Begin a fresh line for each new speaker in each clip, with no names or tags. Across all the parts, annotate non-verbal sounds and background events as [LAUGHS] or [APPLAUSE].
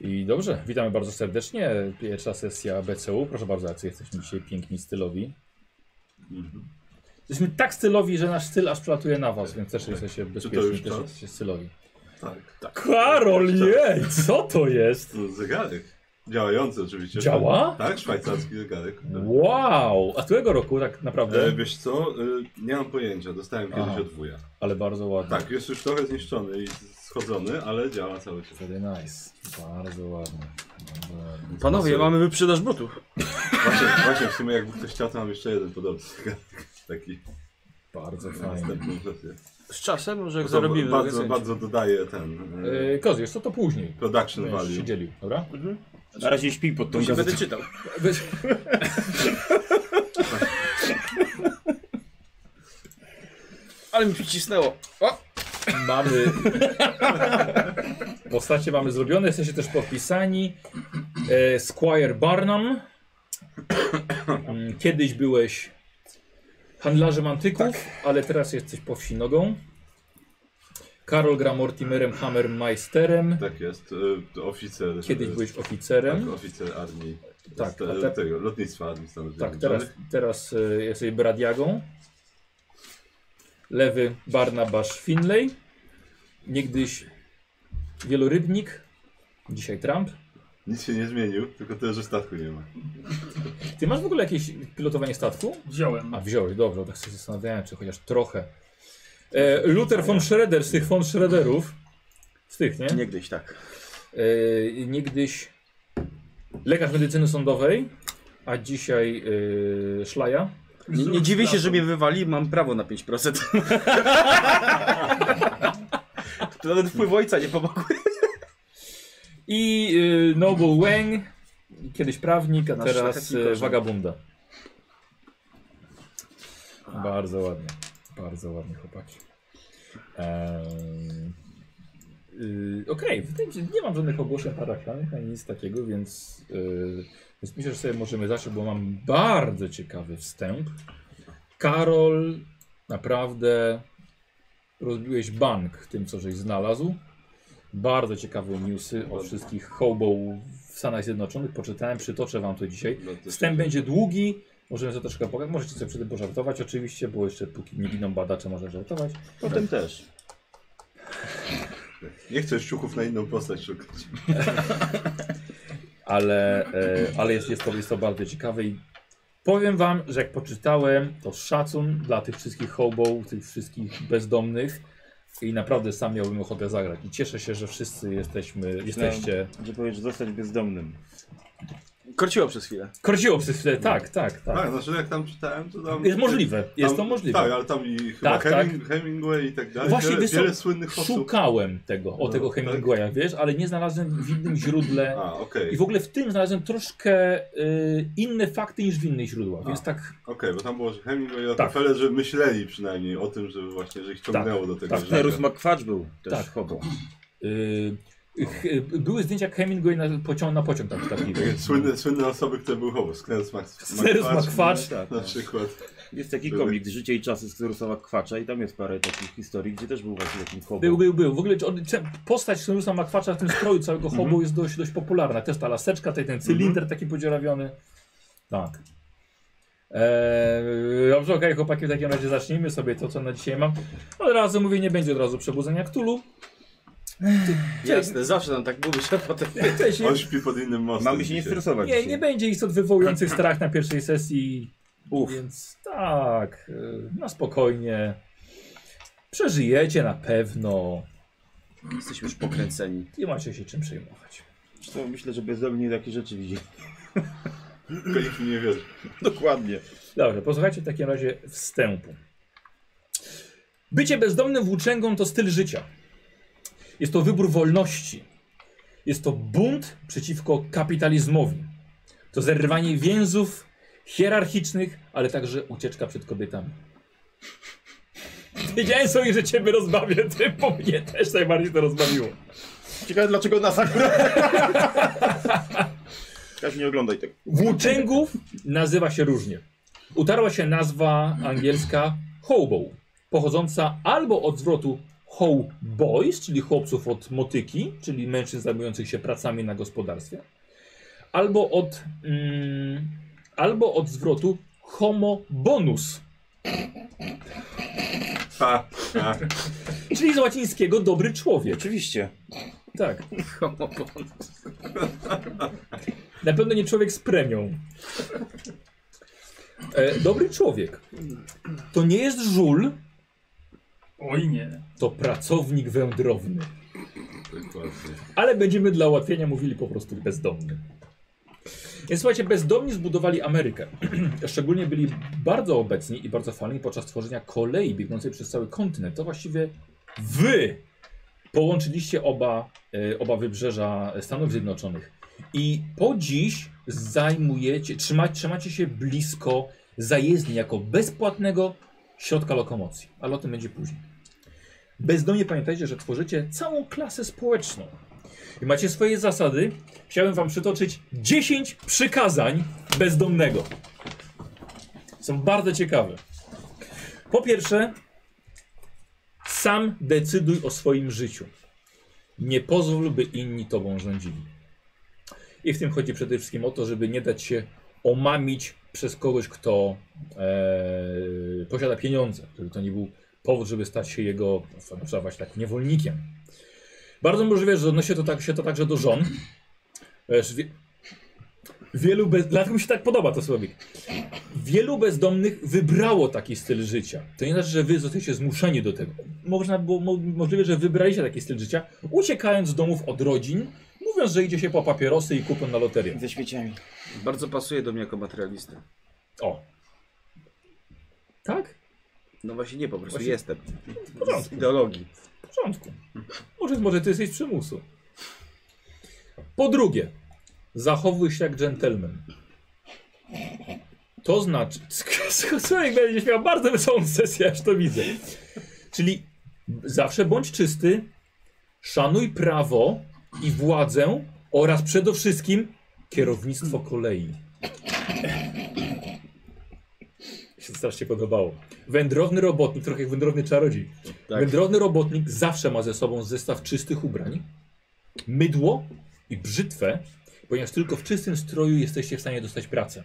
I dobrze, witamy bardzo serdecznie. Pierwsza sesja BCU. Proszę bardzo, jacy jesteśmy dzisiaj piękni, stylowi.
Mhm.
Jesteśmy tak stylowi, że nasz styl aż przelatuje na was, więc też jesteście
to już
bezpieczni, też
czas?
jesteście stylowi.
Tak, tak.
Karol, jej, co to jest?
To zegarek. Działający oczywiście.
Działa?
Tak, szwajcarski zegarek.
Wow, a którego roku tak
E,
naprawdę?
wiesz co, e, nie mam pojęcia, dostałem kiedyś
Aha.
od wuja.
Ale bardzo ładnie.
Tak, jest już trochę zniszczony i schodzony, ale działa cały czas.
Very nice. Bardzo ładnie. Bardzo ładnie.
Panowie, mamy wyprzedaż butów.
Właśnie, właśnie w sumie jakby ktoś chciał, to mam jeszcze jeden podobny zegarek. Taki
Bardzo
na
fajnie.
następną sesję.
Z czasem, może
No
jak
To
zarobimy.
Bardzo,
mogę
bardzo dodaje ten e,
Yy, Kozy, wiesz co to później?
production
Będziesz się
value.
dzielił, dobra?
Na razie śpi pod tą
zająć.
gazetą.
Będę
[LAUGHS]
czytał. Ale mi przycisnęło. O!
Mamy. [LAUGHS] Postacie mamy zrobione, jesteście też podpisani. E, Squire Barnum. Mm, Kiedyś byłeś handlarzem antyków,
Tak.
ale teraz jesteś po wsi nogą. Karol gra Mortimerem Hammermeisterem.
Tak jest, e, oficer.
Kiedyś
e,
byłeś
tak,
oficerem.
oficer armii.
Tak,
z, e,
a te-
tego, lotnictwa armii Stanów
Tak,
Zjednoczonych.
teraz, teraz e, jesteś Bradiagą. Lewy Barnabasz Finlay. Niegdyś wielorybnik. Dzisiaj Trump.
Nic się nie zmienił, tylko tyle, że statku nie ma.
Ty masz w ogóle jakieś pilotowanie statku?
Wziąłem.
A wziąłeś, dobrze, tak się zastanawiałem, czy chociaż trochę. E, Luther von Schroeder z tych von Schroederów. Z tych, nie?
Niegdyś tak.
E, niegdyś lekarz medycyny sądowej, a dzisiaj e, szlaja.
Nie, nie dziwię się, że mnie wywali, mam prawo
[LAUGHS]
na 5%. to nawet wpływ ojca nie pomogł.
I y, Noble Wang, kiedyś prawnik, a
Nasz
teraz
szlachetnik
y,
orzeł.
wagabunda. Bardzo ładnie, bardzo ładnie chłopaki. Ehm, y, Okej, wydaje mi się, nie mam żadnych ogłoszeń parafialnych ani nic takiego, więc, y, więc myślę, że sobie możemy zacząć, bo mam bardzo ciekawy wstęp. Karol, naprawdę rozbiłeś bank tym, co żeś znalazł. Bardzo ciekawe newsy o wszystkich hobo w Stanach Zjednoczonych. Poczytałem, przytoczę wam to dzisiaj.
No to-
Wstęp będzie długi. Możemy sobie troszkę pogadać. Możecie sobie przy tym pożartować oczywiście, bo jeszcze póki nie giną badacze, można żartować.
Tak. Potem też.
Nie chcę ściuchów na inną postać szukać.
Ale, e, ale jest, jest, to, jest to bardzo ciekawe i powiem wam, że jak poczytałem, to szacun dla tych wszystkich hobo, tych wszystkich bezdomnych i naprawdę sam miałbym ochotę zagrać. I cieszę się, że wszyscy jesteśmy, jesteście...
Gdzie powiesz, zostać bezdomnym.
Korciło przez chwilę.
Korciło przez chwilę, tak, tak,
Tak,
tak.
znaczy jak tam czytałem, to tam...
Jest możliwe, jest to
tam-
możliwe.
Tak, ale tam i chyba
Tak,
Heming, Hemingway i tak dalej.
Właśnie,
wiele,
wiesz co,
wiele słynnych osób.
Szukałem tego, o
No,
tego
tak.
Hemingwaya, wiesz, ale nie znalazłem w innym źródle.
A, okej,
I w ogóle w tym znalazłem troszkę y, inne fakty niż w innych źródłach, więc
A.
tak,
okej, bo tam było, że Hemingway i
Tak.
Rockefeller, że myśleli przynajmniej o tym, żeby właśnie, że ich ciągnęło do tego
tak.
życia.
Nerus McFudge był też
Tak.
tak. hobo.
y, ch- y, były zdjęcia jak Hemingway na pociąg, na pociąg tam
Takie
wstawiły.
Słynne, słynne osoby, które były hobo. Sknerus Max,
Snerus
Max-
McFudge.
tak,
Na
no.
przykład.
Jest taki komik Życie i czasy z Rusowa Kwacza i tam jest parę takich historii, gdzie też był właśnie takim hobo.
Był, był, był. W ogóle czy on, czy postać Senusa Makwacza w tym stroju całego hobu
Mhm.
jest dość, dość popularna. Też ta laseczka, ten, ten cylinder taki podziurawiony. Tak. Eee, dobrze, okej, chłopaki, w takim razie zacznijmy sobie to, co na dzisiaj mam. Od razu mówię, nie będzie od razu przebudzenia Ktulu.
Jasne, zawsze nam tak mówisz, a potem...
On śpi pod innym mostem.
Mamy się nie
dzisiaj.
stresować.
Nie,
dzisiaj.
nie będzie istot wywołujących strach na pierwszej sesji,
Uf.
więc tak, e, na spokojnie. Przeżyjecie na pewno.
Jesteśmy już pokręceni.
Nie macie się czym przejmować.
To myślę, że bezdomni takie rzeczy widzi.
Tylko nikt mi nie wierzy.
[LAUGHS] Dokładnie.
Dobrze, posłuchajcie w takim razie wstępu. Bycie bezdomnym włóczęgą to styl życia. Jest to wybór wolności. Jest to bunt przeciwko kapitalizmowi. To zerwanie więzów hierarchicznych, ale także ucieczka przed kobietami. Wiedziałem sobie, że ciebie rozbawię, ty po mnie też najbardziej to rozbawiło.
Ciekawe dlaczego nas akurat. [LAUGHS] Kaś nie oglądaj tak. tego.
Włóczęgów nazywa się różnie. Utarła się nazwa angielska hobo, pochodząca albo od zwrotu How Boys, czyli chłopców od motyki, czyli mężczyzn zajmujących się pracami na gospodarstwie, albo od, mm, albo od zwrotu Homo Bonus,
Ha, ha.
czyli z łacińskiego dobry człowiek.
Oczywiście.
Tak. Na pewno nie człowiek z premią. E, dobry człowiek. To nie jest żul,
Oj nie.
to pracownik wędrowny.
Dokładnie.
Ale będziemy dla ułatwienia mówili po prostu bezdomny. Więc słuchajcie, bezdomni zbudowali Amerykę. [CLEARS THROAT] Szczególnie byli bardzo obecni i bardzo fajni podczas tworzenia kolei biegnącej przez cały kontynent. To właściwie wy połączyliście oba, e, oba wybrzeża Stanów Zjednoczonych. I po dziś zajmujecie, trzyma, trzymacie się blisko zajezdni jako bezpłatnego środka lokomocji. Ale o tym będzie później. Bezdomnie pamiętajcie, że tworzycie całą klasę społeczną. I macie swoje zasady. Chciałem wam przytoczyć 10 przykazań bezdomnego. Są bardzo ciekawe. Po pierwsze, sam decyduj o swoim życiu. Nie pozwól, by inni tobą rządzili. I w tym chodzi przede wszystkim o to, żeby nie dać się omamić przez kogoś, kto e, posiada pieniądze, żeby to nie był powód, żeby stać się jego, na przykład właśnie tak, niewolnikiem. Bardzo możliwe, że odnosi to tak, się to także do żon. Wiesz, wie, wielu bez, dlatego mi się tak podoba to słowik. Wielu bezdomnych wybrało taki styl życia. To nie znaczy, że wy zostajecie zmuszeni do tego. Można było, mo, możliwe, że wybraliście taki styl życia, uciekając z domów od rodzin, mówiąc, że idzie się po papierosy i kupon na loterię.
[CLEARS THROAT] Ze śmieciami.
Bardzo pasuje do mnie jako materialista.
O. Tak?
No właśnie nie, po prostu
Właśnie-
jestem.
W
Z
porządku.
ideologii.
W porządku. Może, może ty jesteś z przymusu. Po drugie, zachowuj się jak dżentelmen. To znaczy, [LAUGHS] człowiek będzie miał bardzo wesołą sesję, aż to widzę. Czyli zawsze bądź czysty, szanuj prawo i władzę oraz przede wszystkim kierownictwo kolei. Mi się to strasznie podobało. Wędrowny robotnik, trochę jak wędrowny czarodziej.
Tak.
Wędrowny robotnik zawsze ma ze sobą zestaw czystych ubrań, mydło i brzytwę, ponieważ tylko w czystym stroju jesteście w stanie dostać pracę.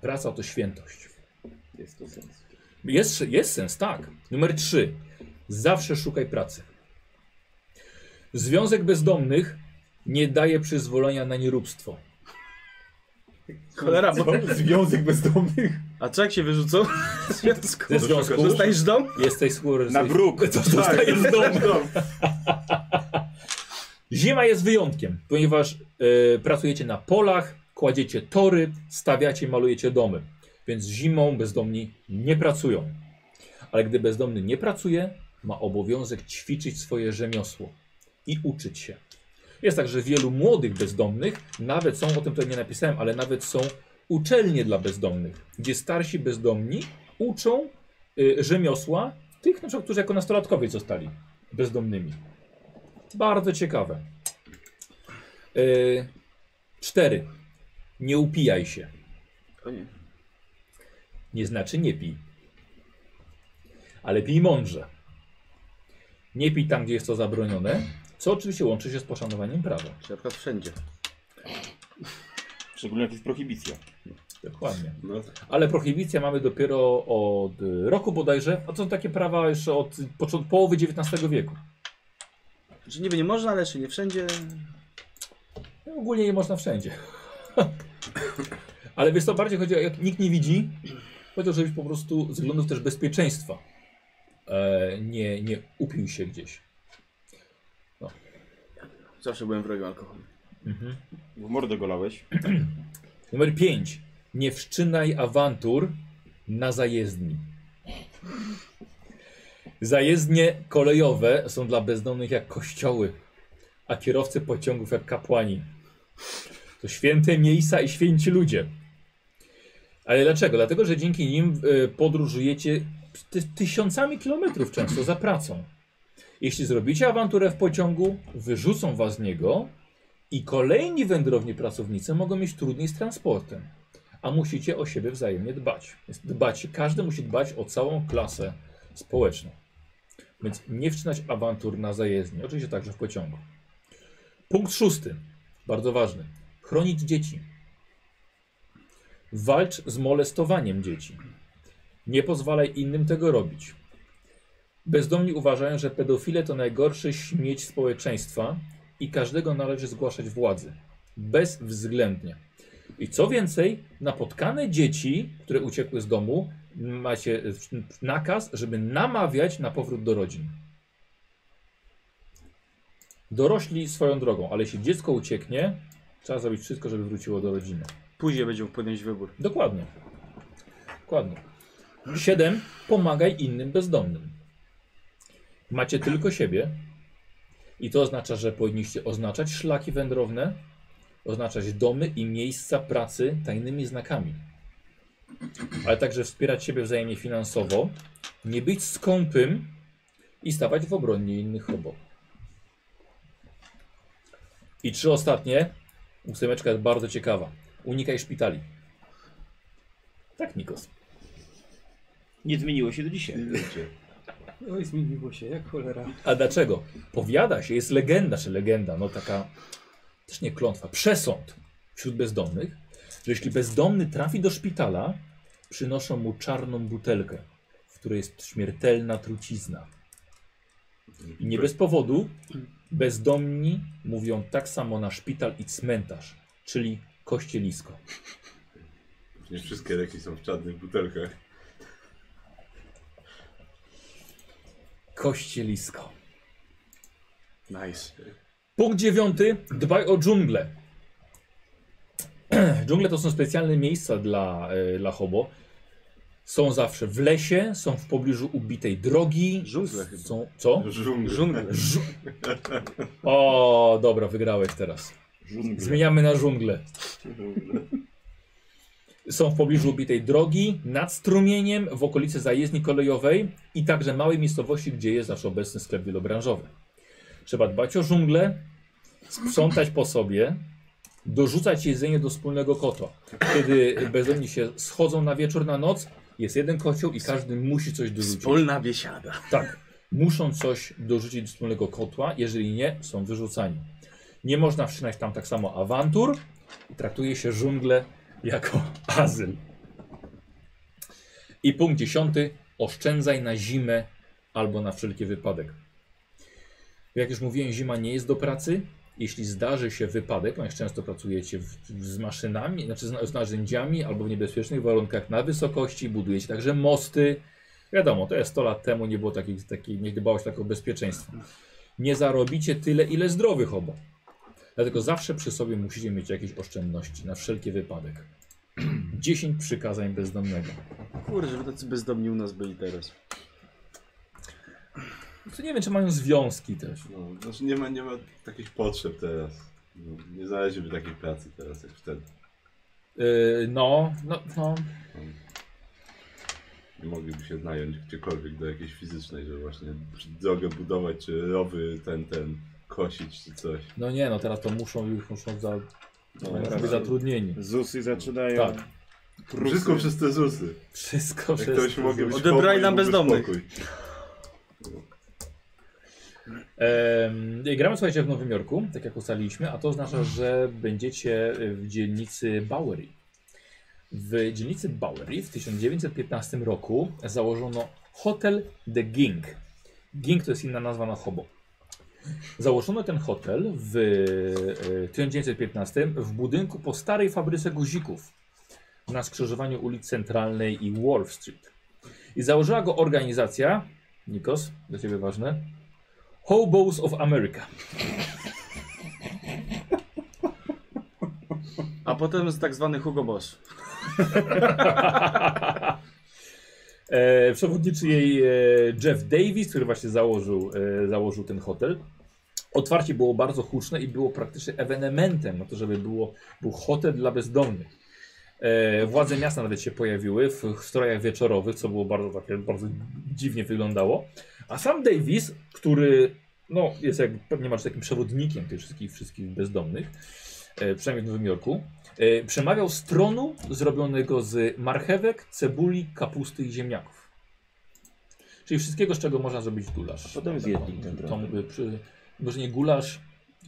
Praca to świętość.
Jest to sens.
Jest, jest sens, tak. Numer 3. Zawsze szukaj pracy. Związek bezdomnych nie daje przyzwolenia na nieróbstwo.
Cholera, bo...
Związek bezdomnych.
A co jak się wyrzucą? [LAUGHS] W związku.
Ze związku
Zostajesz dom?
jesteś skóry.
Na bruk.
[LAUGHS]
Tak. No.
To zostajesz w domu. Zima jest wyjątkiem, ponieważ e, pracujecie na polach, kładziecie tory, stawiacie, malujecie domy. Więc zimą bezdomni nie pracują. Ale gdy bezdomny nie pracuje, ma obowiązek ćwiczyć swoje rzemiosło i uczyć się. Jest także wielu młodych bezdomnych, nawet są, o tym tutaj nie napisałem, ale nawet są uczelnie dla bezdomnych, gdzie starsi bezdomni uczą y, rzemiosła tych, na przykład, którzy jako nastolatkowie zostali bezdomnymi. Bardzo ciekawe. Y, cztery. Nie upijaj się.
O nie.
Nie znaczy nie pij. Ale pij mądrze. Nie pij tam, gdzie jest to zabronione, co oczywiście łączy się z poszanowaniem prawa.
Czyli na przykład wszędzie.
Szczególnie jak jest prohibicja.
Dokładnie.
No,
Ale prohibicja mamy dopiero od y, roku bodajże, a to są takie prawa jeszcze od począ- połowy XIX wieku.
Że niby nie można, ale jeszcze nie wszędzie.
No, Ogólnie je można wszędzie. Ale wiesz co, bardziej chodzi o jak nikt nie widzi, chodzi o żebyś po prostu z względów też bezpieczeństwa e, nie, nie upił się gdzieś.
Zawsze byłem wrogiem alkoholu.
Mhm.
W mordę golałeś.
Numer 5. Nie wszczynaj awantur na zajezdni. Zajezdnie kolejowe są dla bezdomnych jak kościoły, a kierowcy pociągów jak kapłani. To święte miejsca i święci ludzie. Ale dlaczego? Dlatego, że dzięki nim e, podróżujecie ty tysiącami kilometrów często za pracą. Jeśli zrobicie awanturę w pociągu, wyrzucą was z niego i kolejni wędrowni pracownicy mogą mieć trudniej z transportem, a musicie o siebie wzajemnie dbać. Więc dbać, każdy musi dbać o całą klasę społeczną. Więc nie wczynać awantur na zajezdni. Oczywiście także w pociągu. Punkt szósty. Bardzo ważny. Chronić dzieci. Walcz z molestowaniem dzieci. Nie pozwalaj innym tego robić. Bezdomni uważają, że pedofile to najgorszy śmieć społeczeństwa i każdego należy zgłaszać władzy. Bezwzględnie. I co więcej, napotkane dzieci, które uciekły z domu, macie e, nakaz, żeby namawiać na powrót do rodzin. Dorośli swoją drogą, ale jeśli dziecko ucieknie, trzeba zrobić wszystko, żeby wróciło do rodziny.
Później będzie mógł podjąć wybór.
Dokładnie. Dokładnie. 7. Pomagaj innym bezdomnym. Macie tylko siebie. I to oznacza, że powinniście oznaczać szlaki wędrowne, oznaczać domy i miejsca pracy tajnymi znakami. Ale także wspierać siebie wzajemnie finansowo, nie być skąpym i stawać w obronie innych robot. I trzy ostatnie. Ósemeczka jest bardzo ciekawa. Unikaj szpitali. Tak, Nikos.
Nie zmieniło się do dzisiaj.
Ludzie.
Oj, zmieniło się, jak cholera.
A dlaczego? Powiada się, jest legenda, czy legenda, no taka też nie klątwa, przesąd wśród bezdomnych, że jeśli bezdomny trafi do szpitala, przynoszą mu czarną butelkę, w której jest śmiertelna trucizna. I nie bez powodu bezdomni mówią tak samo na szpital i cmentarz, czyli kościelisko.
Nie wszystkie leki są w czarnych butelkach.
Kościelisko.
Nice.
Punkt dziewiąty. Dbaj o dżunglę. [CLEARS THROAT] dżungle to są specjalne miejsca dla, e, dla hobo. Są zawsze w lesie, są w pobliżu ubitej drogi.
Dżungle chyba.
Są, co?
Żungl.
Żungle.
Żu o, dobra, wygrałeś teraz.
Żungle.
Zmieniamy na dżunglę. Są w pobliżu ubitej drogi, nad strumieniem, w okolicy zajezdni kolejowej i także małej miejscowości, gdzie jest nasz obecny sklep wielobranżowy. Trzeba dbać o żunglę, sprzątać po sobie, dorzucać jedzenie do wspólnego kota. Kiedy bezdomni się schodzą na wieczór, na noc, jest jeden kocioł i każdy musi coś dorzucić.
Wspólna biesiada.
Tak. Muszą coś dorzucić do wspólnego kotła, jeżeli nie, są wyrzucani. Nie można wszczynać tam tak samo awantur i traktuje się żunglę jako azyl. I punkt dziesiąty. Oszczędzaj na zimę albo na wszelki wypadek. Jak już mówiłem, zima nie jest do pracy. Jeśli zdarzy się wypadek, ponieważ często pracujecie w, w, z maszynami, znaczy z, z narzędziami albo w niebezpiecznych warunkach na wysokości, budujecie także mosty, Wiadomo, to jest 100 lat temu, nie było takich, takich nie dbało się tak o bezpieczeństwo. Nie zarobicie tyle, ile zdrowych obo. Dlatego zawsze przy sobie musicie mieć jakieś oszczędności na wszelki wypadek. [CLEARS THROAT] 10 przykazań bezdomnego.
Kurde, żeby tacy bezdomni u nas byli teraz.
To nie wiem, czy mają związki też.
No, znaczy nie ma, nie ma takich potrzeb teraz. No, nie znaleźliby takiej pracy teraz jak wtedy.
Yy, no, no, no.
Nie mogliby się znająć gdziekolwiek do jakiejś fizycznej, że właśnie drogę budować, czy rowy ten, ten, kosić, czy coś.
No nie, no teraz to muszą już muszą za,
No,
mają
tak.
być zatrudnieni.
Zusy zaczynają.
Tak.
Prusy.
Wszystko przez te ZUSy.
Wszystko
Jak to się
wszystko.
mogli być
Odebrali
pokój,
nam
mógł być
bezdomnych.
pokój.
Em, gramy słuchajcie w Nowym Jorku, tak jak ustaliliśmy, a to oznacza, że będziecie w dzielnicy Bowery. W dzielnicy Bowery w 1915 roku założono Hotel The Ging. Ging to jest inna nazwa na hobo. Założono ten hotel w e, 1915 w budynku po starej fabryce guzików na skrzyżowaniu ulic Centralnej i Wall Street. I założyła go organizacja, Nikos, dla Ciebie ważne, Hobos of America.
A potem jest tak zwany Hugo Boss. [LAUGHS]
E, przewodniczy jej e, Jeff Davis, który właśnie założył, e, założył ten hotel. Otwarcie było bardzo huczne i było praktycznie ewenementem, no to żeby było, był hotel dla bezdomnych. E, władze miasta nawet się pojawiły w strojach wieczorowych, co było bardzo takie, bardzo dziwnie wyglądało. A sam Davis, który no, jest jak pewnie masz takim przewodnikiem tych wszystkich, wszystkich bezdomnych, e, przynajmniej w Nowym Jorku, E, Przemawiał z tronu zrobionego z marchewek, cebuli, kapusty i ziemniaków. Czyli wszystkiego, z czego można zrobić gulasz.
Potem
Tak,
zjedli
tą-
ten
tą-
trochę.
przy, Może nie gulasz,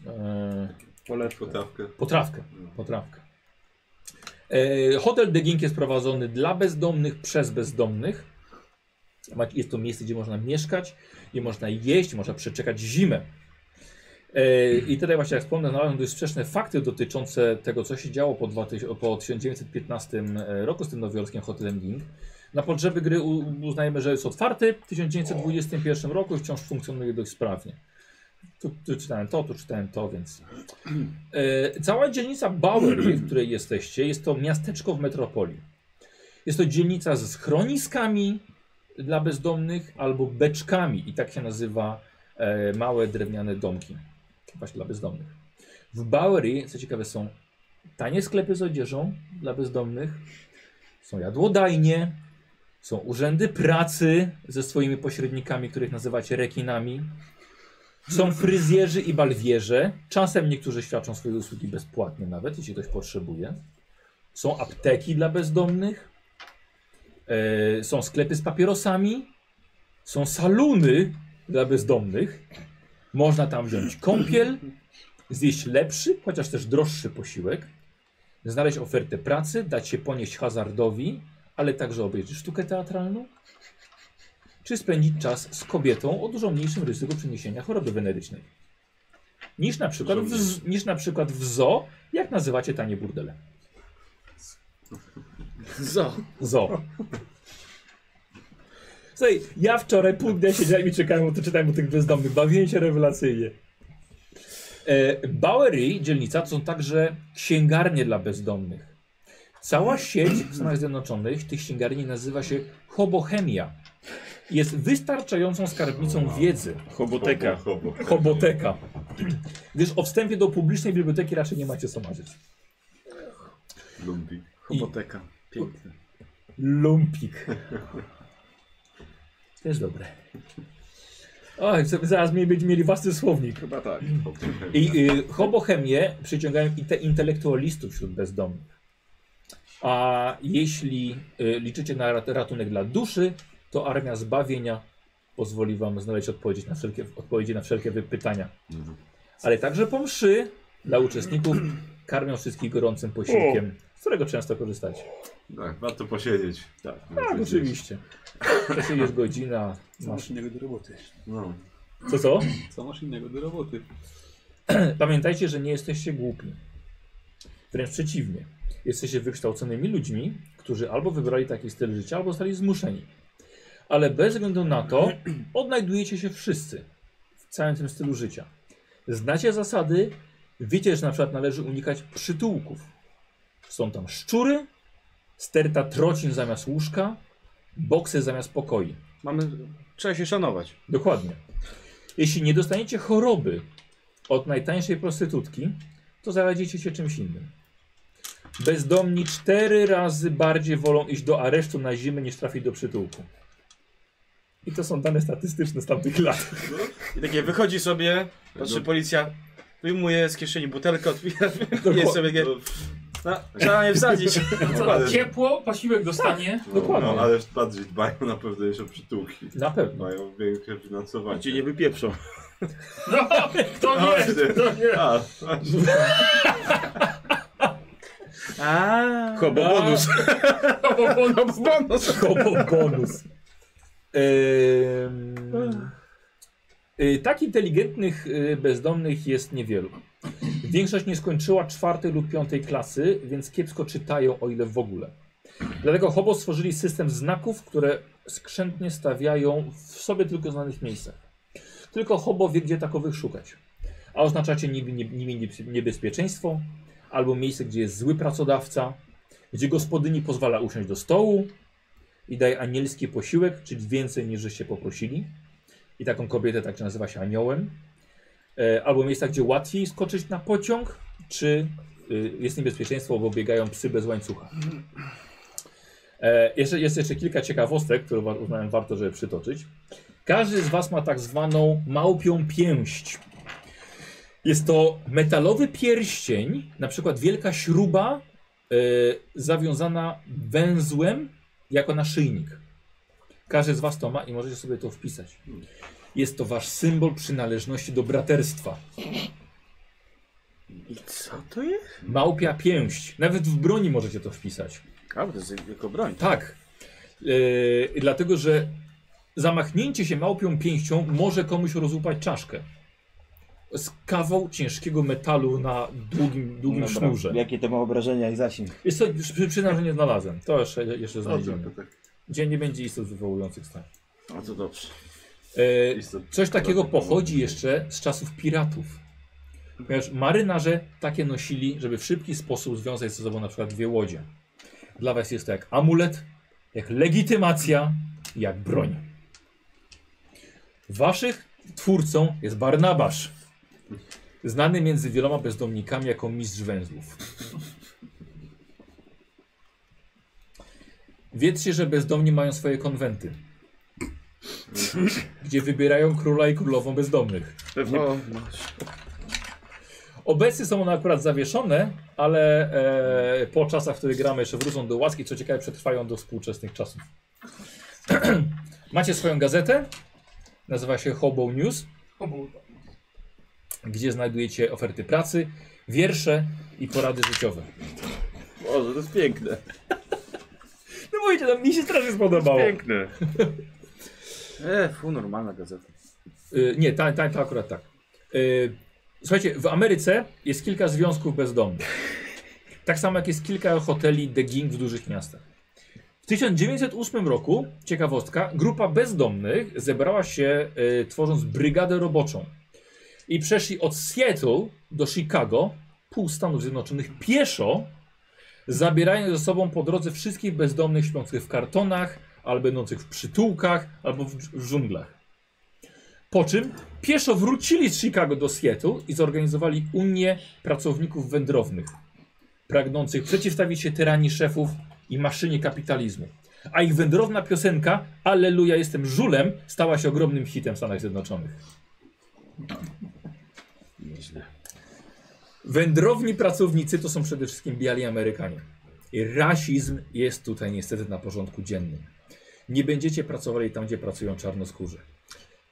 e,
Polewkę.
Potawkę.
potrawkę. potrawkę. E, hotel Degink jest prowadzony dla bezdomnych, przez bezdomnych. Ma- Jest to miejsce, gdzie można mieszkać, gdzie można jeść, można przeczekać zimę. E, I tutaj właśnie, jak wspomnę, znalazłem dość sprzeczne fakty dotyczące tego, co się działo po, 2000, po 1915 roku z tym nowojorskim hotelem Ding. Na potrzeby gry u- uznajemy, że jest otwarty. W 1921 roku i wciąż funkcjonuje dość sprawnie. Tu, tu czytałem to, tu czytałem to, więc... E, cała dzielnica Bauer, w której jesteście, jest to miasteczko w metropolii. Jest to dzielnica z schroniskami dla bezdomnych albo beczkami i tak się nazywa e, małe drewniane domki właśnie dla bezdomnych. W Bowery, co ciekawe, są tanie sklepy z odzieżą dla bezdomnych, są jadłodajnie, są urzędy pracy ze swoimi pośrednikami, których nazywacie rekinami. Są fryzjerzy i balwierze. Czasem niektórzy świadczą swoje usługi bezpłatnie nawet, jeśli ktoś potrzebuje. Są apteki dla bezdomnych. E, są sklepy z papierosami. Są saluny dla bezdomnych. Można tam wziąć kąpiel, zjeść lepszy, chociaż też droższy posiłek, znaleźć ofertę pracy, dać się ponieść hazardowi, ale także obejrzeć sztukę teatralną, czy spędzić czas z kobietą o dużo mniejszym ryzyku przeniesienia choroby wenerycznej. Niż na przykład w, z- niż na przykład w zoo, jak nazywacie tanie burdele.
Zo.
Zo. Słuchaj, ja wczoraj pół dnia siedziałem i czekałem, bo to czytałem o tych bezdomnych. Bawiłem się rewelacyjnie. E, Bowery, dzielnica, to są także księgarnie dla bezdomnych. Cała sieć w Stanach Zjednoczonych tych księgarni nazywa się Hobochemia. Jest wystarczającą skarbnicą wiedzy.
Choboteka.
Hobo, hobo.
Hoboteka. Gdyż o wstępie do publicznej biblioteki raczej nie macie co marzyć.
Lumpik.
Choboteka. Piękne.
Lumpik. Też dobre. Oj, z- zaraz mi będziemy mieli własny słownik.
Chyba tak.
Hobo.
I y, hobochemie przyciągają i te intelektualistów wśród bezdomnych. A jeśli y, liczycie na rat- ratunek dla duszy, to armia zbawienia pozwoli wam znaleźć odpowiedzi na wszelkie, odpowiedzi na wszelkie wy- pytania. Ale także po mszy dla uczestników karmią wszystkich gorącym posiłkiem, z którego często korzystacie.
Tak, warto posiedzieć. No,
Tak.
Tak, oczywiście. Czasem jest godzina,
Co
masz
masz innego do roboty?
No.
Co co?
Co masz innego do roboty?
[CLEARS THROAT] Pamiętajcie, że nie jesteście głupi. Wręcz przeciwnie. Jesteście wykształconymi ludźmi, którzy albo wybrali taki styl życia, albo zostali zmuszeni. Ale bez względu na to, [CLEARS THROAT] odnajdujecie się wszyscy w całym tym stylu życia. Znacie zasady, wiecie, że na przykład należy unikać przytułków. Są tam szczury, sterta trocin zamiast łóżka, boksy zamiast pokoi.
Mamy... Trzeba się szanować.
Dokładnie. Jeśli nie dostaniecie choroby od najtańszej prostytutki, to zaradzicie się czymś innym. Bezdomni cztery razy bardziej wolą iść do aresztu na zimę niż trafić do przytułku. I to są dane statystyczne z tamtych lat.
I takie wychodzi sobie, patrzy policja, wyjmuje z kieszeni butelkę, otwiera, wyjmuje
Dokładnie.
sobie takie... No, trzeba je wsadzić.
Co, ciepło, posiłek dostanie.
No,
Dokładnie.
No, ale bardziej dbają na pewno jeszcze o przytułki.
Na pewno.
Mają większe finansowanie. [LAUGHS]
Cię nie wypieprzą. [LAUGHS]
No, kto
No, [LAUGHS]
wie,
właśnie.
kto wie.
A, właśnie.
A.
Chobo bonus.
No, bo, bo,
No, bo bonus.
Kobo bonus. Ym, y, tak inteligentnych y, bezdomnych jest niewielu. Większość nie skończyła czwartej lub piątej klasy, więc kiepsko czytają, o ile w ogóle. Dlatego Hobo stworzyli system znaków, które skrzętnie stawiają w sobie tylko znanych miejscach. Tylko Hobo wie, gdzie takowych szukać. A oznaczacie nimi, nimi niebezpieczeństwo, albo miejsce, gdzie jest zły pracodawca, gdzie gospodyni pozwala usiąść do stołu, i daje anielski posiłek, czyli więcej niż żeście poprosili. I taką kobietę także nazywa się aniołem. E, albo miejsca, gdzie łatwiej skoczyć na pociąg, czy y, jest niebezpieczeństwo, bo biegają psy bez łańcucha. E, jeszcze, jest jeszcze kilka ciekawostek, które wa- uznałem warto, żeby przytoczyć. Każdy z Was ma tak zwaną małpią pięść. Jest to metalowy pierścień, na przykład wielka śruba e, zawiązana węzłem jako naszyjnik. Każdy z was to ma i możecie sobie to wpisać. Jest to wasz symbol przynależności do braterstwa.
I co to jest?
Małpia pięść. Nawet w broni możecie to wpisać.
A, bo to jest jako broń.
Tak. Yy, dlatego, że zamachnięcie się małpią pięścią może komuś rozłupać czaszkę. Z kawał ciężkiego metalu na długim, długim
Dobra.
sznurze.
Jakie to ma obrażenia i zasięg?
Jest to, przy, przyznam, że nie znalazłem. To jeszcze, jeszcze
Dobrze,
znajdziemy.
to tak
Gdzie nie będzie istot wywołujących stanie.
A to dobrze.
E,
istot.
Coś takiego pochodzi jeszcze z czasów piratów. Ponieważ marynarze takie nosili, żeby w szybki sposób związać ze sobą na przykład dwie łodzie. Dla was jest to jak amulet, jak legitymacja, jak broń. Waszych twórcą jest Barnabasz. Znany między wieloma bezdomnikami jako mistrz węzłów. Wiedzcie, że bezdomni mają swoje konwenty, gdzie wybierają króla i królową bezdomnych.
Pewnie. O,
Obecnie są one akurat zawieszone, ale e, po czasach, w których gramy, jeszcze wrócą do łaski, co ciekawe, przetrwają do współczesnych czasów. [CLEARS THROAT] Macie swoją gazetę, nazywa się Hobo News,
Obu-
gdzie znajdujecie oferty pracy, wiersze i porady życiowe.
Boże, to jest piękne.
No mówicie, tam mi się strasznie spodobało.
piękne. E, fu, normalna gazeta.
Y, nie, ta, ta, ta akurat tak. Y, słuchajcie, w Ameryce jest kilka związków bezdomnych. Tak samo jak jest kilka hoteli The Ging w dużych miastach. W 1908 roku, ciekawostka, grupa bezdomnych zebrała się y, tworząc brygadę roboczą. I przeszli od Seattle do Chicago, pół Stanów Zjednoczonych, pieszo, zabierając ze sobą po drodze wszystkich bezdomnych śpiących w kartonach, albo będących w przytułkach, albo w, w dżunglach. Po czym pieszo wrócili z Chicago do Seattle i zorganizowali Unię Pracowników Wędrownych, pragnących przeciwstawić się tyranii szefów i maszynie kapitalizmu. A ich wędrowna piosenka Alleluja jestem żulem stała się ogromnym hitem w Stanach Zjednoczonych. Wędrowni pracownicy to są przede wszystkim biali Amerykanie. I rasizm jest tutaj niestety na porządku dziennym. Nie będziecie pracowali tam, gdzie pracują czarnoskórze.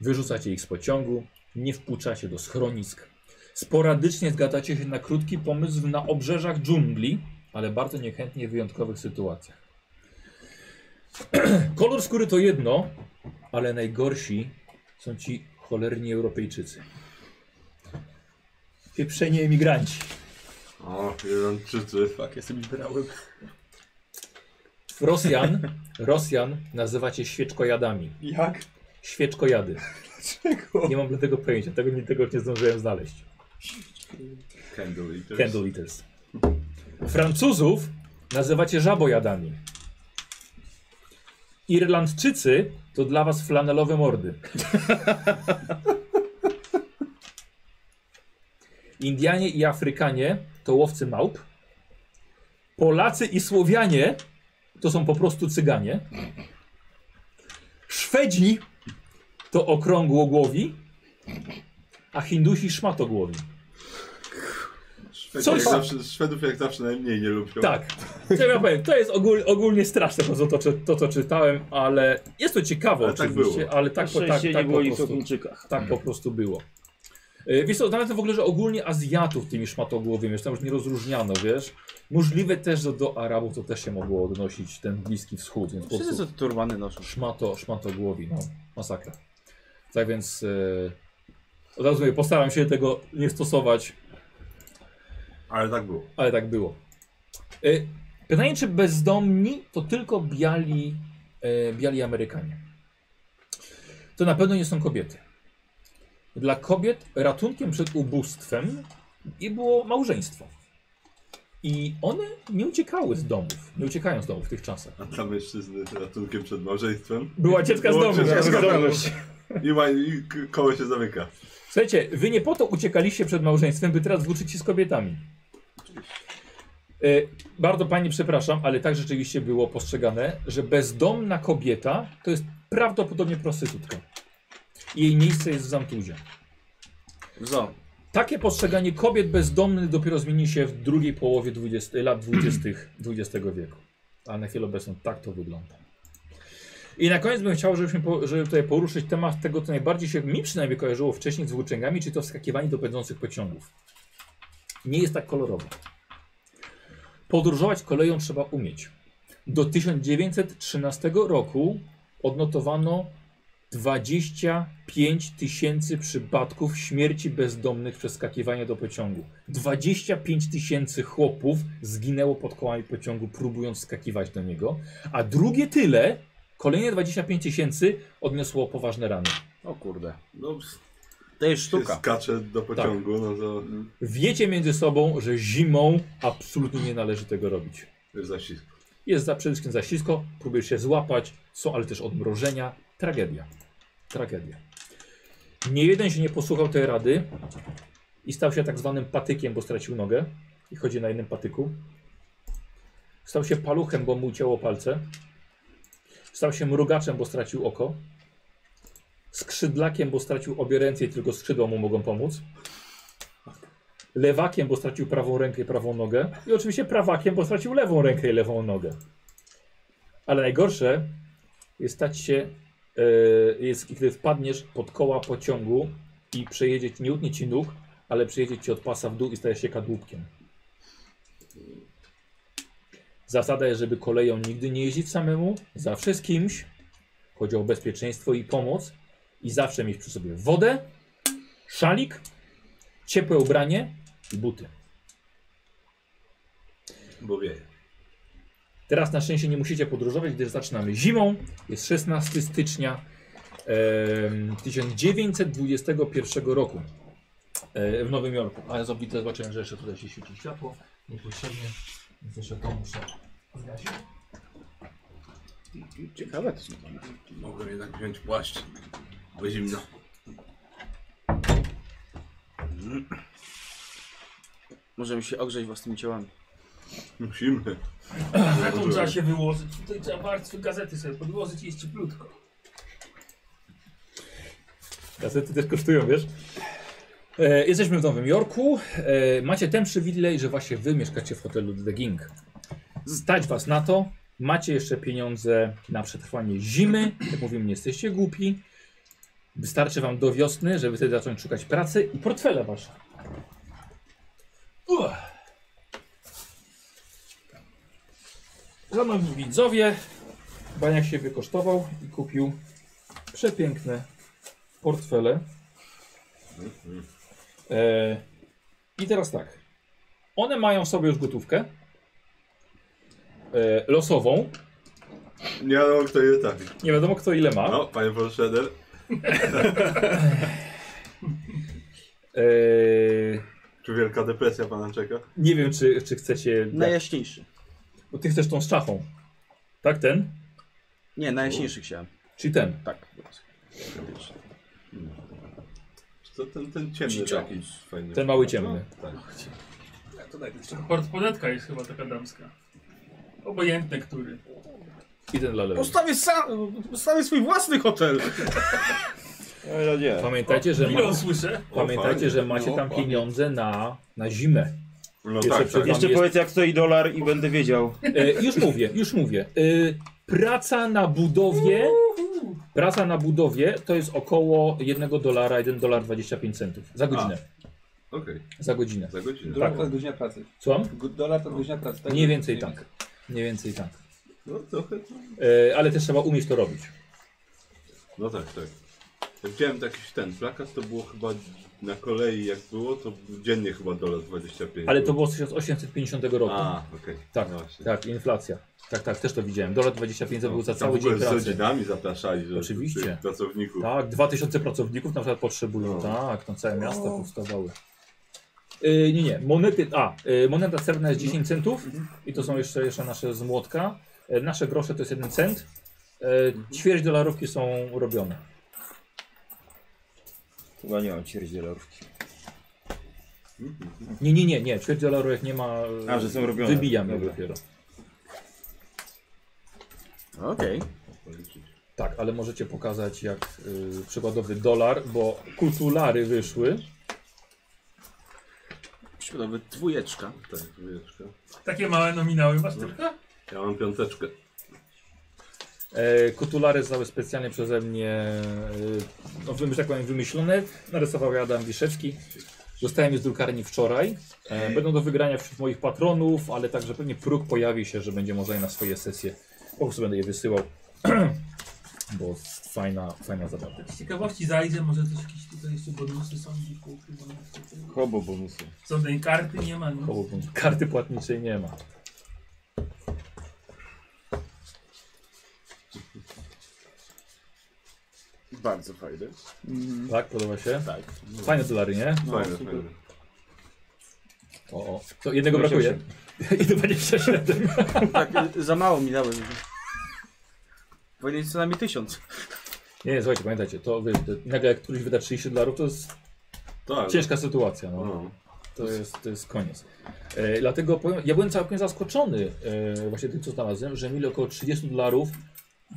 Wyrzucacie ich z pociągu, nie wpuszczacie do schronisk. Sporadycznie zgadzacie się na krótki pomysł na obrzeżach dżungli, ale bardzo niechętnie w wyjątkowych sytuacjach. [CLEARS THROAT] Kolor skóry to jedno, ale najgorsi są ci cholerni Europejczycy. Pieprzeni emigranci.
O, Irlandczycy.
Fuck, jestem liberałem.
[LAUGHS] Rosjan, Rosjan nazywacie świeczkojadami.
Jak?
Świeczkojady.
Czego?
Nie mam dla tego pojęcia, tego, nie- tego nie zdążyłem znaleźć.
Candle eaters.
Candle eaters. Francuzów nazywacie żabojadami. Irlandczycy to dla was flanelowe mordy. [LAUGHS] Indianie i Afrykanie to łowcy małp. Polacy i Słowianie to są po prostu cyganie. Szwedzi to okrągłogłowi, a Hindusi szmatogłowi.
Szwedów,
Coś-
jak zawsze, Szwedów jak zawsze najmniej nie lubią.
Tak. Co ja powiem, to jest ogól, ogólnie straszne to, co to, czy- to, co czytałem, ale jest to ciekawe
Ale tak
oczywiście,
było.
ale tak, po- tak,
nie
tak,
było
po,
nic o
prostu,
Chińczykach.
tak po prostu było. Yy, Wiesz co, nawet w ogóle, że ogólnie Azjatów tymi szmatogłowymi, że tam już nie rozróżniano, wiesz. Możliwe też, że do Arabów to też się mogło odnosić, ten Bliski Wschód, więc po
Wszyscy
prostu
co turbany noszą.
szmato, szmatogłowi, no, masakra. Tak więc yy, od razu mówię, postaram się tego nie stosować,
Ale tak było.
Ale tak było. Y, Pytanie, czy bezdomni to tylko biali, y, biali Amerykanie. To na pewno nie są kobiety. Dla kobiet ratunkiem przed ubóstwem i było małżeństwo. I one nie uciekały z domów. Nie uciekają z domów w tych czasach.
A dla mężczyzny ratunkiem przed małżeństwem.
Była dziecka z
Było
domu.
dziecka z domu.
Bezdomność.
I, ma, i k- koło się zamyka.
Słuchajcie, wy nie po to uciekaliście przed małżeństwem, by teraz włóczyć się z kobietami. Y, bardzo pani przepraszam, ale tak rzeczywiście było postrzegane, że bezdomna kobieta to jest prawdopodobnie prostytutka. Jej miejsce jest w zamtuzie.
Zo.
Takie postrzeganie kobiet bezdomnych dopiero zmieni się w drugiej połowie 20, lat 20, XX wieku. A na chwilę obecną tak to wygląda. I na koniec bym chciał, żebyśmy po, żeby tutaj poruszyć temat tego, co najbardziej się mi przynajmniej kojarzyło wcześniej z włóczęgami, czyli to wskakiwanie do pędzących pociągów. Nie jest tak kolorowo. Podróżować koleją trzeba umieć. Do 1913 roku odnotowano 25 tysięcy przypadków śmierci bezdomnych przez skakiwanie do pociągu. 25 tysięcy chłopów zginęło pod kołami pociągu, próbując skakiwać do niego, a drugie tyle, kolejne 25 tysięcy, odniosło poważne rany.
O kurde.
No,
To jest
sztuka.
sztuka.
Skacze do
Tak.
pociągu, no to
Wiecie między sobą, że zimą absolutnie nie należy tego robić.
jest zacisk.
Jest za, przede wszystkim za ślisko, próbujesz się złapać, są ale też odmrożenia. Tragedia. Tragedia. Nie jeden się nie posłuchał tej rady i stał się tak zwanym patykiem, bo stracił nogę i chodzi na jednym patyku. Stał się paluchem, bo mu ucięło palce. Stał się mrugaczem, bo stracił oko. Skrzydlakiem, bo stracił obie ręce i tylko skrzydła mu mogą pomóc. Lewakiem, bo stracił prawą rękę i prawą nogę. I oczywiście prawakiem, bo stracił lewą rękę i lewą nogę. Ale najgorsze jest stać się, e, jest, kiedy wpadniesz pod koła pociągu i przejedzie, ci- nie utnie ci nóg, ale przejedzie ci od pasa w dół i stajesz się kadłubkiem. Zasada jest, żeby koleją nigdy nie jeździć samemu, zawsze z kimś. Chodzi o bezpieczeństwo i pomoc. I zawsze mieć przy sobie wodę, szalik, ciepłe ubranie i buty.
Bo wieje.
Teraz na szczęście nie musicie podróżować, gdyż zaczynamy zimą. Jest 16 stycznia em, 1921 roku e, w Nowym Jorku. A ja zob- zobaczyłem, że jeszcze tutaj się świeci światło. Niepotrzebnie. Więc jeszcze to muszę zgasić.
Ciekawe to są.
Mogę jednak wziąć płaszcz, bo zimno.
Możemy się ogrzeć własnymi ciałami.
Musimy.
A tu trzeba się wyłożyć. Tutaj trzeba warstwy gazety sobie podłożyć i jest cieplutko.
Gazety też kosztują, wiesz? E, jesteśmy w Nowym Jorku. E, macie ten przywilej, że właśnie wy mieszkacie w hotelu The King. Stać was na to. Macie jeszcze pieniądze na przetrwanie zimy. Jak mówimy, nie jesteście głupi. Wystarczy wam do wiosny, żeby wtedy zacząć szukać pracy i portfele wasze. Uff. Szanowni widzowie, Baniak się wykosztował i kupił przepiękne portfele. E, I teraz tak. One mają w sobie już gotówkę. E, losową.
Nie wiadomo kto je trafi.
Nie wiadomo kto ile ma.
No, panie Polszeder.
E,
Czy wielka depresja pana czeka?
nie wiem, czy, czy chcecie.
No Najjaśniejszy.
Bo ty chcesz tą z czachą. Tak, ten?
Nie, najjaśniejszy chciałem.
Czy ten?
Tak.
Czy to ten, ten ciemny
Ciccio.
taki fajny?
Ten mały ciemny.
Tak.
Portponetka jest chyba taka damska. Obojętny który.
I ten dla lewej.
Postawię sam, postawię swój własny hotel.
No nie.
Pamiętajcie, że, ma,
Ile on słyszę?
O,
pamiętajcie,
fajnie.
że macie tam pieniądze na, na zimę.
No
Jeszcze
tak,
przed-
tak.
Jeszcze
Jeszcze powiedz jak stoi dolar i będę wiedział.
E, już mówię, już mówię. E, praca na budowie. Praca na budowie to jest około 1 dolara, 1 dolar 25 centów. Za godzinę.
Okej,
Za godzinę.
za godzinę.
Tak.
No,
Dolar to jest godzina pracy.
Słucham?
Go- Dolar to jest godzina pracy, tak?
No, Mniej więcej tak. Mniej więcej tak.
No trochę. to-
E, ale też trzeba umieć to robić.
No tak, tak. Ja widziałem jakiś ten plakat, to było chyba na kolei jak było, to dziennie chyba dolar 25.
Ale to było z 1850 roku.
A, okej.
tak,
no właśnie.
tak, inflacja. Tak, tak, też to widziałem. Dolar 25 to
No,
był za
tam
cały
w ogóle
dzień
Z
pracy.
rodzinami zapraszali, że
Oczywiście.
tych pracowników.
Tak, 2000 pracowników na przykład potrzebują.
No.
Tak, tam całe miasta powstawały. Yy, nie, nie, monety. A, yy, moneta srebrna jest 10 centów i to są jeszcze, jeszcze nasze z młotka. E, nasze grosze to jest 1 cent. Yy, ćwierć dolarówki są robione.
Chyba nie mam ćwierćdzielarówki.
Nie, nie, nie, nie, ćwierć dolarówek nie ma. e,
A, że są robione.
Wybijam je
Dobra.
dopiero.
Okej.
Tak, ale możecie pokazać jak y, przykładowy dolar, bo kulturalary wyszły.
Przykładowy dwójeczka.
Tak, dwójeczka.
Takie małe nominały masz tylko?
Ja mam piąteczkę.
E, kotulary zostały specjalnie przeze mnie, e, no, wymy- że tak powiem, wymyślone. Narysował je Adam Wiszewski. Dostałem je z drukarni wczoraj. E, będą do wygrania wśród moich patronów, ale także pewnie próg pojawi się, że będzie można je na swoje sesje. Po prostu będę je wysyłał, [CLEARS THROAT] bo fajna, fajna zabawa.
Z ciekawości zajrzę, może też jakieś tutaj jeszcze bonusy są gdzieś poukrywane.
Hobo bonusy.
Co tej karty nie ma, nic.
Koło- Karty płatniczej nie ma.
Bardzo fajne.
Tak, podoba się? Tak. Fajne dolary, nie?
Fajne, fajne.
O, o. To jednego brakuje. [LAUGHS] I to 27.
Tak, y, za mało mi dałeś. Powinien być co najmniej tysiąc.
Nie, nie, słuchajcie, pamiętajcie, to wy, to, nagle jak któryś wyda 30 dolarów, to jest
Tak.
ciężka sytuacja. No.
No.
To, jest, to jest koniec. E, dlatego powiem, ja byłem całkiem zaskoczony e, właśnie tym, co znalazłem, że mieli około 30 dolarów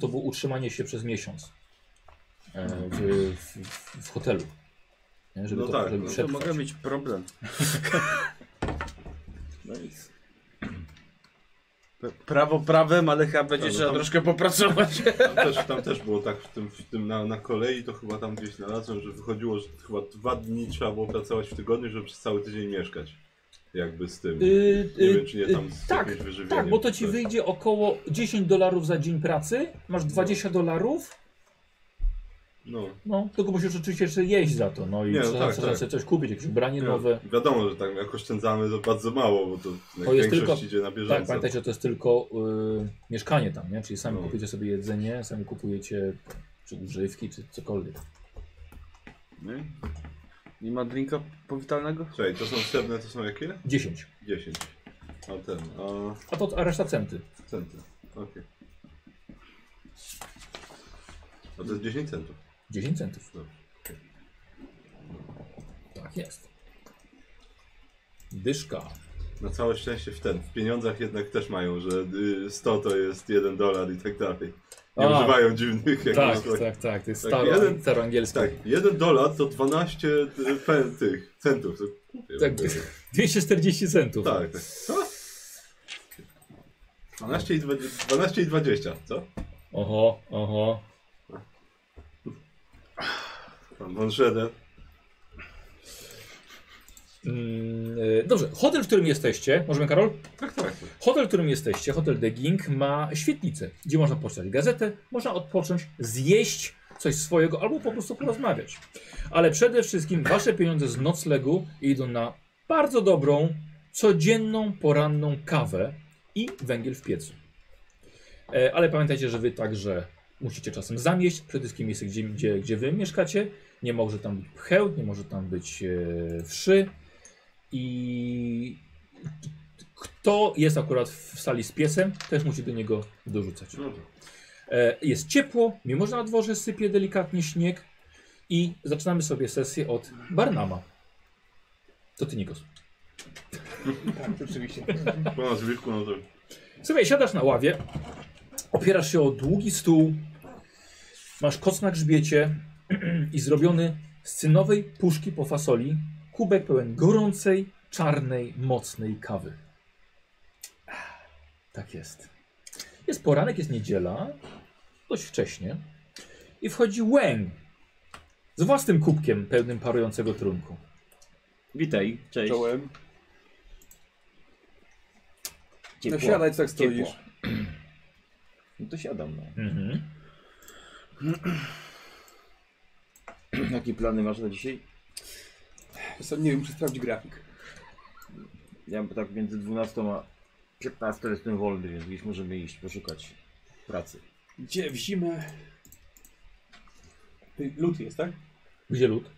to było utrzymanie się przez miesiąc e, w, w, w hotelu. Nie, żeby
No
to,
tak,
żeby
no to
To
przetrwać.
mogę mieć [LAUGHS] problem.
No nic.
P- Prawo prawem, ale chyba będzie
Tak, no
trzeba
tam-
troszkę popracować.
Tam, też, tam też było tak, w tym, w tym na, na kolei to chyba tam gdzieś znalazłem, że wychodziło, że chyba dwa dni trzeba było pracować w tygodniu, żeby przez cały tydzień mieszkać. Jakby z tym.
Y,
Nie
y,
wiem, czy nie tam z
tak,
jakimś wyżywieniem.
Tak, bo to ci
czy coś.
wyjdzie około 10 dolarów za dzień pracy, masz 20 dolarów,
No,
no tylko musisz oczywiście jeszcze jeść za to, no i
Nie, no
trzeba
tak,
trzeba
tak.
sobie coś kupić, jakieś branie nowe.
ja, wiadomo, że tak jak oszczędzamy to bardzo mało, bo to,
To
to
jest
większość
tylko-
idzie na
Tak,
bieżąco.
pamiętajcie, to jest tylko y, mieszkanie tam, nie? Czyli sami
No.
kupujecie sobie jedzenie, sami kupujecie czy używki, czy cokolwiek.
Nie?
[LAUGHS] Nie ma drinka powitalnego?
Czekaj, to są srebrne, to są jakie?
10.
10. A ten, a
A to a reszta centy.
centy. Okej. A to jest 10 centów.
10 centów.
Dobrze.
Tak jest. Dyszka.
Na całe szczęście w ten. W pieniądzach jednak też mają, że y, 100 to jest 1 dolar i tak dalej. Nie
A.
używają dziwnych
Tak,
jakichś.
tak, tak. To jest
Tak,
staro,
jeden-
staroangielski.
tak, 1 dolar to 12 y, pen, tych centów. To kupię.
Tak, 240 centów.
Tak, tak. Co? 12 i 20, 12 i 20 co?
Oho, oho.
Pan Wąszedę.
Mm, e, Dobrze, hotel, w którym jesteście, możemy Karol?
Tak, tak.
Hotel, w którym jesteście, hotel The Ging ma świetlicę, gdzie można poczytać gazetę, można odpocząć, zjeść coś swojego albo po prostu porozmawiać. Ale przede wszystkim wasze pieniądze z noclegu idą na bardzo dobrą, codzienną, poranną kawę i węgiel w piecu. E, Ale pamiętajcie, że wy także musicie czasem zamieść, przede wszystkim miejsce, gdzie, gdzie, gdzie wy mieszkacie. Nie może tam być pcheł, nie może tam być e, wszy. I kto jest akurat w sali z piesem, też musi do niego dorzucać. E, jest ciepło, mimo że na dworze sypie delikatnie śnieg. I zaczynamy sobie sesję od Barnama. To ty, Nikos.
Po nazwisku, no to
Słuchaj, siadasz na ławie, opierasz się o długi stół, masz koc na grzbiecie i zrobiony z cynowej puszki po fasoli kubek pełen gorącej, czarnej, mocnej kawy. Tak jest. Jest poranek, jest niedziela, dość wcześnie i wchodzi Łęg z własnym kubkiem pełnym parującego trunku.
Witaj, cześć.
Czołem.
Ciepło.
No siadaj, tak stoisz.
Ciepło. No to siadam, no.
Mhm.
Jakie plany masz na dzisiaj?
Czasem nie wiem, czy sprawdzić grafik.
Ja tak między 12 a 15 jestem wolny, więc gdzieś możemy iść, poszukać pracy.
Gdzie w zimę? Ty, Lód jest, tak?
Gdzie lód?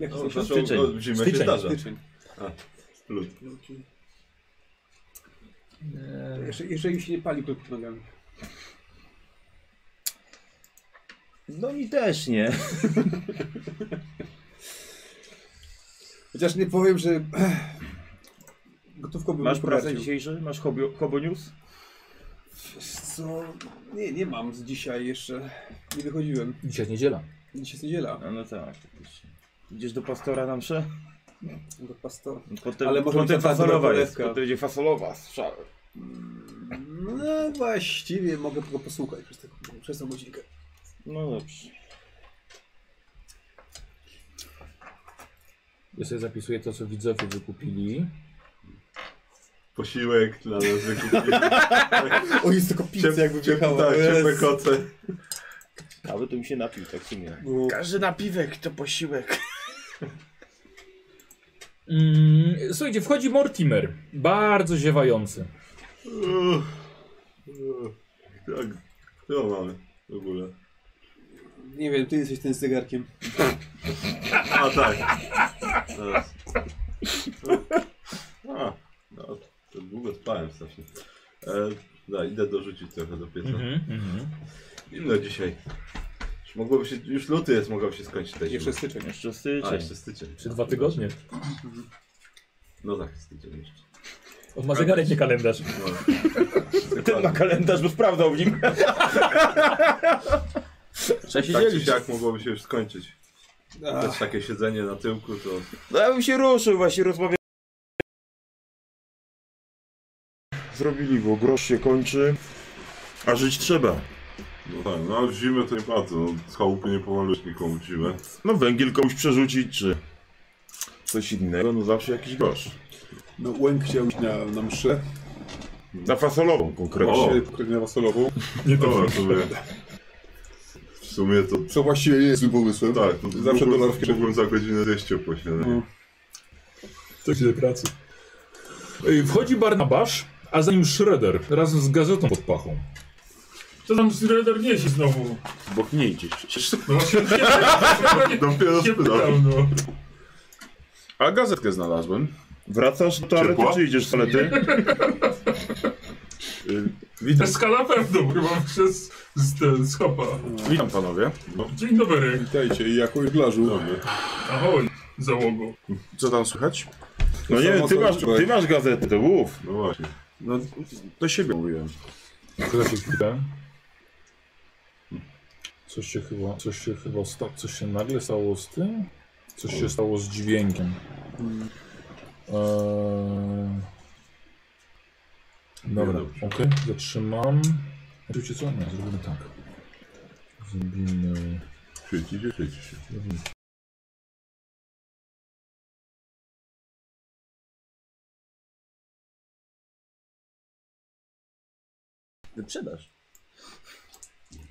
Jaki
no,
no,
zresztą
styczeń.
no, zimę się
Styczeń.
zdarza.
styczeń.
Lud.
To Jeszcze, jeszcze im się nie pali klub pod nogami.
No mi też nie.
Chociaż nie powiem, że... [CLEARS THROAT] Gotówką bym
Masz pracę
poradził.
dzisiejszą? Masz hobio, hobo news?
Co? Nie, nie mam z dzisiaj jeszcze. Nie wychodziłem.
Dzisiaj jest niedziela.
Dzisiaj jest niedziela.
A no tak. oczywiście. Idziesz do pastora na mszę?
Do pastora.
Potem,
Ale może
potem
być taka
fasolowa
dobra
jest.
polewka.
Potem będzie fasolowa, strzał.
Mm, No właściwie mogę go posłuchać przez, te, przez tą godzinkę.
No dobrze.
Ja sobie zapisuję to, co widzowie wykupili.
Posiłek dla nas wykupił.
[LAUGHS] O, jest tylko pizza
Ciep-
jakby
ciep-
wjechała.
tak, ciepłe
Jezu.
koce.
Aby tu mi się napił, tak w sumie.
No,
Każdy napiwek to [LAUGHS] posiłek.
Mm, słuchajcie, wchodzi Mortimer. Bardzo ziewający.
Uff. Uff. Tak, co mamy w ogóle?
Nie wiem, ty jesteś ten z zegarkiem.
A tak. Teraz. A, no, to długo spałem strasznie. E, da, idę dorzucić trochę do pieca.
mhm.
Zimno dzisiaj. Już, mogłoby się, już luty jest, mogłoby się skończyć te
Jeszcze
zimy.
styczeń.
Jeszcze
A,
styczeń.
jeszcze styczeń.
Czy dwa tygodnie?
No tak, styczeń jeszcze.
On ma zegarek, nie kalendarz.
No.
Ten ma kalendarz, bo sprawdzał w nim.
Tak czy siak mogłoby się już skończyć. Też
Ach,
takie siedzenie na tyłku to...
No ja bym się ruszył właśnie, rozmawiał. Zrobili go, grosz się kończy, a żyć trzeba.
No tak, no ale w zimę to nie patrzę, no, z chałupy nie pomalujesz nikomu w zimę.
No węgiel komuś przerzucić, czy coś innego, no zawsze jakiś grosz.
No, Łęk chciał iść na, na mszę,
Na fasolową konkretnie.
O.
dzisiaj konkretnie na wasolową,
Nie
No,
to w sumie. W sumie to...
co właściwie nie jest złym pomysłem.
Tak, to
Zawsze
mógłbym-
dolar w kieszeni.
Mógłbym za godzinę zjeść ciepłe śniadanie.
To idzie do pracy.
Ej, Wchodzi Barnabasz, a za nim Shredder razem z gazetą pod pachą.
To tam Shredder niesie znowu.
Bo nie idzie przecież.
No właśnie się pytał,
Dopiero
się
spytam.
pytał, no.
A gazetkę znalazłem.
Wracasz do toalety,
Ciepła?
czy idziesz z toalety?
Witam,
Skala pewną chyba przez z, ten, z hopa.
witam panowie.
Dzień dobry.
No. Witajcie i jako jeglarzu.
Ahoj, załogo.
Co tam słychać?
No nie,
samo
ty
co
masz,
wczoraj.
ty masz gazetę, to mów.
No właśnie.
No, do siebie mówiłem.
Zaraz chwilę. Coś się chyba, coś się chyba, sta, coś się nagle stało z tym? Coś się stało z dźwiękiem. Eee... Dobra,
dobrze.
okej, zatrzymam. Wiecie co? Nie, zrobimy tak. Zrobimy...
Świeci się, świeci się.
Wyprzedasz.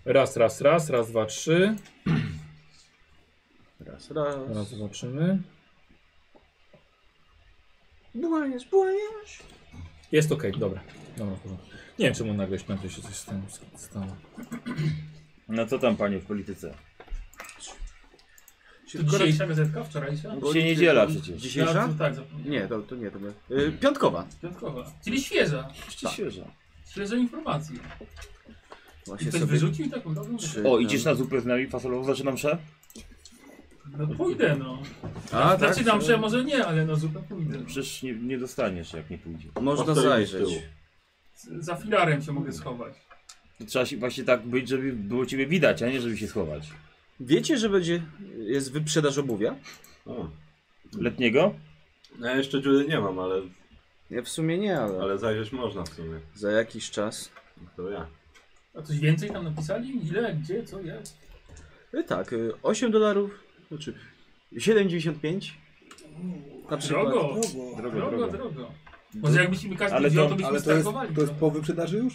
Raz, raz, raz, raz, dwa, trzy.
Raz, raz.
Teraz zobaczymy.
Błaniesz, błaniesz.
Jest okej, dobra. Dobra, w porządku. Nie wiem, czemu nagle, nagle się coś z tym stało.
No co tam panie w polityce?
To dzisiejsza gazetka, wczorajsza?
Dzisiaj niedziela przecież.
Dzisiejsza?
No, tak, zapomniałem.
Nie, to, to nie, to nie. Y, piątkowa.
Piątkowa. Czyli świeża.
Jeszcze świeża.
Świeża informacja.
Właśnie
Ktoś wyrzucił taką dobrą rzecz.
Trzy,
O,
tam.
idziesz na zupę z nami fasolową, zaczyna mszę?
No pójdę no.
A, tak?
Znaczy tam, że może nie, ale no zupełnie pójdę.
Przecież nie, nie dostaniesz jak nie pójdzie.
Można
Postawić z
zajrzeć.
tyłu.
Z- Za filarem się mogę schować.
To trzeba się właśnie tak być, żeby było ciebie widać, a nie żeby się schować.
Wiecie, że będzie, jest wyprzedaż obuwia?
O.
Letniego?
No ja jeszcze dziury nie mam, ale,
Ja w sumie nie, ale,
ale zajrzeć można w sumie.
za jakiś czas.
To ja.
A coś więcej tam napisali? Ile, gdzie, co, jak?
Y, tak, y, 8 dolarów, znaczy 7,95. Na przykład.
Drogo,
Drogo,
drogo,
drogo.
drogo. Może jakbyśmy mi każdy
Ale
wziął,
to-
to byśmy
Ale to jest,
stargowali.
to jest
no.
po wyprzedaży już?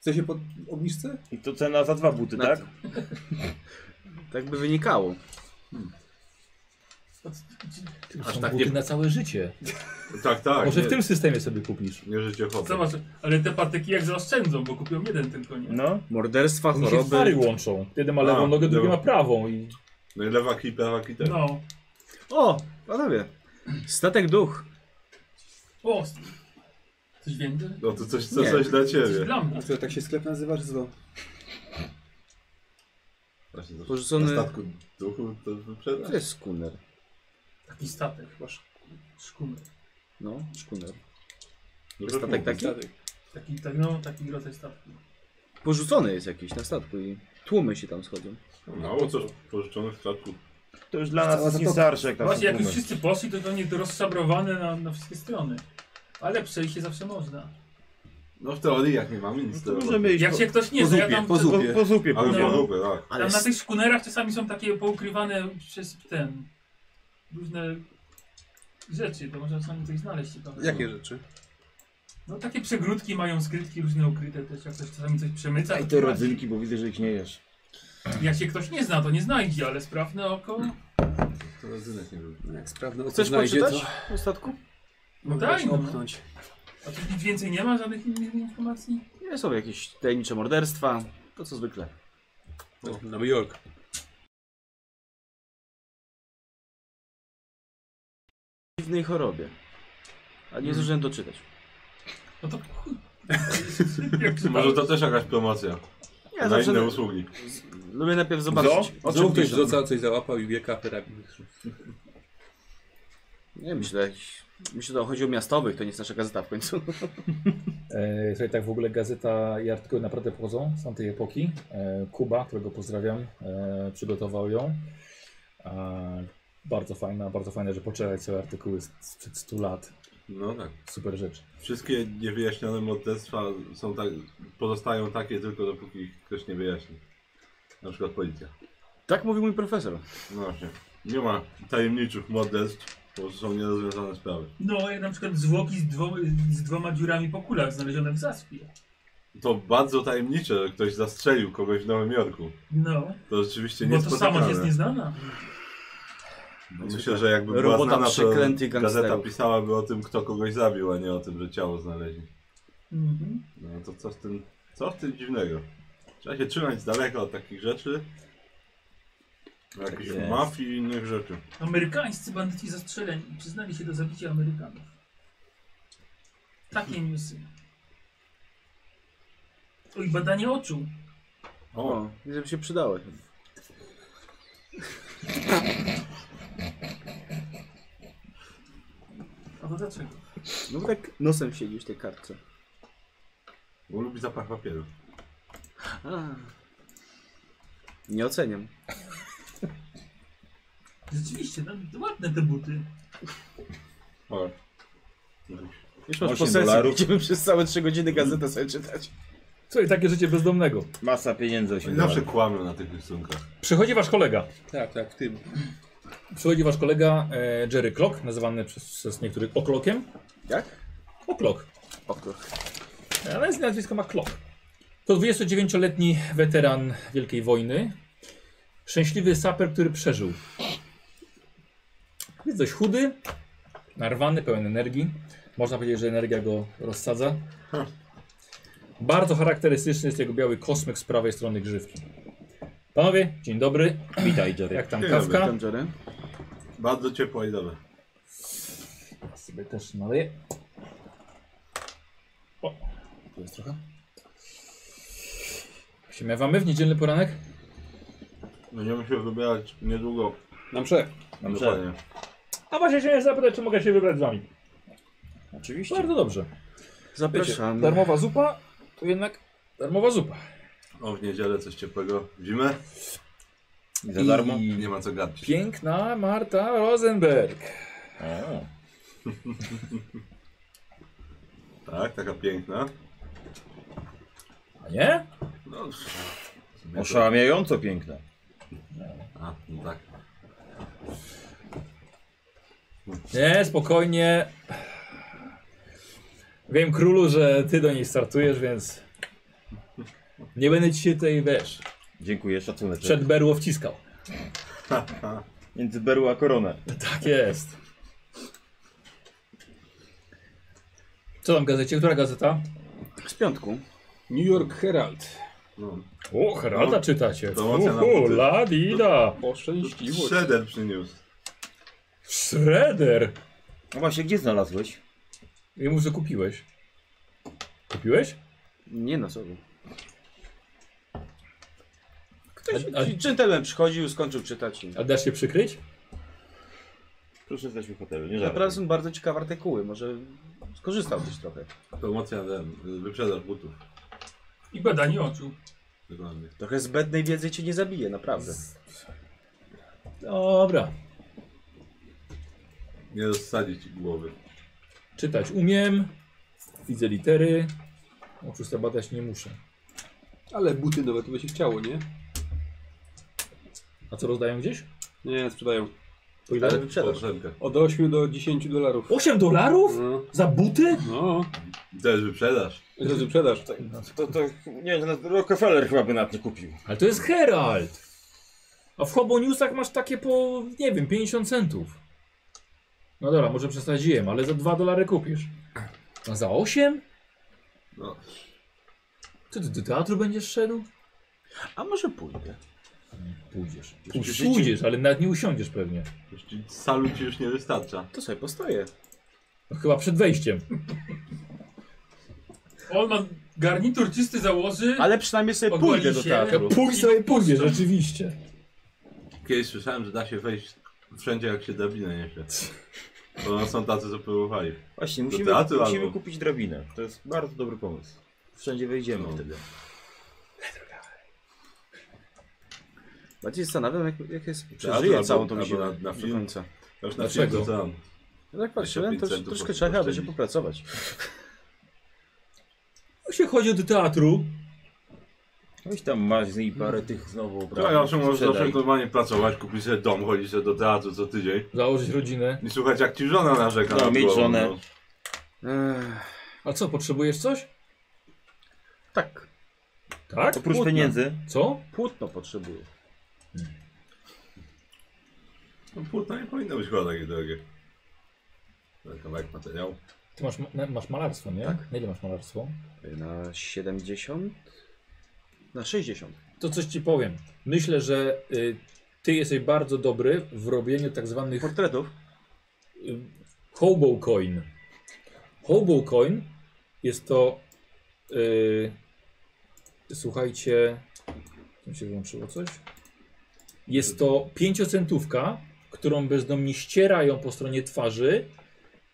W sensie po obniżce?
I to cena za dwa buty,
Na-
tak?
Tak by wynikało.
To c- c-
Aż
są
tak
buty
nie... na całe życie.
Tak, tak.
Może w
nie-
tym systemie sobie kupisz.
Nie życie chodzę.
Zobacz, ale te patyki jak zaoszczędzą, bo kupią jeden tylko nie.
No.
Morderstwa,
Oni się pary
choroby.
łączą. Jeden ma lewą
A,
nogę, drugi ma
dobra.
prawą. I...
No i lewak i prawak i ten.
No.
O, panowie. Statek duch.
O, coś więcej?
No to coś, co,
Nie.
coś dla
Coś
ciebie.
dla mnie.
A co, tak się sklep nazywa, czy co?
Właśnie, to-
Porzucony-
Na statku duchu to wyprzedasz?
To jest skuner.
Taki statek chyba sz- szkuner.
No, szkuner.
Dużo
Statek
mówisz.
taki?
Taki, tak, no, taki rodzaj statku.
Porzucony jest jakiś na statku i tłumy się tam schodzą.
Mało co pożyczonych w statku.
To już dla nas
Cała
jest nie
zatoka.
starsze jak na
Właśnie jak już
suplement.
wszyscy poszli, to, to nie to rozszabrowane na, na wszystkie strony. Ale przejść się zawsze można.
No w teorii jak nie mamy nic
To
do
możemy iść
Jak się ktoś nie
po
zna, ja
zupie,
tam,
po
tam,
zupie.
po zupie.
Ale
No.
no. podobne, tak.
Ale
na tych skunerach czasami są takie poukrywane przez ten... Różne rzeczy, to można czasami coś znaleźć ciekawego.
Jakie rzeczy?
No takie przegródki mają skrytki różne ukryte też, jak ktoś czasami coś przemyca.
Daj te
to sprawdzi.
rodzynki, bo widzę, że ich nie jesz.
Jak się ktoś nie zna, to nie znajdzie, ale sprawne oko... no
To rodzynek nie był.
No, Jak sprawne oko
Chcesz
znajdzie,
poczytać
to
o statku?
No
mogę
daj,
się
no.
opchnąć.
A tu nic więcej nie ma? Żadnych innych informacji?
Nie, są jakieś tajemnicze morderstwa, to co zwykle.
No. Nowy Jork.
W dziwnej chorobie. A nie zdążyłem doczytać.
No to chuj. Jak
Może to też jakaś promocja
Ja
na
zawsze
inne usługi.
z- lubię najpierw zobaczyć.
O czym ktoś rzucał, coś załapał i wieka pyramidy.
Nie, myślę, jakiś- myślę, że chodzi o miastowych, to nie jest nasza gazeta w końcu.
E, Słuchaj, tak w ogóle gazeta i artykuły naprawdę pochodzą z tamtej epoki. E, Kuba, którego pozdrawiam, e, przygotował ją. E, bardzo fajna, bardzo fajne, że poczerać sobie artykuły z- sprzed 100 lat.
No tak.
Super rzecz.
Wszystkie niewyjaśnione morderstwa są tak, pozostają takie tylko dopóki ich ktoś nie wyjaśni. Na przykład policja.
Tak mówił mój profesor.
No właśnie. Nie ma tajemniczych morderstw, bo są nierozwiązane sprawy.
No, jak na przykład zwłoki z, dwo, z dwoma dziurami po kulach znalezione w zaspie.
To bardzo tajemnicze, że ktoś zastrzelił kogoś w Nowym Jorku.
No,
To rzeczywiście
bo to
niespotykane. No
samość jest nieznana.
Myślę, że jakby była
Robota
znana,
przeklętych
to
gangsterów.
gazeta pisałaby o tym, kto kogoś zabił, a nie o tym, że ciało znaleźli.
Mhm.
No to co w tym, co w tym dziwnego? Trzeba się trzymać z daleka od takich rzeczy.
Tak
Jakichś
jest.
mafii i innych rzeczy.
Amerykańscy bandyci zastrzeleni przyznali się do zabicia Amerykanów. Takie newsy. O, i badanie oczu.
O,
O, żeby się przydały.
A to dlaczego?
No bo tak nosem siedzisz w tej kartce.
bo lubi zapach papieru.
A. Nie oceniam.
Rzeczywiście, no, to ładne te buty.
O.
Już masz
Osiem
posesję,
dolarów.
będziemy przez całe 3 godziny gazetę sobie czytać.
Słuchaj, takie życie bezdomnego.
Masa pieniędzy
Oni
Tak.
8
zawsze
dolarów.
kłamią na tych rysunkach.
Przychodzi wasz kolega.
Tak, tak, w tym.
Przychodzi wasz kolega e, Jerry Clock, nazywany przez, przez niektórych Oklokiem.
Jak?
Oklok.
Oko.
Ale z nazwiska ma Klok. To 29-letni weteran Wielkiej Wojny. Szczęśliwy saper, który przeżył. Jest dość chudy, narwany, pełen energii. Można powiedzieć, że energia go rozsadza. Bardzo charakterystyczny jest jego biały kosmyk z prawej strony grzywki. Panowie, dzień dobry.
Witaj, Jerry.
Jak tam
Dzień dobry.
kawka?
Tam Jerry.
Bardzo ciepło i dobre.
Ja sobie też naleję. O, tu jest trochę. Jak Się miewamy w niedzielny poranek?
Będziemy się wybierać niedługo.
Na msze.
No
Mam
Dokładnie.
A właśnie chciałem zapytać, czy mogę się wybrać z wami.
Oczywiście.
Bardzo dobrze.
Zapraszam.
Darmowa zupa, to jednak darmowa zupa.
O, w niedzielę coś ciepłego. W zimę?
I za darmo?
I
Nie ma co gadać.
piękna Marta Rosenberg.
A.
Tak, taka piękna.
A nie?
No, pff, w sumie to-
Oszałamiająco piękne.
A, no tak.
Nie, spokojnie. Wiem, królu, że ty do niej startujesz, więc nie będę ci się tej, wiesz,
Dziękuję, szacunek.
przed berło wciskał.
Między berła a koronę.
Tak jest. Co tam w gazecie? Która gazeta?
Z piątku.
New York Herald.
No,
O, Heralda
No,
czytacie.
promocja na
Uhu,
buty.
la di da.
Poszczęśliwo.
Shredder przyniósł.
Shredder.
No właśnie, gdzie znalazłeś?
Ja mu, że kupiłeś. Kupiłeś?
Nie na sobie. Ktoś,
A- a-
dżentelmen przychodził, skończył czytać. i-
A dasz się przykryć?
Proszę, jesteśmy w hotelu, nie
Naprawdę
żartuj.
są bardzo ciekawe artykuły, może skorzystał gdzieś trochę.
Promocja ten, wyprzedaż butów.
I badanie oczu.
Dokładnie.
Trochę zbędnej wiedzy cię nie zabije, naprawdę.
Dobra.
Nie rozsadzić głowy.
Czytać umiem. Widzę litery. Oszusta badać nie muszę.
Ale buty nawet by się chciało, nie?
A co rozdają gdzieś?
Nie, sprzedają.
Po ile?
Ale wyprzedasz.
Oszczędkę.
Od 8 do 10 dolarów.
8 dolarów?
No,
Za buty?
no. Tak.
Też wyprzedasz.
Drodzy sprzedaż.
No To, to, nie, to Rockefeller chyba by nad nie kupił.
Ale to jest Herald. A w Hoboniusach masz takie po, nie wiem, 50 centów. No dobra, może przesadziłem, ale za 2 dolary kupisz. A za 8?
No.
Ty ty do teatru będziesz szedł?
A może pójdę?
Pójdziesz.
Przecież
Pójdziesz, ale nawet nie usiądziesz pewnie.
Już ci- Salu ci już nie wystarcza.
To sobie postoję.
No, chyba przed [LAUGHS] wejściem.
On ma garnitur czysty założy.
Ale przynajmniej sobie
Ogoli
pójdę do
się.
teatru.
Pójdź sobie pójdziesz, rzeczywiście.
Kiedyś słyszałem, że da się wejść wszędzie jak się drabinę niesie. Bo są tacy, co próbowali.
Właśnie, musimy,
teatru
musimy
albo-
kupić drabinę. To jest bardzo dobry pomysł. Wszędzie wejdziemy
No.
wtedy.
Bardziej zastanawiam, jak, jak jest,
albo-
przeżyję całą tą
albo
zimę
na- na
do
film.
końca.
Już na
Dlaczego?
filmie tam.
No tak patrzyłem, to,
500
troszkę
po-
trzeba by się
oszczędzić.
popracować.
Jak się chodzi do teatru,
Weź tam maźny i parę tych znowu
Tak, ja muszę możesz
sprzedaj.
zawsze normalnie pracować, kupić sobie dom, chodzić sobie do teatru co tydzień.
założyć rodzinę.
I słuchać jak ci żona narzeka.
No,
nad
mieć
głową,
żonę.
no.
Ech,
A co, potrzebujesz coś?
tak,
Tak?
Oprócz
Płótna.
pieniędzy.
Co?
płótno potrzebuję.
No płótno nie powinno być chyba takie drogie. Ten Kawałek materiału.
Ty masz, ma- masz malarstwo, nie?
Tak.
Na ile masz malarstwo?
Na 70? Na 60.
To coś ci powiem. Myślę, że y, ty jesteś bardzo dobry w robieniu tak zwanych
Portretów?
y, hobo coin. Hobo coin jest to. Y, słuchajcie. Tu mi się włączyło coś. Jest to pięciocentówka, którą bezdomni ścierają po stronie twarzy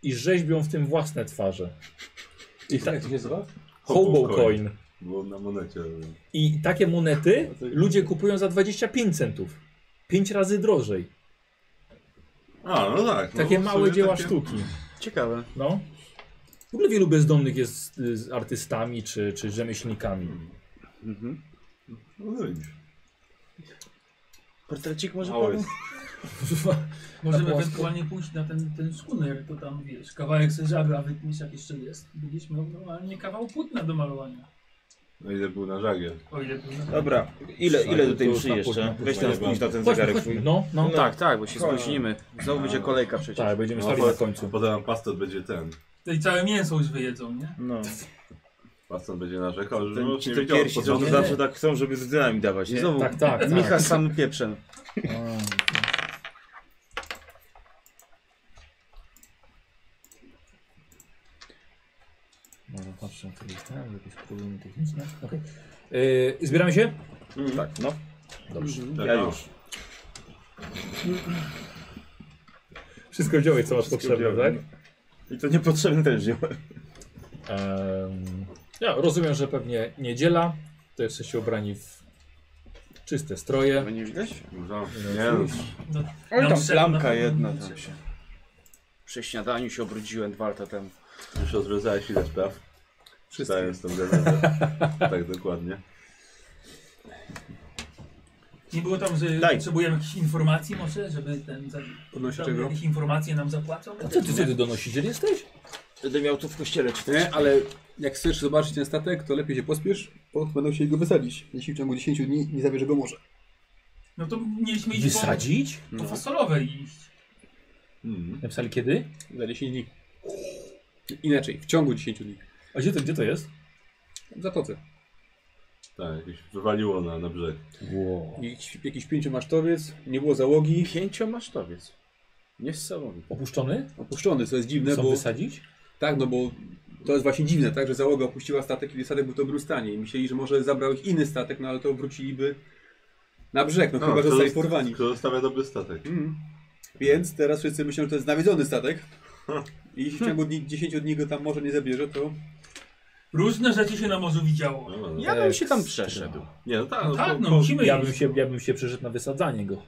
i rzeźbią w tym własne twarze. I tak to się nazywa? Hobo
Hobo coin.
coin.
Było na monecie. ale-
I takie monety
No,
ludzie kupują za 25 centów. 5 razy drożej.
A, no tak. no,
Takie
w
małe
sumie
dzieła
takie-
sztuki.
Ciekawe.
No. W ogóle wielu bezdomnych jest y, z artystami czy, czy rzemieślnikami. [LAUGHS]
Mhm.
No widzisz.
Portrecik może
Mało
powiem?
jest.
Na
Możemy
płasko.
ewentualnie pójść na ten, ten szkuner, jak to tam wiesz, kawałek se żagra wytniesz jak jeszcze jest. Będziesz miał normalnie kawał płótna do malowania.
No ile był na żagiel.
O ile to znaczy.
Dobra, ile, ile do tej mszy
na
jeszcze?
później.
Weź tam spójrz na ten
Chodźmy,
zegarek
chodźmy.
swój.
No, no.
No, tak, tak, bo się
Kolej.
spóźnimy. Znowu będzie kolejka przecież.
Tak, będziemy
No,
stali
po-
na końcu.
Potem nam pastor będzie ten.
No i całe mięso już wyjedzą, nie?
No.
Pastor będzie narzekał, że
Ten,
już
ci
nie
te
wiedział
piersi,
po
co
co.
to zawsze tak chcą, żeby z dynami dawać,
I
nie?
Znowu
Tak,
[LAUGHS]
tak, tak.
Micha z samym pieprzem.
Może patrzę, czy jest tam jakieś problemy techniczne. Okej. Y, zbieramy się?
Tak, no.
Dobrze.
Tak,
Ja
no.
już.
Wszystko wziąłeś, co masz
Wszystko
potrzebne, tak?
wziąłem. I to niepotrzebny też wziąłem.
Em, ja rozumiem, że pewnie niedziela. To jesteście ubrani w czyste stroje.
Będzie widać?
No, Nie no,
No,
Oj,
na
tam
mszę-
plamka
na-
jedna tam się. Przy śniadaniu się obrudziłem dwa lata temu.
już rozwiązałeś ile spraw.
Wszystkie.
Czytając tą gazetę. tak dokładnie.
Nie było tam, że
Daj.
potrzebujemy jakichś informacji może, żeby ten... Za...
Podnosi
Tam
czego?
jakieś informacje nam zapłacą?
A co ty, co ty donosiciel jesteś?
Będę miał tu w kościele czytać.
Nie, ale jak chcesz zobaczyć ten statek, to lepiej się pospiesz, bo będą chcieli go wysadzić. Jeśli w ciągu 10 dni nie zabierze go morze.
No to mieliśmy iść po,
Wysadzić?
po fasolowe iść.
Mm.
Napisali kiedy?
Za 10 dni. Inaczej, w ciągu 10 dni.
A gdzie to, gdzie to jest?
W zatoce.
Tak, jakieś wywaliło na, na brzeg.
Wow.
Jakiś, jakiś pięciomasztowiec, nie było załogi.
Pięciomasztowiec. Niesamowite.
Opuszczony?
Opuszczony, co jest dziwne,
Chcą
bo...
wysadzić?
Tak, no bo to jest właśnie dziwne, tak, że załoga opuściła statek, kiedy statek był w dobrym stanie i myśleli, że może zabrał ich inny statek, no ale to wróciliby na brzeg, no, chyba, że zostali porwani.
Kto zostawia dobry statek.
Mm. Więc teraz wszyscy myślą, że to jest nawiedzony statek i jeśli w ciągu dni, 10 dni go tam może nie zabierze, to
Różne rzeczy się na morzu widziało.
No, no.
Ja bym się tam przeszedł.
Nie, no tak.
No tak,
po-
no
po-
musimy
Ja
iść.
bym się, ja bym się przeszedł na wysadzanie go.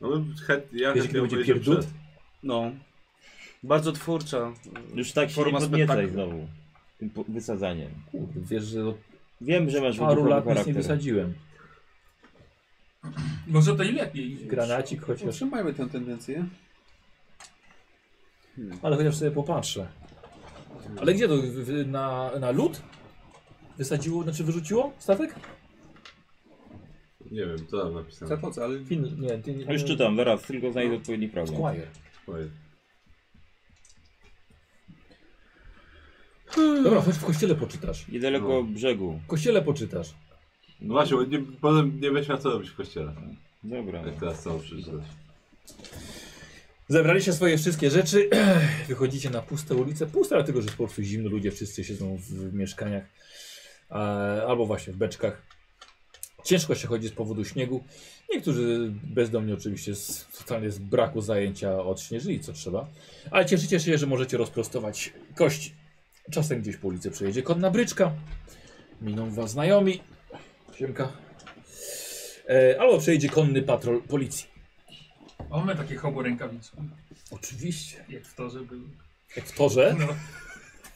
No, chęt, ja
Wiesz,
chętnie
jaki będzie
obejrzę
pierdut?
przed.
No. Bardzo twórcza.
Już tak się
Forma
nie podniecaj
spektaklu.
znowu. tym po- wysadzaniem.
Kurde, wiesz, że od
Wiem, że masz
paru
wybuchowy
lat nic nie
charakter.
wysadziłem.
Może to i lepiej.
Granacik chociaż,
Utrzymajmy tę tendencję.
ale chociaż sobie popatrzę. Ale gdzie to? W- w- Na, na lód? Wysadziło, znaczy wyrzuciło statek?
Nie wiem, co tam napisane.
Zatoce, ale
Fin, nie, ty nie.
Już czytam, zaraz, tylko znajdę odpowiedni program.
Squire.
Oj.
Dobra, chodź w kościele poczytasz.
Niedaleko brzegu.
W kościele poczytasz.
No właśnie, bo nie, potem nie będziesz miał co robić w kościele.
Dobra.
Jak teraz całą przeczytać.
Zebraliście swoje wszystkie rzeczy, [CLEARS THROAT] wychodzicie na puste ulice. Puste, dlatego że jest po prostu zimno, ludzie wszyscy siedzą w, w mieszkaniach e, albo właśnie w beczkach. Ciężko się chodzi z powodu śniegu. Niektórzy bezdomni oczywiście z, totalnie z braku zajęcia odśnieżyli, co trzeba. Ale cieszycie się, że możecie rozprostować kości. Czasem gdzieś po ulicy przejedzie konna bryczka. Miną was znajomi. Siemka. E, albo przejedzie konny patrol policji.
A mamy takie hobo rękawiczki,
Oczywiście.
jak w torze były.
Jak w torze.
No.
Ja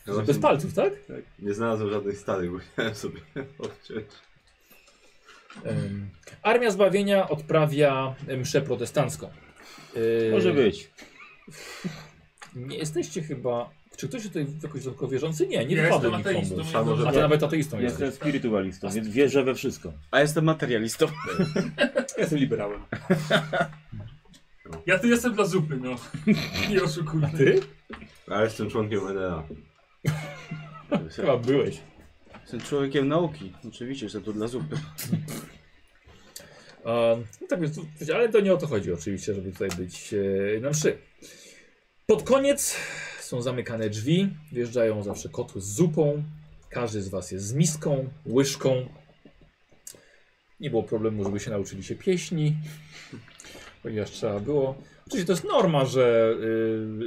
Bez
właśnie
palców, tak?
nie znalazłem żadnych starych, bo chciałem sobie [LAUGHS] odciąć.
Em, Armia Zbawienia odprawia mszę protestancką. Yy,
Może być.
Nie jesteście chyba... Czy ktoś tutaj jakoś dodatkowo wierzący? Nie, nie
Ja
wypadło
jestem
nikomu.
ateistą,
Samo,
ja
że
A ty nawet ateistą jesteś.
Jestem spirytualistą, więc wierzę we wszystko.
A jestem materialistą.
ja jestem liberałem.
Ja tu jestem dla zupy, no. [LAUGHS] Nie oszukujmy.
Ty?
A jestem członkiem NRA.
Chyba byłeś.
Jestem człowiekiem nauki. Oczywiście, jestem tu dla zupy.
Um, no tak więc, tu- ale to nie o to chodzi oczywiście, żeby tutaj być e, na mszy. Pod koniec są zamykane drzwi, wjeżdżają zawsze kotły z zupą, każdy z was jest z miską, łyżką. Nie było problemu, żeby się nauczyli się pieśni, ponieważ trzeba było. Oczywiście to jest norma, że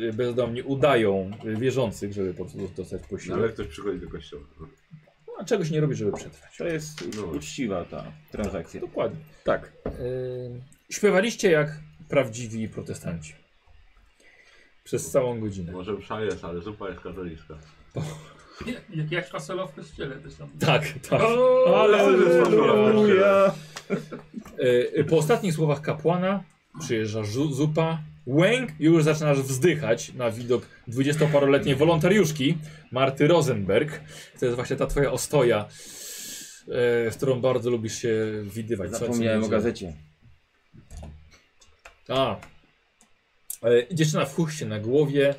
y, bezdomni udają y, wierzących, żeby po prostu dostać
No, ale
posiłek.
ktoś przychodzi do kościoła. No.
No, a czegoś nie robi, żeby przetrwać.
To jest
No.
uczciwa ta transakcja.
Dokładnie.
Tak.
Yy, śpiewaliście jak prawdziwi protestanci. Przez całą godzinę.
Może msza jest, ale zupa jest katolicka.
Nie, jak, jak fasola w kościele też tam.
Tak, tak.
O,
Halleluja.
Yy, po ostatnich słowach kapłana przyjeżdża żu- zupa. Łęk już zaczynasz wzdychać na widok dwudziestoparoletniej wolontariuszki Marty Rosenberg. To jest właśnie ta twoja ostoja, yy, z którą bardzo lubisz się widywać. Co- co
Zapomniałem o
będzie?
gazecie.
A. E, dziewczyna w huście na głowie.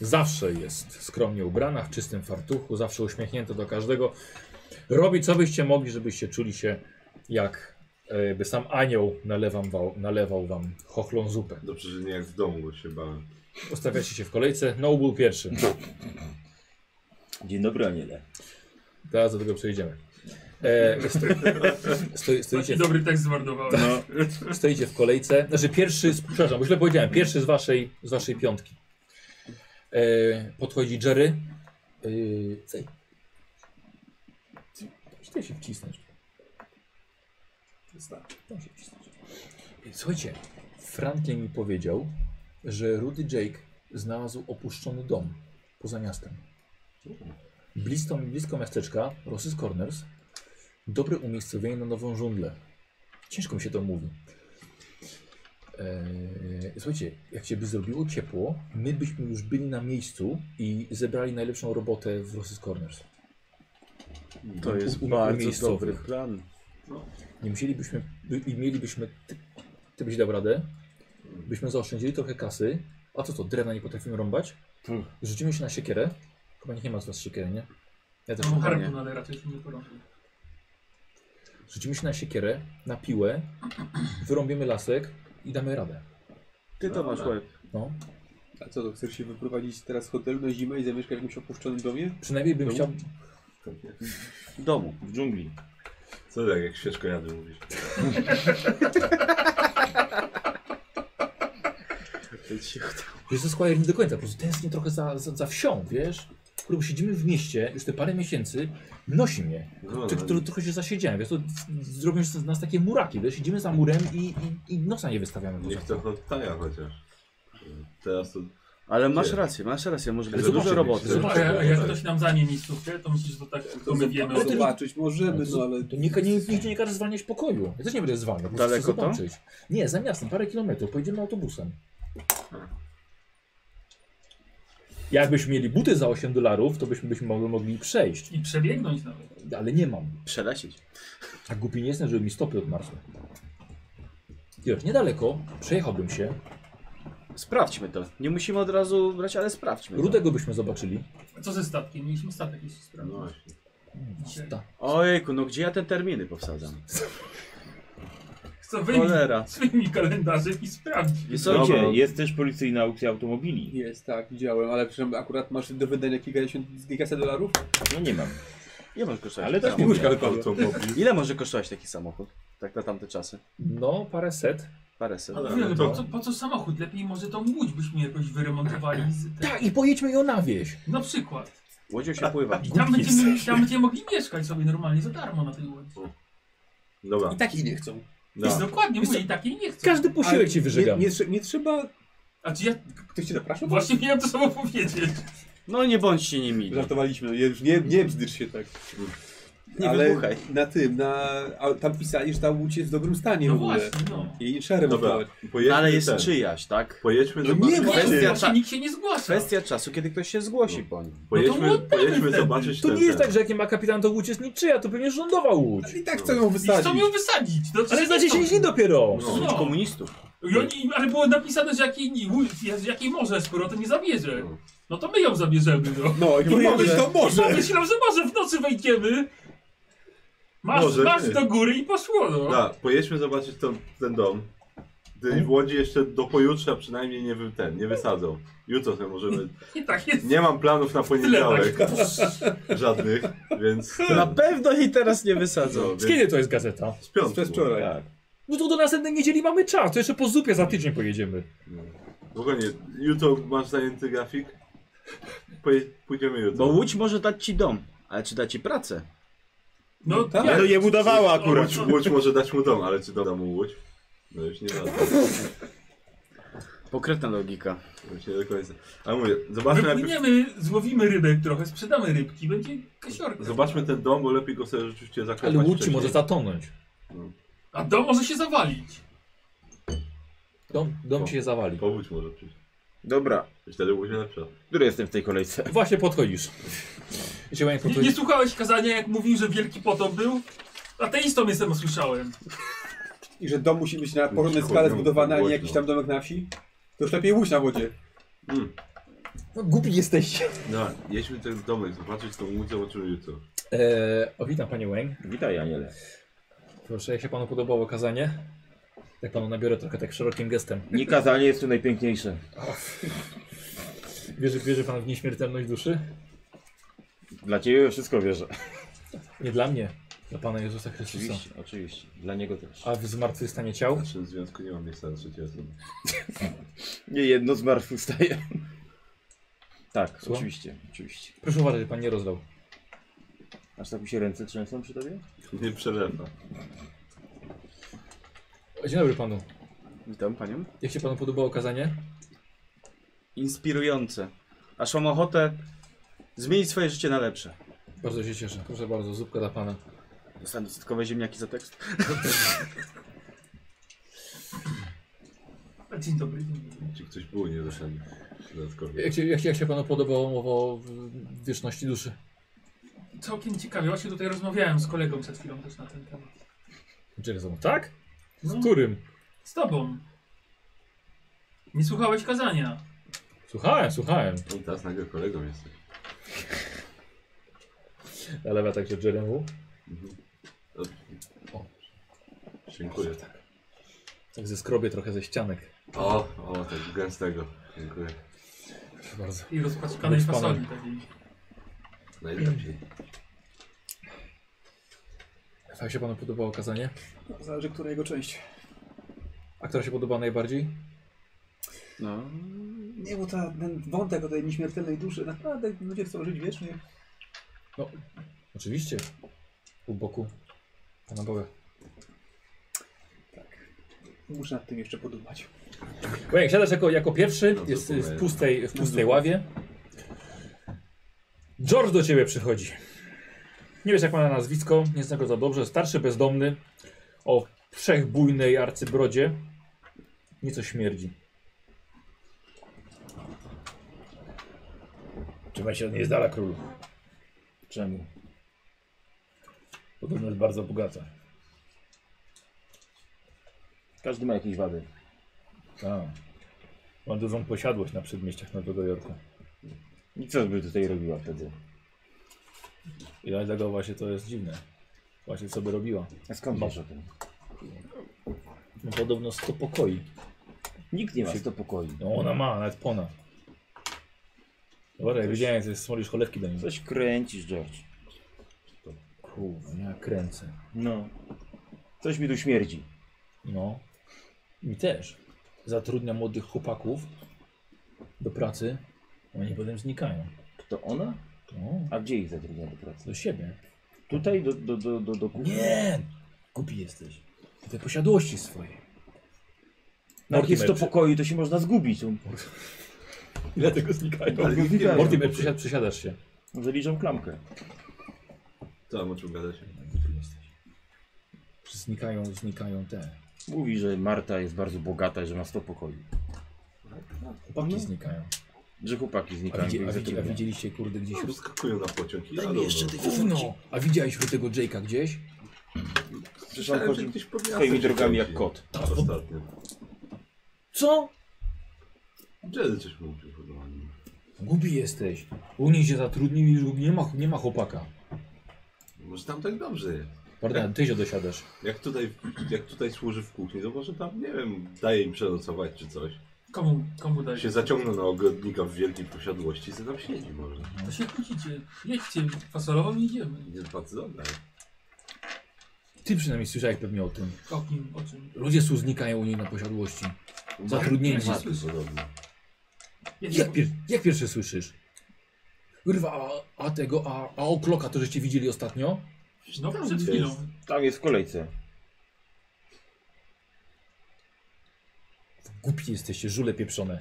Zawsze jest skromnie ubrana, w czystym fartuchu, zawsze uśmiechnięta do każdego. Robi co byście mogli, żebyście czuli się jak e, by sam anioł nalewam wał, nalewał wam chochlą zupę.
Dobrze, że nie jak w domu, bo się bałem.
Ustawiacie się w kolejce, no był pierwszy.
Dzień dobry, Aniele.
Teraz do tego przejdziemy. E, sto, sto,
Taki
stoicie,
dobry tekst zmarnowałem.
No,
stoicie w kolejce. Znaczy pierwszy, z- przepraszam, bo źle powiedziałem, pierwszy z waszej, z waszej piątki. E, podchodzi Jerry. E, cej. Chcę się wcisnąć. Tam się wcisnąć. E, Słuchajcie, Franklin mi powiedział, że Rudy Jake znalazł opuszczony dom poza miastem. Blisko, blisko miasteczka, Ross's Corners, dobre umiejscowienie na nową żądlę. Ciężko mi się to mówi. Eee, słuchajcie, jak się by zrobiło ciepło, my byśmy już byli na miejscu i zebrali najlepszą robotę w Ross's Corners.
No,
To jest
u- u
bardzo
miejscowych.
dobry plan.
Nie musielibyśmy, by, i mielibyśmy, ty, ty byś dał radę, byśmy zaoszczędzili trochę kasy, a co to, drewna nie potrafimy rąbać?
Hmm.
Rzucimy się na siekierę, chyba nikt nie ma z was siekiery, nie? Ja też
Mam
chyba nie.
harpun, ale raczej się nie porąbam.
Rzucimy się na siekierę, na piłę, wyrąbimy lasek i damy radę.
Ty to masz łeb.
No.
A co, to chcesz się wyprowadzić teraz z hotelu na zimę i zamieszkać w jakimś opuszczonym domie?
Przynajmniej bym
No.
chciał,
W domu.
w dżungli.
Co tak jak świeczko jadł mówisz?
Wiesz, ze Squire nie do końca, po prostu tęsknię trochę za, za, za wsią, wiesz? Kurwa, siedzimy w mieście, już te parę miesięcy, nosi mnie.
No,
Ty,
no,
który, trochę się zasiedziałem, wiesz, to zrobią z nas takie muraki, wiesz, siedzimy za murem i, i, i nosa nie wystawiamy. poza
niech to odtaja chociaż. Teraz to
Ale masz rację, masz rację, może być
Zobaczymy.
dużo roboty.
Zobacz, a jak ktoś nam zajmie miejscówkę, to myślisz, że to tak tylko my wiemy.
to-
Zobaczyć możemy, no ale...
To nie, nie, nigdzie nie każe zwalniać pokoju. Ja też nie będę zwalniał, po prostu chcę
Daleko to?
zobaczyć. Nie, za miastem, parę kilometrów, pojedziemy autobusem. Jakbyśmy mieli buty za 8 dolarów, to byśmy, byśmy mogli, mogli przejść,
I przebiegnąć nawet.
ale nie mam.
Przelecieć.
Tak głupi nie jestem, żeby mi stopy odmarzły. Wiesz, niedaleko przejechałbym się,
Sprawdźmy to. Nie musimy od razu brać, ale sprawdźmy. to.
Rudego byśmy zobaczyli.
A co ze statkiem? Mieliśmy statek jeszcze
No
sprawdzić.
właśnie.
Ta.
Ojejku, no gdzie ja te terminy powsadzam?
Chcę wyjść
Cholera.
swoimi kalendarzem i sprawdzić.
Jest
Dobra,
gdzie?
jest też policyjna aukcja automobili.
Jest, tak, widziałem, ale przynajmniej akurat masz do wydania kilkadziesiąt, kilkaset dolarów?
No nie mam.
Ile może kosztować?
Ale
taki
tak
samochód?
mówię.
Automobil.
Ile może kosztować taki samochód? Tak na tamte czasy?
No, parę set.
Parę set.
Ale-
Mówię,
to-
po, co, po co samochód? Lepiej może tą łódź byśmy jakoś wyremontowali. Z te...
Tak, i pojedźmy ją na wieś.
Na przykład.
Łodzią się pływa.
I tam będziemy, tam będziemy mogli mieszkać sobie normalnie za darmo na tej łodzi.
Dobra.
I tak i nie chcą.
Jest
No.
dokładnie, mówię, i takiej nie chcę.
Każdy posiłek ci
nie,
wyżegamy.
nie, trze- nie trzeba...
A czy ja
Ktoś cię zapraszał?
właśnie miałem to samo powiedzieć?
No nie bądźcie niemili.
tak,
Żartowaliśmy, no, już nie, nie bzdyrz się tak.
Nie
ale
wybuchaj.
na tym, na... A tam pisali, że ta łódź jest w dobrym stanie
No
w ogóle.
właśnie, no.
Jej szarem
Dobra.
No,
Pojedźmy
ale jest
ten.
czyjaś, tak?
Pojedźmy
No
zobaczyć.
nie ma-
Nie,
Kwestia
właśnie
cza-
nikt się nie zgłasza.
Kwestia czasu, kiedy ktoś się zgłosi po nim.
Pojedźmy,
No to oddamy
pojedźmy
wtedy.
zobaczyć
To
ten,
nie jest
ten.
tak, że jakie ma kapitan, to łódź jest niczyja, to pewnie rządowa łódź.
I tak chcą ją
I chcą
wysadzić.
ją wysadzić. No,
Ale znaczy
przecież
za
to-
10 dni dopiero.
No.
Słuchajcie komunistów.
I oni, ale było napisane, że jakiej, jakiej może, skoro to nie zabierze. No to my ją zabierzemy, no.
No, i powiedz, to może!
Myślałem, że może w nocy wejdziemy. Masz,
Może
masz
nie. Tak.
do góry i poszło, no.
Da, pojedźmy zobaczyć ten, ten dom. Gdy w Łodzi jeszcze do pojutrze przynajmniej nie, wy, ten, nie wysadzą. Jutro sobie możemy...
I tak jest.
Nie mam planów na poniedziałek. [LAUGHS] Żadnych, więc... Ten,
Na pewno jej teraz nie wysadzą.
no,
Z
więc
kiedy to jest gazeta?
z piątku.
Przez wczoraj.
Tak.
No to do następnej niedzieli mamy czas, to jeszcze po zupie za tydzień pojedziemy.
W ogóle nie. Jutro masz zajęty grafik? Poje, pójdziemy jutro.
Bo Łódź może dać ci dom, ale czy da ci pracę?
No tak.
Ale je budowała akurat.
Łódź, Łódź może dać mu dom, ale czy doda mu Łódź? No już nie wiadomo.
Pokrętna logika.
no Już nie do końca. Ale mówię, zobaczmy najpierw...
Wypłyniemy, złowimy rybek trochę, sprzedamy rybki, będzie kasiorka.
Zobaczmy ten dom, bo lepiej go sobie rzeczywiście zakopać
Ale łódź ci
wcześniej.
może zatonąć.
A dom może się zawalić.
Dom, dom ci się zawali.
Powódź może przyjść.
Dobra.
I Wtedy łódź lepsza.
Który jestem w tej kolejce?
Tak Właśnie podchodzisz. Jeśli panie
Nie,
podchodzi-
nie słuchałeś kazania, jak mówił, że wielki potop był? Ateistą jestem, słyszałem.
I że dom musi być na porządnej skale zbudowany, a nie jakiś tam domek na wsi? To już lepiej łódź na wodzie.
No, głupi jesteście.
No, jedźmy ten domek, zobaczyć tą łódź, zobaczymy jutro.
Eee, o, witam panie Wang.
Witaj, Aniele.
Proszę, jak się panu podobało kazanie? Jak panu nabiorę trochę tak szerokim gestem.
Nie kazanie jest tu najpiękniejsze.
Wierzy, wierzy pan w nieśmiertelność duszy?
Dla ciebie wszystko wierzę.
Nie dla mnie, dla Pana Jezusa Chrystusa.
Oczywiście, oczywiście. Dla niego też.
A w zmartwychwstanie ciał?
W naszym związku nie mam miejsca na trzecie osoby.
Nie jedno zmartwychwstaje. Tak,
Słucham?
oczywiście, oczywiście.
Proszę uważać, żeby Pan nie rozlał.
Aż tak mi się ręce trzęsą przy tobie?
Nie przelewa.
Dzień dobry Panu.
Witam panią.
Jak się Panu podobało kazanie?
Inspirujące. Aż mam ochotę zmienić swoje życie na lepsze.
Bardzo się cieszę. Proszę bardzo, zupka dla Pana.
Dostanę dodatkowe ziemniaki za tekst.
A Dzień dobry, dzień dobry.
Czy ktoś był nie doszedł dodatkowy?
Jak się, jak, się- jak się Panu podobało mowa o w- wieczności duszy?
Całkiem ciekawie, właśnie tutaj rozmawiałem z kolegą przed chwilą też na ten temat.
Jackson, tak?
No,
Z którym?
z tobą. Nie słuchałeś kazania.
Słuchałem, słuchałem.
On teraz nagle kolegą jesteś.
Nalewa także Jeremu.
O. Dziękuję.
Tak ze skrobie trochę ze ścianek.
O, o, tak gęstego. Dziękuję.
Proszę bardzo.
I rozpaczkanej
Bez pana.
fasoli takiej.
Najlepiej.
Jak się Panu podobało kazanie?
No, Zależy, która jego część.
A która się podoba najbardziej?
No.
Nie, bo ta, ten wątek o tej nieśmiertelnej duszy, naprawdę ludzie chcą żyć wiecznie.
Oczywiście. U boku. Pana Boga.
Muszę nad tym jeszcze podumbać.
Wojek, siadasz jako, jako pierwszy, jest y, w pustej, w pustej ławie. George do ciebie przychodzi. Nie wiesz jak ma na nazwisko, nie zna go za dobrze. Starszy bezdomny, o wszechbujnej arcybrodzie. Nieco śmierdzi. Trzymaj się od niej z dala, królu. Czemu? Podobno jest bardzo bogata.
Każdy ma jakieś wady.
Tak. Ma dużą posiadłość na przedmieściach Nowego Jorku.
I co by tutaj robiła wtedy?
I dlatego właśnie to jest dziwne. Właśnie co by robiła.
A skąd wiesz o tym?
No, podobno 100 pokoi.
Nikt nie ma sto pokoi.
No ona ma, nawet ponad. Dobra, ja wiedziałem, że smolisz cholewki do niej.
Coś kręcisz, George.
Kurwa, ja kręcę.
No. Coś mi tu śmierdzi.
No. Mi też. Zatrudnia młodych chłopaków do pracy. Oni potem znikają.
To ona?
No,
A gdzie ich zatrudnia do pracy?
do siebie.
Tutaj, do, do, do, do, do kuchni?
Nie! Głupi jesteś. Do tej posiadłości swojej.
No jak jest to
Mortimer,
pokoju, to się można zgubić. On-
przy- Dlatego znikają.
Ale nikt nie wie.
Mortimer, przysiad, przysiadasz się.
Może liczą klamkę.
Tam o czym gadać.
Głupi jesteś. Znikają, znikają te.
Mówi, że Marta jest bardzo bogata i że ma 100 pokoi.
Chłopaki znikają.
Że chłopaki
A,
znikają.
No. widzi,
bo
a,
ich
widzi, a
zatrudnia.
widzieliście kurde
No,
gdzieś...
Wskakują na pociąg i
Daj mi
jadą,
jeszcze
no.
tych
Gówno! A widziałeś u tego Jake'a gdzieś?
Przecież on
Słyszałem, że
chodzi
gdzieś pod miastem
swoimi
się
drogami
kręci
jak kot.
Ostatnio.
Co?
Jedy coś mówił chyba.
Głupi jesteś. U niej się zatrudnił i już nie ma, nie ma chłopaka.
Może tam tak dobrze jest.
Pardon, ty się dosiadasz.
Jak tutaj, jak tutaj służy w kuchni, to może tam, nie wiem, daje im przenocować czy coś.
Komu, komu dajesz?
Się zaciągną na ogrodnika w wielkiej posiadłości i sobie tam siedzi może.
To się kłócicie. Jedźcie, fasolową idziemy.
Jest bardzo dobre.
Ty przynajmniej słyszałeś pewnie o tym.
O kim, o czym?
Ludzie tu znikają u niej na posiadłości. Zatrudnieni.
Marta słyszy.
Podobno.
Jedźcie, No,
Jak, pier jak pierwszy słyszysz? Kurwa, a, a tego, a, a okloka to żeście widzieli ostatnio?
No przed chwilą.
Tam jest w kolejce.
Głupi jesteście, żule pieprzone.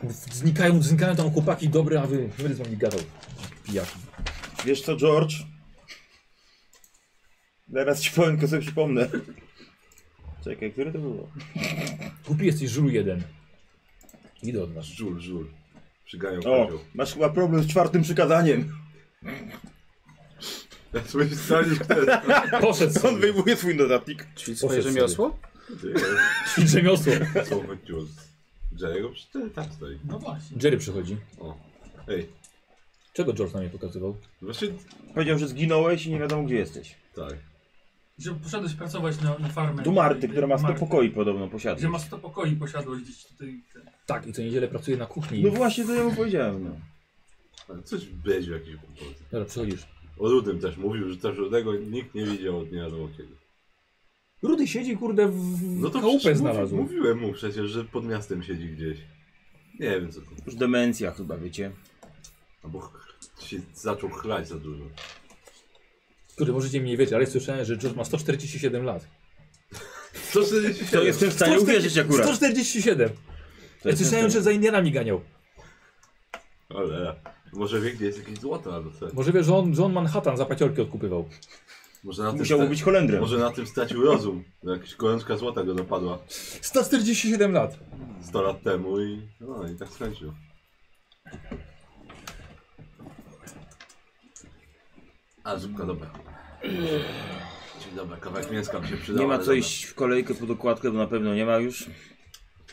Kurw, Znikają, znikają tam chłopaki dobre, a wy, wy z wami gadał. Pijaki.
Wiesz co, George? Zaraz ci powiem, tylko sobie przypomnę. [LAUGHS] Czekaj, które to było?
Głupi jesteś, żul jeden. Idę od nas.
Żul, żul. Przygają
O,
kozioł.
masz chyba problem z czwartym przykazaniem.
Ja sobie wstali ten.
Poszedł
On
sobie.
wyjmuje swój dodatnik.
Ćwicz
Poszedł sobie.
swoje rzemiosło?
I [LAUGHS] Rzemiosło.
Co chodziło z Jerry'ego? Przecież ten tak stoi.
No właśnie.
Jerry przychodzi.
O. Ej,
Czego George na mnie pokazywał?
właśnie
Powiedział, że zginąłeś i nie wiadomo gdzie jesteś.
tak.
Że poszedłeś pracować na, na farmę.
Do Marty, która ma 100
Marty.
pokoi podobno
Że ma
posiadać.
100 pokoi posiadłość gdzieś tutaj.
No
Tak, i co niedzielę pracuje na kuchni.
No właśnie, to ja mu powiedziałem. No.
Ale coś będzie jakieś głupoty.
Dobra, przychodzisz.
O Rudym też mówił, że też Rudego nikt nie widział od nie wiadomo kiedy.
Rudy siedzi, kurde, w
No to
chałupę
przecież
znalazł.
Mówi, mówiłem mu przecież, że pod miastem siedzi gdzieś. Nie wiem co to.
Już demencja chyba, wiecie.
Albo No ch- się zaczął chlać za dużo.
Który możecie mnie wiedzieć, ale słyszałem, że George ma 147 lat.
Co się
To jestem w stanie
140
uwierzyć akurat.
147!
To
Ja
jest
słyszałem,
ten-
że za Indianami ganiał.
Ale może wie gdzie jest jakieś złoto albo co.
Może wiesz, że on, że on Manhattan za paciorki odkupywał.
Może na tym
Musiał
sta-
być Holendrem.
tak. Może na tym stracił rozum. No Jakaś gorączka złota go dopadła
147 lat!
100 lat temu i no i tak skończył. A zupka dobra. Dzień dobry, kawałek mięska by się przydał.
Nie ma
ale
co iść w kolejkę po dokładkę, bo na pewno nie ma już.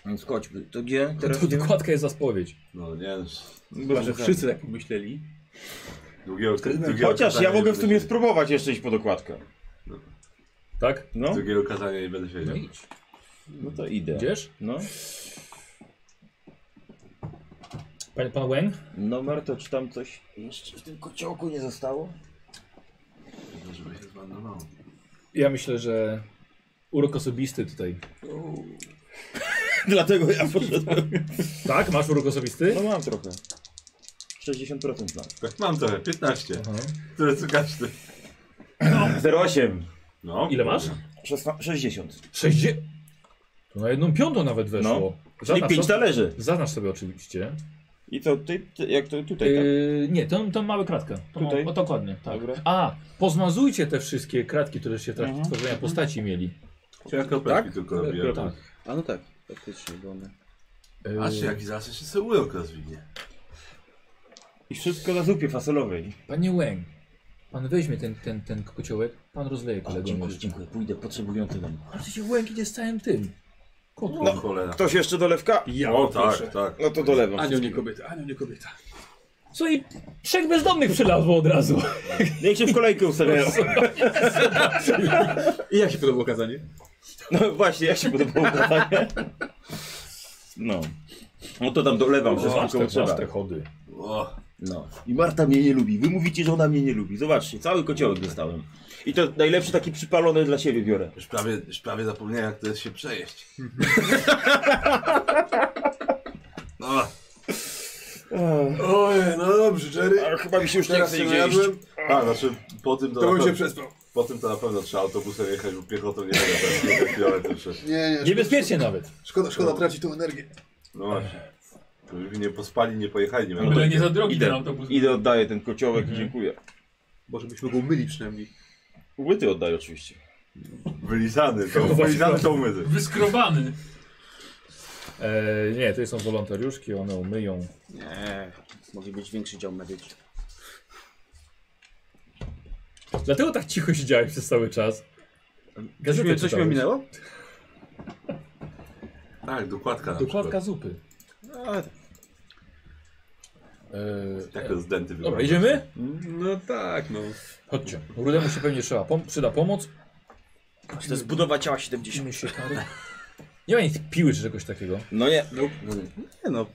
Więc chodźmy. To gdzie? Teraz
To dokładka jest za spowiedź.
dobra. No nie, no,
Chyba, że
Wszyscy tak pomyśleli.
długiego, długiego
no, Chociaż
kazania
ja
nie
mogę w
będę
sumie
się-
spróbować jeszcze iść po dokładkę.
Tak?
No?
Drugiego kazania nie będę siedział.
No idź.
No to idę.
Idziesz?
No.
Pan, pan Wen?
Numer to czy tam coś jeszcze w tym kociołku nie zostało?
Żeby się zmarnowało.
Ja myślę, że urok osobisty tutaj.
[LAUGHS] Dlatego ja poszedłem.
Tak? Masz urok osobisty?
No mam trochę. 60% mam.
Tak, mam trochę, 15.
Aha.
Które co każdy.
08.
No.
Ile masz?
Tak.
Szesna- 60.
60. To na jedną piątą nawet weszło.
No. Czyli
Zaznacz
pięć
sobie-
talerzy.
Zaznacz sobie oczywiście.
I co, ty, ty, jak to tutaj tak?
Yy, nie, tą, tą małą kratkę. Tą,
Tutaj?
O, dokładnie, tak.
Dobra.
A, pozmazujcie te wszystkie kratki, które się w trakcie
Mhm.
tworzenia postaci mieli.
Chciałem kropeczki tylko robiłem.
Tak.
A no tak, faktycznie, bo one...
Yy,
A się jaki zawsze się sobie urok rozwinie.
I wszystko na zupie faselowej.
Panie Łęk, pan weźmie ten, ten, ten kociołek, pan rozleje
O,
kolegom
dziękuję,
jeszcze.
dziękuję, pójdę, potrzebujący nam.
Ale przecież Łęk idzie z całym tym. Kotłem.
No cholera.
Ktoś jeszcze dolewka?
Ja,
O tak, tak.
No to dolewam.
Anioł nie kobieta, anioł nie kobieta.
Co i trzech bezdomnych przylazło od razu.
Niech się w kolejkę ustawiają.
tak.
I jak się podobało kazanie?
No właśnie, jak się podobało pytanie? No. No to tam dolewam wszystko,
Masz
komu
te, masz
trzeba.
te chody.
O,
No. I Marta mnie nie lubi. Wy mówicie, że ona mnie nie lubi. Zobaczcie, cały kociołek dostałem. I to najlepszy taki przypalony dla siebie biorę.
już prawie, już prawie zapomniałem jak to jest się przejeść. No. Ojej, no dobrze, Jerry.
Ale chyba mi się już nie
Teraz
chce
się
gdzie iść.
najadłem. A, znaczy po tym to,
To
na
bym się
pewno,
przespał.
po tym to na pewno trzeba autobusem jechać, bo piechotą nie będę pewnie kilometr przecież.
Nie, nie,
Niebezpiecznie nawet.
szkoda, szkoda tracić tą energię.
No właśnie. Gdyby nie pospali, nie pojechali, nie
No
Ale
wiem.
nie za drogi ten
Idę,
autobus.
idę oddaję ten kociołek i dziękuję.
Może byśmy go umyli przynajmniej.
Łyty oddaję oczywiście.
Wylizany, to wylizany to umyty.
Wyskrobany.
E, nie, to są wolontariuszki, one umyją.
Nie, może być większy dział medyczny.
Dlatego tak cicho siedziałeś przez cały czas.
Coś
Gazetę
mnie, coś mnie minęło?
Tak, dokładka na
Dokładka
przykład.
zupy.
A,
Tak
E,
to
dobra,
zdęty wygląda.
idziemy?
No tak, no.
Chodźcie. Rudemu się pewnie trzeba. Pom przyda pomoc.
to jest budowa ciała 70.
Musimy się [LAUGHS] Nie ma nic piły czy czegoś takiego.
No nie,
Nie no,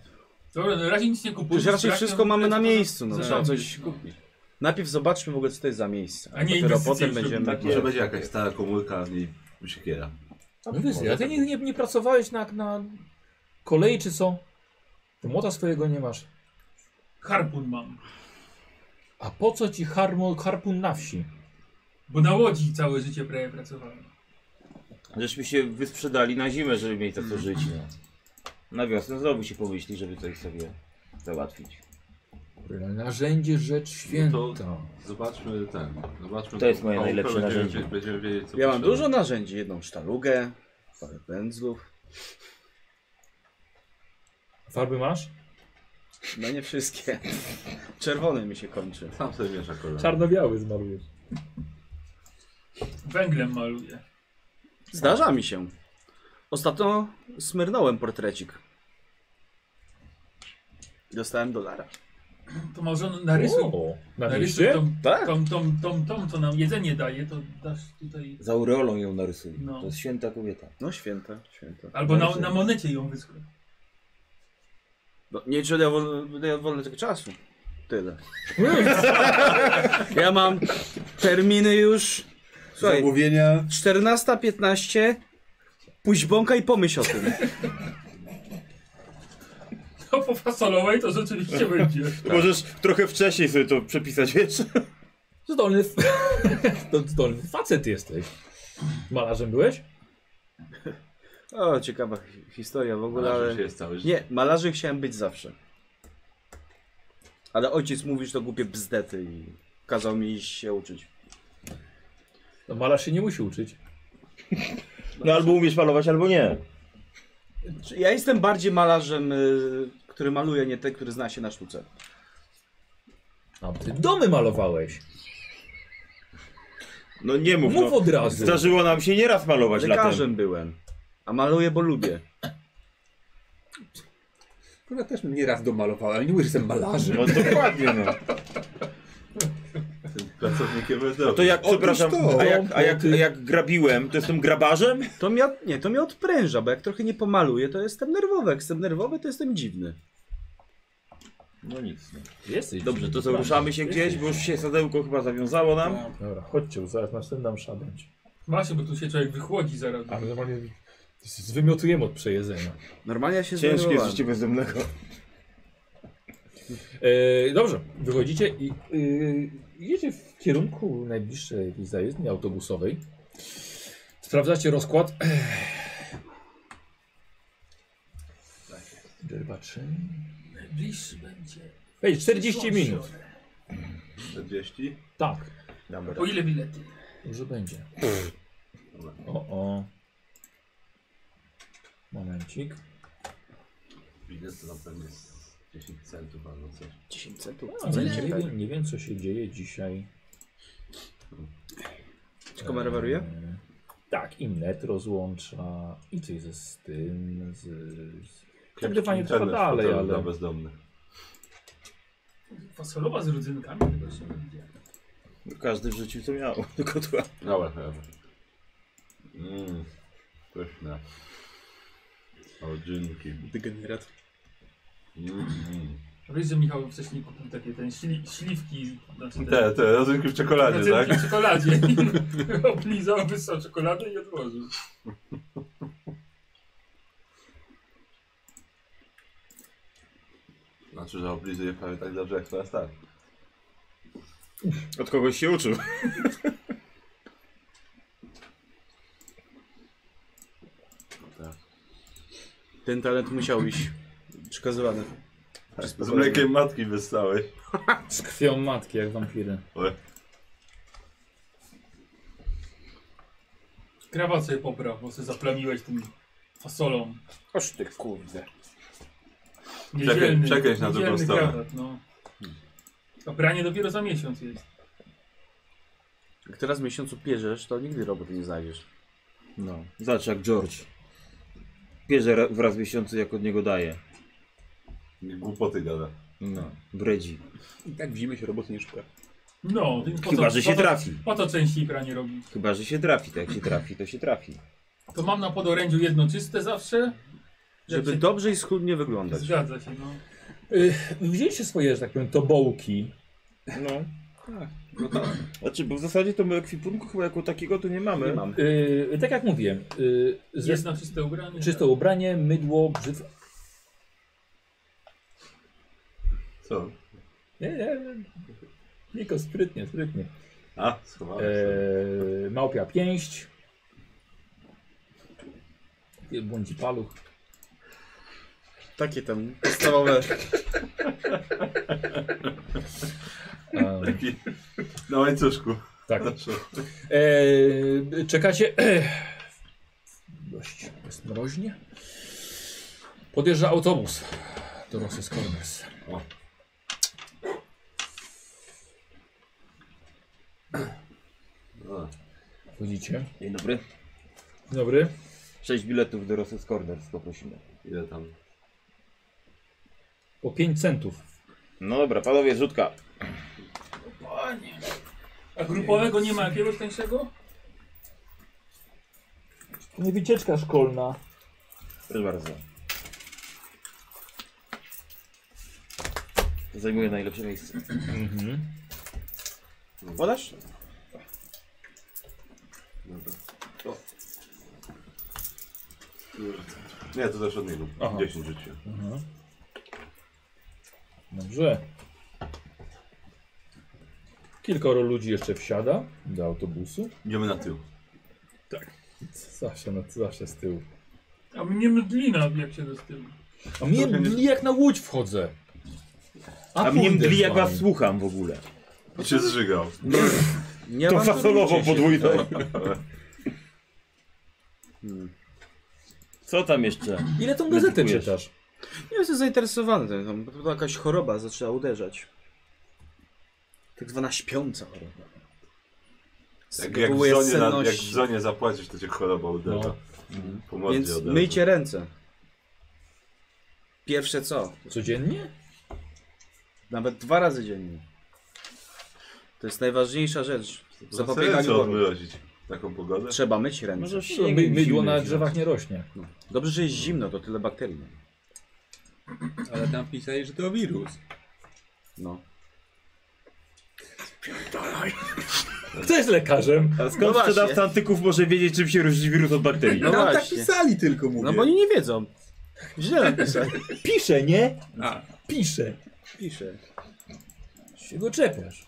Dobra, no raczej nic nie kupujesz.
przecież raczej
raczej
wszystko
no,
mamy na
to-
miejscu, no.
Zresztą
Trzeba
coś
coś
kupić.
kupić. Najpierw zobaczmy w ogóle co to jest za miejsce.
A nie
dopiero
inwestycje
potem
już
będziemy...
robimy,
Może będzie jakaś stara komórka, a w niej siekiera.
No wiesz, a ty nie, nie, nie pracowałeś na, na kolei czy co? Ty młota swojego nie masz.
Harpun mam.
A po co ci harmo, harpun na wsi?
Bo na łodzi całe życie prawie pracowałem.
żeśmy się wysprzedali na zimę, żeby mieć
Mhm.
tak to żyć. No. Na wiosnę znowu się pomyśli, żeby coś sobie załatwić.
Narzędzie rzecz święta.
No Zobaczmy ten. Zobaczmy
To jest moje
tą chałupę,
najlepsze
będziemy
narzędzie.
wie- Będziemy wiedzieć co
Ja mam
potrzeba.
dużo narzędzi, jedną sztalugę, parę pędzlów.
Farby masz?
Tak.
No nie wszystkie. Czerwony mi się kończy.
Sam sobie miesza kolor.
Czarno-biały zmarłujesz.
Węglem maluję.
Zdarza mi się. Ostatnio smyrnąłem portrecik. Dostałem dolara.
To może on narysuj.
O, na
Narysuj
[LAUGHS] liście?
tą,
Tak.
tą, tą, tą, tą, co nam jedzenie daje, to dasz tutaj...
Z aureolą ją narysuj.
No.
To jest święta kobieta.
No święte, święte.
Albo na, na monecie ją wyskrobać.
No, nie czy ja wolę, ja wolę tego czasu. Tyle. ja mam terminy już. Słuchaj,
Zamówienia.
14.15. Pójdź bąka i pomyśl o tym.
To No, po fasolowej to rzeczywiście będzie.
[LAUGHS]
Możesz trochę wcześniej sobie to przepisać, wiesz?
Zdolny, f- [LAUGHS] to zdolny facet jesteś. Malarzem byłeś?
O, ciekawa hi- historia w ogóle, ale...
Się jest całe życie.
Nie, malarzem chciałem być zawsze. Ale ojciec mówił, że to głupie bzdety i kazał mi iść się uczyć.
No, malarz się nie musi uczyć.
No albo umiesz malować, albo nie.
Czy Ja jestem bardziej malarzem, y, który maluje, nie ten, który zna się na sztuce.
A ty domy malowałeś.
No nie mów,
Mów
no.
od razu.
Zdarzyło nam się nieraz malować latem.
Lekarzem byłem. A maluję, bo lubię.
Ja też nieraz domalowałem, ale nie mówię, że jestem malarzem.
No dokładnie, no.
Pracownikiem
To jak, przepraszam,
to.
a jak, a jak, a jak grabiłem, to jestem grabarzem?
To mnie, od- nie, to mnie odpręża, bo jak trochę nie pomaluję, to jestem nerwowy. Jak jestem nerwowy, to jestem dziwny.
No nic.
Jesteś.
Dobrze, to co, ruszamy się gdzieś, bo już się sadełko chyba zawiązało nam.
Dobra, chodźcie, zaraz następna msza będzie.
Właśnie, bo tu się człowiek wychłodzi zaraz.
A my normalnie
Zwymiotujemy od przejedzenia.
Normalnie ja się
Ciężkie
zdenerwowałem.
życie bezdomnego.
E, dobrze, wychodzicie i e, idziecie w kierunku najbliższej jakiejś zajezdni autobusowej. Sprawdzacie rozkład. Derbaczyny.
Najbliższy będzie.
Ej, 40 minut.
40.
Tak,
Dobra.
Po ile bilety?
dobrze będzie. O, o. Momencik.
Bilet to na pewno jest 10 centów albo coś.
10 centów.
A, nie, nie, wiem, nie wiem, co się dzieje dzisiaj.
Czy kamera wariuje?
Eee, Tak, i net rozłącza, i coś ze z tym, z... z... Nagrywanie trwa
Internet
dalej,
hotelu Dla
ale...
bezdomnych.
Fasolowa z rodzynkami? Tego jeszcze nie widziałem.
Każdy wrzucił co miał [LAUGHS] do kotła.
Dobra, dobra. Mmm, pyszne. Rodzynki.
Degenerat.
Mm, mm.
A Wiesz, że Michał wcześniej kupił takie ten śli, śliwki, znaczy te,
Te, te, rodzynki w czekoladzie,
rodzynki
tak?
w czekoladzie. [LAUGHS] Oblizał, wysłał czekoladę i odłożył.
Znaczy, że oblizuję prawie tak dobrze jak teraz tak.
Od kogoś się uczył.
Tak. Ten talent musiał iść przekazywany.
Z mlekiem matki wystałeś.
Z krwią matki, jak wampiry.
Krawat sobie popraw, bo sobie zaplamiłeś tym fasolą.
Oż ty kurde.
Niedzielny,
czekaj na drugą
niedzielny
stronę.
Krawat, no. A pranie dopiero za miesiąc jest.
Jak teraz w miesiącu pierzesz, to nigdy roboty nie znajdziesz.
No, zobacz jak George. Bierze ra- wraz w miesiącu jak od niego daje.
Głupoty gada.
No, bredzi.
I tak w zimie się roboty nie szuka.
No, więc po
Chyba,
co-
że
po
się
co-
trafi.
Po to częściej pranie robi.
Chyba, że się trafi. To jak się trafi, to się trafi.
To mam na podorędziu jedno czyste zawsze.
Żeby
Lepsze-
dobrze i schludnie wyglądać.
Zgadza się, no.
Widzieliście Y, swoje, że tak powiem, tobołki.
No. Znaczy, bo w zasadzie to my ekwipunku chyba jako takiego tu nie mamy.
Nie mam.
Yy, tak jak mówiłem, yy, zwiastun-
Jest na czyste ubranie. tak.
Czyste ubranie, mydło, brzyw...
Co?
Nie, nie, Niko, sprytnie, sprytnie.
A, schowałem się.
Eee, małpia pięść. Błądzi paluch.
Takie tam podstawowe.
Eee,
Taki na łańcuszku.
tak.
[LAUGHS] Znaczy,
Eee, czekacie. [CLEARS THROAT] Dość jest mroźnie. Podjeżdża autobus do Rosy Corners.
O. A,
Wchodzicie.
Dzień dobry.
Dzień dobry.
Sześć biletów do Rosy Corners poprosimy.
ile tam?
Po 5 centów.
No dobra, panowie, rzutka.
Panie. A grupowego nie ma jakiegoś tańszego?
To nie wycieczka szkolna.
Proszę bardzo. Zajmuje najlepsze miejsce.
Mhm.
Podasz?
Dobra. O. Nie, to też od niego.
Aha.
10 życia.
Aha. Dobrze. Kilkoro ludzi jeszcze wsiada do autobusu.
Idziemy na tył.
Zawsze, no, zawsze z tyłu.
A mnie mydlina, jak się do tyłu.
A mnie mdli jak na łódź wchodzę.
A mnie
kurde,
mdli jak
fajnie.
was słucham w ogóle.
I się zżygał.
Nie
To
awanturujcie
fasolowo
się.
podwójne. Hmm. Co tam jeszcze?
Ile tą gazetę
Medytujesz.
czytasz?
Nie jestem zainteresowany tym. Tam, to jakaś choroba zaczęła uderzać. Tak zwana śpiąca choroba.
Jak, Tak jak, w
Spróbuję
zonie na, jak
senności.
w zonie zapłacisz, to cię choroba uderza. Mhm. Po mordzie
Więc
uderza.
myjcie ręce. Pierwsze co?
Codziennie?
Nawet dwa razy dziennie. To jest najważniejsza rzecz.
To
Zapobieganie
No, co
chorób.
odmrozić? Taką pogodę?
Trzeba myć ręce.
My, mydło na drzewach nie rośnie.
No. Dobrze, że jest zimno, to tyle bakterii.
Ale tam pisali, że to wirus.
No.
Kto jest lekarzem?
A skąd
No właśnie.
sprzedawca antyków może wiedzieć, czym się różni wirus od bakterii?
No
tam tak
właśnie.
pisali tylko, mówię.
No bo oni nie wiedzą. Źle napisali.
Pisze, nie?
A.
Pisze.
Pisze.
Się go czepiasz.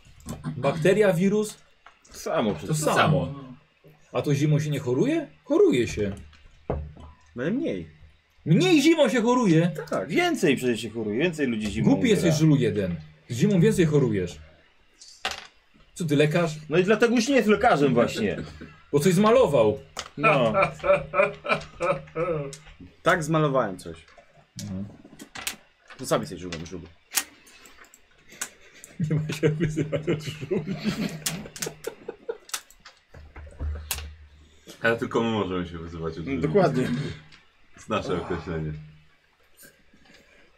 Bakteria, wirus,
Samo
to
przecież.
samo.
no.
A to zimą się nie choruje? Choruje się.
Będę No mniej.
Mniej zimą się choruje.
Tak. Więcej przecież się choruje, więcej ludzi zimą
Głupi
umiera.
jesteś, żulu jeden. Zimą więcej chorujesz. Co ty, lekarz?
No i dlatego już nie jest lekarzem właśnie.
Bo coś zmalował. [LAUGHS]
No.
Tak zmalowałem coś. To sami sobie żugam żuby.
Nie ma się wyzywać od żulu.
Ale tylko my możemy się wyzywać od ludzi. [LAUGHS]
Dokładnie.
Jest nasze określenie.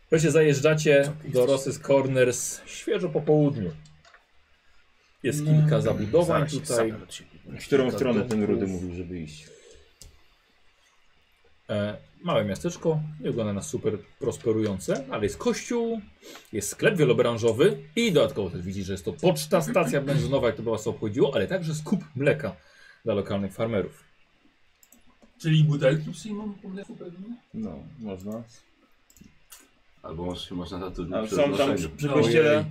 Słuchajcie, zajeżdżacie do Rosys Corners świeżo po południu. Jest kilka zabudowań
Mm, Zaraz się
tutaj.
zapnę do ciebie.
W którą stronę ten Rudy mówił, żeby iść?
E, małe miasteczko, nie wygląda na super prosperujące, ale jest kościół, jest sklep wielobranżowy i dodatkowo też widzisz, że jest to poczta, stacja benzynowa, jak to by was obchodziło, ale także skup mleka dla lokalnych farmerów.
Czyli butelki przyjmą po mleku pewnie?
No, można.
Albo może się można
A
zatrudnić przy
No,
są tam przy,
odnoszeniu.
przy kościele.
E,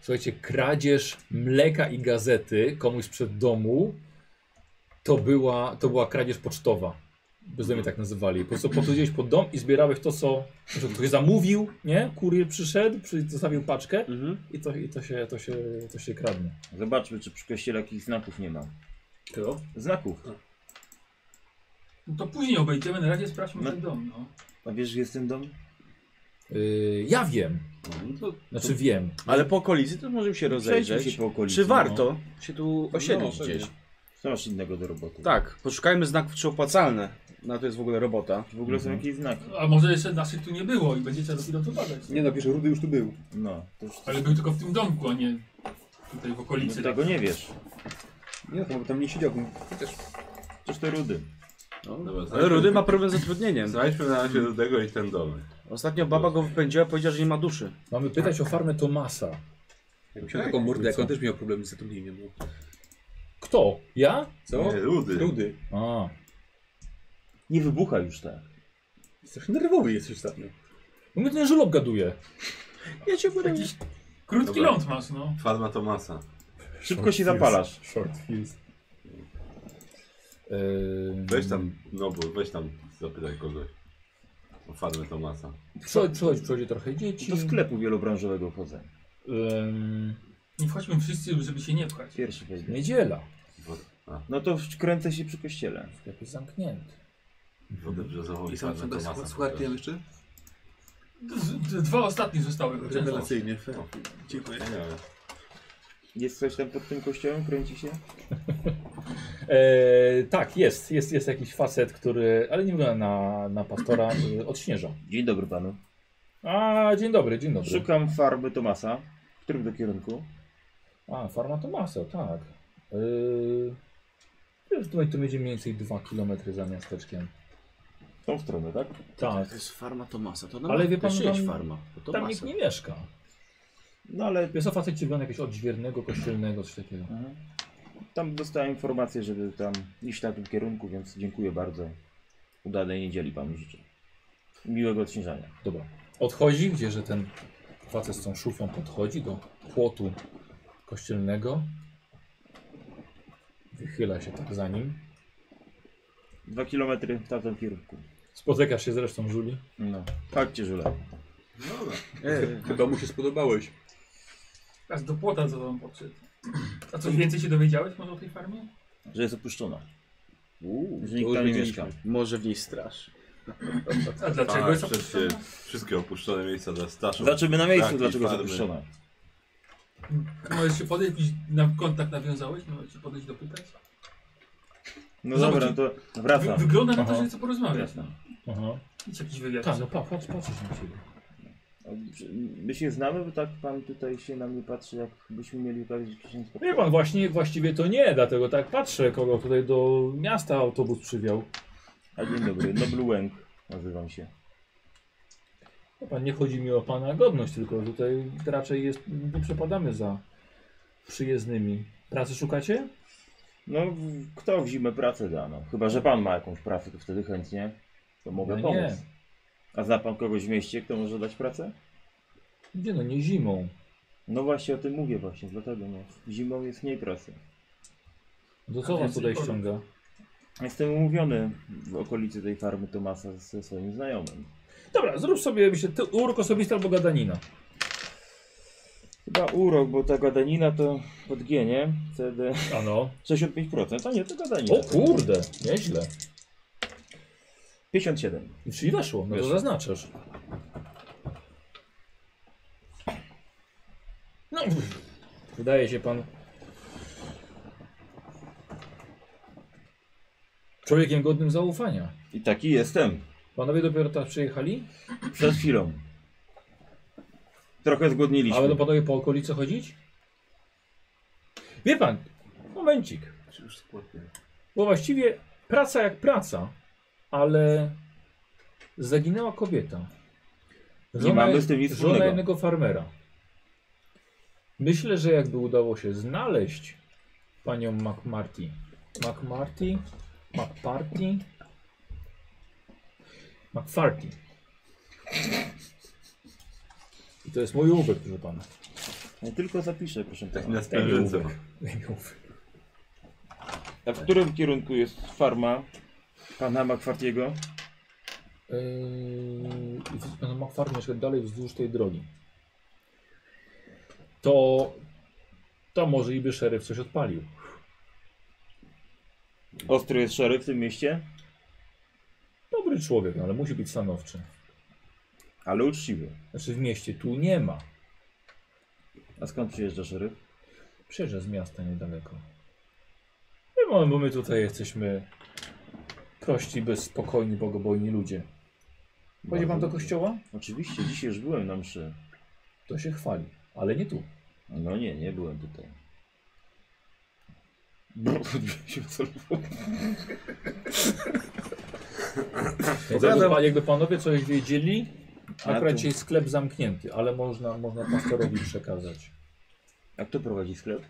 słuchajcie, kradzież mleka i gazety komuś przed domu to była, to była kradzież pocztowa. Bezdomnie tak nazywali. Po prostu podchodziłeś pod dom i zbierałeś to, co na przykład ktoś zamówił, nie? Kurier przyszedł, przy, zostawił paczkę
Mhm.
i to, i to, się, to, się, to się kradnie.
Zobaczmy, czy przy kościele jakichś znaków nie ma.
To?
Znaków.
No to później obejdziemy, na razie sprawdźmy
No.
ten dom, no.
A wiesz, gdzie jest ten dom?
Yy, ja wiem.
No, to
Znaczy wiem.
Ale po okolicy to możemy się
Przejdźmy
rozejrzeć.
się po okolicy.
Czy warto się tu osiedlić
pewnie.
gdzieś?
No. Co masz innego do roboty?
Tak, poszukajmy znaków czy opłacalne. No to jest w ogóle robota.
W ogóle są jakieś znaki.
A może jeszcze naszych tu nie było i będziecie dopiero to badać.
Nie no, wiesz, Rudy już tu był.
No, to już...
Ale był tylko w tym domku, a nie tutaj w
no,
okolicy.
tego nie wiesz.
Nie no, chyba tam nie siedział.
Przecież to Rudy.
Dobra,
Ale
znajdźmy-
Rudy ma problem z zatrudnieniem.
Znajdźmy na razie do tego i ten domek.
Ostatnio baba go wypędziła, powiedziała, że nie ma duszy.
Mamy pytać o farmę Tomasa.
Jakby się taką mordę, jak on też miał problem z zatrudnieniem. no.
Kto? Ja?
Co?
Nie, Rudy.
Rudy.
A.
Nie wybucha już tak.
Strasznie nerwowy jesteś ostatnio.
No mnie ten E, żul obgaduje.
Ja cię będę...
Jakiś krótki
Dobra.
ląd masz, no.
Farma Tomasa.
Szybko się zapalasz.
Short fuse. Yy,
Weź
Mm.
tam, no bo weź tam, zapytaj kogoś. O farmę Tomasa.
Przychodzi, przychodzi, przychodzi trochę dzieci.
Do sklepu wielobranżowego chodzę.
Ym,
Nie wchodźmy wszyscy, żeby się nie pchać.
Pierwszy wejdę.
niedziela.
Wo- a,
No to kręcę się przy kościele.
Sklep jest zamknięty.
Wodę brzozową i
Mhm. I sam
farmę
sobie
Tomasa.
słuchaj,
pokaż.
jeszcze?
D- d- Dwa ostatnie zostały.
Rewelacyjnie. Dziękuję.
Nie wiem.
Jest coś tam pod tym kościołem? Kręci się?
Eee, tak, jest, jest. Jest jakiś facet, który. Ale nie wygląda na, na pastora. Yy, odśnieża.
Dzień dobry panu.
A, dzień dobry, dzień dobry.
Szukam farby Tomasa. W którym do kierunku?
A, farma Tomasa, tak. Yy, wiesz, tutaj to będzie mniej więcej 2 km za miasteczkiem.
W tą stronę, tak?
Tak.
To jest farma Tomasa. To nam
Ale wie pan,
też
tam-
jest farma. To
Tam
Tomasa.
nikt nie mieszka.
No ale...
Wiesz, o facecie wygląda jakiegoś odźwiernego, kościelnego, coś takiego.
Mhm. Tam dostałem informację, żeby tam iść na tym kierunku, więc dziękuję bardzo. Udanej niedzieli panu życzę. Miłego odśnieżania.
Dobra. Odchodzi, gdzie że ten facet z tą szufą podchodzi do płotu kościelnego. Wychyla się tak za nim.
Dwa kilometry w tamtym kierunku.
Spotykasz się zresztą, Żuli.
No. Chodźcie, żule.
Do domu się spodobałeś.
Aż do płota za wam podszedł. A coś więcej się dowiedziałeś może o tej farmie?
Że jest opuszczona.
Uuu,
Że
to
nikt
już
tam nie
widzieliśmy.
mieszka.
Może w niej straż.
A dlaczego
Tak,
jest
przecież
opuszczona?
wszystkie opuszczone miejsca dla starszych. [LAUGHS]
Zobaczymy na miejscu,
Takiej
dlaczego jest
farmy.
opuszczona.
Możesz się podejść, jakiś na kontakt nawiązałeś? Możesz się podejść dopytać?
No
Zobacz,
dobra, no to
Wy, [LAUGHS]
wracam.
wygląda na to,
Aha.
że chce porozmawiać. No.
Aha.
Idź jakiś wywiad.
Tak, no pa, patrz, patrzysz na ciebie.
My się znamy, bo tak pan tutaj się na mnie patrzy, jakbyśmy mieli okazję się
Wie
spotkać.
pan, właśnie, właściwie to nie, dlatego tak patrzę, kogo tutaj do miasta autobus przywiał.
A dzień dobry, Noblu Łęk nazywam się.
Wie No, Pan, nie chodzi mi o pana godność, tylko tutaj raczej jest, nie przepadamy za przyjezdnymi. Pracy szukacie?
No, w- kto w zimę pracę da, no? Chyba, że pan ma jakąś pracę, to wtedy chętnie to mogę
No nie.
pomóc. A zna pan kogoś w mieście, kto może dać pracę?
Nie no, nie zimą.
No właśnie o tym mówię właśnie, dlatego no. Zimą jest mniej pracy.
Do co
A
was
więc
tutaj
nie powiem.
ściąga?
Jestem umówiony w okolicy tej farmy Tomasa ze swoim znajomym.
Dobra, zrób sobie myślę, ty urok osobisty albo gadanina.
Chyba urok, bo ta gadanina to pod G, nie? CD
Ano.
65%, a nie, to gadanina.
O kurde, nieźle.
57.
Czyli weszło, no to
Weszło.
zaznaczasz. No, wydaje się pan człowiekiem godnym zaufania.
I taki jestem.
Panowie dopiero teraz przyjechali?
Przed chwilą. Trochę zgodniliśmy.
Ale będą panowie po okolicy chodzić? Wie pan, momencik.
Czy już składnie?
Bo właściwie praca jak praca, ale zaginęła kobieta.
Nie mamy z tym nic
żona
wspólnego.
jednego farmera. Myślę, że jakby udało się znaleźć panią McMarty. McMarty? McParty? McFarty. I to jest mój łówek, proszę pana. no-
Ja tylko zapiszę, proszę
Tak
pana.
na sprężyce.
A w którym kierunku jest farma pana Makwartiego?
Yy, na McFarm jeszcze dalej wzdłuż tej drogi. To, to może i by szeryf coś odpalił.
Ostry jest szeryf w tym mieście,
Dobry człowiek, no, ale musi być stanowczy.
ale uczciwy.
Znaczy w mieście tu nie ma.
A skąd przyjeżdża szeryf?
Przejeżdża z miasta niedaleko. Nie mamy, bo my tutaj jesteśmy prości, bezspokojni, bogobojni ludzie. Chodzi pan do kościoła?
Oczywiście, dzisiaj już byłem na mszy.
To się chwali, ale nie tu.
No nie, nie byłem tutaj. No, [LAUGHS]
Więc jakby, pa- jakby panowie coś wiedzieli, akurat dzisiaj sklep zamknięty, ale można, można pastorowi przekazać.
A kto prowadzi sklep?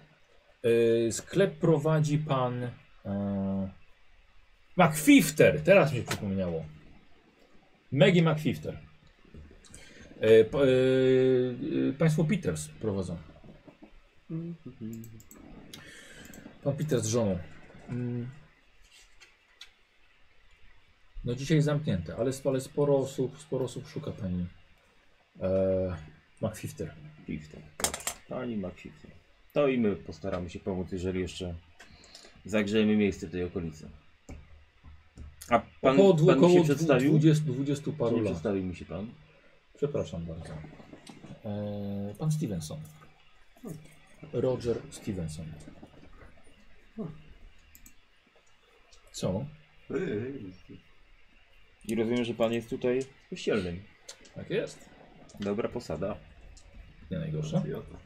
Y, sklep prowadzi pan. y, Yy, McFifter, teraz mi się przypomniało. Maggie McFifter. Y, p- y, y, państwo Peters prowadzą. Pan Peters z żoną. Mm. No dzisiaj zamknięte, ale, sp- ale sporo osób, sporo osób szuka pani. E, McFifter.
Fifty. Pani ma fifty. To i my postaramy się pomóc, jeżeli jeszcze zagrzejemy miejsce w tej okolicy. A pan,
Około dwu-
pan mi
około dwu-
się przedstawił?
20, 20
Czy
paru
nie
lat.
przedstawił mi się pan?
Przepraszam bardzo. E, pan Stevenson. Roger Stevenson. Co?
I rozumiem, że pan jest tutaj kościelnym.
Tak jest.
Dobra posada.
Nie najgorsze.
Pacjata.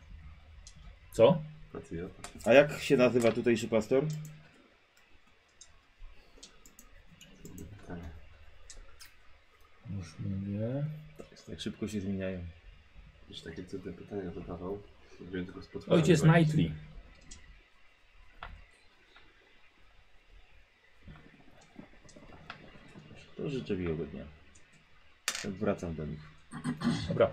Co?
Pacjata.
A jak się nazywa tutejszy pastor?
Już mówię.
Tak szybko się zmieniają.
Jakieś takie cudne pytania zadawał. Wziąłem tylko spotkanie.
Ojciec Knightley.
To życzę miłego dnia. Tak, Wracam do nich.
Dobra.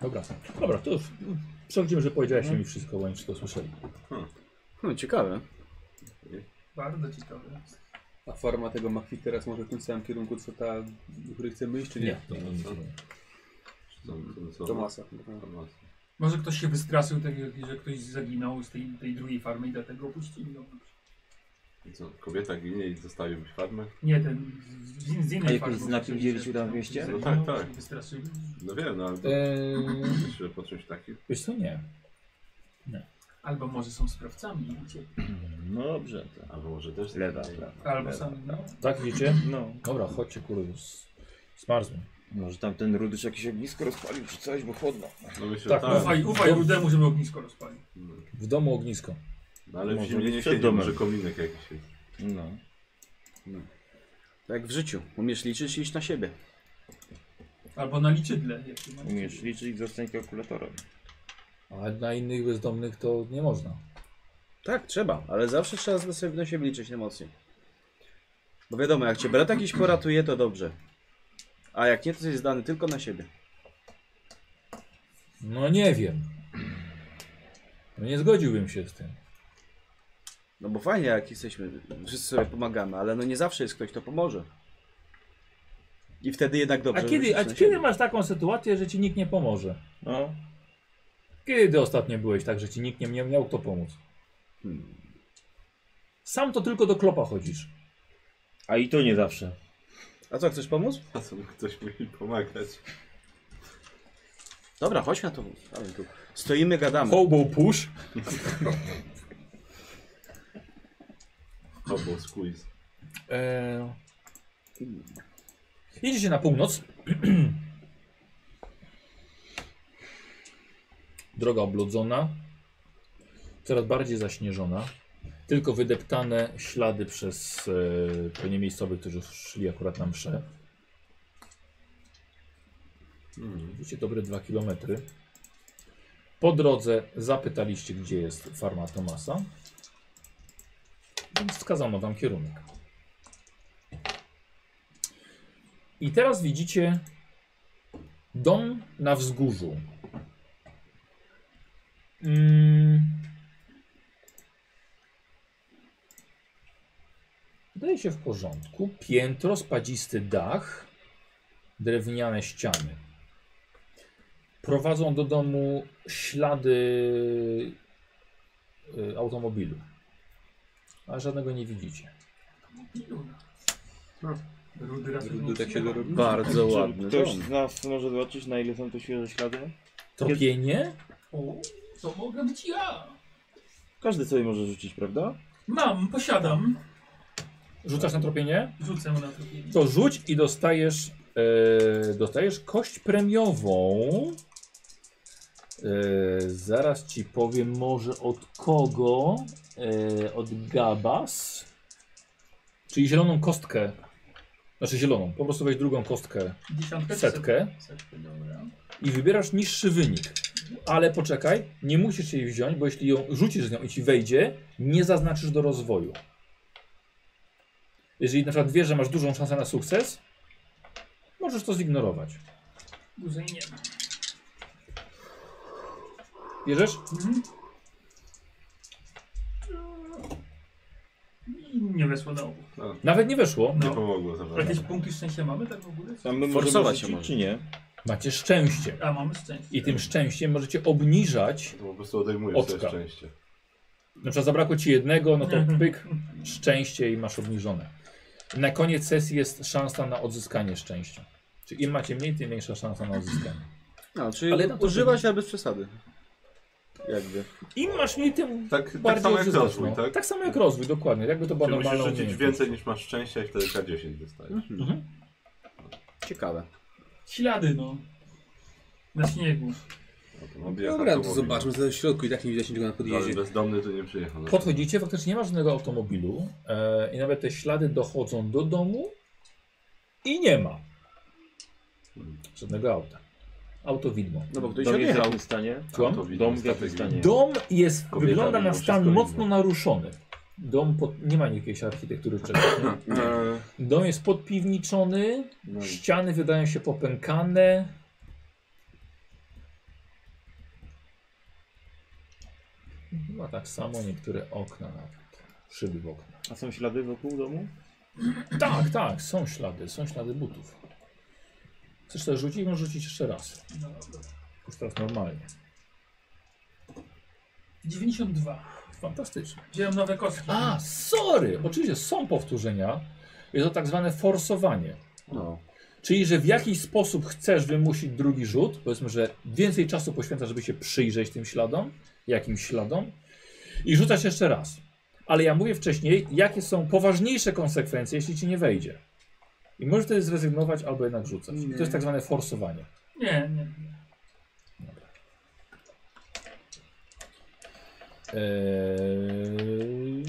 Dobra. Dobra, to już mm, przechodzimy, że powiedziałeś mi wszystko, bo oni wszystko słyszeli.
No ciekawe.
Bardzo ciekawe.
A forma tego machwi teraz może w tym samym kierunku, co ta, do której chcemy iść, czy nie?
to nie, nic nie.
Co, co, co?
Tomasa.
Tomasa.
Może ktoś się wystraszył, tak jak, że ktoś zaginął z tej, tej drugiej farmy i dlatego opuścili ją.
I co, kobieta ginie i zostawił farmę?
Nie, ten z, z, z innej
A jakoś
farmy
znaki
opuścili
widzieliście
się,
tam w
no,
mieście?
zaginął,
No tak, tak.
się Wystraszyli.
No wiem, no ale to
Eee,
się po czymś takim.
wiesz co, nie.
Albo może są sprawcami. nie wiecie.
No dobrze. To.
Albo może też...
Lewa, prawa.
Albo
lewa.
sami. No.
Tak widzicie?
No.
Dobra, chodźcie kurde, z- zmarzłem.
Może tam ten rudysz jakieś ognisko rozpalił czy coś, bo chłodno.
No myślę,
Tak,
tak.
Ufaj, ufaj rudemu, żeby ognisko rozpalił.
W domu ognisko.
No ale w
Może
zimie
być
nie
przed
siedzi,
domem.
może kominek jakiś jest.
No.
Tak jak w życiu. Umiesz liczyć, licz na siebie.
Albo na liczydle. jak się ma
Umiesz liczyć, zostań kalkulatorem.
A na innych bezdomnych to nie można.
Tak, trzeba, ale zawsze trzeba z- sobie na siebie liczyć emocje. Bo wiadomo, jak cię brat jakiś poratuje, to dobrze. A jak nie, to jesteś zdany tylko na siebie.
No nie wiem. No nie zgodziłbym się z tym.
No bo fajnie, jak jesteśmy, wszyscy sobie pomagamy, ale no nie zawsze jest ktoś, kto pomoże. I wtedy jednak
A
dobrze.
kiedy,
że
a
wszyscy na
kiedy
siebie.
masz taką sytuację, że ci nikt nie pomoże?
No.
Kiedy ostatnio byłeś tak, że ci nikt nie, nie miał kto pomóc?
Hmm.
Sam to tylko do klopa chodzisz.
A i to nie zawsze.
A co, chcesz pomóc?
A co by ktoś mi pomagać?
Dobra, chodź na to. Ale tu Stoimy, gadamy.
Hobo push.
Albo squeeze.
E... Jedziecie na północ. [CLEARS THROAT] Droga oblodzona, coraz bardziej zaśnieżona. Tylko wydeptane ślady przez e, pewnie miejscowych, którzy szli akurat na mszę. Hmm, Widzicie dobre dwa kilometry. Po drodze zapytaliście, gdzie jest farma Tomasa, więc wskazano wam kierunek. I teraz widzicie dom na wzgórzu. Mm. Wydaje się w porządku. Piętro, spadzisty dach, drewniane ściany. Prowadzą do domu ślady y, automobilu. A żadnego nie widzicie.
Rudy raczej
Rudy tak się
nie
dorobi.
Bardzo ładny
Ktoś
dom.
z nas może zobaczyć, na ile są to świeże ślady?
Tropienie?
O, to mogę być ja.
Każdy sobie może rzucić, prawda?
Mam, posiadam.
Rzucasz na tropienie?
Rzucę na to.
To rzuć i dostajesz, e, dostajesz kość premiową. E, zaraz ci powiem może od kogo. E, od Gabas. Czyli zieloną kostkę. Znaczy zieloną. Po prostu weź drugą kostkę,
Dziesiątkę czy
setkę
Setkę, dobra.
i wybierasz niższy wynik. Ale poczekaj, nie musisz jej wziąć, bo jeśli ją rzucisz z nią i ci wejdzie, nie zaznaczysz do rozwoju. Jeżeli na przykład wiesz, że masz dużą szansę na sukces, możesz to zignorować.
Dłużej nie ma.
Bierzesz?
Mhm. I nie weszło na obu.
Nawet nie weszło.
Nie
No.
pomogło za bardzo.
Jakieś punkty szczęścia mamy tak w ogóle?
Tam my
Forsować się
możemy rzucić,
może.
czy nie?
Macie szczęście.
A, mamy szczęście.
I tym szczęściem możecie obniżać.
To po prostu odejmujesz
Oczka.
sobie szczęście.
Na przykład zabrakło ci jednego, no to
Mhm.
pyk, szczęście i masz obniżone. Na koniec sesji jest szansa na odzyskanie szczęścia. Czyli im macie mniej, tym większa szansa na odzyskanie.
No, czyli
Ale na to-
używać, ale bez przesady. Jakby.
Im masz mniej, tym
Tak, tak
bardziej
samo jak
odzyskasz,
rozwój,
no.
tak?
tak samo jak rozwój, dokładnie. Jakby to była
Czyli musisz
normalna
rzucić
umiejętność.
więcej niż masz szczęścia i wtedy K10 dostajesz.
Mhm.
Ciekawe.
Ślady, no. Na śniegu.
No
Dobra, no to zobaczmy, co w środku i tak nie widać niczego na podjeździe.
Ale bezdomny tu nie przyjechał. na pewno.
Podchodzicie, faktycznie nie ma żadnego automobilu e, i nawet te ślady dochodzą do domu i nie ma żadnego auta. Auto widmo.
No bo ktoś
Dom jest w
odjechał.
jakim stanie?
Słucham?
To widać,
Dom w jakim
statek
stanie?
Dom jest,
Kobieta
wygląda na
mimo
stan
wszystko
mocno naruszony. Dom pod, nie ma jakiejś architektury wczesnej.
Eee,
E,
Dom jest podpiwniczony,
No i-
ściany wydają się popękane. Chyba tak samo niektóre okna nawet. Szyby w okna.
A są ślady wokół domu?
Tak, tak, są ślady, są ślady butów. Chcesz to rzucić? Możesz rzucić jeszcze raz.
No, dobra.
Już teraz normalnie.
92.
Fantastycznie.
Wziąłem nowe kostki.
A, sorry! Oczywiście są powtórzenia. Jest to tak zwane forsowanie.
No.
Czyli, że w jakiś sposób chcesz wymusić drugi rzut, powiedzmy, że więcej czasu poświęcasz, żeby się przyjrzeć tym śladom, jakimś śladom, i rzucasz jeszcze raz. Ale ja mówię wcześniej, jakie są poważniejsze konsekwencje, jeśli ci nie wejdzie. I możesz wtedy zrezygnować albo jednak rzucać. To jest tak zwane forsowanie.
Nie, nie, nie.
Eee...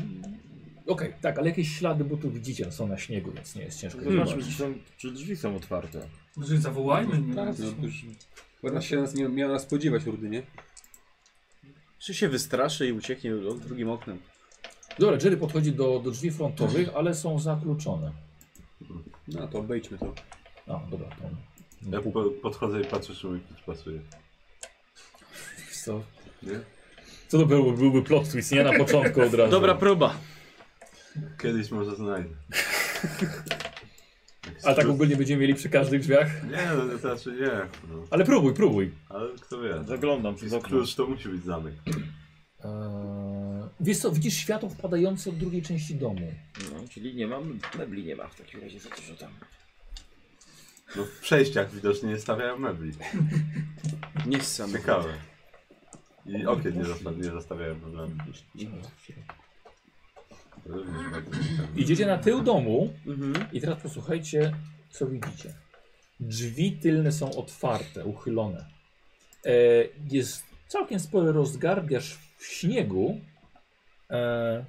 Okej, tak, ale jakieś ślady butów widzicie, no są na śniegu, więc nie jest ciężko.
Zobaczmy,
zobaczyć.
czy, są, czy drzwi są otwarte.
Może zawołajmy. Nie?
Tak, no, to już... Bo nas się nas nie miała nas spodziewać, Rudy, nie?
Czy się wystraszy i ucieknie od- drugim oknem?
Dobra, Jerry podchodzi do, do drzwi frontowych, ale są zakluczone.
No to obejdźmy to.
A, dobra, to...
Ja po, podchodzę i patrzę, czy mój kit pasuje.
Wiesz Co?
Nie?
Co to byłby, byłby plot twist, nie na początku od razu.
Dobra próba.
Kiedyś może znajdę.
[LAUGHS] A tak ogólnie będziemy mieli przy każdych drzwiach.
Nie, no, to znaczy nie. No.
Ale próbuj, próbuj.
Ale kto wie.
Zaglądam przez
Jest
okno.
klucz, to musi być zamek.
Eee, wiesz co, widzisz światło wpadające od drugiej części domu.
No, czyli nie mam, mebli nie ma w takim razie za dużo tam.
No w przejściach widocznie nie stawiają mebli.
Nie sam.
Ciekawe. I okien nie, zosta- nie zostawiają problemu.
Idziecie na tył domu
Mhm.
i teraz posłuchajcie, co widzicie. Drzwi tylne są otwarte, uchylone. E, jest całkiem spory rozgardiasz w śniegu. E,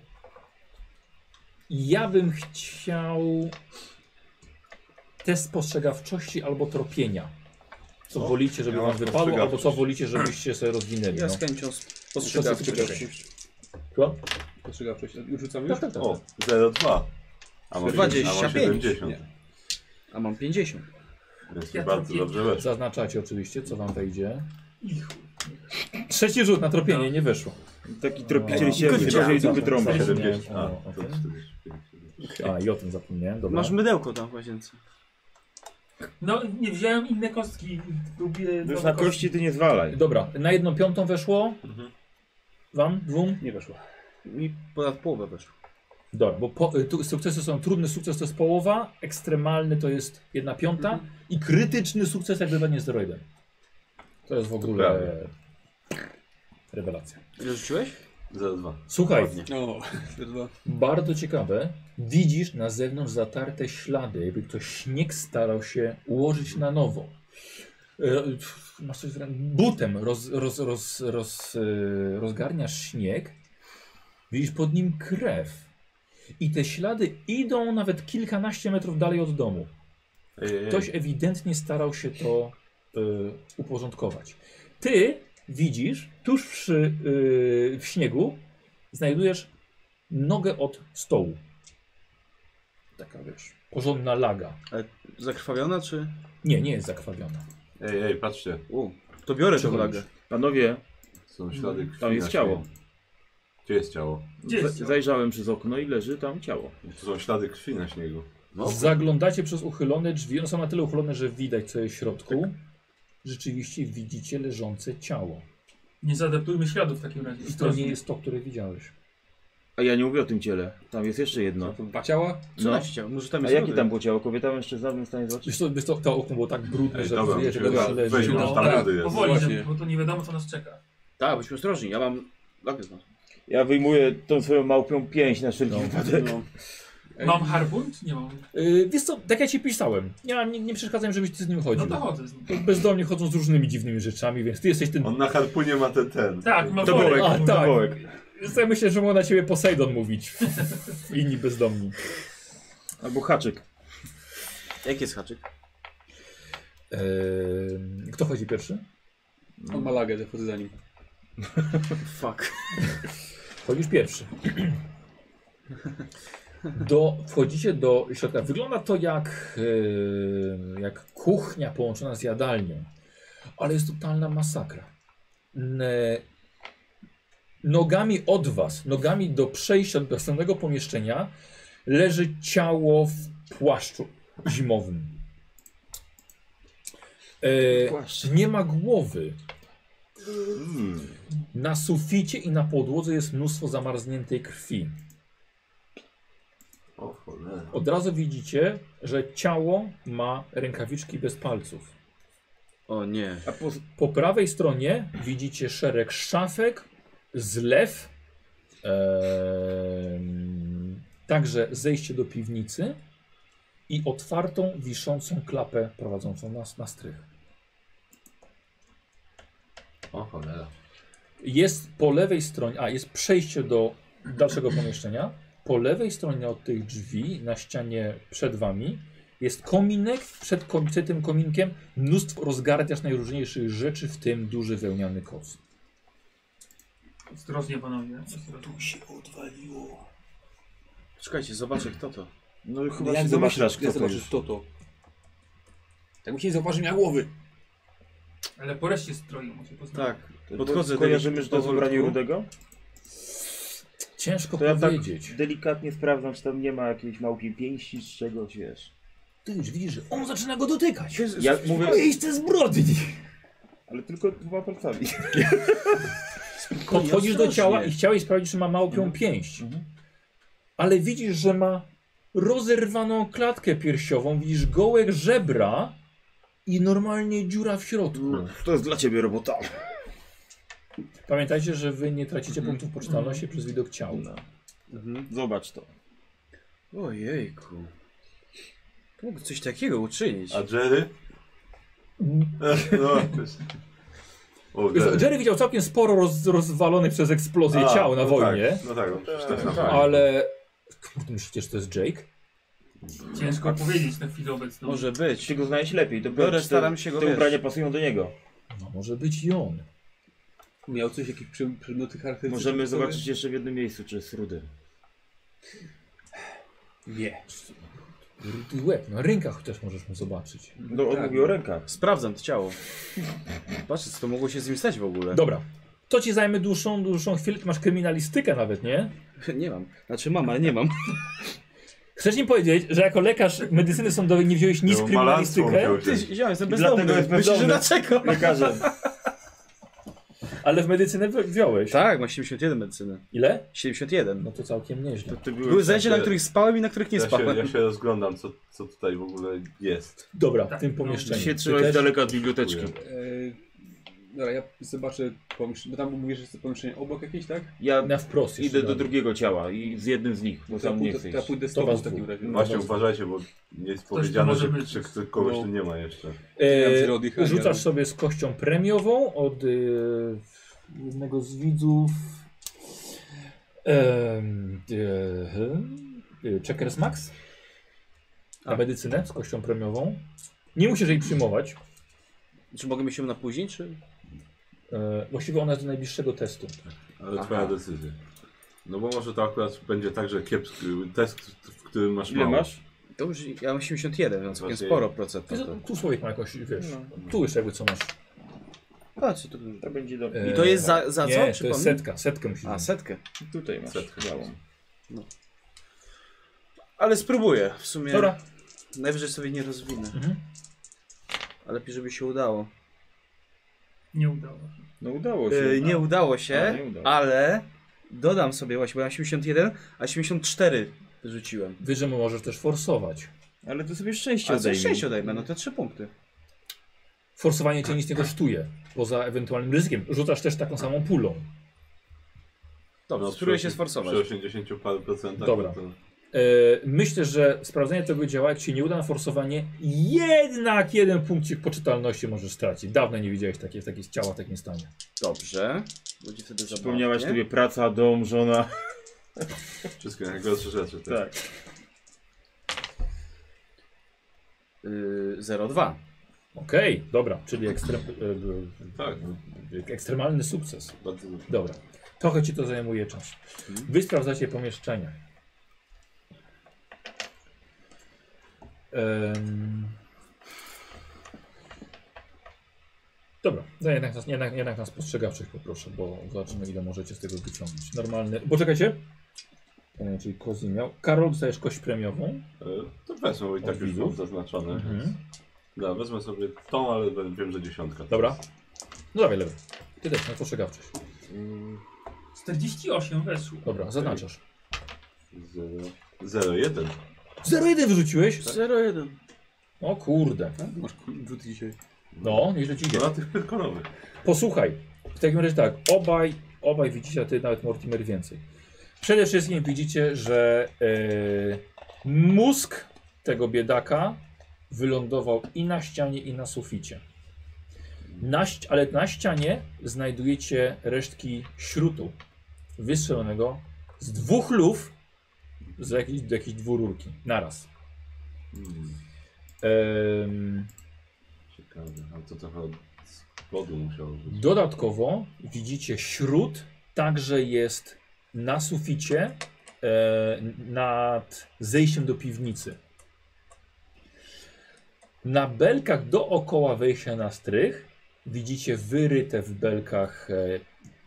ja bym chciał test spostrzegawczości albo tropienia. Co
O,
wolicie, żeby
No, ja
wam
mam
wypadło, albo co
spostrzegawczość.
wolicie, żebyście sobie rozwinęli.
Ja
No.
z chęcią
Spostrzegawczość.
spostrzegawczość.
Co?
Postrzegawczość. Już rzucamy już?
Tak, tak, tak.
O, 0,2. A może
25.
A może 70.
Nie.
A mam 50.
Więc
Ja
mi bardzo
trafię.
dobrze weszło.
Zaznaczacie oczywiście, co wam wejdzie. Trzeci rzut na tropienie nie wyszło.
Taki
No.
tropiciel
się
bardziej
do
wytrąba.
wytrąby.
70. A,
O,
to
okej.
45.
A i o tym zapomniałem, dobra.
Masz mydełko tam w łazience.
No, nie wziąłem inne kostki. Lubię
Już
nowe
na kości ty nie zwalaj.
Dobra, na jedną piątą weszło.
Mhm.
Wam? Dwóm?
Nie weszło. Mi ponad połowę weszło.
Dobra, bo po, y, tu sukcesy są trudny sukces to jest połowa, ekstremalny to jest jedna piąta
Mhm.
i krytyczny sukces jak wydanie steroidem. To jest w ogóle
Prawie.
rewelacja.
Ile rzuciłeś?
0,2.
Słuchaj,
O, dwa.
Bardzo ciekawe. Widzisz na zewnątrz zatarte ślady, jakby ktoś śnieg starał się ułożyć na nowo. E, pff, Masz coś w ręku. Butem roz, roz, roz, roz, e, rozgarniasz śnieg. Widzisz pod nim krew. I te ślady idą nawet kilkanaście metrów dalej od domu.
Ej, ej, ej.
Ktoś ewidentnie starał się to y, uporządkować. Ty widzisz, tuż przy, y, w śniegu znajdujesz nogę od stołu. Taka wiesz, porządna laga.
Zakrwawiona czy?
Nie, nie jest zakrwawiona.
Ej, ej, patrzcie.
U. To biorę tę
Czego
lagę.
Panowie,
Są ślady krwi.
Tam jest
na
ciało.
śniegu. Gdzie jest ciało?
Gdzie jest
za-
ciało?
zajrzałem przez okno i leży tam ciało.
Tu są ślady krwi na śniegu.
Zaglądacie przez uchylone drzwi. One są na tyle uchylone, że widać co jest w środku. Rzeczywiście widzicie leżące ciało.
Nie zadeptujmy śladów w takim razie.
I to nie jest to, które widziałeś.
A ja nie mówię o tym ciele. Tam jest jeszcze
No
jedno.
to dwa ciała?
Co
No.
na ściał? Może tam
A
jest
jakie
lody?
tam było ciało? Kobieta, mężczyzna w stanie zobaczyć?
Wiesz co, wiesz co, to okno było tak brudne,
Ej,
że
dobra,
widzę,
musimy
że leży. no.
wejść
na-
tam
tak,
lody jest.
powoli,
Właśnie.
żeby, bo to nie wiadomo co nas czeka.
Tak, bądźmy ostrożni, ja mam lagę z
Ja wyjmuję tą swoją małpią pięść na wszelki
No.
wypadek.
No. Ej.
Mam harpun czy nie mam? No
Yy, wiesz co, tak jak ci pisałem, nie, mam- nie, nie przeszkadzam, żebyś ty z nim
No
chodził.
to chodzę z nim.
To Bezdomnie chodzą z różnymi dziwnymi rzeczami, więc ty jesteś ten...
On na harpunie ma ten ten.
Tak, mam
To
worek.
bołek,
A,
to
tak.
bołek.
Ja myślę, że mogą na ciebie Posejdon mówić. [LAUGHS] Inni bezdomni.
Albo haczyk.
Jaki jest haczyk?
Eee, Ehm, kto chodzi pierwszy?
On ma lagę, zachodzę za nim.
Fuck.
Chodzisz pierwszy. Do, wchodzicie do środka. Wygląda to jak, eee, jak kuchnia połączona z jadalnią. Ale jest totalna masakra. N- nogami od was, nogami do przejścia do następnego pomieszczenia leży ciało w płaszczu zimowym. E, nie ma głowy.
Hmm.
Na suficie i na podłodze jest mnóstwo zamarzniętej krwi.
O cholera.
Od razu widzicie, że ciało ma rękawiczki bez palców.
O nie.
A po,
Po prawej stronie widzicie szereg szafek, zlew, em, także zejście do piwnicy i otwartą, wiszącą klapę prowadzącą nas na strych.
O cholera.
Jest po lewej stronie, a jest przejście do dalszego pomieszczenia. Po lewej stronie od tych drzwi, na ścianie przed wami, jest kominek. Przed, kom, przed tym kominkiem mnóstwo rozgardiasz najróżniejszych rzeczy, w tym duży wełniany koc.
Ostrożnie panowie. Ostrożnie.
Czekajcie, zobaczę kto to.
no chyba
No
się
jak
domyślasz,
zobaczysz,
kto
jak
to
zobaczysz
już.
kto to. Tak mi się nie zauważy, miała głowy.
Ale po reszcie stroju może poznać.
Tak.
Podchodzę
Podchodzę
Kojarzymy, że to jest
powolutku.
ubranie Rudego?
Ciężko
To ja tak
powiedzieć.
delikatnie sprawdzam, czy tam nie ma jakiejś małkiej pięści, z czegoś, wiesz.
Ty już widzisz, że on zaczyna go dotykać.
Ja mówię,
Miejsce zbrodni.
ale tylko dwa palcami.
Podchodzisz do ciała i chciałeś sprawdzić, czy ma
Mhm.
małpią pięść. Ale widzisz, że ma rozerwaną klatkę piersiową, widzisz gołe żebra i normalnie dziura w
No.
środku.
[LAUGHS] To jest dla ciebie robota.
Pamiętajcie, że wy nie tracicie
Mhm.
punktów poczytalności przez widok ciał.
No.
Zobacz to.
Ojejku. Mógł coś takiego uczynić.
A Jerry? No, właśnie. o,
Jerry. Jerry widział całkiem sporo roz, rozwalonych przez eksplozję
Tak. A,
ciał na
no
wojnie,
Tak, no tak, no przecież tak samo.
ale... Kurde, myślicie, że to jest Jake?
Ciężko powiedzieć na chwilę obecną.
Może być.
Czy go znaleźć lepiej? To
Biorę,
czy te-
staram się go,
Te
wiesz.
ubrania pasują do niego.
No, może być i on.
Miał coś, jakieś przy, przedmioty charakterystyczne?
Możemy
przy sobie?
zobaczyć jeszcze w jednym miejscu, czy jest rudy.
Nie.
Rudy łeb, na rękach chociaż możesz mu zobaczyć.
No, on
Tak.
mówi o rękach.
Sprawdzam to ciało. Patrzę, co to mogło się z nim stać w ogóle.
Dobra, to ci zajmie dłuższą, dłuższą chwilę, ty masz kryminalistykę nawet, nie?
[LAUGHS] Nie mam. Znaczy mam, ale nie
[LAUGHS]
mam.
Chcesz mi powiedzieć, że jako lekarz medycyny sądowej nie wziąłeś nic
No,
no,
malarstwo
kryminalistykę,
musiał wziąć.
Wziąłem, jestem
Dlatego
bezdomny.
jest
Myślisz, że
bezdomny.
dlaczego?
Lekarze.
ale w medycynę wy- wziąłeś.
[LAUGHS] Tak, ma 71 medycyny.
Ile?
71.
No to całkiem nieźle.
Były zajęcia, na których spałem i na których nie
ja się,
spałem.
ja się rozglądam, co, co tutaj w ogóle jest.
Dobra, w
Tak,
tym
no,
pomieszczeniu.
Się
Ty
trzymaj
też-
z daleka od biblioteczki.
Dziękuję.
Eee, dobra, ja zobaczę pomieszczenie, bo tam mówisz, że jest to pomieszczenie obok jakieś, tak?
Ja
Na wprost jeszcze
idę do
dalej.
drugiego ciała i z jednym z nich, bo
To ja
tam nie
pójdę,
chcę
to ja
iść.
pójdę z
To
tobą
was
w takim
dwóch.
razie.
No.
Właśnie uważajcie, bo nie jest
tu
powiedziane,
może
że,
być.
że kto- kogoś
No.
tu nie ma jeszcze.
Ja
E,
mam zero
rzucasz
oddychania.
sobie z kością premiową od e, jednego z widzów. Em, e, hmm, e, Checkers Max
Tak.
na medycynę z kością premiową. Nie musisz jej przyjmować.
Czy mogę się na później, czy...
E, właściwie ona jest do najbliższego testu.
Tak,
Ale twoja decyzja. No bo może to akurat będzie tak, że kiepski test, w którym masz
Ile
mało.
masz?
To już, ja mam 81, więc całkiem
Właśnie-
sporo procent.
Wiesz,
to.
Tu człowiek ma jakoś, wiesz,
No.
tu jeszcze jakby co masz.
Patrz, to...
To będzie do...
E,
I to jest za, za
nie,
co?
to jest
Przypomnij.
setka, setkę musisz
A,
mieć.
setkę.
Tutaj masz.
Setkę.
Białą.
Ale spróbuję. W sumie
Dobra,
najwyżej sobie nie rozwinę.
Mhm.
Ale lepiej, żeby się udało.
Nie udało.
No udało się.
Yy, nie udało
A,
się,
nie udało.
ale dodam sobie właśnie, bo ja 81, a 74 rzuciłem.
wiesz, że możesz też forsować.
Ale to sobie szczęście
A co
odejmij.
6 odejmę, no to 3 punkty.
Forsowanie cię nic nie kosztuje, poza ewentualnym ryzykiem. Rzucasz też taką samą pulą.
Dobrze,
No,
spróbuję
przy
się
osiem-
sforsować.
Przy 80 paru procentach.
Dobra.
no to-
E, myślę, że sprawdzenie tego działa, jak ci nie uda na forsowanie, jednak jeden punkcik poczytalności możesz stracić. Dawno nie widziałeś takiej, takiej ciała w takim stanie.
Dobrze. Będzie wtedy zabawnie.
Wspomniałaś sobie praca, dom, żona. [LAUGHS]
Wszystkie najgorsze rzeczy. Tak.
Tak.
Yy, 02.
Okej, dobra, czyli ekstrem, e,
Tak, no,
e, ekstremalny sukces.
bardzo dobrze.
Dobra. Trochę ci to zajmuje czas.
Mhm.
Wy sprawdzacie pomieszczenie. Em. Dobra, no jednak nas, jednak, jednak nas postrzegawczych poproszę, bo zobaczymy ile możecie z tego wyciągnąć. Normalny. Poczekajcie. E, czyli Kozi miał. Karol, dostajesz kość premiową.
E, To wezmę, bo i tak już mam
widzów?
zaznaczone.
Mhm.
więc- Dobra, wezmę sobie tą, ale będę- wiem, że dziesiątka.
Dobra. No dawaj lewy. Ty też no, na postrzegawczość.
48 weszło.
Dobra, zaznaczasz.
0,1.
0,1 wyrzuciłeś?
01.
O kurde.
Tak? Masz rzut dzisiaj.
No, nieźle ci idzie.
No na tych pyrkonowych.
Posłuchaj, w takim razie tak, obaj, obaj widzicie, a ty nawet Mortimer więcej. Przede wszystkim widzicie, że yy, mózg tego biedaka wylądował i na ścianie, i na suficie. Na, ści- ale na ścianie znajdujecie resztki śrutu wystrzelonego z dwóch luf z jakiejś, do jakiejś dwururki naraz.
Hmm,
Em,
ciekawe, ale to trochę od spodu musiało być.
Dodatkowo widzicie śród, także jest na suficie e, nad zejściem do piwnicy. Na belkach dookoła wejścia na strych Widzicie wyryte w belkach e,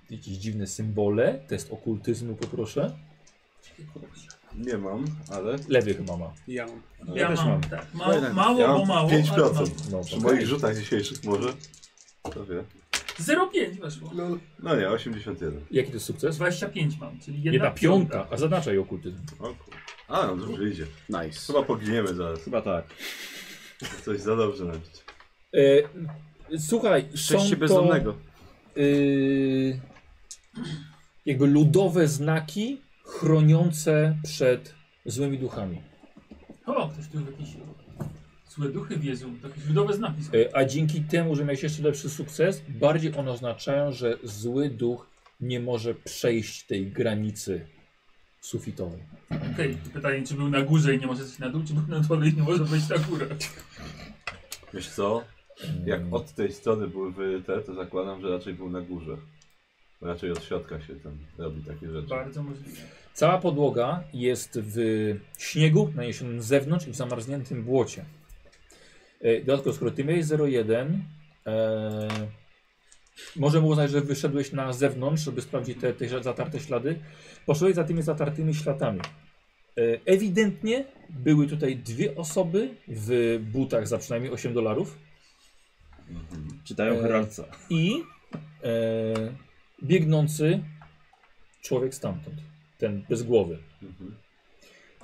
jakieś dziwne symbole. Test okultyzmu poproszę.
Nie mam, ale...
Lewy chyba ma.
Ja mam.
Ja,
Ja też
mam.
mam.
Tak, mało,
mam
mało bo mało. ale
5%.
mam.
No,
Przy moich rzutach dzisiejszych może? Kto wie.
0,5 weszło.
No nie, 81.
Jaki to jest sukces?
25 mam, czyli jedna,
Jedna piąta, a zaznaczaj okultyzm.
O, kur- A, no dobrze idzie.
Nice.
Chyba poginiemy zaraz.
Chyba tak.
Coś za dobrze nawet.
E, słuchaj,
Szczęście
są to
bezdomnego.
e, jakby ludowe znaki chroniące przed złymi duchami.
O, ktoś tu jakieś złe duchy wiedzą, takie ludowe znaki są.
E, A dzięki temu, że miałeś jeszcze lepszy sukces, bardziej one oznaczają, że zły duch nie może przejść tej granicy sufitowej.
Okej, pytanie, czy był na górze i nie może zejść na dół, czy był na dole i nie może wejść na górę.
Wiesz co? Jak
Mm,
od tej strony były wyryte, to zakładam, że raczej był na górze. Bo Raczej od środka się tam robi takie rzeczy.
Bardzo możliwe.
Cała podłoga jest w śniegu naniesionym z zewnątrz i w zamarzniętym błocie. E, Dodatkowo, skoro ty miałeś 0,1, e, może było znać, że wyszedłeś na zewnątrz, żeby sprawdzić te, te zatarte ślady. Poszedłeś za tymi zatartymi śladami. E, Ewidentnie były tutaj dwie osoby w butach za przynajmniej 8 dolarów
Mhm.
Czytają
E,
Heraldca.
i e, biegnący człowiek stamtąd, ten bez głowy.
Mhm.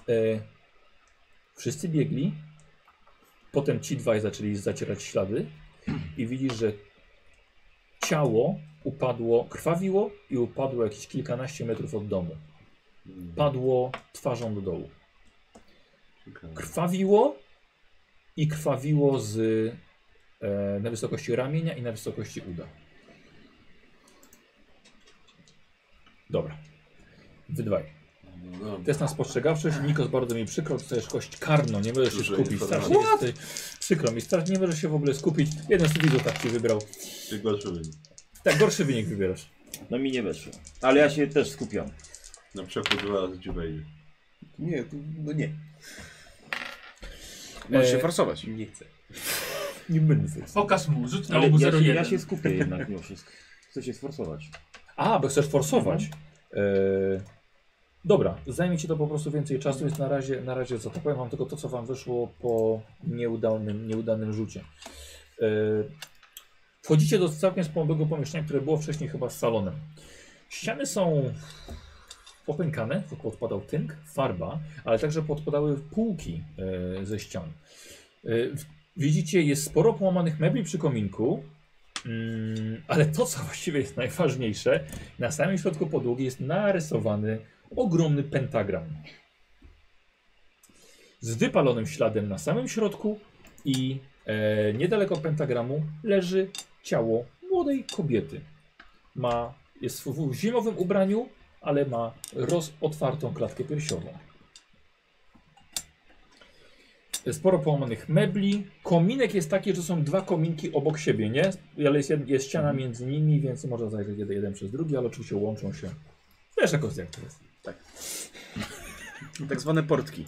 E, wszyscy biegli. Potem ci dwaj zaczęli zacierać ślady. I widzisz, że ciało upadło, krwawiło i upadło jakieś kilkanaście metrów od domu.
Hmm.
Padło twarzą do dołu.
Ciekawe.
Krwawiło i krwawiło z, e, na wysokości ramienia i na wysokości uda. Dobra. Wydwaj.
No dobra.
Test na spostrzegawczość. Nikos, bardzo mi przykro, dostajesz kość karną, nie możesz się
Dużo
skupić.
informacji.
Strasznie jesteś, przykro mi, strasznie nie możesz się w ogóle skupić. Jeden z widzów tak ci wybrał.
Czy gorszy wynik?
Tak, gorszy wynik wybierasz.
No mi nie weszło. Ale ja się też skupiam.
Na przykład dwa razy ci wejdzie.
Nie, to- no nie.
Możesz się
E,
forsować.
Nie chcę.
Nie będę.
Pokaż mu, rzuć na
Ale
obu
ja, się,
01.
ja się skupię jednak mimo wszystko. Chcę się sforsować.
A, bo chcesz forsować. E, dobra, zajmie ci to po prostu więcej czasu, więc na razie, na razie co to powiem wam tylko to, co wam wyszło po nieudanym, nieudanym rzucie. E, wchodzicie do całkiem spłonnego pomieszczenia, które było wcześniej chyba z salonem. Ściany są popękane, podpadał tynk, farba, ale także podpadały półki e, ze ścian. E, w- widzicie, jest sporo połamanych mebli przy kominku, mm, ale to, co właściwie jest najważniejsze, na samym środku podłogi jest narysowany ogromny pentagram. Z wypalonym śladem na samym środku i e, niedaleko pentagramu leży ciało młodej kobiety. Ma, jest w, w zimowym ubraniu, ale ma rozotwartą klatkę piersiową. Sporo połamanych mebli. Kominek jest taki, że są dwa kominki obok siebie, nie? Ale jest, jed- jest ściana między nimi, więc można zajrzeć jeden, jeden przez drugi, ale oczywiście łączą się. Wiesz, jak to jest.
Tak zwane portki.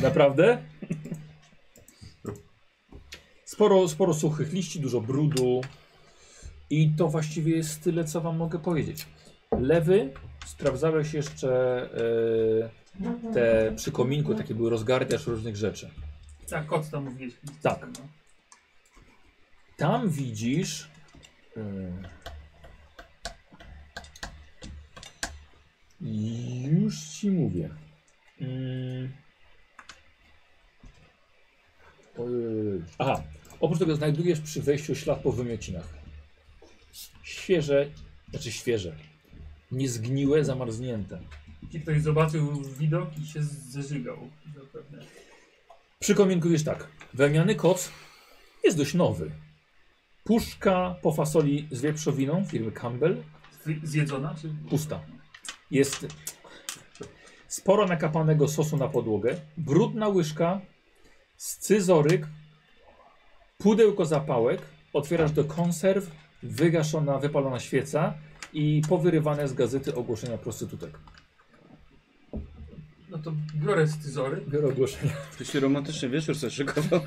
Naprawdę? Sporo, sporo suchych liści, dużo brudu. I to właściwie jest tyle, co wam mogę powiedzieć. Lewy, sprawdzałeś jeszcze e, te przy kominku, takie były rozgardiasz różnych rzeczy.
Tak, kot tam mówiłeś.
Tak. Tam widzisz. y, Yy, już ci mówię. Yy. Ojej. y, Aha, oprócz tego znajdujesz przy wejściu ślad po wymiocinach. Świeże, znaczy świeże. Niezgniłe, zamarznięte.
Ci ktoś zobaczył widok i się zeżygał. Zapewne.
Przy kominku jest tak. Wełniany koc jest dość nowy. Puszka po fasoli z wieprzowiną firmy Campbell
Zwy- Zjedzona? Czy...
Pusta. Jest sporo nakapanego sosu na podłogę, brudna łyżka, scyzoryk, pudełko zapałek, otwierasz do konserw, wygaszona, wypalona świeca i powyrywane z gazety ogłoszenia prostytutek.
No No to biorę scyzory,
Biorę ogłoszenie.
To się romantyczny wieczór sobie szykował.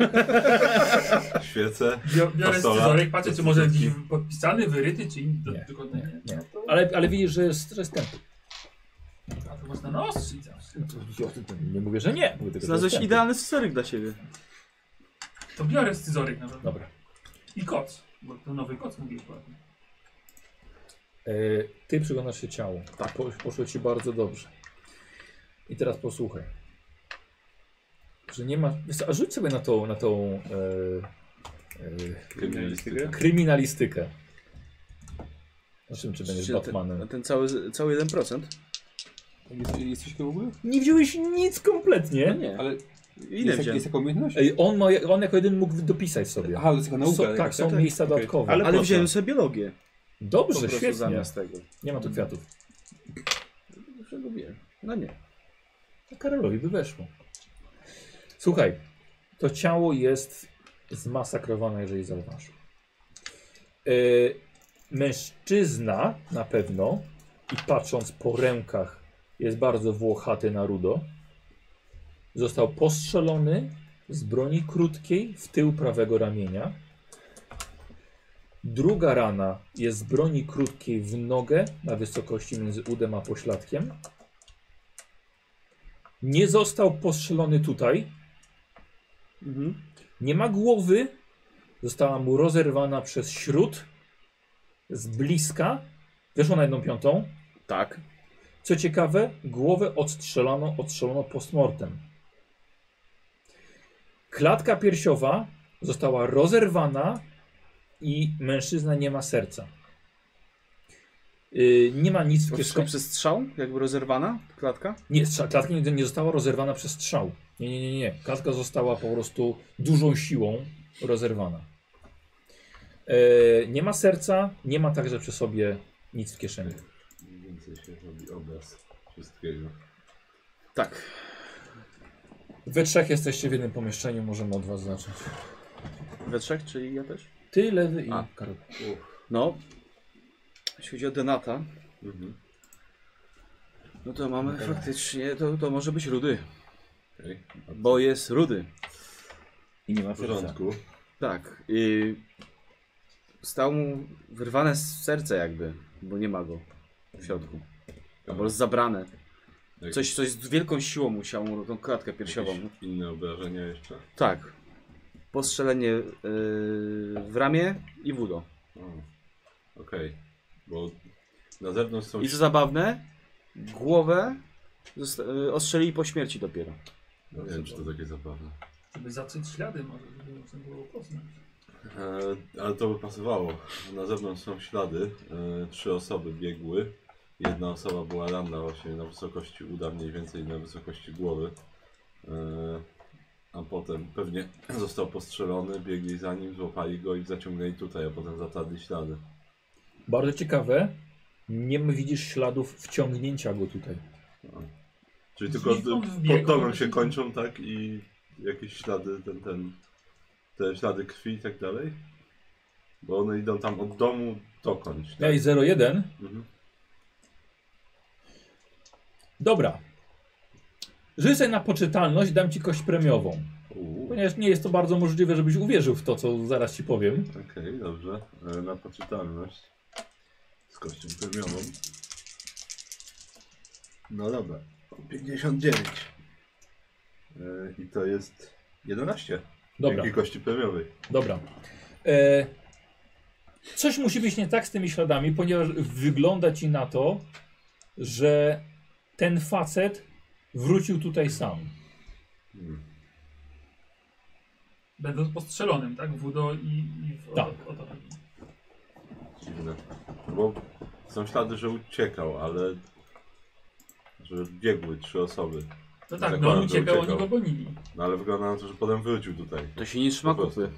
Świecę.
bio- biorę
Fasola.
scyzoryk, patrzę czy może jakiś podpisany, wyryty, czy inny do-
Nie,
dokładnie nie.
nie. Ale, ale widzisz, że jest stres tempu.
A to można naostrzyć zawsze.
Nie mówię, że nie. Mówię tylko, że
[LAUGHS] Znalazłeś
jest tempo.
idealny scyzoryk dla siebie.
To biorę scyzoryk na pewno.
Dobra.
I koc, bo to nowy koc mówił ładnie.
E, ty przyglądasz się ciału. Tak. Po, poszło ci bardzo dobrze. I teraz posłuchaj. Że nie ma. wiesz co, A rzuć sobie na tą, na tą e, e,
Kryminalistyka.
kryminalistykę. Na czym czy będziesz
Czy
Batmanem?
Ten, ten cały, cały 1%.
Jest, jesteś w ogóle?
Nie wziąłeś nic kompletnie.
No nie.
Ale
Ile
jest, jak,
wziąłem?
jest jaka umiejętność?
Ej, on, ma, on jako jeden mógł dopisać sobie.
Aha, to jest taka nauka.
są, tak,
jakaś,
są miejsca dodatkowe.
Ale,
Ale
po co?
wziąłem sobie biologię. Po
dobrze,
prostu
świetnie.
zamiast tego.
Nie ma tu kwiatów.
Dlaczego wiem? No nie.
To Karolowi by weszło. Słuchaj, to ciało jest zmasakrowane, jeżeli zauważył. Yy, mężczyzna na pewno, i patrząc po rękach, jest bardzo włochaty na rudo. Został postrzelony z broni krótkiej w tył prawego ramienia. Druga rana jest z broni krótkiej w nogę na wysokości między udem a pośladkiem. Nie został postrzelony tutaj.
Mhm.
Nie ma głowy. Została mu rozerwana przez śród z bliska. Weszła na jedną piątą.
Tak.
Co ciekawe, głowę odstrzelano, odstrzelono postmortem. Klatka piersiowa została rozerwana i mężczyzna nie ma serca. Yy, nie ma nic w
Wszystko
kieszeni.
przez strzał? Jakby rozerwana klatka?
Nie, strza- klatka nie, nie została rozerwana przez strzał. Nie, nie, nie, nie. Klatka została po prostu dużą siłą rozerwana. E, nie ma serca, nie ma także przy sobie nic w kieszeni.
Mniej więcej się robi obraz wszystkiego.
Tak.
Wy trzech jesteście w jednym pomieszczeniu, możemy od was zacząć.
We trzech, czyli ja też?
Ty, lewy i
A.
Karol.
No. Jeśli chodzi o Denata,
Mhm.
no to mamy faktycznie, to, to może być rudy.
Okej.
Bo jest rudy.
I nie ma
W
serca.
porządku.
Tak. I stał mu wyrwane z serce jakby, bo nie ma go w środku. Albo jest zabrane.
Jak-
Coś, coś z wielką siłą musiał mu tą klatkę piersiową.
jakieś Inne obrażenia jeszcze.
Tak. Postrzelenie yy, w ramię i w udo.
O, Okej. Bo na zewnątrz są
I co zabawne, głowę zosta- yy, ostrzelili po śmierci dopiero.
No, nie wiem, czy to takie zabawne.
Żeby zatrzeć ślady może, żeby można było poznać.
E, ale to by pasowało. Na zewnątrz są ślady. E, trzy osoby biegły. Jedna osoba była ranna właśnie na wysokości uda, mniej więcej na wysokości głowy. E, a potem pewnie [CLEARS THROAT] został postrzelony, biegli za nim, złapali go i zaciągnęli tutaj, a potem zatarli ślady.
Bardzo ciekawe, nie widzisz śladów wciągnięcia go tutaj.
Czyli tylko
Znikąd
d-
wbiegł.
pod domem się kończą, tak? I jakieś ślady, ten, ten, te ślady krwi i tak dalej? Bo one idą tam od domu dokądś. Tak?
Ej, 01.
Mhm.
Dobra. Żyj sobie na poczytalność, dam ci kość premiową.
Uuu.
Ponieważ nie jest to bardzo możliwe, żebyś uwierzył w to, co zaraz ci powiem.
Okej, dobrze. E, Na poczytalność. Z kością premiową. No dobra. 59. E, I to jest 11.
Dobra.
Dzięki kości premiowej.
Dobra. E, coś musi być nie tak z tymi śladami, ponieważ wygląda ci na to, że ten facet wrócił tutaj sam.
Będąc postrzelonym, tak? W udo i, i w
Tak.
o- o- o-
Dziwne. No Bo są ślady, że uciekał, ale... Że biegły trzy osoby.
No tak, no
Zakładam,
on
że
uciekał, oni
uciekał.
go gonili.
No ale wygląda na to, że potem wrócił tutaj.
To się nie trzyma
Po prostu.
kupy.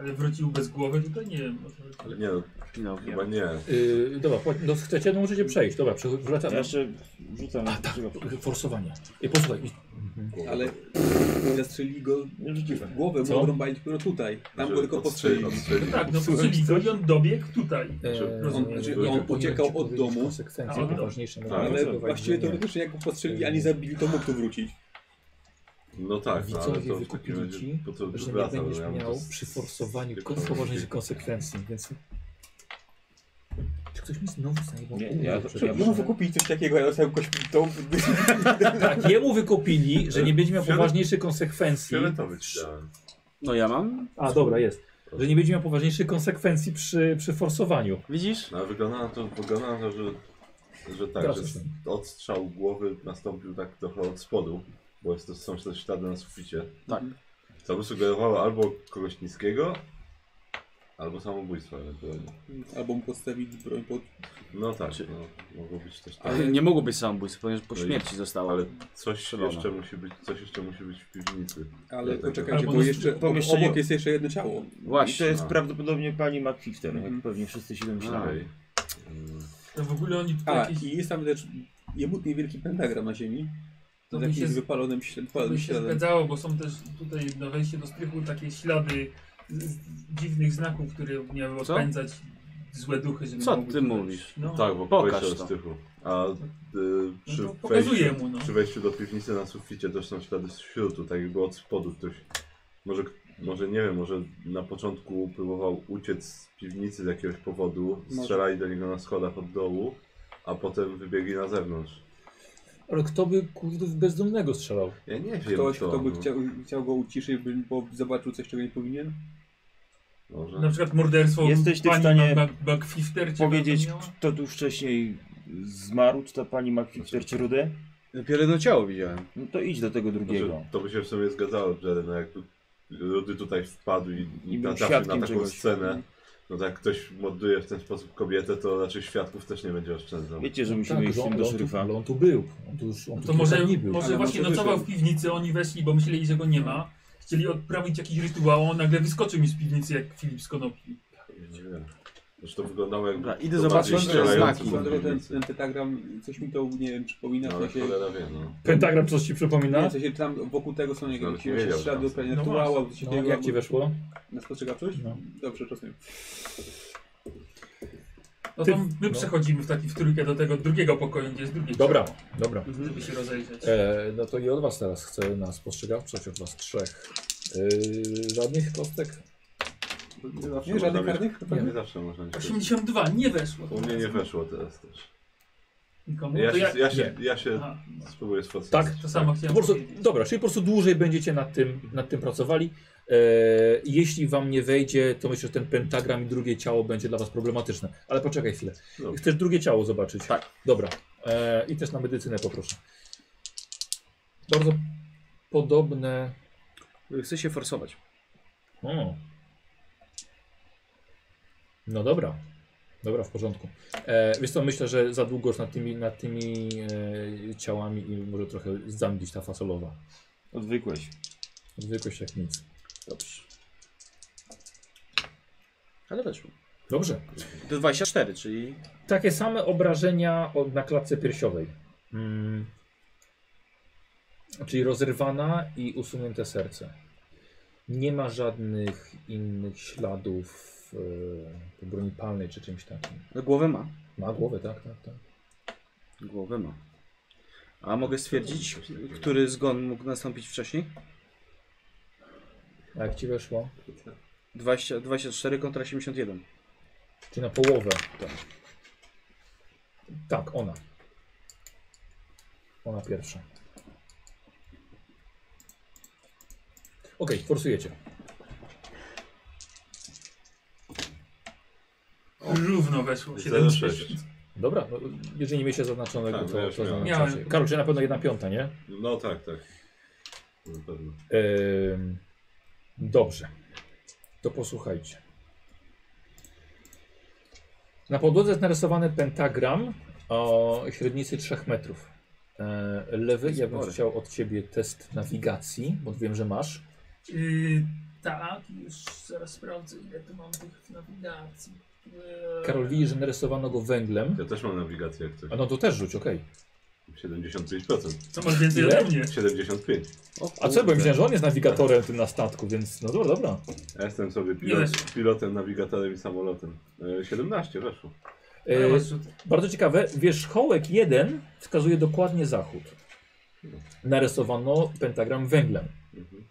Ale wrócił bez głowy, tutaj nie wiem. o co chodzi.
Nie, no,
No,
chyba nie.
Yy, dobra, po- no chcecie, no możecie przejść. Dobra, przecho-
Ja
wracamy.
jeszcze rzucam.
A tak, forsowanie. I posłuchaj, i- e,
Ale zastrzelili go
Nie rzuciłem.
w głowę,
Co?
bo rąbali dopiero tutaj. Tam
Że
go tylko postrzelili.
odstrzelili.
Tak, no postrzelili go i on dobiegł tutaj.
e,
on- znaczy, on
powinienem
uciekał
ci
od
powiedzieć
domu. no
Konsekwencje
Aha.
poważniejsze. mogą
Ale
Ale
prowadzić
właściwie
do-
teoretycznie jak go postrzelili, a nie zabili, to mógł tu wrócić.
No tak, no, ale
Widzowie
to w takim
wykupili
razie
ci,
po co
że nie
wracam,
będziesz
no, ja mam
miał
to z-
przy forsowaniu
tylko
kon- poważniejszych
robić.
konsekwencji, więc... Czy ktoś mi znowu zajebał
Nie,
umowę
ja-
przed
ja-
wyborem?
wykupili coś takiego, ja dostałem kość tą...
Tak, jemu wykupili, że nie będzie miał
Fiolet-
poważniejszych konsekwencji.
Fioletowy ci dałem.
no ja mam.
A, dobra, jest. Że nie będzie miał poważniejszych konsekwencji przy, przy forsowaniu.
Widzisz?
No, a wygląda na to, wygląda na to że, że tak,
Teraz
że
już nie.
odstrzał głowy nastąpił tak trochę od spodu, bo jest to, są też ślady na suficie.
Tak.
Co by sugerowało albo kogoś niskiego, albo samobójstwo ewentualnie.
Albo mu podstawili broń pod...
No tak, no, mogło być też tak.
Ale nie mogło być samobójstwo, ponieważ po
No i-
śmierci zostało.
Ale coś
Strzelone.
jeszcze musi być, coś jeszcze musi być w piwnicy.
Ale
Ja tak-
poczekajcie,
Albo
bo
na-
jeszcze
pomieszczeniu-
obok jest jeszcze jedno ciało.
No I to
Właśnie.
no.
jest prawdopodobnie pani McFifter,
Mhm.
jak pewnie wszyscy się domyślają.
Okej. Mm,
No w ogóle oni tutaj
A,
jakieś...
i jest tam też jebut niewielki pentagram na ziemi.
To
Z
mi się,
jakimś
z-
wypalonym śl-
to
palonym
mi się
śladem.
zgadzało, bo są też tutaj na wejście do strychu takie ślady z, z dziwnych znaków, które miały
Co?
odpędzać złe duchy, żeby
Co
mogły
ty
tutaj-
mówisz?
No,
Tak, bo
Pokaż
pokaż
to.
to. Tychu. A y, przy,
to pokazuję
wejściu,
mu, no.
przy wejściu do piwnicy na suficie też są ślady z śrutu, tak jakby od spodu ktoś. Może, może nie wiem, może na początku próbował uciec z piwnicy z jakiegoś powodu,
Może.
strzelali do niego na schodach od dołu, a potem wybiegli na zewnątrz.
Ale kto by kurde w bezdomnego strzelał?
Ja nie wiem.
Ktoś,
kto,
kto by
no.
chciał, chciał go uciszyć, by- bo zobaczył coś, czego nie powinien.
Może.
Na przykład morderstwo
Jesteś ty w
pani
stanie
Mac- Mac- Macfifter, czy
Powiedzieć,
jak to miała?
kto tu wcześniej zmarł, czy ta pani McFifter, czy Rudy?
Dopiero jedno ciało widziałem.
No to idź do tego drugiego.
Znaczy, to by się w sumie zgadzało, że no jak tu ludy tutaj wpadł i, i,
I był
natrafił na
świadkiem
taką
czegoś.
scenę, no tak jak ktoś morduje w ten sposób kobietę, to raczej świadków też nie będzie oszczędzał.
Wiecie, że musimy
Tak,
iść
że
z
on,
nim do
on, tu,
szeryfa.
ale on tu był. On tu już on tu
To
kilka
może,
dni był.
może
Ale
właśnie
może
nocował w
wyszedł.
piwnicy, oni weszli, bo myśleli, że go nie ma. Chcieli odprawić jakiś rytuał, a on nagle wyskoczył mi z piwnicy jak Filip z Konopi.
Nie wiem. Zresztą to wyglądało jak...
Dobra, idę
to
zobaczyć
bardziej
te
strzelający
znaki.
był
Dlatego ten,
piwnicy.
ten pentagram, coś mi to, nie wiem, przypomina,
No,
w
ale
sensie,
cholera wie, no.
Pentagram coś ci przypomina?
nie, w sensie tam wokół tego są
Nawet
jakieś
nie No, wiedział, że
ślady
tam
uprawienia
są. No
rytuału, albo coś
No,
takiego,
jak ci
albo-
weszło?
Na spostrzegawczość?
No.
Dobrze, czas nie.
No
Ty-
to my
no.
przechodzimy w taki w trójkę do tego drugiego pokoju, gdzie jest drugie
Dobra,
ciało,
dobra.
żeby się rozejrzeć.
E, no to i od was teraz chcę na spostrzegawczość od was trzech. Yy, żadnych kostek?
Nie zawsze
Nie, żadnych
można mieć-
karnych?
Nie, nie zawsze można mieć.
82, nie weszło.
U mnie nie weszło teraz też.
Nikomu?
Ja
No to ja...
się, ja się, ja się
Aha,
spróbuję sforsować.
Tak?
to samo
Po
chciałem
prostu,
powiedzieć.
dobra, czyli po prostu dłużej będziecie nad tym, nad tym pracowali. E, jeśli wam nie wejdzie, to myślę, że ten pentagram i drugie ciało będzie dla was problematyczne. Ale poczekaj chwilę.
Dobrze.
Chcesz drugie ciało zobaczyć? Tak. Dobra. E, I też na medycynę poproszę. Bardzo podobne.
Chcę się forsować.
O. No dobra. Dobra, w porządku. E, wiesz co, myślę, że za długo już nad tymi, nad tymi e, ciałami i może trochę zamglić ta fasolowa.
Odwykłeś.
Zwykłość jak nic.
Dobrze. Ale weszło.
Dobrze.
To 24, czyli...
Takie same obrażenia od, na klatce piersiowej. Mm. Czyli rozerwana i usunięte serce. Nie ma żadnych innych śladów e, po broni palnej czy czymś takim.
No głowę ma.
Ma głowę, tak, tak, tak.
Głowę ma. A mogę stwierdzić, który zgon mógł nastąpić wcześniej?
A jak ci weszło?
20, 24 kontra 81.
Czy na połowę? Tak. Tak, ona. Ona pierwsza. Okej, forsujecie.
Równo weszło,
0,6.
76.
Dobra, no, jeżeli nie mieliście zaznaczonego,
Tak,
to,
no
to
ja już miałem.
zaznaczacie.
Miałem.
Karol, czy na pewno jedna piąta, nie?
No tak, tak. Na pewno.
Ehm, dobrze. To posłuchajcie. Na podłodze jest narysowany pentagram o średnicy 3 metrów. E, lewy, ja bym
Spory.
chciał od ciebie test nawigacji, bo wiem, że masz.
Yy, Tak, już zaraz sprawdzę ile tu mam tych nawigacji. Eee,
Karol widzi, że narysowano go węglem.
Ja też mam nawigację jak coś.
A no to też rzuć, okej.
75%.
Co masz więcej
Ile?
ode mnie?
75.
A co, bo ja myślałem, że on jest nawigatorem tym na statku, więc no dobra, dobra.
Ja jestem sobie
Ile?
pilot, pilotem, nawigatorem i samolotem. E, 17 weszło.
A ja
E,
mam rzut.
Bardzo ciekawe, wierzchołek 1 wskazuje dokładnie zachód. Narysowano pentagram węglem.
Mhm.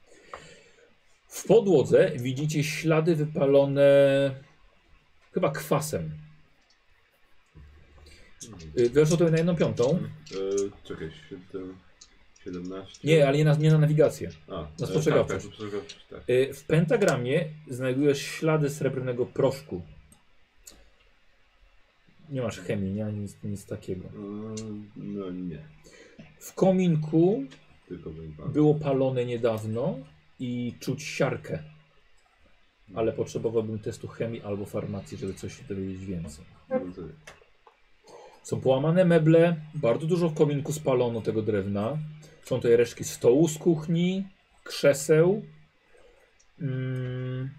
W podłodze widzicie ślady wypalone chyba kwasem. Y, Weszło to na jedną piątą.
E, czekaj, 7, 17.
Nie, ale nie na, nie na nawigację.
A, e,
na
tak,
spostrzegawczość.
tak, spostrzegawczość, tak.
Y, W pentagramie znajdujesz ślady srebrnego proszku. Nie masz chemii, nie ani nic, nic takiego.
E, No nie,
W kominku
tylko węgla.
Było palone niedawno i czuć siarkę. Ale potrzebowałbym testu chemii albo farmacji, żeby coś się dowiedzieć więcej.
No,
Są połamane meble, bardzo dużo w kominku spalono tego drewna. Są tutaj resztki stołu z kuchni, krzeseł. Mm.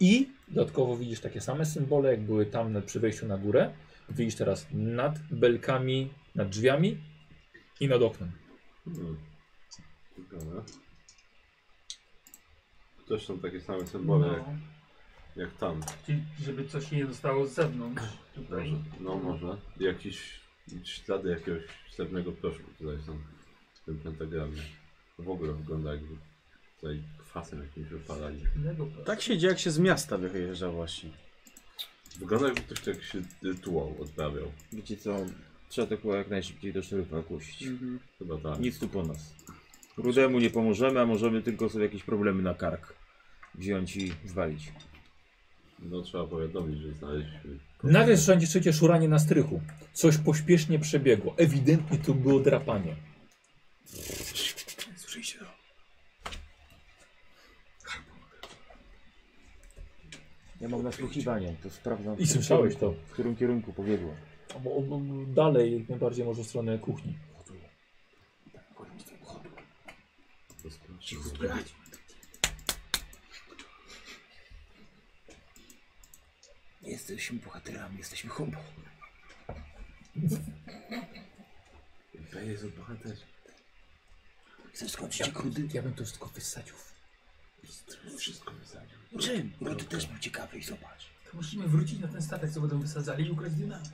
I dodatkowo widzisz takie same symbole, jak były tam na- przy wejściu na górę. Widzisz teraz nad belkami, nad drzwiami i nad oknem.
Hmm. Ciekawe. Też są takie same symbole jak,
No,
jak tam.
czyli żeby coś nie zostało z zewnątrz. Tutaj.
Dobrze, no może. Jakieś ślady jakiegoś ślepnego proszku tutaj są w tym pentagramie. W ogóle wygląda jakby tutaj kwasem jakimś wypalali.
Innego planu.
Tak się dzieje, jak się z miasta wyjeżdża właśnie.
Wygląda jakby ktoś tak się rytuał odprawiał.
Wiecie co? Trzeba to było jak najszybciej do szeryfa kusić.
Mhm.
Chyba tak.
Nic tu po nas. Rudemu nie pomożemy, a możemy tylko sobie jakieś problemy na kark wziąć i zwalić.
No trzeba powiadomić, że znaleźliśmy.
Nagle słyszycie szuranie na strychu. Coś pośpiesznie przebiegło. Ewidentnie tu było drapanie.
Słyszeliście to?
Ja mam nasłuchiwanie, to sprawdzam.
I słyszałeś to.
W którym kierunku pobiegło.
Bo, bo, dalej, jak najbardziej może w stronę kuchni.
To sprawdźmy.
Nie jesteśmy bohaterami, jesteśmy humbą.
Jezu, bohater.
Chcesz skończyć jak rudy?
Ja bym to wszystko wysadził.
Wszystko wysadził.
Czym? Rudy też był ciekawy i zobacz.
To musimy wrócić na ten statek, co będą wysadzali i ukraść dynamit.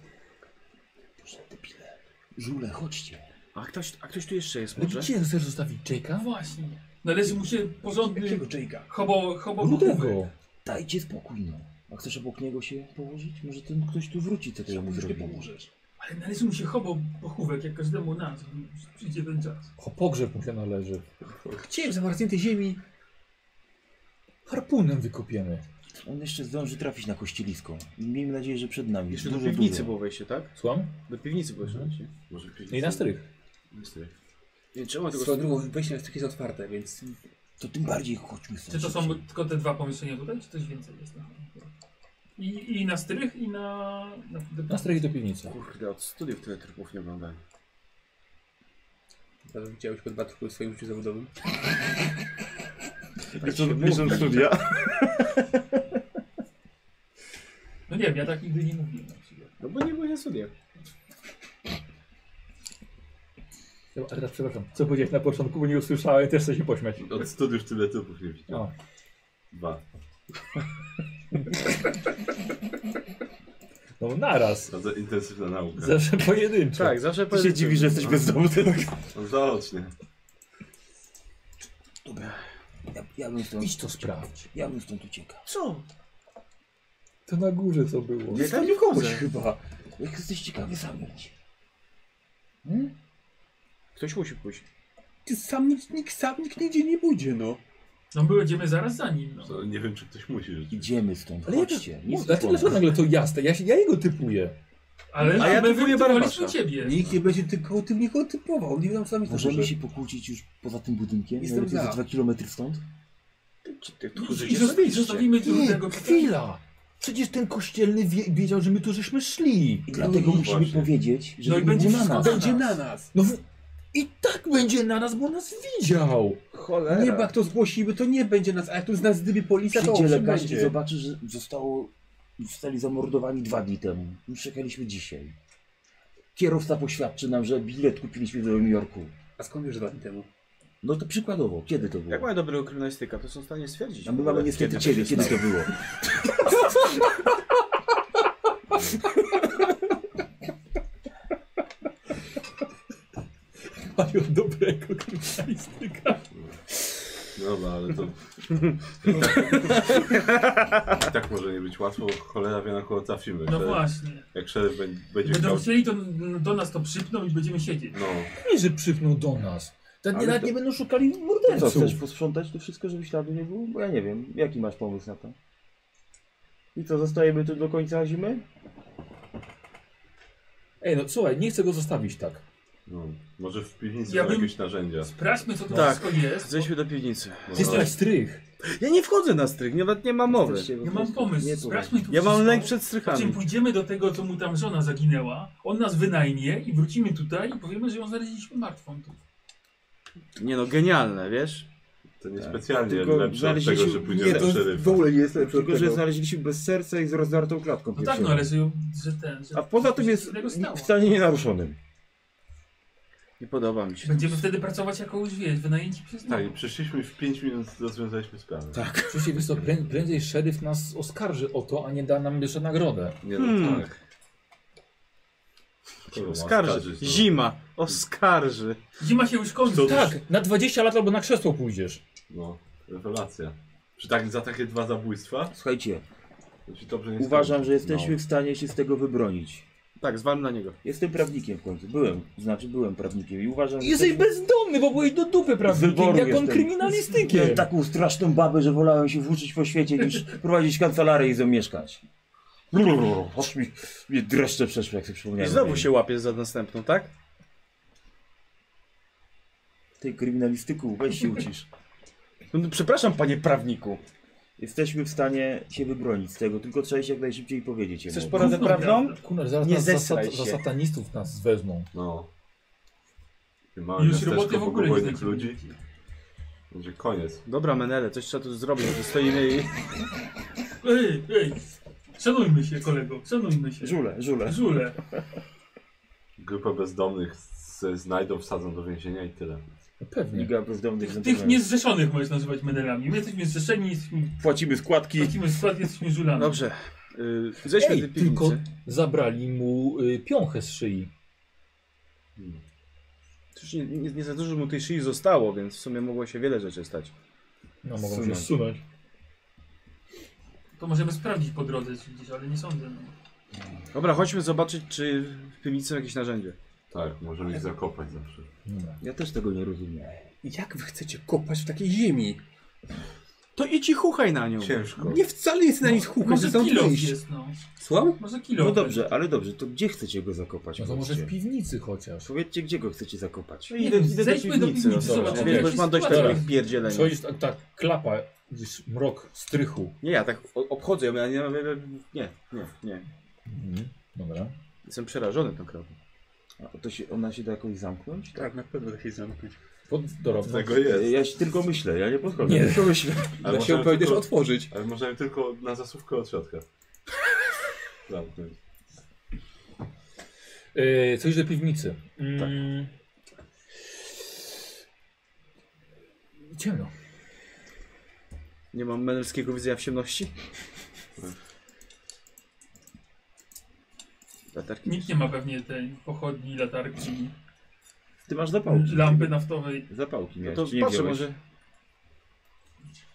Boże, debile. Żule, chodźcie.
A ktoś, a ktoś tu jeszcze jest
No
może?
gdzie chcesz zostawić
No
Jake'a?
właśnie. Należy mu się porządny
Jakiego Jake'a?
hobo,
No
hobo pochówek.
Rudego.
Dajcie spokój, no. A chcesz obok niego się położyć? Może ten ktoś tu wróci, co ty mu zrobili.
Ale należy mu się hobo pochówek, jak każdemu nas. Przyjdzie ten czas.
O pogrzeb mu się należy. Chciałem zamarzniętej ziemi. Harpunem wykopiemy.
On jeszcze zdąży trafić na kościelisko. Miejmy nadzieję, że przed nami.
Jeszcze do
dużo,
piwnicy
dużo. No.
było wejście, tak?
Słucham?
Do piwnicy było jeszcze wejście.
Może piwnicy?
No I na strych.
Nie, czemu tego...
Swoją drugą wejście na styk jest otwarte, więc
To tym bardziej chodźmy
Czy
stąd
to są
szybciej.
tylko te dwa pomieszczenia tutaj, czy coś więcej jest? I, i na strych, i na... Na,
Na strych do piwnicy.
Kurde, od studiów tyle trupów nie oglądałem.
nawet widziałeś chyba dwa trupy w swoim życiu zawodowym.
Myślą studia.
No nie wiem, ja tak nigdy nie mówiłem na przykład.
No bo nie byłeś na studiach.
No, A teraz przepraszam, co powiedziałeś na początku, bo nie usłyszałem, też chcę się pośmiać.
Od studiów tyle typów nie widziałem.
O.
Dwa.
No naraz.
Bardzo intensywna nauka.
Zawsze pojedynczo.
Tak, zawsze
Ty się dziwi, że jesteś bezdomny.
No zaocznie.
Ja, ja bym stąd...
Idź to sprawdź.
Ja bym stąd uciekał.
Co?
To na górze co było.
Nie tam nie wchodzę.
Chyba. Jak jesteś ciekawy, sam idź.
Ktoś musi pójść.
Ty sam nikt, nikt, sam nikt nigdzie nie pójdzie, no.
No my będziemy zaraz za nim, no.
Co, Nie wiem, czy ktoś musi rzeczywiście.
Idziemy stąd,
Ale ja to,
chodźcie.
no,
Nic
dlaczego
tu po
dlaczego
nas.
nagle to jasne? Ja, się, ja jego typuję.
Ale
A ja
my
typuję
wytypowaliśmy
Barbarza.
ciebie.
Nikt nie będzie tylko tym nikogo typował, nie wiem co tam jest. na
Możemy
górze.
się pokłócić już poza tym budynkiem?
Jestem
Jestem za
za.
2 km stąd?
I, i zostawi, zostawimy tego.
chwila! Przecież ten kościelny wie, wiedział, że my tu żeśmy szli.
I dlatego musimy
właśnie.
powiedzieć, że
No
to
i
nie
będzie
na nas.
wszystko-
Będzie na nas.
No w... i tak będzie na nas, bo nas widział.
cholera.
Nie, bo jak to zgłosimy, to nie będzie nas, a jak tu z nas gdyby policja, to
Przyjdzie
owszem
lekarz i
będzie.
zobaczy, że zostało, zostali zamordowani dwa dni temu. My Czekaliśmy dzisiaj. Kierowca poświadczy nam, że bilet kupiliśmy w Nowym Jorku.
A skąd wiesz dwa dni temu?
No to przykładowo, kiedy to było?
Jak mają dobrego kryminalistyka, to są w stanie stwierdzić.
A my
w ogóle,
mamy niestety
to
ciebie,
się
kiedy
stało.
to było?
Mają dobrego kryminalistyka.
Dobra, No, ale
[LAUGHS]
to... I tak może nie być łatwo, bo cholera wie na kogo trafimy.
No
Szeryf-
właśnie.
Jak szeryf bę- będzie
Będą
chciał...
chcieli, to n- do nas to przypną i będziemy siedzieć.
No,
Nie, że przypną do nas. To
Ale
nawet
to-
nie będą szukali
No Co,
morderców.
chcesz posprzątać to wszystko, żeby śladu nie było? Bo ja nie wiem, jaki masz pomysł na to? I co, zostajemy tu do końca zimy?
Ej, no słuchaj, nie chcę go zostawić tak.
no. Może w piwnicy
Ja
są
bym-
jakieś narzędzia.
Sprawdźmy, co to
Tak.
wszystko jest.
Zejdźmy do piwnicy.
Może-
Zyskać strych.
Ja nie wchodzę na strych, nawet nie mam mowy.
Jesteście po
Ja mam
prostu
pomysł.
niepoważni.
Sprawdźmy tu
Ja mam
wszystko.
lęk przed
Po czym
strychami.
pójdziemy do tego, co mu tam żona zaginęła, on nas wynajmie i wrócimy tutaj i powiemy, że ją znaleźliśmy martwą tu.
Nie no, genialne, wiesz?
To nie specjalnie
Tylko
lepsze od
znaleźliśmy-
tego, że pójdziemy
nie,
do szeryfa.
ogóle nie jest lepsze
Tylko, że znaleźliśmy bez serca i z rozdartą klatką
No tak, no
piersiową.
ale że, ją- że ten... Że
A poza tym
że
jest
tego stało.
w stanie nienaruszonym. Nie podoba mi się.
Będziemy wtedy pracować jako już wiesz, wynajęci przez
Tak, i przyszliśmy w 5 minut, rozwiązaliśmy sprawę. Tak.
Przecież wiesz co, prę- prędzej szeryf nas oskarży o to, a nie da nam jeszcze nagrodę.
Nie, no
Hmm.
tak. Kurwa,
Oskarży.
oskarżyć, no.
Zima. Oskarży.
Zima się już kończy.
Co-
Tak, na 20 lat albo na krzesło pójdziesz.
No, rewelacja. Czy tak za takie dwa zabójstwa?
Słuchajcie,
To ci dobrze nie
uważam,
skończy. No.
że jesteśmy
No.
w stanie się z tego wybronić.
Tak, zwal na niego.
Jestem prawnikiem w końcu. Byłem, znaczy byłem prawnikiem i uważam, że...
Jesteś bezdomny, bo byłeś do dupy prawnikiem,
wyboru
jak on
jestem.
kryminalistykiem.
Miałem taką straszną babę, że wolałem się włóczyć po świecie niż prowadzić kancelarię i ze mną mieszkać. Brrr, Aż mi, mi dreszcze przeszły, jak sobie
I
przypomniałem.
znowu się łapiesz za następną, tak?
Tej kryminalistyku, weź się ucisz.
No, no, przepraszam, panie prawniku.
Jesteśmy w stanie się wybronić z tego, tylko trzeba się jak najszybciej powiedzieć jemu.
Chcesz poradę
Gówno
prawną?
miałem.
Kurna, zaraz
Nie
nas za,
zesraj
za
się.
satanistów nas wezmą.
No. Takie Małe
Już roboty w ogóle nie
wojnych
znajdziemy.
ludzi. Będzie koniec.
Dobra, Menele, coś trzeba tu zrobić, że stoimy i...
Ej, ej, szanujmy się kolego, szanujmy się.
Żule, żule.
Żule.
Grupa bezdomnych se znajdą, wsadzą do więzienia i tyle.
No Pewnie.
Liga bezdomnych
Tych, tych niezrzeszonych możesz nazywać menelami. My jesteśmy zrzeszeni, jesteśmy,
Płacimy składki.
płacimy skład, jesteśmy żulami.
Dobrze. Yy, zejdźmy
Ej,
do piwnicy.
tylko zabrali mu y, piąchę z szyi.
Przecież nie, nie, nie za dużo mu tej szyi zostało, więc w sumie mogło się wiele rzeczy stać.
No mogą się
Zsunąć.
zsunąć.
To możemy sprawdzić po drodze czy gdzieś, ale nie sądzę. No.
Dobra, chodźmy zobaczyć, czy w piwnicy są jakieś narzędzie.
Tak, możemy ich zakopać zawsze.
Dobra.
Ja też tego nie rozumiem.
Jak wy chcecie kopać w takiej ziemi?
To idź i chuchaj na nią.
Ciężko.
Nie wcale jest na nic hukać,
Może
że tam
kilof
wyjść.
jest, no.
Słucham?
Może kilof.
No dobrze, ale dobrze, to gdzie chcecie go zakopać?
No to może
powiedzcie?
w piwnicy chociaż.
Powiedzcie, gdzie go chcecie zakopać?
Nie wiem, zejdźmy do piwnicy,
no, dobra.
zobaczymy,
Wiesz,
jak
bo
się
już mam dość
składa.
takich pierdzieleń.
Przechodzisz tak, tak klapa, gdzieś mrok strychu.
Nie, ja tak o- obchodzę ją, ja nie, nie, nie, nie.
Mhm. Dobra.
Jestem przerażony tą krową.
A to się, ona się da jakoś zamknąć?
Tak, na pewno da się zamknąć.
Pod dorobną.
Tego jest.
Ja się tylko myślę, ja nie podchodzę.
Nie. [LAUGHS]
Tylko myślę.
Ale
Da się
możemy,
pewnie też
tylko,
otworzyć.
ale możemy tylko na zasówkę od
[LAUGHS]
środka. Tak, Zamknąć.
Yy, coś do piwnicy. Mm. Ciemno.
Nie mam menelskiego widzenia w ciemności. Latarki.
Nikt nie ma pewnie tej pochodni, latarki,
Ty masz zapałki.
lampy naftowej.
Zapałki
No
miałeś,
to
czy nie
patrzę
wziąłeś?
może.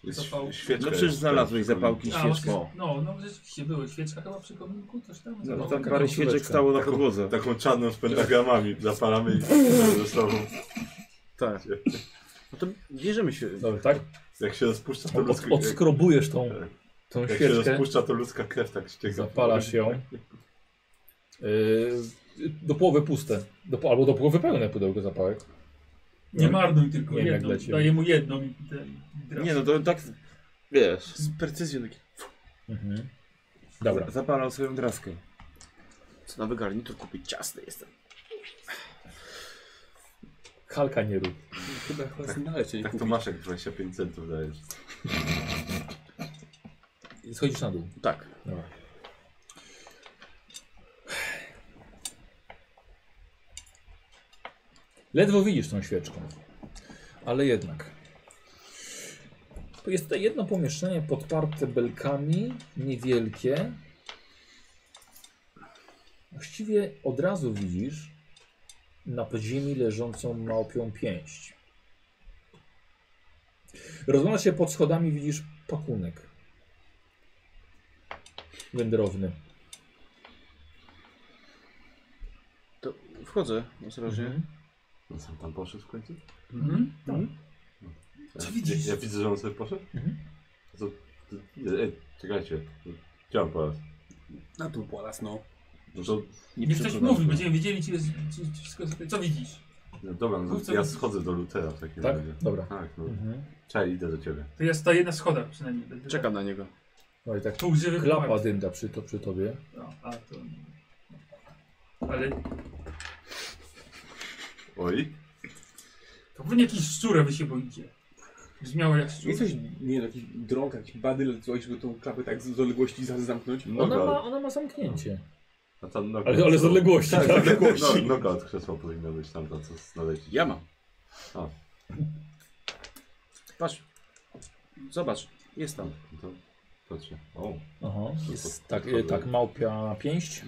Jest
Zapał.
świeczka.
Znaczy,
No przecież
jest.
znalazłeś zapałki,
A,
świeczkę.
No, no rzeczywiście były. Świeczka chyba przy kominku, coś tam.
No,
zapałka.
tam
tak.
parę świeczek
kołeczka.
stało na
Taką-
podłodze.
Taką czarną z pentagramami zapalamy
[LAUGHS]
i ze sobą.
Tak. No to bierzemy się.
Dobra, tak?
Jak się rozpuszcza to Tak.
Od,
ludzka jak,
odskrobujesz tą, tą
jak się
świeczkę.
rozpuszcza to ludzka krew tak ścieka.
Zapalasz ją. Yy, do połowy puste. Do, po- albo do połowy pełne pudełko zapałek.
Nie marnuj tylko
Nie wiem, jak
jedną.
leci.
Daję mu jedną i ten.
Nie no, to tak, wiesz,
Z precyzją taki.
Mhm. Dobra.
zapalam swoją draskę.
Co na wygarnitur kupić ciasny jestem.
Halka nie rób.
Chyba chyba sygnale cię nie
Tak
kupi.
to Maszek 25 centów dajesz.
Schodzisz na dół.
Tak.
Dobra. Ledwo widzisz tą świeczką, ale jednak. Jest tutaj jedno pomieszczenie podparte belkami, niewielkie. Właściwie od razu widzisz na podziemi leżącą małpią pięść. Rozglądasz się pod schodami, widzisz pakunek wędrowny.
To wchodzę ostrożnie.
Mhm.
No co, tam poszedł w końcu?
Mhm. Co
Ja-
widzisz?
Ja widzę, że on sobie poszedł?
Mhm.
To, to, ej, czekajcie. Chciałem po raz.
Na tu polas, no.
No to,
Nie, ktoś
przepraszam.
mówi, będziemy wiedzieli, czy jest, czy, czy wszystko jest okej. Co widzisz?
no dobra, no, to ja schodzę do Lutera w takim
Tak?
razie.
Dobra.
Tak, no.
Mhm.
Czekaj, idę do ciebie.
To ja stoję na schodach przynajmniej.
Czekam na niego.
No i tak
Pół żywych
klapa
chłopaków.
dymda przy, to, przy tobie.
No, a to... Ale
Oj,
to pewnie jakiś szczura wy się boicie. Brzmiało jak szczur.
Jest coś, nie wiem, jakiś drąg, jakiś badyl, coś, żeby tą klapę tak z z odległości za- zamknąć?
Ona
Dobra.
ma, ona ma zamknięcie.
a tam noga.
No Ale, ale z odległości,
Tak,
tak?
z odległości. No, noga od krzesła powinna być tam, ta co znaleźć.
Ja mam.
A.
Patrz. Zobacz. Jest tam.
No to patrzcie. O,
Aha. Jest, tak, y, tak, małpia pięść.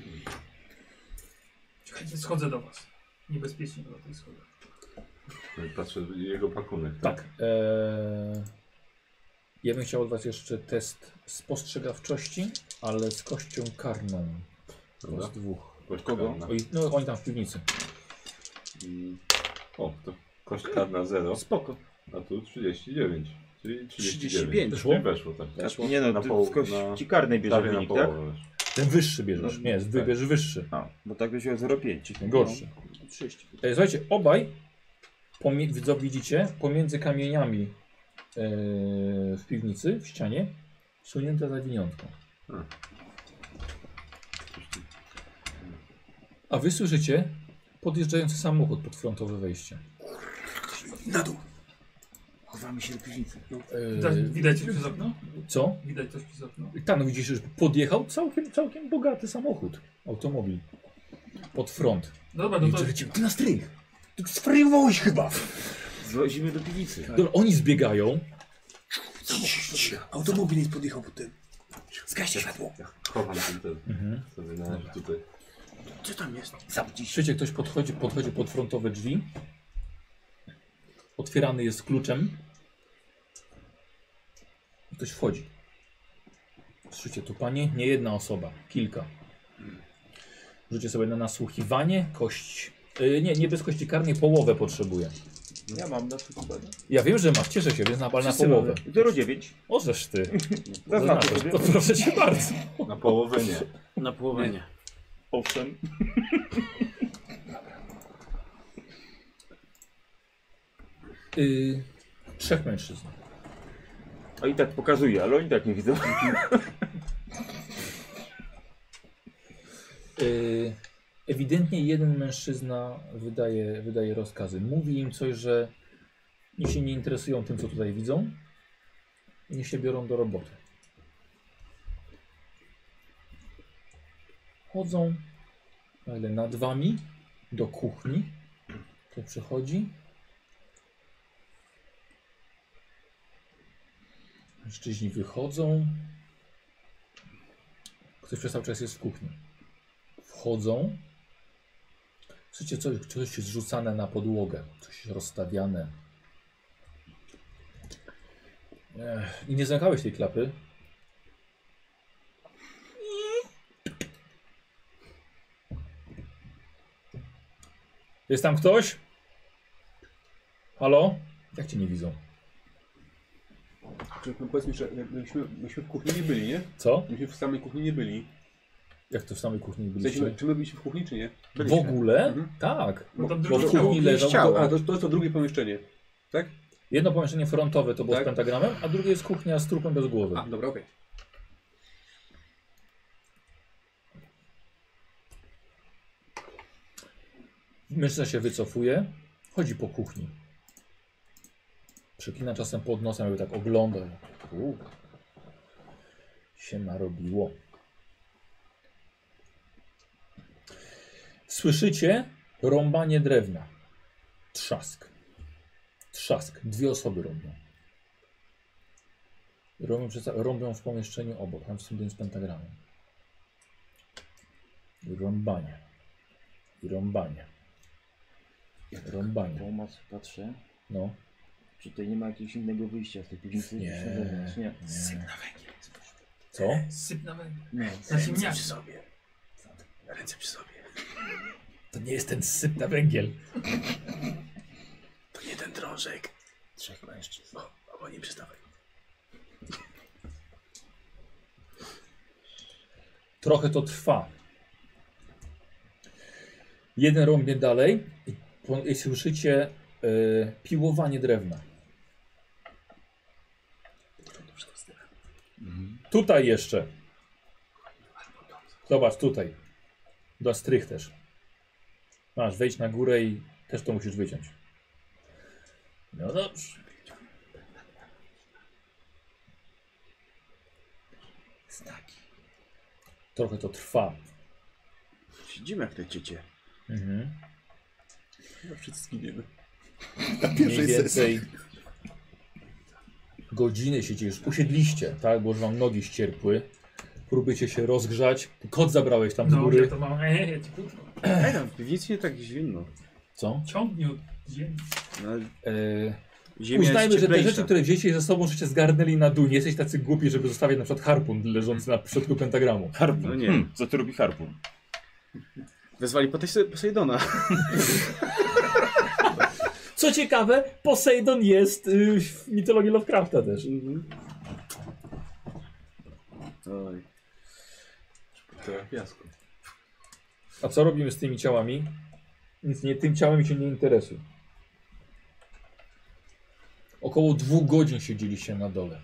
Czekajcie, schodzę do was. Niebezpiecznie do tych schodów.
no i patrzę jego pakunek.
Tak. Eee, ja bym chciał od was jeszcze test spostrzegawczości, ale z kością karną.
Dobra. Tak.
Z dwóch.
Kość karna.
Oj, no oni tam w piwnicy.
Mm. O, to kość karna 0,
no, Spoko.
a tu 39. Czyli 39.
35.
Weszło?
Nie weszło tak.
Weszło.
Nie no,
Na
ty
poł-
w kości
na-
karnej bierze
Prawie na
wynik, tak?
połowę weszło.
Ten wyższy bierzesz.
No,
Nie, wybierz wyższy.
A, bo tak wziął 0,5.
Ten gorszy.
30.
E, Słuchajcie, obaj pomie- widzo- widzicie pomiędzy kamieniami e, w piwnicy, w ścianie, sunięte zawiniątko. A wy słyszycie podjeżdżający samochód pod frontowe wejście.
Na dół!
Widać, widać coś przez okno?
E, co?
Widać coś przez okno?
Tak, no widzisz, że podjechał całkiem, całkiem bogaty samochód, automobil, pod front.
No dobra,
I
no to...
czekajcie, ty na strych! Ty stryjowałeś chyba!
Zwozimy do piwnicy.
Dobra, oni zbiegają.
Automobil nie podjechał pod tym. Zgaście światło.
Chowam ten, ten sobie na razie tutaj.
Co tam jest?
Słyszycie, ktoś podchodzi, podchodzi pod frontowe drzwi. Otwierany jest kluczem. I Ktoś wchodzi. Słyszycie tu, panie? Nie jedna osoba, kilka. Rzućcie sobie na nasłuchiwanie, kość. Yy, nie, nie bez kości karnej, połowę potrzebuje.
Ja mam na przykład. tak?
Ja wiem, że masz, cieszę się, więc na, ale na połowę.
0,9.
Ożesz
[LAUGHS]
ty.
Zaznaczę sobie.
to proszę cię bardzo.
Na połowę nie.
Na połowę nie.
Owszem.
Yy, trzech mężczyzn.
A i tak pokazuje, ale oni tak nie widzą.
Y, Ewidentnie jeden mężczyzna wydaje, wydaje rozkazy. Mówi im coś, że nie się nie interesują tym, co tutaj widzą. i Nie się biorą do roboty. Chodzą ale nad wami do kuchni. Tu przychodzi. Mężczyźni wychodzą. Ktoś przez cały czas jest w kuchni wchodzą. Słyszycie, coś, coś jest rzucane na podłogę, coś jest rozstawiane. Ech, I nie zamykałeś tej klapy. Jest tam ktoś? Halo? Jak cię nie widzą?
No powiedzmy, że jak myśmy, myśmy w kuchni nie byli, nie?
Co?
Myśmy w samej kuchni nie byli.
Jak to w samej kuchni
W sensie, no,
byliście?
czy my byliśmy w kuchni, czy nie?
W ogóle?
Mhm.
Tak.
Bo tam
Bo
drugi
w
ciało.
kuchni leżą.
To, a to, to jest to drugie pomieszczenie.
Jedno pomieszczenie frontowe to było
Tak.
z pentagramem, a drugie jest kuchnia z trupem bez głowy.
A, dobra, okej.
Mężczyzna się wycofuje, chodzi po kuchni. Przeklina czasem pod nosem, jakby tak oglądał. Uuu. Się narobiło. Słyszycie rąbanie drewna. Trzask. Trzask. Dwie osoby robią. Robią, przez, robią w pomieszczeniu obok, tam w tym z pentagramem. I Rąbanie. I rąbanie. Rąbanie.
Tomasz, patrzę.
No.
Czy tutaj nie ma jakiegoś innego wyjścia z tej piwnicy?
Nie.
Gdzieś na zewnątrz, nie.
Syp na węgiel.
Co?
Syp na węgiel. Znaczy
No.
Na
Znaczy,
ziemniaki.
Ręce przy sobie. To nie jest ten syp na węgiel.
To nie ten drążek. Trzech mężczyzn. O, albo nie przystawaj.
Trochę to trwa. Jeden rąbnie dalej i, po, i słyszycie y, piłowanie drewna. Tutaj jeszcze. Zobacz, tutaj. Do strych też. Masz, wejdź na górę i też to musisz wyciąć. No dobrze. Znaki. Trochę to trwa.
Siedzimy jak te ciecie.
Mhm.
Chyba wszyscy
[LAUGHS]
zginiemy.
mniej więcej godziny siedzicie, już usiedliście, tak? Bo już wam nogi ścierpły. Próbujecie się rozgrzać. Kot zabrałeś tam z
No, ja
góry.
to mam. Eee, ci kutko.
Ej, tam w piwnicy nie tak zimno.
Co?
Ciągnij od ziemi.
No,
Yy,
ziemia
uznajmy,
jest
że te
cieplejsza.
rzeczy, które wzięliście ze sobą, żeście zgarnęli na dół. Nie jesteś tacy głupi, żeby zostawić na przykład harpun leżący na środku pentagramu.
Harpun.
No nie.
Hmm, co tu robi harpun?
Wezwali Potej- Posejdona.
Co ciekawe, Poseidon jest yy, w mitologii Lovecrafta też.
Oj.
To jak piasku.
A co robimy z tymi ciałami? Nic nie, tym ciałem się nie interesuje. Około dwóch godzin siedzieliście na dole.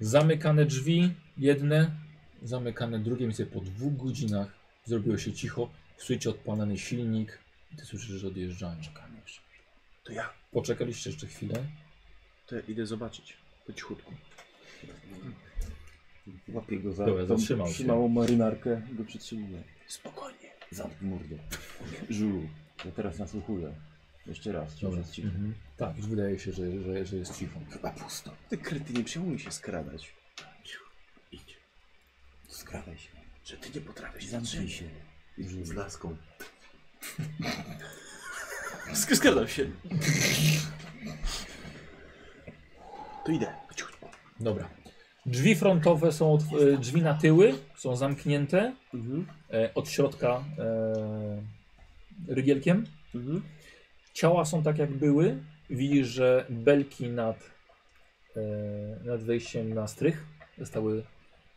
Zamykane drzwi, jedne, zamykane drugie, więc po dwóch godzinach zrobiło się cicho. Słyszycie odpalany silnik. Ty słyszysz, że odjeżdżają.
To ja.
Poczekaliście jeszcze chwilę.
To ja idę zobaczyć. Po cichutku.
No. Łapię go za
Dobra,
tą
zatrzymał się.
trzymałą marynarkę i go przytrzymuję. Spokojnie. Zamknij mordę. Żulu, ja teraz nasłuchuję. Jeszcze raz, czy
Dobra.
jest cicho.
Mhm. Tak, już wydaje się, że, że, że jest cicho.
Chyba pusto. Ty kryty, nie przejmuj się skradać.
Idź.
Skradaj się.
Że ty nie potrafisz
Zamknij się.
Idź z laską.
Sk- Skradam się. To idę. Po cichutku.
Dobra. Drzwi frontowe są, otw- e, drzwi na tyły są zamknięte.
Mhm.
e, od środka e, rygielkiem.
Mhm.
Ciała są tak jak były. Widzisz, że belki nad, e, nad wejściem na strych zostały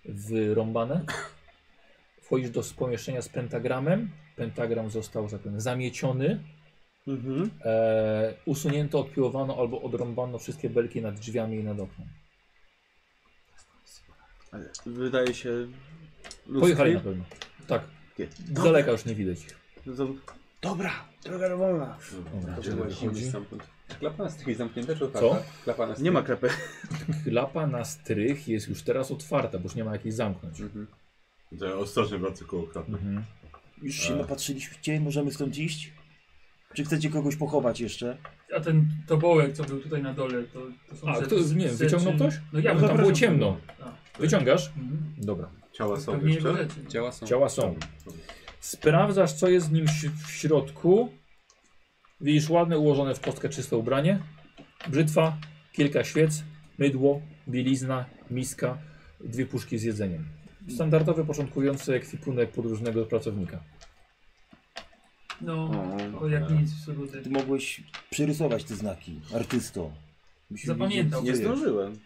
wyrąbane. Wchodzisz do s- pomieszczenia z pentagramem. Pentagram został, że tak powiem, zamieciony.
Mhm.
E, usunięto, odpiłowano albo odrąbano wszystkie belki nad drzwiami i nad oknem.
Ale wydaje się... ludzkie.
Pojechali na pewno. Tak.
Nie.
Z daleka już nie widać ich.
No to- Dobra, droga wolna.
Dobra,
Dobrze, właśnie
chodzi.
stamtąd. Klapa na strychu zamknięte, czy
Co?
otwarta? Klapa na strychu.
Nie ma krepy.
Klapa na strych jest już teraz otwarta, bo już nie ma jak jej zamknąć.
Mhm.
To ja ostrożnie wracam koło klapy.
Mhm.
Już się napatrzyliście, możemy stąd iść? Czy chcecie kogoś pochować jeszcze?
A ten tobołek, co był tutaj na dole, to, to są
A,
rzeczy-
kto, nie wiem, wyciągnął
rzeczy-
ktoś?
No ja
No
bym
tam było ciemno.
A,
Wyciągasz?
mhm.
Dobra.
Ciała są
Pewnie jego
jeszcze?
rzeczy.
Ciała
Tak,
są.
Ciała są. Sprawdzasz, co jest z nim si- w środku. Widzisz ładne, ułożone w kostkę czyste ubranie. Brzytwa, kilka świec, mydło, bielizna, miska, dwie puszki z jedzeniem. Standardowy, początkujący ekwipunek podróżnego pracownika.
No, to jak nic w sobie.
Ty mogłeś przerysować te znaki, artysto. Byś
Zapamiętał.
Nie
wiedzieć, co jest.
zdążyłem.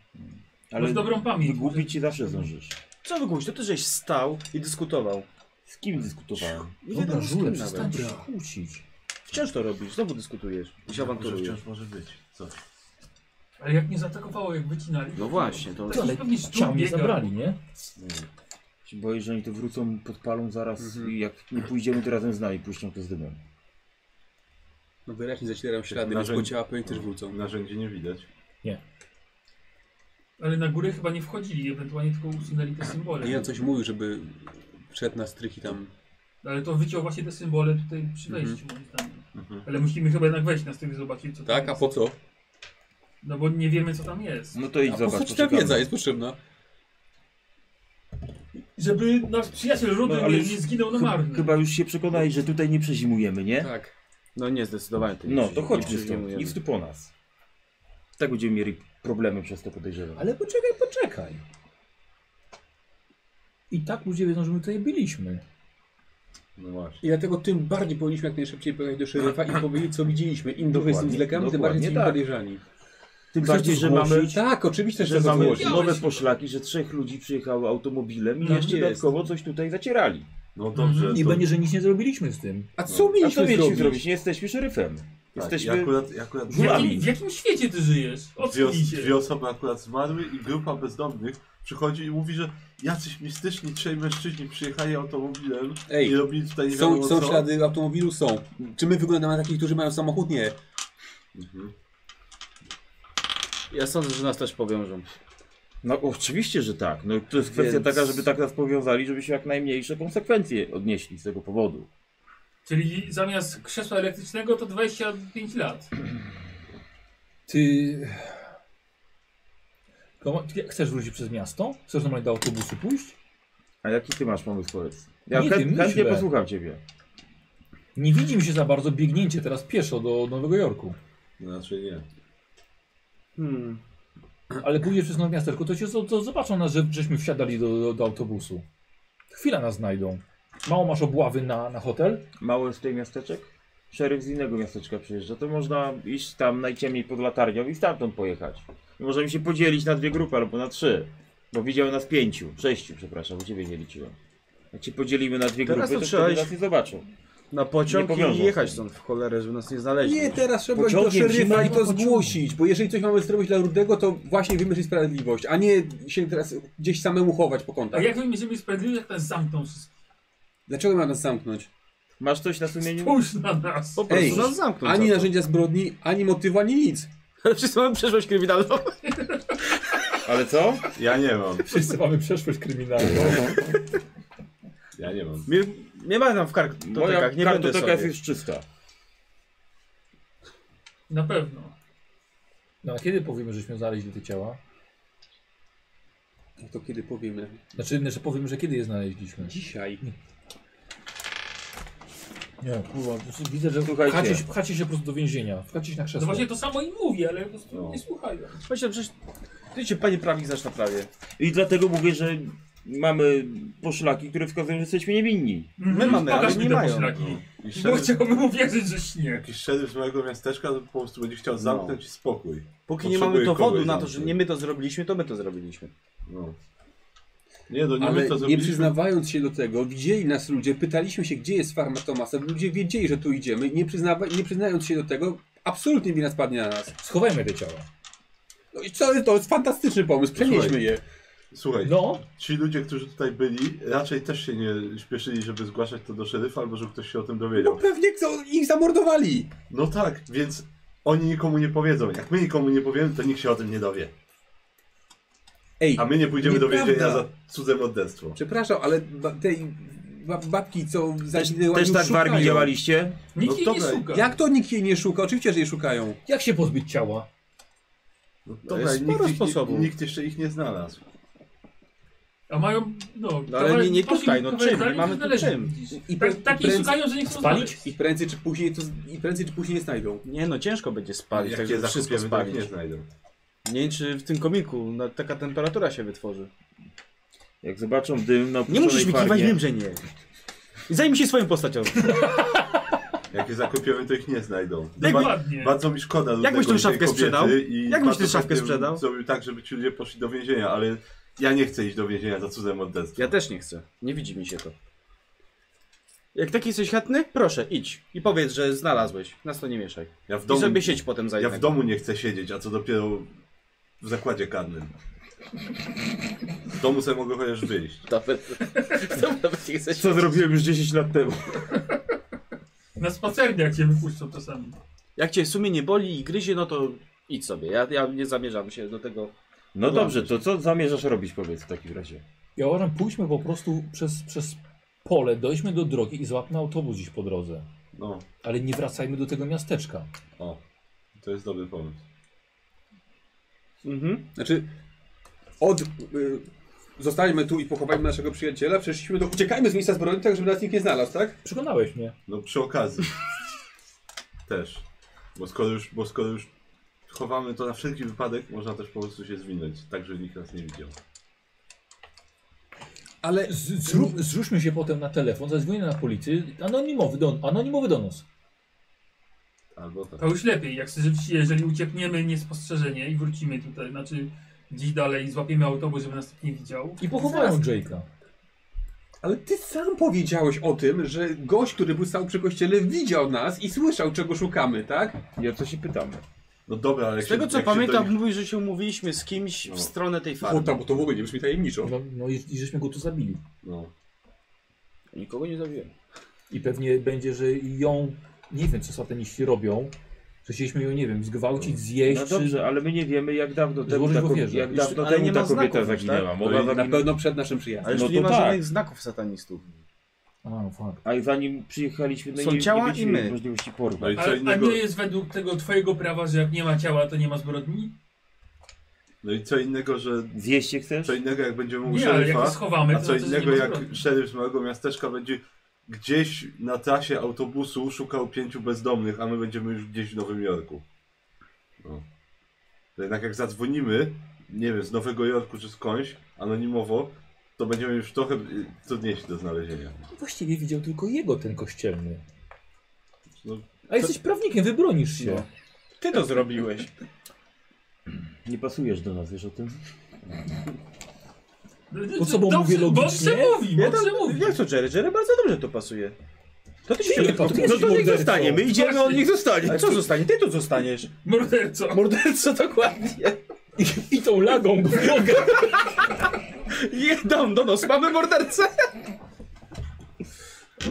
Masz dobrą pamięć.
Wygłupić się zawsze zdążysz.
Co wygłupić? To ty żeś stał i dyskutował.
Z kim dyskutowałem?
Nie wiadomo z kim nawet.
się kłócić.
Wciąż to robisz, znowu dyskutujesz. I się
Może
awanturujesz.
wciąż może być. Coś.
Ale jak mnie zaatakowało, jak wycinali.
No właśnie, to...
Taki
Ale
pewnie szczur
Ciał nie
biega.
zabrali, nie?
Się boję, że oni to
Mhm.
wrócą, podpalą zaraz i jak nie pójdziemy, to razem z nami puszczą to z dymem.
No wyraźnie zacierają ślady, więc
narzędzi-
po ciała pewnie też wrócą.
Narzędzie nie widać.
Ale na górę chyba nie wchodzili, ewentualnie tylko usunęli te symbole.
I ja coś mówił, żeby wszedł na strych i tam...
No, Ale to wyciął właśnie te symbole tutaj przy wejściu, moim zdaniem.
Mhm.
Ale musimy chyba jednak wejść na styk i zobaczyć, co tam
Tak, a
jest.
po co?
No bo nie wiemy, co tam jest.
No to idź
A po
zobacz.
co ci ta
poszukamy.
wiedza jest potrzebna?
Żeby nasz przyjaciel Rudy
No, ale
nie,
już-
nie zginął na
Chy-
marne.
Chyba już się przekonali, że tutaj nie przezimujemy, nie?
Tak.
No nie, zdecydowanie. tutaj
No
nie-
to
nie
chodźmy stąd.
przyjmujemy.
Idź tu po nas. Tak będziemy mieli problemy przez to podejrzewam.
Ale poczekaj, poczekaj. I tak ludzie wiedzą, że my tutaj byliśmy.
No właśnie.
I dlatego tym bardziej powinniśmy jak najszybciej pojechać do szeryfa i powiedzieć, co widzieliśmy. Im dowiedzą z
Dokładnie,
lekami, tym bardziej
dokładnie
jesteśmy
tak.
podejrzani.
Tym
Chcesz
bardziej,
to
że mamy,
zgłosić? Tak, oczywiście,
że
że
mamy
mamy...
nowe poszlaki, że trzech ludzi przyjechało automobilem i
Tak
jeszcze
jest.
dodatkowo coś tutaj zacierali.
No
Mhm.
dobrze.
I
to-
będzie, że nic nie zrobiliśmy z tym.
A co
A co
mieliśmy
mieliśmy
zrobić?
zrobić? Nie jesteśmy szeryfem.
tak,
Jesteśmy...
i akurat, i akurat
W jakim, w jakim świecie ty żyjesz?
Dwie,
Ocknij
os- dwie
się.
osoby akurat zmarły i grupa bezdomnych przychodzi i mówi, że jacyś mistyczni trzej mężczyźni przyjechali automobilem
Ej,
i robili tutaj nie
Są,
wiadomo
są
co.
ślady automobilu, są. Czy my wyglądamy na takich, którzy mają samochód? Nie.
Mhm.
Ja sądzę, że nas też powiążą.
No oczywiście, że tak. No, to jest kwestia
Więc-
taka, żeby tak nas powiązali, żeby się jak najmniejsze konsekwencje odnieśli z tego powodu.
Czyli zamiast krzesła elektrycznego to 25 lat.
Ty... Komo- ty Chcesz wrócić przez miasto? Chcesz normalnie do autobusu pójść?
A jaki ty masz pomysł, powiedz? Ja
Nie
chę-
wiem,
chętnie
myślę.
posłucham ciebie.
Nie widzi mi się za bardzo biegnięcie teraz pieszo do Nowego Jorku.
No Raczej nie.
Hmm.
Ale pójdziesz przez nowe miasteczko, to cię zo- to zobaczą nas, że, żeśmy wsiadali do, do, do autobusu. Chwila nas znajdą. Mało masz obławy na, na hotel?
Mało jest tutaj miasteczek? Szeryf z innego miasteczka przyjeżdża, to można iść tam najciemniej pod latarnią i stamtąd pojechać. I możemy się podzielić na dwie grupy albo na trzy. Bo widział nas pięciu, sześciu, przepraszam, bo ciebie nie liczyłem. Jak się podzielimy na dwie
Teraz to
grupy, to, to
trzeba
wtedy
iść-
nas nie zobaczą.
Na
Nie
pociąg
powiążą
i jechać
się.
stąd w cholerę, żeby nas nie znaleźli.
Nie, teraz trzeba iść do
Pociągiem,
szeryfa i to
zimowym pociągiem.
zgłosić, bo jeżeli coś mamy zrobić dla Rudego, to właśnie wymierzyć sprawiedliwość, a nie się teraz gdzieś samemu chować po
A
kątach.
jak my będziemy sprawiedliwi, jak nas zamkną wszystkich?
Dlaczego ma nas zamknąć?
Masz coś na sumieniu?
Spójrz na nas.
Po prostu
Ej,
nas zamkną.
Ani
[LAUGHS] za to.
narzędzia zbrodni, ani motywu, ani nic.
Wszyscy mamy przeszłość kryminalną.
Ale co?
Ja nie mam.
Wszyscy mamy przeszłość kryminalną.
Ja nie mam.
Mnie, mnie ma tam w
Moja
kartotekach, tak, nie będę
kartoteka
sobie.
jest już czysta.
Na pewno.
No a kiedy powiemy, żeśmy znaleźli te ciała?
No to kiedy powiemy?
Znaczy, że powiemy, że kiedy je znaleźliśmy.
Dzisiaj.
Nie, kurwa, to się- widzę, że
Słuchajcie.
pchacie się, pchacie się po prostu do więzienia. Pchacie się na
No
krzesło.
właśnie to samo im mówię, ale po prostu
No.
nie słuchają.
Właśnie, przecież... Wiecie, panie prawnik znasz na prawie.
I dlatego mówię, że mamy poszlaki, które wskazują, że jesteśmy niewinni.
mamy,
My
ale
Mm, Pokaż
nie
mi te
mają.
poszlaki.
I
Bo
szeryf,
chciałbym uwierzyć, że śnie.
jakiś szeryf z mojego miasteczka to po prostu będzie chciał zamknąć i spokój.
Póki nie mamy
Potrzebuję
dowodu
kogoś
na to,
tam,
że
żeby-
nie my to zrobiliśmy, to my to zrobiliśmy.
No. Nie, no nie my
Ale
to
nie
zrobiliśmy.
przyznawając się do tego, widzieli nas ludzie, pytaliśmy się, gdzie jest farma Tomasa, ludzie wiedzieli, że tu idziemy, nie, przyznawa- nie przyznając się do tego, absolutnie wina spadnie na nas.
Schowajmy te ciała.
No i co, to jest fantastyczny pomysł, przenieśmy
Słuchaj.
je.
Słuchaj,
No,
ci ludzie, którzy tutaj byli, raczej też się nie śpieszyli, żeby zgłaszać to do szeryfa, albo żeby ktoś się o tym dowiedział.
No Pewnie chcą, ich zamordowali.
No tak, więc oni nikomu nie powiedzą. Jak my nikomu nie powiemy, to nikt się o tym nie dowie.
Ej,
A my nie pójdziemy do
Nieprawda.
więzienia za cudze morderstwo.
przepraszam, ale ba tej ba babki, co
Też,
zaginęła,
też
już
tak w armii
szukają.
działaliście?
Nikt
No
jej
dobra,
nie szuka.
Jak to nikt jej nie szuka? Oczywiście, że jej szukają.
jak się pozbyć ciała?
No,
jest
nikt,
sporo
ich nie-
sposobów.
nikt jeszcze ich nie znalazł.
A mają, no...
No ale nie- nie tutaj, no czym?
Nie
Mamy tu czym?
I
Tak,
pre-
takiej
prędzej-
szukają, że nie chcą
Spalić?
znaleźć.
I prędzej czy później to, z- i prędzej czy później je znajdą.
Nie no, ciężko będzie spalić,
Jak
tak
je
żeby wszystko
zakupiemy, to ich
spalić.
nie znajdą.
Nie wiem, czy w tym komiku no, taka temperatura się wytworzy.
Jak zobaczą dym na
Nie musisz mi
opuszczonej
kiwać,
farmie-
wiem, że nie. Zajmij się swoją postacią.
Jak je zakupiemy, to ich nie znajdą. No Ba-
Dokładnie.
bardzo mi szkoda Rudego
byś tą
i tej
szafkę
kobiety
sprzedał?
I
Jak byś
bardzo
tę szafkę
chętnie bym
sprzedał?
Zrobił tak, żeby ci ludzie poszli do więzienia, ale ja nie chcę iść do więzienia za cudze morderstwo.
Ja też nie chcę. Nie widzi mi się to. Jak taki jesteś chętny, proszę, idź. I powiedz, że znalazłeś. Nas to nie mieszaj.
Ja w
I
domu,
sobie sieć potem
ja
zajmę.
w domu nie chcę siedzieć, a co dopiero w zakładzie karnym. W domu sobie mogę chociaż wyjść.
Nawet, nawet nie chcę
Co zrobiłem już 10 lat temu?
Na spacerniach cię wypuszczą czasami.
Jak cię w sumie nie boli i gryzie, no to idź sobie. Ja, ja nie zamierzam się do tego.
No dobrze, to co zamierzasz robić powiedz w takim razie?
Ja uważam, pójdźmy po prostu przez, przez pole, dojdźmy do drogi i złapmy autobus gdzieś po drodze.
No,
Ale nie wracajmy do tego miasteczka.
o. To jest dobry pomysł.
Mhm.
Znaczy, od, y, zostańmy tu i pochowajmy naszego przyjaciela, przeszliśmy do... Uciekajmy z miejsca zbrodni, tak żeby nas nikt nie znalazł, tak?
Przekonałeś mnie.
No przy okazji. [LAUGHS] też. Bo skoro, już, bo skoro już chowamy to na wszelki wypadek, można też po prostu się zwinąć, tak żeby nikt nas nie widział.
Ale z, zrób, zrzućmy się potem na telefon, zadzwonię na policję. Anonimowy, do, anonimowy donos.
Albo tak.
To już lepiej, jak rzeczywiście, jeżeli uciekniemy niespostrzeżenie i wrócimy tutaj, znaczy gdzieś dalej i złapiemy autobus, żeby nas nikt nie widział.
I pochowają Jake'a.
Ale ty sam powiedziałeś o tym, że gość, który był stał przy kościele, widział nas i słyszał, czego szukamy, tak?
I o co się pytamy?
No dobra, ale
Z tego
się,
co
jak się
pamiętam,
do nich-
mówisz, że się umówiliśmy z kimś
No.
w stronę tej
O,
farmy.
tam, bo to w ogóle nie brzmi tajemniczo.
No, no i, i żeśmy go tu zabili.
No.
Nikogo nie zabiłem.
I pewnie będzie, że ją, nie wiem co sataniści robią, że chcieliśmy ją, nie wiem, zgwałcić, zjeść,
No
czy...
dobrze, ale my nie wiem jak dawno temu
Złożyć
ta,
w
ko-
ofierze.
jak
Jeszcze-
dawno
ale
temu
nie
ta
ma
kobieta
znaków, tak?
zaginęła. Mogła
No i
Na
zaginąć.
pewno przed naszym przyjazdem.
Ale już
No
tu nie
to
ma
tak.
żadnych znaków satanistów.
A, no fuck.
A i zanim przyjechaliśmy, no
Są
nie,
ciała
nie
i
mieliśmy
my.
możliwości
No
porwać.
i
A,
co
a
innego,
nie jest według tego twojego prawa, że jak nie ma ciała, to nie ma zbrodni?
no i co innego, że
Zjeść się chcesz?
co innego jak będzie mógł
Nie, ale jak to
szeryfa,
schowamy, to
a co
znaczy, że nie
innego
ma
jak
zbrodni.
szeryf z małego miasteczka będzie gdzieś na trasie autobusu szukał pięciu bezdomnych, a my będziemy już gdzieś w Nowym Jorku. No. To jednak jak zadzwonimy, nie wiem, z Nowego Jorku czy skądś, anonimowo, to będziemy już trochę y, trudniejsi do znalezienia.
Właściwie widział tylko jego ten kościelny.
No,
A jesteś prawnikiem, wybronisz się.
Ty to zrobiłeś.
Nie pasujesz do nas, wiesz o tym?
O co, bo
Znaczy, Dobrze,
mówię
Bo
logicznie?
[LAUGHS]
przemówi,
Ja
bo
tam,
przemówi.
jak to Jerry? Jerry bardzo dobrze to pasuje. To ty się
Nie,
nie,
to ty
No
jesteś
to niech
mordercą.
zostanie, my idziemy, on
Właśnie.
niech zostanie. A co zostanie? Ty tu zostaniesz.
Morderco.
Morderco dokładnie.
I tą lagą go w nogę.
Jedam do nos, mamy mordercę.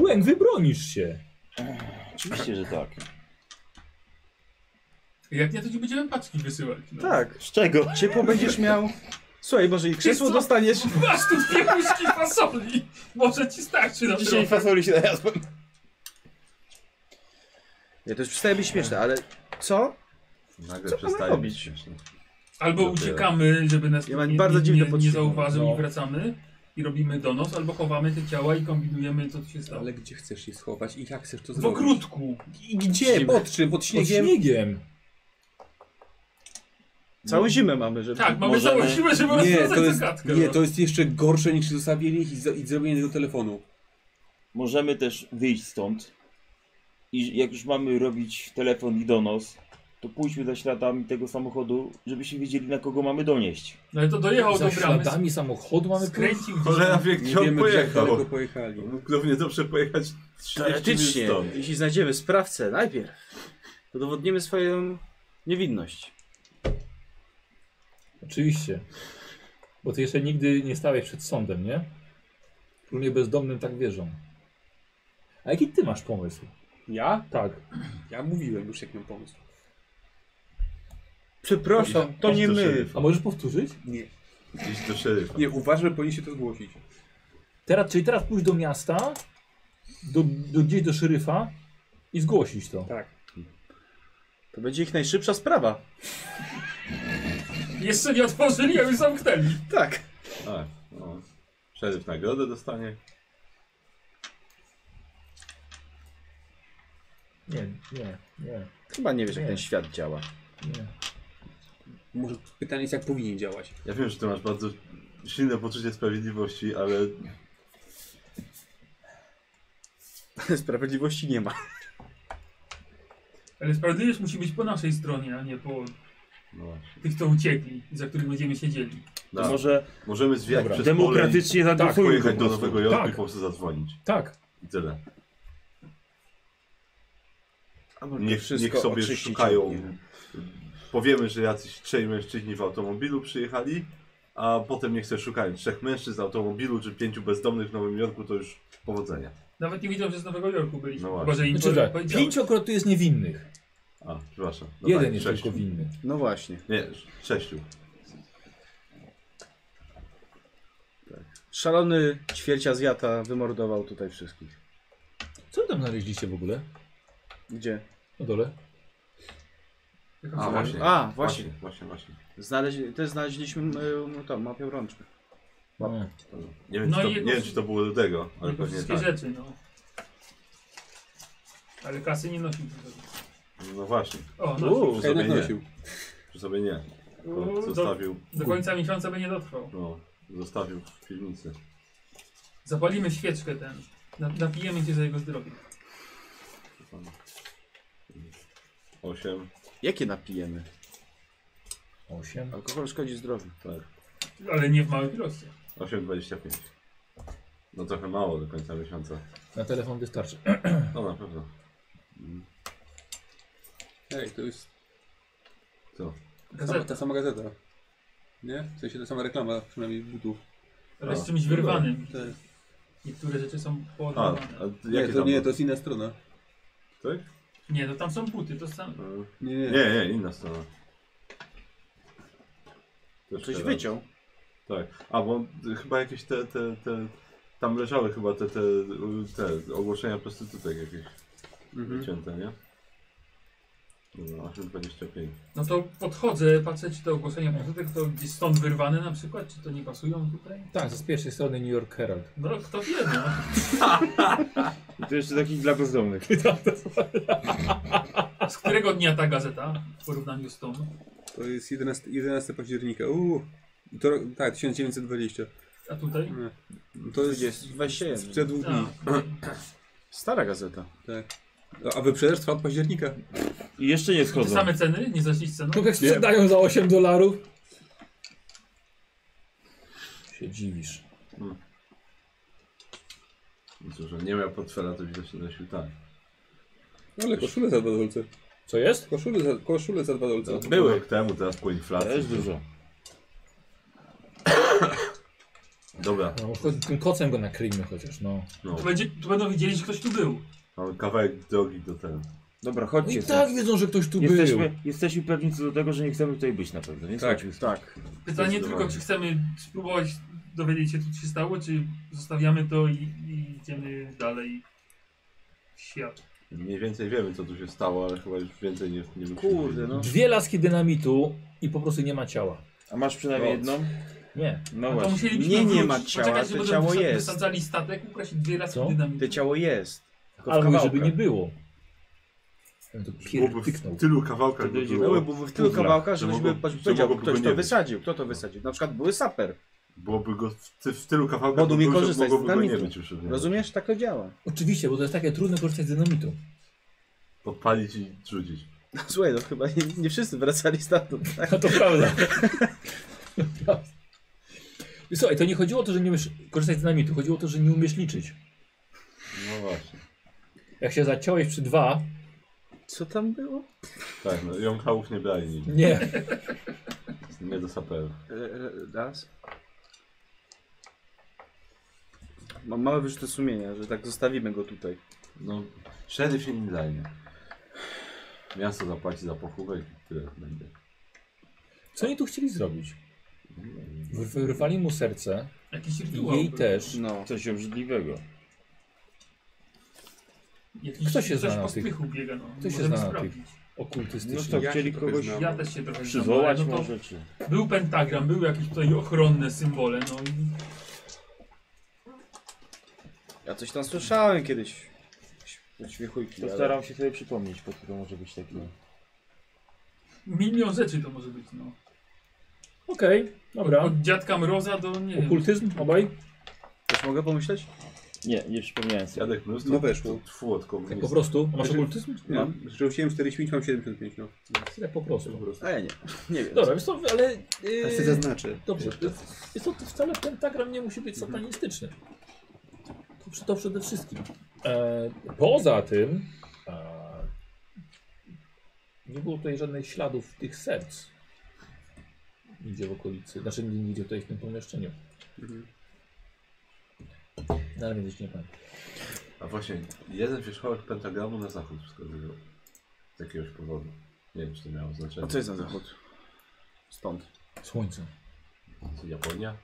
Łęk, wybronisz się.
Oczywiście, że tak.
Jak nie, to ci będziemy paczki wysyłać. No.
Tak.
Z czego?
Ciepło będziesz miał. Słuchaj, może i krzesło
co?
dostaniesz.
Masz tu dwie puszki fasoli. Może ci starczy na
Dzisiaj
Dzisiaj
fasoli się najadłem.
Ja to już przestaje być śmieszne, ale co?
nagle
Co mamy
przestaje
robić?
być śmieszne.
Albo
Dopiero.
uciekamy, żeby nas
Ja mam
nie,
bardzo
nie,
dziwne
nie, nie
poczucie.
zauważył
No.
i wracamy. I robimy donos, albo chowamy te ciała i kombinujemy, co tu się stało.
Ale gdzie chcesz je schować i jak chcesz to
W
zrobić?
ogródku.
I gdzie? Pod czym? Pod
Pod
śniegiem?
śniegiem.
Całą zimę mamy, żeby...
Tak, mamy
Możemy-
całą siłę, żeby
Nie, to
rozwiązać
jest,
zagadkę.
nie,
no.
to jest jeszcze gorsze niż zostawienie ich i, za- i zrobienie tego telefonu.
Możemy też wyjść stąd. I jak już mamy robić telefon i donos, to pójdźmy za śladami tego samochodu, żebyśmy wiedzieli na kogo mamy donieść.
No ale to dojechał
Za
do bramy,
śladami samochodu mamy
skręcił
Cholera
gdzieś.
wie,
Nie
gdzie on
wiemy gdzie
pojechał.
daleko pojechali.
Mógł równie dobrze pojechać 30 minut
Teoretycznie,
stąd.
jeśli znajdziemy sprawcę najpierw, to dowodnimy swoją niewinność.
Oczywiście. Bo ty jeszcze nigdy nie stałeś przed sądem, nie? Równie bezdomnym tak wierzą. A jaki ty masz pomysł?
Ja?
Tak.
Ja mówiłem już, jak miał pomysł.
Przepraszam, to nie
Do
my.
szeryfa.
A możesz powtórzyć?
Iść do szeryfa.
Nie, uważam, że powinniście to zgłosić.
Teraz, czyli teraz pójść do miasta, do, do, gdzieś do szeryfa i zgłosić to.
Tak.
To będzie ich najszybsza sprawa.
Jeszcze nie otworzyli, a już zamknęli.
Tak.
A, no. Szeryf nagrodę dostanie.
Nie, nie, nie,
Chyba nie wiesz, jak
Nie.
ten świat działa.
nie.
Może pytanie jest, jak powinien działać.
Ja wiem, że ty masz bardzo silne poczucie sprawiedliwości, ale
[LAUGHS] Sprawiedliwości nie ma.
Ale sprawiedliwość musi być po naszej stronie, a nie po
no właśnie.
tych, co uciekli, za których będziemy siedzieli.
To
Tak.
Da,
może
możemy zwijać
Dobra.
przez pole
demokratycznie
i tak,
zagłosujmy
pojechać
po
do
prostu.
Nowego Jorku
Tak.
i po prostu zadzwonić.
Tak.
I tyle.
Nie
Niech, niech sobie szukają. Powiemy, że jacyś trzej mężczyźni w automobilu przyjechali, a potem niech sobie szukają trzech mężczyzn z automobilu czy pięciu bezdomnych w Nowym Jorku, to już powodzenia.
Nawet nie widzą, że z Nowego Jorku byliśmy.
No
chyba, że im
Znaczy
znaczy,
tak,
powiedział.
No pięciokrotu jest niewinnych.
A, przepraszam. No
Jeden
tak,
jest
sześciu.
tylko winny.
No właśnie.
Nie, sześciu.
Szalony ćwierć Azjata wymordował tutaj wszystkich.
Co wy tam znaleźliście w ogóle?
Gdzie?
Na dole?
A, właśnie.
A,
Właśnie,
właśnie.
właśnie, właśnie.
Znaleźli, też znaleźliśmy y, tam mapę rączkę.
Mamy.
Nie wiem,
No
czy to,
i jego-
nie wiem, czy to było do tego, ale
Tylko
pewnie
wszystkie
tak.
rzeczy, no. Ale kasy nie nosił do tego.
No właśnie,
O, no.
Uuu,
Ja jednak
sobie nie.
nosił.
czy sobie nie.
Uuu,
Tylko
No, do-
zostawił,
Do końca miesiąca by nie dotrwał.
no, zostawił w piwnicy.
Zapalimy świeczkę ten. Na- Napijemy się za jego zdrowie.
Osiem,
Jakie napijemy?
Osiem.
Alkohol szkodzi zdrowiu.
tak.
Ale nie w małych ilościach.
8,25. No trochę mało do końca miesiąca.
Na telefon wystarczy. [CLEARS THROAT]
No na pewno.
Ej, to jest
Co?
ta sama,
Gazeta.
ta sama gazeta. Nie? W sensie ta sama reklama, przynajmniej butów.
Ale
A.
z czymś wyrwanym.
Tak.
Niektóre rzeczy są
A, a
poodrywane.
Nie,
jakie
to
tam
nie,
było?
to jest inna strona.
Tak?
Nie, no tam są buty, to sam.
Mm.
Nie, nie.
Nie, nie, inna strona. Też
Coś
teraz.
wyciął.
Tak. A, bo y, chyba jakieś te, te, te... Tam leżały chyba te, te, y, te ogłoszenia prostytutek jakieś
Mhm.
wycięte, nie? No, 8,25.
No to podchodzę, patrzę czy te ogłoszenia pozytek to gdzieś stąd wyrwane na przykład, czy to nie pasują tutaj?
Tak, z pierwszej strony New York Herald.
No kto wie, no.
I to jeszcze takich dla bezdomnych.
A z którego dnia ta gazeta w porównaniu z tą?
To jest 11, 11 października. Uuu. To, ro- tak, 1920.
A tutaj?
Mm.
Tak.
Nie. To jest
21.
sprzed dwóch dni.
Stara gazeta.
Tak. A wyprzedaż trwa od października.
I jeszcze nie
A, te
schodzą.
same ceny? Nie zaślić ceną?
Kogoś sprzedają za 8 dolarów. Się dziwisz.
No Cóż, on nie miał portfela, to widocznie nosił tak.
No ale koszule za dwa dolce.
Co jest?
Koszule za, koszule za dwa dolce.
To Były rok temu, teraz po inflacji.
To jest dużo.
[COUGHS] Dobra,
No, cho- tym kocem go nakryjmy chociaż, no.
no.
Tu, będzie, tu będą wiedzieli, że ktoś tu był.
Mamy kawałek drogi do tego.
Dobra,
No
chodźcie.
i
stąd.
tak wiedzą, że ktoś tu był.
Jesteśmy, jesteśmy pewni co do tego, że nie chcemy tutaj być na pewno, więc
Tak,
chodźmy stąd.
Tak.
Pytanie tylko, czy chcemy spróbować dowiedzieć się, co się stało, czy zostawiamy to i, i idziemy dalej w świat. No
Mniej więcej wiemy, co tu się stało, ale chyba już więcej nie, nie musimy
Kurde, no.
Dwie laski dynamitu i po prostu nie ma ciała.
A masz przynajmniej
No.
jedną?
Nie.
No
No to
właśnie.
musielibyśmy
Nie, nie
wrócić.
ma ciała,
Poczekać,
to
będą
ciało
wysa-
jest.
wysadzali statek, ukraść dwie razy
Co?
Te
dynamit.
ciało jest. Tylko w
Ale mówi,
kawałkach.
żeby nie było. Ja To
Byłoby w
pierdyknął.
tylu kawałkach
Wtedy
by
idzie
było,
Były bo w tylu
Kufla.
kawałkach,
Że
żebyś
mogło-
by-
że
powiedział,
mogłoby
ktoś
go
to
nie być.
wysadził. Kto to wysadził? Na przykład były saper.
byłoby go w, ty, w tylu kawałkach,
Modu
by
mi
było, że
korzystać z
mogłoby go nie
dynamitu.
być już. Nie?
Rozumiesz? Tak to działa. [LAUGHS]
Oczywiście, bo to jest takie trudne korzystać z dynamitu.
Podpalić i rzucić.
Słuchaj, no chyba nie, nie wszyscy wracali stamtąd. Tak?
No to prawda. Słuchaj, to nie chodziło o to, że nie umiesz korzystać z dynamitu, chodziło o to, że nie umiesz liczyć.
No właśnie.
Jak się zaciąłeś przy dwa,
Co tam było?
Tak, no jąkałów nie brali nigdy.
nie.
Nie do saperów.
E, Raz. Mam małe wyrzuty sumienia, że tak zostawimy go tutaj.
No, szeryf się nie daje. Miasto zapłaci za pochówek i tyle będzie.
Co oni tu chcieli zrobić? Wy- Wyrwali mu serce
Jakiś
i
rytuał.
jej też.
No.
Coś obrzydliwego.
Jakiś,
Kto się
coś
zna na
po
tych-
spychu biega, no.
się
Możemy
zna na
sprawdzić.
No
Okultystycznie.
to
Ja
chcieli
się trochę
kogoś
znam.
Ja też się trochę znam,
przywołać
ale no to
może, czy...
Był pentagram, były jakieś tutaj ochronne symbole, no i
Ja coś tam słyszałem kiedyś. Uśmiechujki,
To staram się sobie przypomnieć, pod którą może być taki.
milion rzeczy to może być, no.
Okej, dobra.
Od dziadka Mroza do, nie wiem,
Okultyzm obaj?
Też mogę pomyśleć?
Nie, nie przypomniałem sobie.
Dziadek mnóstwo
No weszło.
tfu od
Tak po
komunistów.
prostu. A masz okultyzm?
Nie, Rzuciłem 45, mam 75, no.
Tak po prostu.
A ja nie. Nie wiem.
Dobra, wiesz co, ale...
Ja sobie
Yy,
zaznaczę.
dobrze, jest to wcale pentagram nie musi być satanistyczny. To, przy- to przede wszystkim. E, poza tym... E, nie było tutaj żadnych śladów tych serc. Nigdzie w okolicy. Znaczy nigdzie tutaj w tym pomieszczeniu.
Mhm.
No ale więc nie pamiętam.
A właśnie, jeden wierzchołek pentagramu na zachód wskazywał. Z jakiegoś powodu. Nie wiem, czy to miało znaczenie.
A co jest na zachód? Stąd.
Słońce.
Co, Japonia?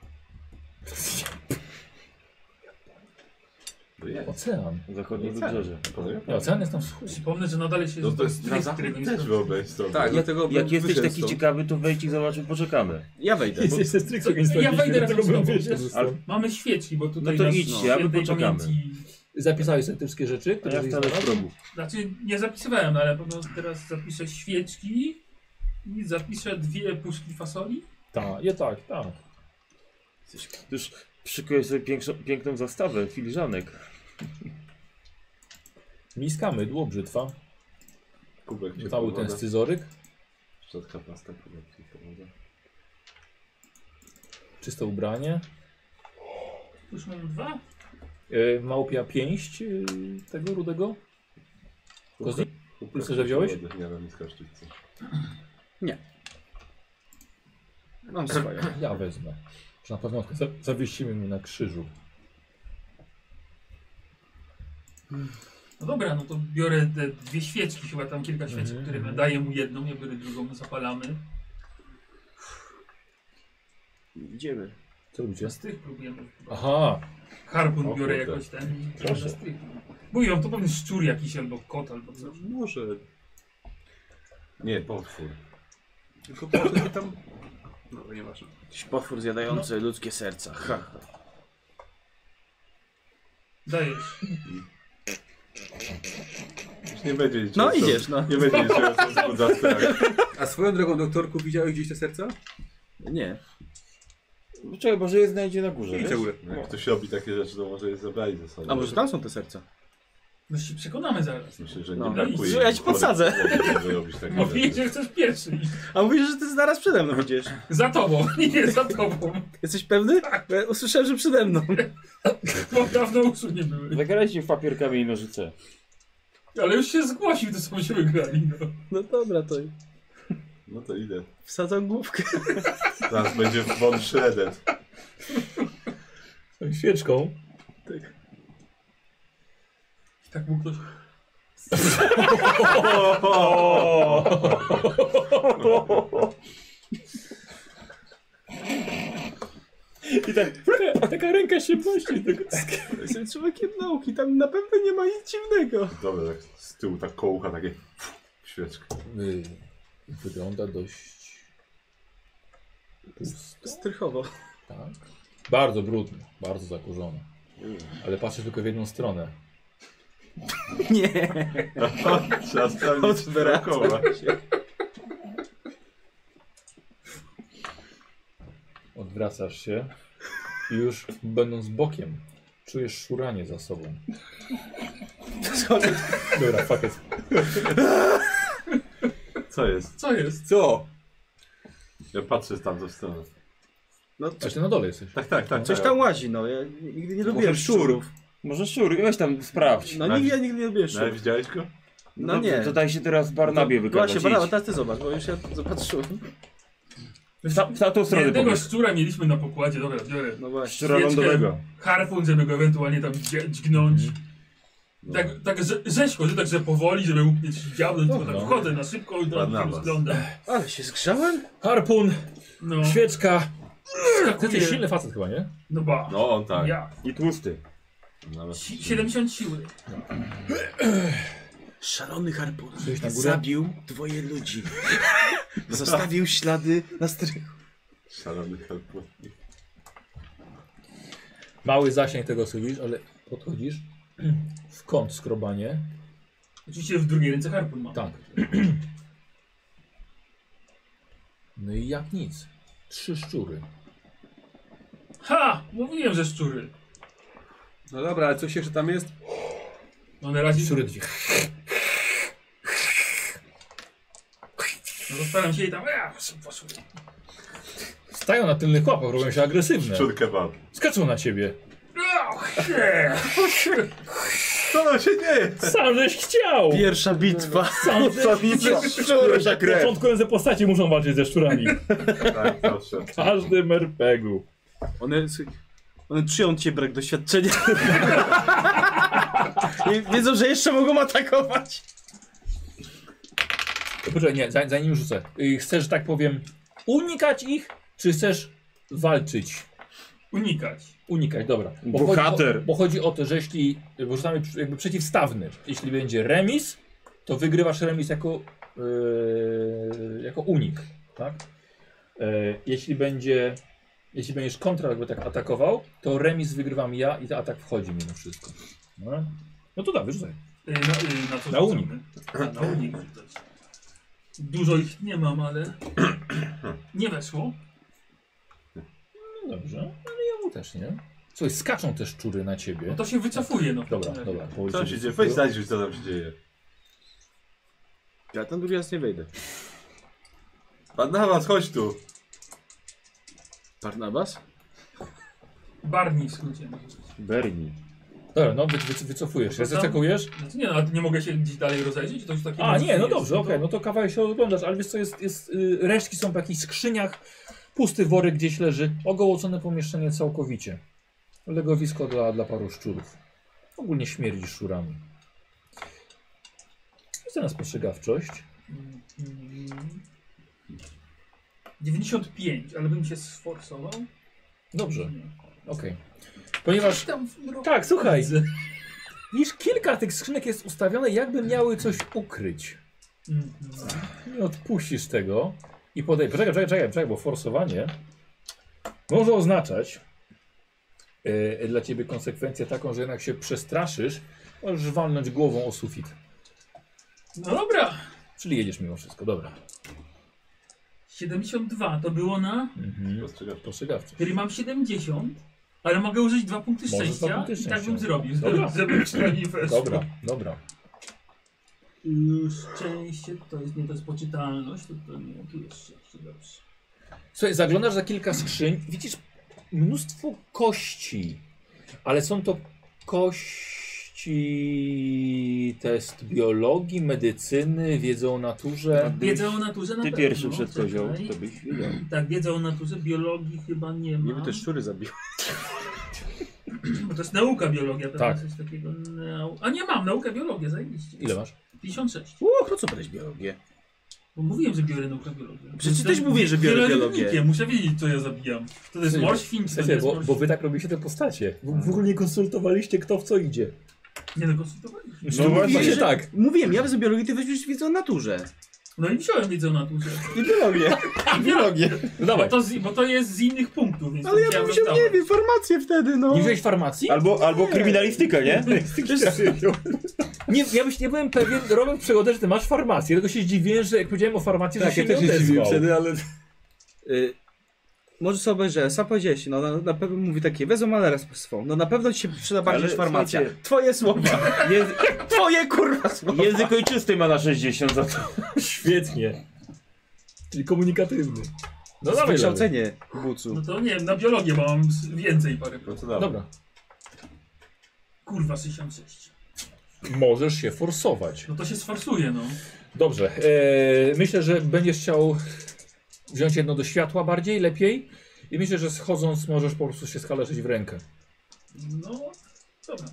To jest.
Ocean.
Zachodnie wybrzeże.
Panowie?
Nie, ocean jest na wschód.
Przypomnę, że nadal się...
No to jest na
stryk,
zachód
którego nie
też
skończyliśmy.
wyobraź sobie.
Tak, dlatego
Jak jesteś
wyszedł
taki
stąd.
ciekawy, to wejdź i zobacz, i poczekamy.
Ja wejdę.
[LAUGHS] Jest jeszcze stryk,
Co, ja wejdę razem z tobą. przecież
Ale
Mamy świeczki, bo tutaj
No to
nas
idźcie, a my
świętej
poczekamy.
pamięci-
Zapisałeś sobie te wszystkie rzeczy,
a
które
ja
żeś
wcale w
znalazł?
progu.
Znaczy, nie zapisywałem, ale pewno teraz zapiszę świeczki i zapiszę dwie puszki fasoli.
Tak, ja tak, tak.
Już szykuję sobie piększą, piękną zastawę filiżanek.
Miska, mydło, brzytwa,
Kubek się
cały ten
powoda.
scyzoryk,
Szczotka pasta, kubek się powoda.
czyste ubranie,
Już mam dwa.
yy, małpia pięść yy, tego rudego. Kozy?
Kubek
Co, że wziąłeś?
powody, Nie wiem, nic kosztówce.
[LAUGHS] Mam swoje.
Ja wezmę. Że na pewno za- zawiesimy mnie na krzyżu.
No dobra, no to biorę te dwie świeczki, chyba tam kilka świeczek,
Mhm.
które ma- daję mu jedną, ja biorę drugą, zapalamy.
Idziemy.
Co robicie?
Na strych próbujemy.
Aha,
Harpun
O
biorę
kurde.
jakoś ten i
Proszę.
na strych. Mówią, to pewnie szczur jakiś albo kot albo coś.
Może.
Nie, potwór.
Tylko po co się tam... No, nieważne.
Jakiś potwór zjadający ludzkie serca. No. Ha, ha.
Dajesz.
Już nie będzie nic.
No idziesz, no.
Nie będzie nic, ja jestem [LAUGHS] tak.
A swoją drogą, doktorku, widziałeś gdzieś te serca?
Nie.
No Czekaj, może je znajdzie na górze.
Idź
wiesz?
w górę.
No, Jak ktoś robi takie rzeczy, to może je zabrali ze sobą.
A może tak? tam są te serca?
No się przekonamy zaraz.
Myślę, że nie
No.
brakuje.
Ja ci podsadzę.
chorych, żeby robić takie
Mówię,
rzeczy.
że chcesz pierwszy. iść.
A mówisz, że ty zaraz przede mną idziesz.
Za tobą, [LAUGHS] nie za tobą.
Jesteś pewny? Bo ja usłyszałem, że przede mną.
Bo dawno uszu nie były.
Zagraliście w papierkami i nożyce.
Ale już się zgłosił, to są się wygrali. No.
No dobra, to
No to idę.
wsadzam główkę.
Teraz będzie von Shredder.
świeczką.
I tak mu ktoś...
I tak, taka ręka się pości.
Jestem człowiekiem nauki, tam na pewno nie ma nic dziwnego.
Dobra, tak z tyłu tak kołucha takie świeczka.
E, Wygląda dość pusto.
Strychowo.
Tak. Bardzo brudny, bardzo zakurzony. Ale patrzę tylko w jedną stronę.
Nie.
Trzeba sprawdzić dookoła.
Odwracasz się i już będąc bokiem czujesz szuranie za sobą. Dobra, fuck it.
Co jest?
Co jest?
Co?
Ja patrzę tam do strony.
No
Coś ty na dole jesteś.
Tak, tak, tak.
coś
tak.
tam łazi, no. Ja nigdy nie lubiłem
Może
szczurów.
Może szczur, weź tam sprawdź.
No nigdy, ja nigdy nie lubiłem
No, ale
szczurów.
widziałeś go?
No nie. No,
To daj się teraz Barnabie wykazać.
Właśnie, brawo,
Idź.
teraz ty zobacz, bo już ja zobaczyłem.
W, ta, w tamtą stronę
Jednego
pobiegł.
szczura mieliśmy na pokładzie, dobra, biorę.
No właśnie.
Szczura lądowego.
Harpun, żeby go ewentualnie tam dzie- dźgnąć. Tak, tak rze rzeźko, że tak, że powoli, żeby łupnie się działnąć, tylko tak wchodzę na szybko i tam
Ładna
się
was.
rozglądam.
Ale się zgrzałem?
Harpun,
No,
świeczka. Ty
skakuję.
jesteś silny facet chyba, nie?
No ba,
No on tak. No,
ja.
I tłusty.
Nawet
Si 70 siły.
Szalony harpun
Gdzieś na górę?
zabił dwoje ludzi. [LAUGHS] Zostawił ślady na strychu.
Szalony helpot.
Mały zasięg tego co widzisz, ale podchodzisz w kąt skrobanie.
Oczywiście w drugiej ręce harpun mam.
Tak. No i jak nic. Trzy szczury.
Ha! Mówiłem, że szczury.
No dobra, ale coś jeszcze tam jest?
No na razie
Szczury dwie.
no, zostawiam się i tam, ja, poszły.
Stają na tylnych łapach, robią się agresywne.
Szczur kebab.
Skaczą na ciebie.
Ach, nie.
Co tam się dzieje?
Sam żeś chciał!
Pierwsza bitwa.
Sam
[LAUGHS] Zabicia. Szczurza krew.
Początkujące postacie muszą walczyć ze szczurami.
Tak, zawsze.
W każdym RPG-u.
One, one czują cię brak [LAUGHS] doświadczenia. I wiedzą, że jeszcze mogą atakować.
Poczekaj, nie, za- zanim rzucę. Y, Chcesz, że tak powiem, unikać ich, czy chcesz walczyć?
Unikać.
Unikać, dobra.
Bohater.
Chodzi, o- bo chodzi o to, że jeśli bo rzucamy przy- jakby przeciwstawny, jeśli będzie remis, to wygrywasz remis jako, yy, jako unik, tak? Yy, jeśli będzie, jeśli będziesz kontra jakby tak atakował, to remis wygrywam ja i ten atak wchodzi mimo wszystko. No, no to da, wyrzucaj.
Y, Na, y, na, co
Na
rzucamy?
unik.
A, na unik rzucać. Dużo ich nie mam, ale nie weszło.
No dobrze, ale ja mu też nie. Słuchaj, skaczą te szczury na ciebie.
No to się wycofuje. No, w takim
Dobra,
razie.
dobra.
Co
powiedz
tam
mi,
się dzieje? Weź znajdziesz co tam się dzieje.
Ja ten drugi raz nie wejdę.
Pan Nawaz, chodź tu.
Barnabas?
Barni w skrócie.
Berni.
Dobra, no wy, wy, wycofujesz się,
Potem?
zeskakujesz.
Znaczy nie, no, a nie mogę się gdzieś dalej rozejrzeć? To już takie
A,
miejsce
nie, no
jest,
dobrze, okej, no to kawałek się oglądasz, ale wiesz co, jest, jest, y, resztki są w jakichś skrzyniach, pusty worek gdzieś leży, ogołocone pomieszczenie całkowicie. Legowisko dla, dla paru szczurów. Ogólnie śmierdzi szczurami. Jest teraz postrzegawczość.
Mm, 95, ale bym się sforsował.
Dobrze,
Nie.
okej. Ponieważ,
Coś tam w mroku
tak, słuchaj,
widzę.
widzisz, kilka tych skrzynek jest ustawione, jakby miały coś ukryć.
Mm,
Nie odpuścisz tego i podej. Poczekaj, czekaj, czekaj, czekaj, bo forsowanie może oznaczać e, dla ciebie konsekwencję taką, że jednak się przestraszysz, możesz walnąć głową o sufit.
No dobra.
Czyli jedziesz mimo wszystko, dobra.
72 to było na.
Mhm.
Rozstrzygasz.
Postrzegawczy.
Czyli mam 70, ale mogę użyć dwa punkty
Możesz
szczęścia.
dwa punkty
I tak bym
szczęścia.
zrobił.
Dobra.
[LAUGHS] Żeby przynajmniej weszło.
Dobra, dobra.
Y, Szczęście to jest nie to jest poczytalność, to, to nie tu jest szczęście. Dobrze.
Słuchaj, zaglądasz za kilka skrzyń, widzisz mnóstwo kości, ale są to kości test biologii, medycyny, wiedzą o naturze.
Wiedzę o naturze na
Ty
pewno.
pierwszy przed kozioł,
czekaj.
to byś wiedział.
Tak, wiedzę o naturze, biologii chyba nie ma.
Niby te szczury zabiły.
Bo to jest nauka biologia, pewnie
Tak.
coś takiego. Nau... A nie mam, nauka biologia, zajebiście.
Ile masz?
56.
Uch, po co brać biologię?
Bo mówiłem, że biorę naukę biologię.
Przecież ty
Jestem
też mówiłeś, że biorę
wieloludnikiem,
biologię.
Muszę wiedzieć, co ja zabijam. To jest
Słuchaj,
morświn, to
Słuchajcie,
jest
bo, bo
morświn.
wy tak robicie te postacie. W, w ogóle nie konsultowaliście kto w co idzie.
Nie no, konsultowaliśmy.
No właśnie.
Mówicie tak.
Mówiłem, ja bez biologii ty weźmiesz wiedzę o naturze.
No i wziąłem wiedzę o naturze.
I [LAUGHS] biologię.
biologię.
No
Bo
dawaj.
to, z, bo to jest z innych punktów, więc
Ale
to
ja bym wziął, nie wiem, farmację wtedy, no.
Nie wziąłeś farmacji?
Albo, albo kryminalistykę, nie?
Nie, ja, byś, nie byłem pewien, robiąc przygodę, że ty masz farmację, tylko się zdziwiłem, że jak powiedziałem o farmacji, że Tak, się nie odezwał.
ale... Y, może sobie obejrzę, sam powiedziałeś, no na, na pewno mówi takie, wezmę malera swą. No na pewno ci się przyda bardziej
Ale
niż farmacja.
słuchajcie-
Twoje słowa.
[LAUGHS] Języ
Twoje kurwa słowa.
język ojczysty ma na 60 za to.
Świetnie. Czyli komunikatywny. No dawaj, dawaj.
Wykształcenie bucu.
No to nie wiem, na biologię bo mam s- więcej parę.
No to dawaj.
Dobra.
Kurwa, 66.
Możesz się forsować.
No to się sforsuje, no.
Dobrze. E, myślę, że będziesz chciał wziąć jedno do światła bardziej, lepiej. I myślę, że schodząc możesz po prostu się skaleczyć w rękę.
No, dobra.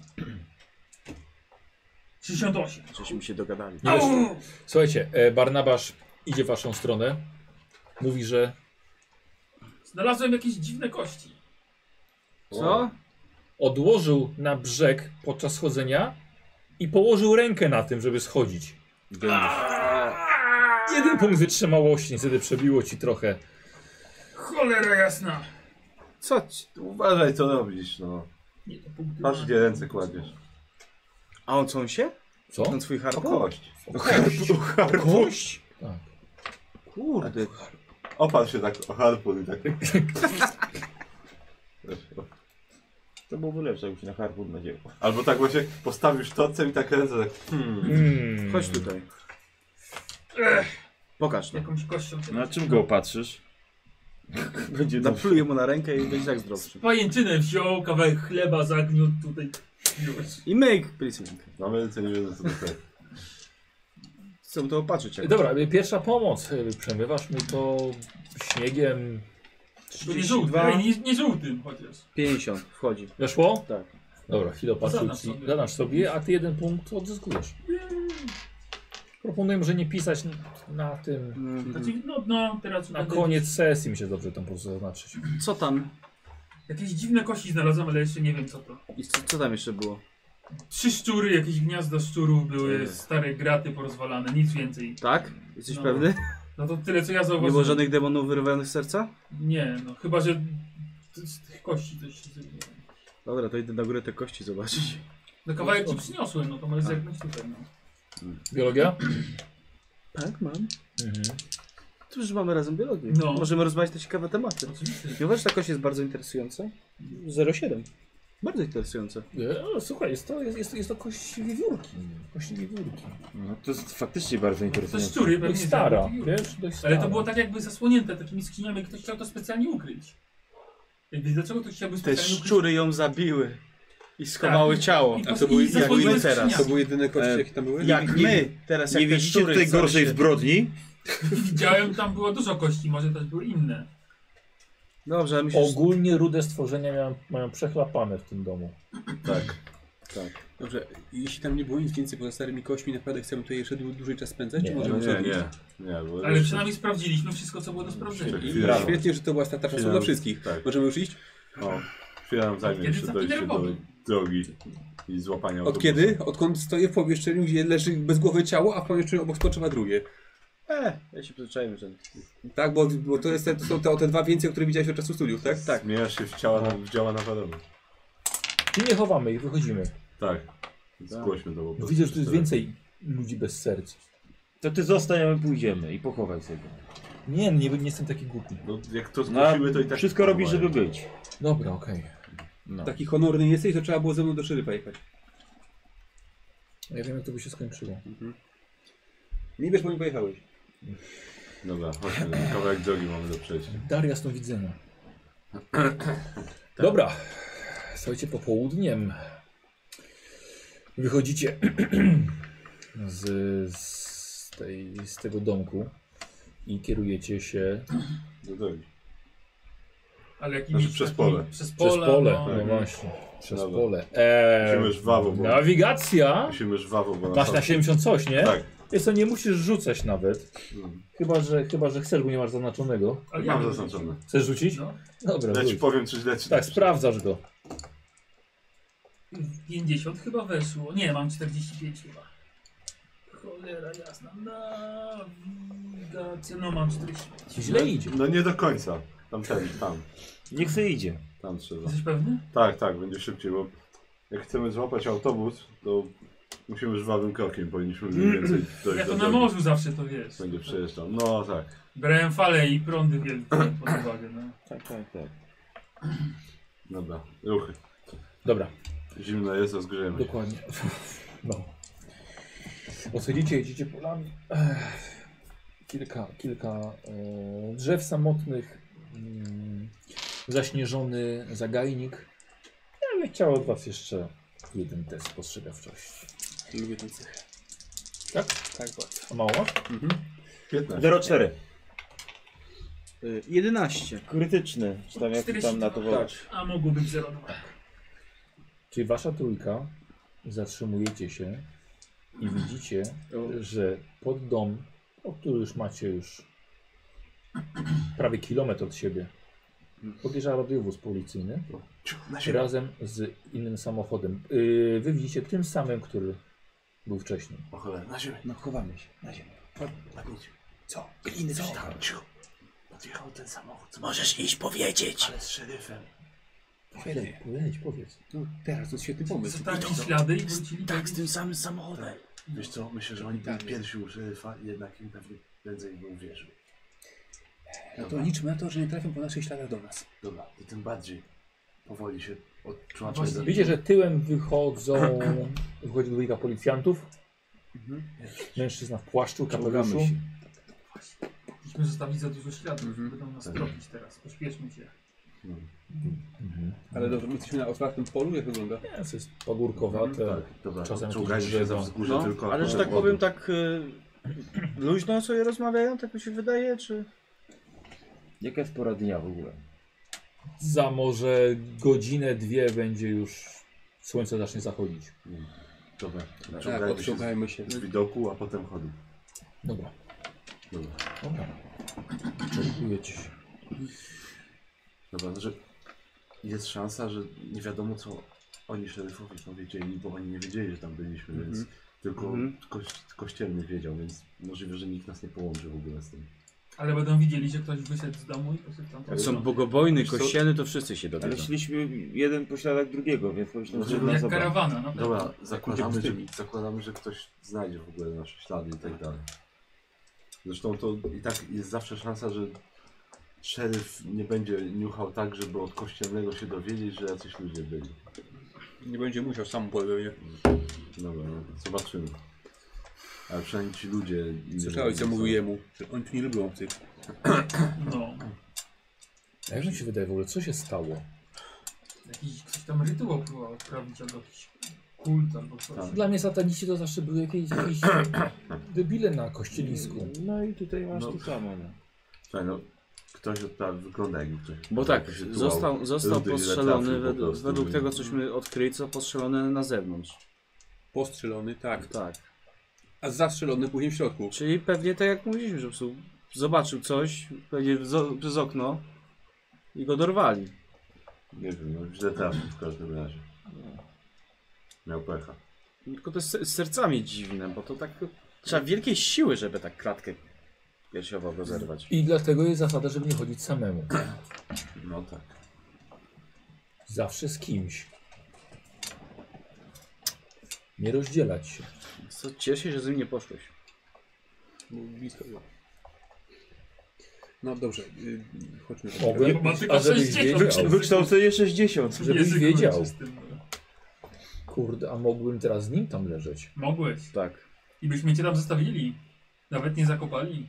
68.
Żeśmy się dogadali.
Nie wiesz, Słuchajcie, e, Barnabasz idzie w waszą stronę. Mówi, że
Znalazłem jakieś dziwne kości.
Co?
odłożył na brzeg podczas schodzenia i położył rękę na tym, żeby schodzić. Jeden punkt wytrzymałości, niestety przebiło ci trochę.
Cholera jasna.
Co ci? Uważaj co robisz, no.
Nie, to punkty
Patrz
ma-
gdzie ręce kładziesz.
A on co on się?
Co?
On swój harpun?
Okość.
Kość? Tak.
Kurde.
Oparł się tak o harpun i tak.
To byłoby lepsze, jakby się na harpun nadziewał.
Albo tak właśnie postawił sztorcem i tak ręce tak. Hmm.
Mm.
Chodź tutaj.
Ech,
Pokaż no.
jakąś kością.
Na czym go opatrzysz? Będzie na
Napluję mu na rękę i będzie tak zdrowszy.
Pajęczynę wziął, kawałek chleba zagniótł tutaj. Już.
I myk, piercing.
Mamy ręce No, [LAUGHS] nie wiedzą co to jest.
Chcę mu to opatrzyć. jakoś.
Dobra, y, pierwsza pomoc. Y, Przemywasz mu to śniegiem.
To nie żółtym,
32.
Ej, nie, nie żółtym chociaż.
50 wchodzi.
Weszło?
Tak.
Dobra, chwilę
Zadam
patrzę.
sobie.
Zadasz sobie, a ty jeden punkt odzyskujesz. Proponuję, może nie pisać n- na tym.
Mhm.
Znaczy, no, no teraz
Na
będę-
koniec sesji mi się dobrze tam po prostu zaznaczyć.
Co tam?
Jakieś dziwne kości znalazłem, ale jeszcze nie wiem co to.
I co, co tam jeszcze było?
Trzy szczury, jakieś gniazda szczurów były, stare graty porozwalane, nic więcej.
Tak? Jesteś
No.
pewny?
No to tyle co ja
Nie
zauważyłem.
było żadnych demonów wyrwanych z serca?
Nie, no chyba, że t- z tych kości też nie wiem.
Dobra, to idę na górę te kości zobaczyć.
No kawałek ci przyniosłem, no to może zerknąć tutaj, no.
Biologia?
Tak, mam.
Mhm.
To już mamy razem biologię.
No.
Możemy rozmawiać te ciekawe tematy.
Oczywiście.
I uważasz, ta kość jest bardzo interesująca? 07. Bardzo interesująca.
Nie, ale E, no, słuchaj, jest to, jest, jest, jest to kość wiewiórki. Kość wiewiórki.
No to jest faktycznie bardzo
To
interesujące.
szczury pewnie
Dość stara,
znajdą.
wiesz? Dość stara.
Ale to było tak jakby zasłonięte takimi skrzyniami, ktoś chciał to specjalnie ukryć. Jakby dlaczego to chciałby
Te
specjalnie ukryć?
szczury ją zabiły. I schowały ciało.
I,
A
pos-
to były-
i
jak
zasłoniły
były teraz.
To
skrzyniami.
były jedyne kości,
E,
jakie tam były?
Jak my teraz, jak
Nie
te
widzicie
szczury
tej
całe
gorszej
świat-
zbrodni?
Widziałem, tam było dużo kości, może też były inne.
Dobrze, ale myślę, że...
Ogólnie rude stworzenia mają, mają przechlapane w tym domu.
Dobrze, jeśli tam nie było nic więcej poza starymi kośćmi, naprawdę chcemy tutaj jeszcze dłu- dłużej czas spędzać?
Nie,
czy
Nie, no
możemy
nie,
zrobić?
nie. nie bo
Ale przynajmniej sprawdziliśmy wszystko, co było do sprawdzenia.
I
I Świetnie, że to była strata czasu
Chwilę.
dla wszystkich.
Tak.
Możemy już iść?
O, chwilę nam zajmie
Kiedy
jeszcze
za
dojście do
Peterbowi?
drogi i złapania
Od kiedy? Odkąd stoję w pomieszczeniu, gdzie leży bezgłowe ciało, a w pomieszczeniu obok spoczywa drugie.
E, ja się przyzwyczaiłem, że...
Tak, bo, bo to, jest te, to są te, o te dwa więcej, o których widziałeś od czasu studiów, tak?
Tak. Zmienia się w ciała na, w działa napadowe.
I nie chowamy ich, wychodzimy.
Tak. Zgłośmy to po
No
prostu.
widzę, że tu jest więcej ludzi bez serc.
To ty zostań, a my pójdziemy i pochowaj sobie.
Nie, nie, nie jestem taki głupi.
No, jak to
No,
zgłosimy, to i tak...
wszystko robisz, żeby być.
Dobra, okej.
No.
Taki honorny jesteś, to trzeba było ze mną do szyry pojechać.
Ja wiem, jak to by się skończyło.
Nie wiesz, bo nie pojechałeś.
Dobra, chodźmy. no, Kawałek drogi mamy do przejścia.
Daria z tą widzenia.
Tak.
Dobra. Słuchajcie, popołudniem wychodzicie z, z, tej, z tego domku i kierujecie się
Do drogi.
Ale jakimiś
Znaczy przez
takimi-
pole.
Przez
przez
pole.
pole.
no.
No właśnie, przez
Dobra.
pole. Eee,
Musimy żwawo, bo...
nawigacja.
Musimy żwawo, bo...
Masz na 70 coś, nie?
Tak.
Jest to nie musisz rzucać nawet.
Mm.
Chyba, że, chyba, że chcesz, bo nie masz zaznaczonego.
Ale ja
Mam
bym-
zaznaczone.
Chcesz rzucić?
No.
Dobra,
Ja ci
rzuć.
powiem, czy źle czy
Tak,
dobrze.
sprawdzasz go.
50 chyba weszło. Nie, mam 45 chyba. Cholera jasna. Nawigacja. No mam 45.
Źle idzie.
No nie do końca. Tam ten, tam.
Niech se idzie.
Tam trzeba.
Jesteś pewny?
Tak, tak, będzie szybciej, bo jak chcemy złapać autobus, to musimy żwawym krokiem, powinniśmy mniej więcej [CLEARS THROAT] dojść
Ja
do
to na
drogi.
morzu zawsze to wiesz.
Będzie przejeżdżał. No tak.
Brałem fale i prądy wielkie pod uwagę. No.
Tak, tak, tak.
Dobra, ruchy.
Dobra,
Zimno jest, rozgrzejemy się.
dokładnie. No. Odchodzicie, jedziecie polami. Ech. Kilka, kilka e, drzew samotnych. Mm, zaśnieżony zagajnik. Ale chciał od was jeszcze jeden test postrzegawczości.
Lubię ten cech.
Tak?
Tak, bardzo.
A mało masz?
15.
04.
Y, 11.
Krytyczny. Czy tam jak tam na to wołasz.
A mogło być 0,2.
Czyli wasza trójka, zatrzymujecie się i widzicie, że pod dom, o który już macie już prawie kilometr od siebie, podjeżdża radiowóz policyjny razem z innym samochodem. Yy, Wy widzicie tym samym, który był wcześniej.
O cholera, na ziemię.
No chowamy się, na ziemię.
Padnijcie.
Co? Gliny
Co?
coś tam.
Tam, cicho. Podjechał ten samochód. Możesz iść powiedzieć. Ale z szeryfem.
Powiedz,
Powiedz, powiedz.
no teraz, to jest świetny pomysł.
Zostawili ślady i wrócili.
Tak, z tym samym samochodem.
Wiesz co, myślę, że oni
Tak.
byli pierwsi u szeryfa i jednak im pewnie prędzej by uwierzył.
No to liczmy na to, że nie trafią po naszych śladach do nas.
Dobra, to tym bardziej powoli się
No
odczłaczać
właśnie.
do...
Widzicie, że tyłem wychodzą, wychodzi dwójka policjantów. Mężczyzna w płaszczu, kapeluszu.
Musimy zostawić za dużo śladów. Będą
Tak.
nas tropić teraz. Pośpieszmy się.
Ale dobrze, my jesteśmy na otwartym polu, jak wygląda?
Jest, jest pagórkowate.
Tak, dobra,
Czasem
czołgajcie się
jakieś
za
drzewa.
wzgórze
No,
tylko.
ale że
akurat
tak powiem,
wody.
tak y, luźno sobie rozmawiają, tak mi się wydaje, czy...
Jaka jest pora dnia w ogóle?
Za może godzinę, dwie będzie już słońce zacznie zachodzić.
Dobra,
Tak,
czołgajmy się
odszukajmy się.
z widoku, a potem chodu.
Dobra.
Dobra.
Dobra. Czerpujecie się.
Dobra, no, że jest szansa, że nie wiadomo co oni szeryfowie powiedzieli, bo oni nie wiedzieli, że tam byliśmy, więc tylko
Mhm.
koś, kościelny wiedział, więc możliwe, że nikt nas nie połączy w ogóle z tym.
Ale będą widzieli, że ktoś wyszedł z domu i poszedł tam. No.
Jak są bogobojny,
Wiesz co?
kościelny, to wszyscy się
Ale
dowiedzą.
szliśmy jeden po śladach drugiego, więc myślę, że nas
Jak
zabrał.
karawana, no
Dobra,
Tak.
zakładamy, że, zakładamy, że ktoś znajdzie w ogóle nasze ślady i tak dalej. Zresztą to i tak jest zawsze szansa, że szeryf nie będzie niuchał tak, żeby od kościelnego się dowiedzieć, że jacyś ludzie byli.
Nie będzie musiał sam pewnie.
Dobra, no, zobaczymy. Ale przynajmniej ci ludzie... nie
Słyszałeś co
są-
mówił jemu, że oni tu nie lubią obcych.
No.
A jak mi się wydaje w ogóle, co się stało?
Jakiś ktoś tam rytuał próbował odprawić albo jakiś kult albo coś.
Tak.
Dla mnie sataniści to zawsze były jakieś, jakieś debile na kościelisku.
No i tutaj masz
No.
to samo. No.
Słuchaj, no, ktoś odprawił, wygląda jakby ktoś...
Bo tak,
ktoś się tułał.
został, został
Ludy ile
postrzelony
trafił po
wed
prostu,
według
nie?
tego, cośmy odkryli, co postrzelone na zewnątrz.
Postrzelony, tak.
Tak.
A zastrzelony później w środku.
Czyli pewnie tak jak mówiliśmy, że po prostu zobaczył coś, pewnie zo- przez okno i go dorwali.
Nie wiem, no, źle trafił w każdym razie. Miał pecha.
Tylko to jest z z sercami dziwne, bo to tak... Trzeba wielkiej siły, żeby tak klatkę piersiową rozerwać.
I dlatego jest zasada, żeby nie chodzić samemu.
No tak.
Zawsze z kimś. Nie rozdzielać się.
Co, cieszę się, że z nim nie poszłeś.
Bo Blisko było. No dobrze, y, chodźmy.
Mogłem,
Bo ma No, tylko
a żebyś
60.
wiedział,
Wykształcenie 60.
Żebyś
Język
wiedział.
ojczystym, no.
kurde, a mogłem teraz z nim tam leżeć.
Mogłeś.
Tak.
I byśmy cię tam zostawili. Nawet nie zakopali.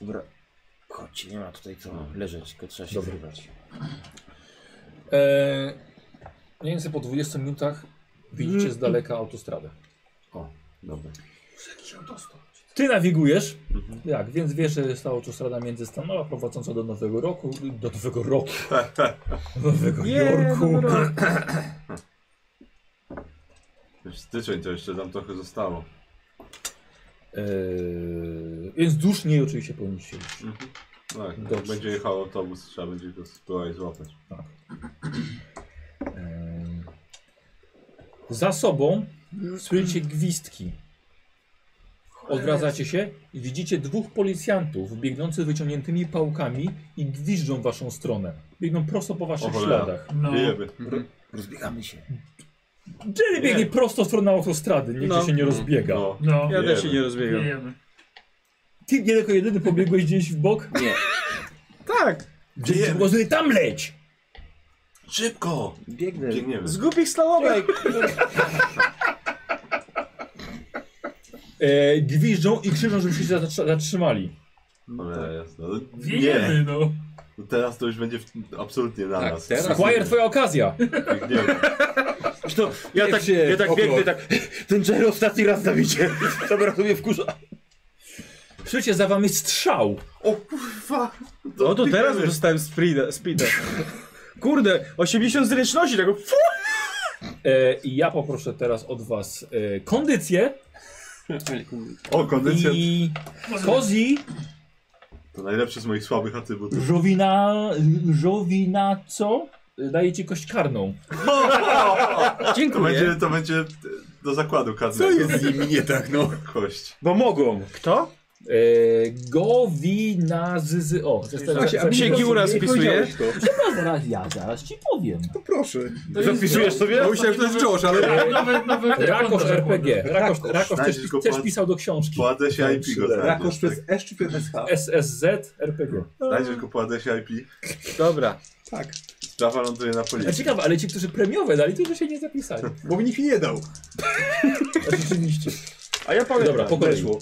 Dobra. Chodźcie, nie ma tutaj
No.
co leżeć, tylko trzeba się
Dobra.
wyrwać.
Eee, mniej więcej po 20 minutach widzicie z daleka autostradę.
O, dobra.
Jakiś autostop.
Ty nawigujesz, jak, więc wiesz, że jest ta autostrada międzystanowa prowadząca do Nowego Roku, do Nowego Roku, do Nowego Jorku.
Wiesz, styczeń to jeszcze tam trochę zostało.
Eee, E, więc dusz nie oczywiście powinniście iść.
Tak, jak
Dobrze.
będzie jechał autobus, trzeba będzie go spróbować złapać.
Eee, za sobą słyszycie gwizdki. Odwracacie się i widzicie dwóch policjantów biegnących wyciągniętymi pałkami i gwizdżą w waszą stronę. Biegną prosto po waszych
cholera.
śladach.
No.
Wiemy.
Rozbiegamy się.
Jerry biegnie prosto w stronę autostrady, nigdzie
No.
się nie rozbiega.
No,
No.
Ja też się
Wiemy.
nie rozbiegam.
Wiemy.
Ty nie tylko jedyny pobiegłeś gdzieś w bok?
Nie.
Tak!
Gdzie może tam leć!
Szybko!
Biegnę.
Biegniemy.
Z głupich slalomek!
E, gwiżdżą i krzyczą, żebyście się zatrzy- zatrzymali.
Cholera jasna. No,
Wiemy, no.
No teraz to już będzie w- absolutnie na
Tak,
nas.
teraz.
Squire, twoja okazja!
Biegniemy.
No, ja tak, ja tak biegnę, tak. Ten Jerry ostatni raz na widzie. [LAUGHS] Dobra, to mnie wkurza.
Słyszycie, za wami strzał!
O kurwa!
No to teraz dostałem speeda. speeda. Kurde, 80 zręczności, tak tego fu!
E, I ja poproszę teraz od was e, kondycję
O, kondycja.
i kozi,
To najlepszy z moich słabych atrybutów.
żowina, żowina co? Daję ci kość karną.
To będzie, to będzie do zakładu karnego.
z nimi nie tak, no?
Kość.
Bo mogą.
Kto?
E, gowina z, z o.
Tak
Właśnie, a mi się
Giura spisuje.
zaraz ja zaraz ci powiem.
No
Tak,
Proszę.
To jest-
Zapisujesz sobie?
Ja myślałem, że to jest Josh, ale...
Nawet, nawet, nawet
tak,
Rakosz
konto
RPG.
zakładam.
Rakosz, Rakosz też,
Znajdziesz go
też
po-
pisał do książki.
Po adresie IP go
Rakosz
znajdziesz.
przez
Tak.
S czy przez SH?
SSZ RPG.
Znajdziesz go po adresie IP.
Dobra.
Tak.
Sprawa ląduje na
A
policji.
ciekawe, ale ci, którzy premiowe dali, to że się nie zapisali.
Bo mi nikt nie dał.
Rzeczywiście.
A ja pamiętam.
tak,
Dobra, po kolei.
Weszło.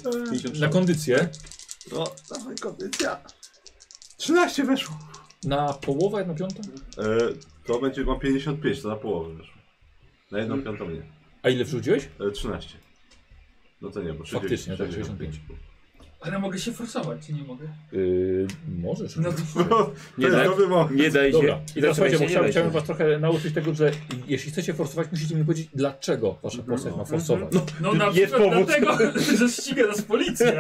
Na kondycję,
No, dawaj kondycja. 13 weszło.
na połowę, na piątą?
E, to będzie, mam 55, to na połowę weszło. Na
Hmm.
jedną piątą nie.
A ile wrzuciłeś?
E, 13. No to nie, bo 60,
Faktycznie, tak, 65.
Ale mogę się forsować, czy nie mogę?
Yy, możesz.
No,
oczywiście.
Nie
tak?
daj,
nowy wąt.
[LAUGHS]
nie daj się.
Dobra, i teraz słuchajcie, bo
się, nie
chciałem,
daj się.
chciałem was trochę nauczyć tego, że jeśli chcecie forsować, musicie mi powiedzieć, dlaczego wasza postać ma forsować.
no na
Jest
przykład
powód.
dlatego, [LAUGHS] że ściga nas policja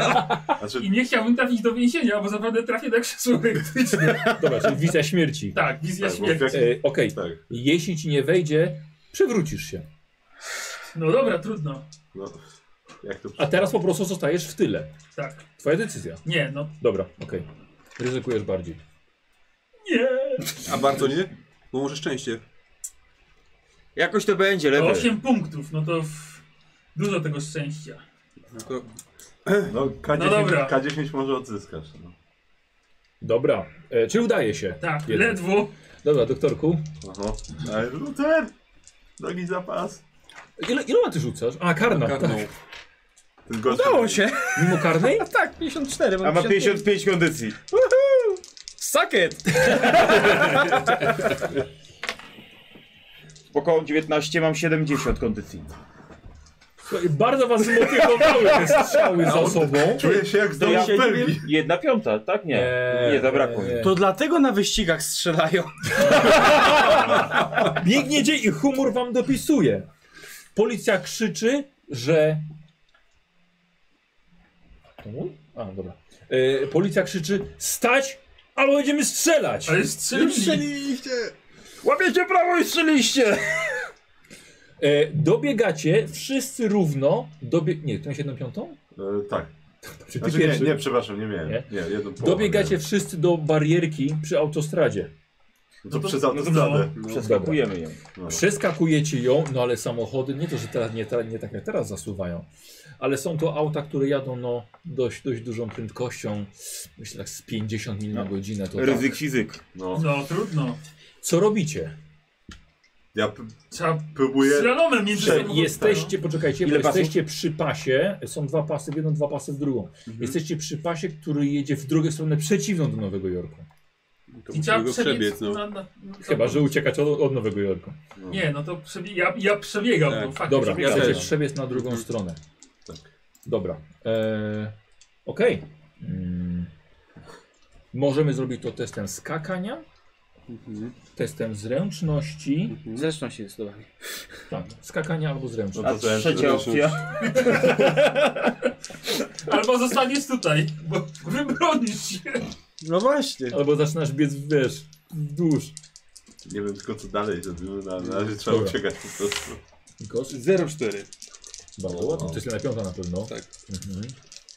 Znaczy,
i nie chciałbym trafić do więzienia, bo zapewne trafię na krzesło elektryczne.
Dobra, czyli wizja śmierci.
Tak, wizja
Tak, bo
śmierci.
jak-
E, Okej,
tak.
jeśli ci nie wejdzie, przewrócisz się.
No dobra, trudno.
No, jak to
A teraz po prostu zostajesz w tyle.
Tak.
Twoja decyzja.
Nie, no.
Dobra, okej. Ryzykujesz bardziej.
Nie.
A bardzo nie? Bo może szczęście.
Jakoś to będzie,
To
lepiej.
8 punktów, no to w... dużo tego szczęścia.
No to
No, K10,
No dobra.
K10 może odzyskasz. No.
Dobra, e, czy udaje się?
Tak,
Jeden.
ledwo.
Dobra, doktorku.
Aha. Ale Luther! Nogi zapas!
Tak Ile, iloma ty rzucasz? A, karna.
karną.
Ten gość
Udało się!
[LAUGHS] Tak. Mimo karnej?
Tak, 54. mam
A ma 55 kondycji.
Suck it!
Około 19 mam 70 kondycji.
Słuchaj, bardzo was zmotywowały te strzały za sobą.
Czuję się jak z domu
ja-
Belgii.
Jedna piąta, tak? Nie. Nie, zabrakło mi.
To dlatego na wyścigach strzelają.
Biegniecie i humor wam dopisuje. Policja krzyczy, że. To mój? A, dobra. E, policja krzyczy: stać, albo będziemy strzelać!
Ale strzelili.
Łapiecie prawo i strzeliście!
E, dobiegacie wszyscy równo. Dobie... Nie, to jest jedną piątą?
E, tak.
Czy ty
Znaczy, nie,
pierwszy?
nie, przepraszam, nie miałem.
Nie?
Nie, jedną połowę
Dobiegacie wszyscy do barierki przy autostradzie.
miałem. No
No to-
to przez
no to
autostradę.
Przeskakujemy ją.
No.
Przeskakujecie ją, no ale samochody, nie to, że teraz, nie, ta- nie tak jak teraz zasuwają, ale są to auta, które jadą no, dość, dość dużą prędkością, myślę tak z 50 mil na
No.
godzinę. To tak.
Ryzyk fizyk.
No.
No trudno.
Co robicie?
Ja p-
Trzeba
próbuję...
slalomem między
Prze-
samochodami.
Jesteście, poczekajcie, bo
Ile pasów?
jesteście przy pasie, są dwa pasy w jedną, dwa pasy w drugą.
Mhm.
Jesteście przy pasie, który jedzie w drugą stronę przeciwną do Nowego Jorku.
to
I
musimy
trzeba
go
przebiec.
przebiec, no.
Na, na, na,
Chyba, że uciekać od, od Nowego Jorku.
No.
Nie, no to przebie... ja, ja przebiegam.
Tak.
No, fakt,
Dobra,
ja
przebiegam.
chcecie
też.
przebiec na drugą
Mhm.
stronę.
Tak.
Dobra. E, Okej. Mm. Możemy zrobić to testem skakania, testem zręczności.
Zresztą się zdecydowanie.
Tak, skakania albo
No
zręczność.
A
to ten-
trzecia opcja. [LAUGHS]
Albo zostaniesz tutaj, bo wybronisz się.
No właśnie.
Albo zaczynasz biec, wiesz, wzdłuż.
Nie wiem tylko co dalej zrobimy, na na razie trzeba
Dobra.
uciekać po prostu.
Gosz,
0,4.
bardzo ładnie. To jest na piąta na pewno.
Tak.
Mhm.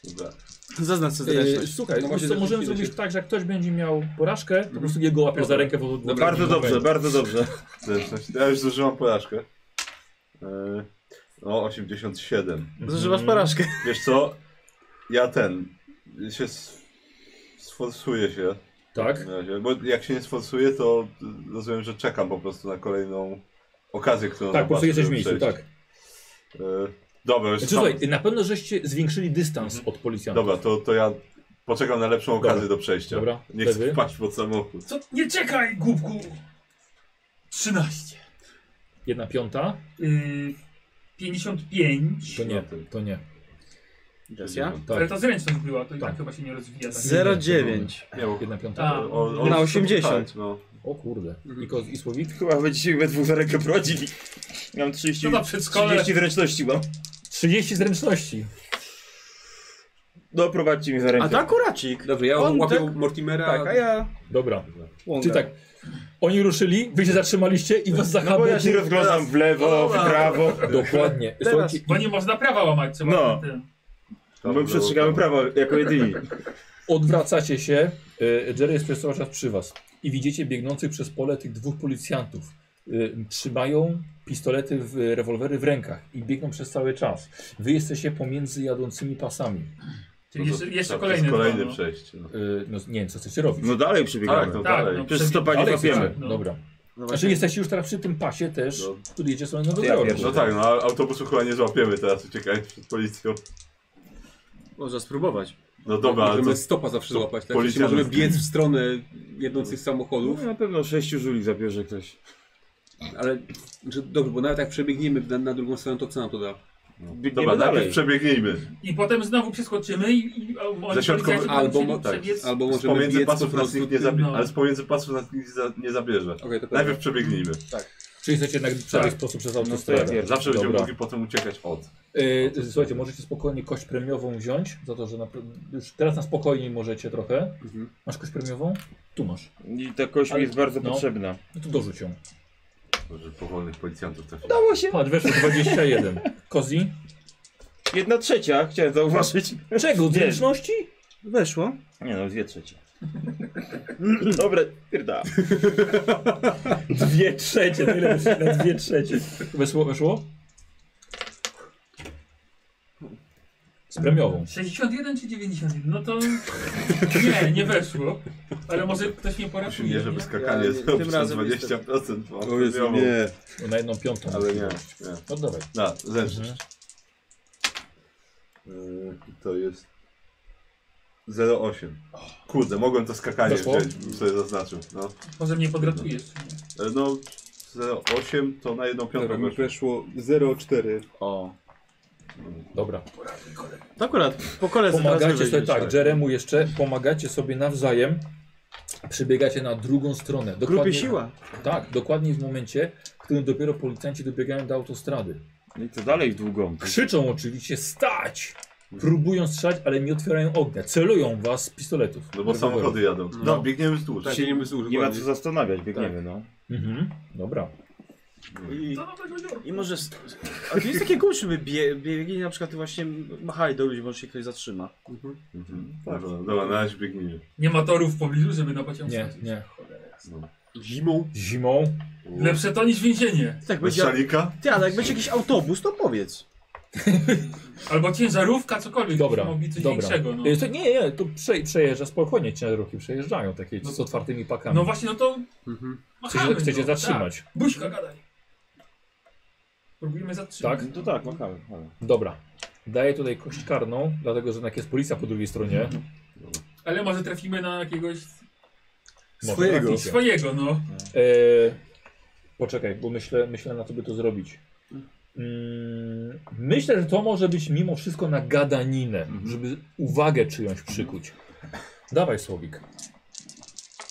Dobra.
Zaznacz sobie
E,
zręczność.
słuchaj,
No
no
właśnie
co, możemy
zręczność
zrobić
idzie.
tak, że jak ktoś będzie miał porażkę, to po prostu jego łapiesz za rękę. Bo,
No
bo
Bardzo dobrze, bardzo dobrze.
Zręczność. Ja już zużyłam porażkę. E, No, 87.
Zużywasz porażkę.
Wiesz co? Ja ten... się... s- sforsuję się.
Tak?
Na razie, bo jak się nie sforsuję, to y, rozumiem, że czekam po prostu na kolejną okazję, którą
Tak, po prostu
zobaczę,
jesteś w
żeby
miejscu,
przejść.
tak.
Y, Dobra, już
Znaczy,
sam-
słuchaj, na pewno żeście zwiększyli dystans
Mhm.
od policjantów.
Dobra, to, to ja poczekam na lepszą
Dobra.
okazję do przejścia.
Dobra,
Nie chcę
wtedy?
wpaść pod samochód.
Co? Nie czekaj, głupku. 13.
Jedna piąta?
Yy, 55.
To nie, to nie.
Teraz ja?
Ale
Tak.
ta zręczność była, to i
Tak.
tak chyba się nie rozwija. Tak?
0,9.
Nie, bo...
Jedna
A.
piąta?
o- o-
Na
o-
80.
Tak, no.
O kurde.
Mhm.
I, ko- i słowik?
Chyba będziecie we dwóch za rękę prowadzili. Miałem 30,
Co na przedszkole?
30 zręczności mam.
30 zręczności.
No prowadźcie mi za
A
rękę.
tak kuracik.
Dobrze, ja
On
łapię
tak-
Mortimera.
Tak, a ja...
Dobra.
Łągę.
Czyli tak. Oni ruszyli, wy się zatrzymaliście i was
No bo
zahamowało.
ja się rozglądam w lewo, w prawo.
Dokładnie.
Teraz.
Słuchajcie,
Bo nie można prawa łamać, trzeba
No.
ten-
Tam
My
było-
przestrzegamy prawa jako jedyni.
odwracacie się. y, Jerry jest przez cały czas przy was. I widzicie biegnących przez pole tych dwóch policjantów. Y, Trzymają pistolety, w, rewolwery w rękach i biegną przez cały czas. Wy jesteście pomiędzy jadącymi pasami.
Czyli
No to-
jeszcze, jeszcze
tak, to jest
kolejne.
Kolejne
dwa, no.
przejście. No.
Y, No, nie wiem, co chcecie robić.
No dalej
Tak,
przebiegamy.
no
Tak,
dalej.
no.
Przez stopanie
Dalej
łapiemy.
chcecie?
no.
Dobra.
No
Znaczy
właśnie.
jesteście już teraz przy tym pasie też,
No.
który jedzie sobie nowego
Ja
Jorku.
pierwszy.
No tak, no a autobusu chyba nie złapiemy teraz, uciekając przed policją.
Można spróbować.
No dobra, ale to...
Możemy stopa zawsze
to
złapać, tak?
policja
Jeśli możemy
nas-
biec w stronę jednących samochodów,
No, na pewno sześciu żuli zabierze ktoś.
znaczy, ale że, dobrze, bo nawet jak przebiegniemy na, na drugą stronę, to co nam to da?
biegniemy
Dobra, najpierw
dalej.
przebiegnijmy.
I potem znowu przeskoczymy i, i a oni
Zasiadkowy-
policjanci
Albo,
będą
mo- tak,
chcieli przebiec.
albo
Tak. Z
możemy
pomiędzy
biec po
pasów nas
prostu
nikt nie
tym,
zabierze.
no.
Ale z pomiędzy pasów nas nikt nie za- nie zabierze.
Okej, to prawda.
Najpierw przebiegnijmy.
Czyli chcecie jednak w prawy
Tak.
sposób przez
to
autostradę.
ja
Zawsze będziemy
Dobra.
mogli potem uciekać od.
Yy, słuchajcie, możecie spokojnie kość premiową wziąć, za to, że na, już teraz na spokojniej możecie trochę.
Mhm.
Masz kość premiową? Tu masz.
I ta kość
Ale-
mi jest bardzo
no.
potrzebna.
No to dorzuć ją.
Że powolnych policjantów trafiło.
Udało się.
Patrz, weszło 21. Kozi?
Jedna trzecia, chciałem zauważyć.
Czego?
Nie.
Zręczności?
Weszło.
Nie no, dwie trzecie. Dobra, pierda.
Dwie trzecie, tyle na dwie trzecie. Weszło? weszło? Z premiową.
61 czy 91? No to [LAUGHS] nie, nie weszło. Ale może ktoś mnie
Musi
poratuje.
nie, żeby skakanie
Ja
ja,
nie-
zrobić
tym
na
razem
20%.
O Jezu,
Miało.
nie.
Na jedną piątą.
Ale nie. nie.
No dawaj.
Na, zręczność.
Mhm.
E,
Yy, To jest 0,8. Kurde, mogłem to skakanie
Weszło?
wziąć, bym sobie zaznaczył. No,
Może mnie podratujesz. czy nie?
E, no 0,8 to na jedną
Dobra,
piątą
mi
weszło.
weszło 0,4.
O.
Dobra.
To akurat po kolei
Pomagacie sobie, tak, Jeremu jeszcze, pomagacie sobie nawzajem. Przybiegacie na drugą stronę.
Grupie
Dokładnie-
siła.
Tak, dokładnie w momencie, w którym dopiero policjanci dobiegają do autostrady.
No i to dalej w długą.
Krzyczą oczywiście stać! Próbują strzelać, ale nie otwierają ognia. Celują was z pistoletów.
No bo samochody jadą. No,
No.
biegniemy wzdłuż.
Tak, się nie wysłuchaj.
Nie ma co zastanawiać, biegniemy no.
Mhm. Dobra.
I,
Co nowego Jorku?
I może... s- A to jest takie cool, żeby bie, biegli na przykład właśnie machali do ludzi, może się ktoś zatrzyma.
Mhm. Dobra, dobra, na razie biegniemy.
Nie ma torów w pobliżu, żeby na pociąg
Nie,
skoczyć.
nie.
No.
Zimą.
Zimą.
Lepsze to niż więzienie.
Tak
Bez
będzie...
szalika?
Ty, ale jak będzie jakiś autobus, to powiedz.
Albo ciężarówka, cokolwiek.
Dobra,
byśmy Mogli coś
dobra.
większego. No.
Y, To, nie, nie, to prze, przejeżdża spokojnie. Ciężarówki przejeżdżają takie z otwartymi pakami.
no właśnie, no to
Mhm.
machamy.
chcecie, chcecie
no,
zatrzymać.
Tak. Buźka, gadaj. Próbujemy zatrzymać.
Tak?
No to tak, machamy, machamy.
Dobra. Daję tutaj kość karną, dlatego że jednak jest policja po drugiej stronie.
Ale może trafimy na jakiegoś
Może
Swojego.
traficie.
swojego, no.
E, poczekaj, bo myślę, myślę na co by to zrobić. Mm, myślę, że to może być mimo wszystko na gadaninę,
Mhm.
żeby uwagę czyjąś przykuć. Dawaj, Słowik.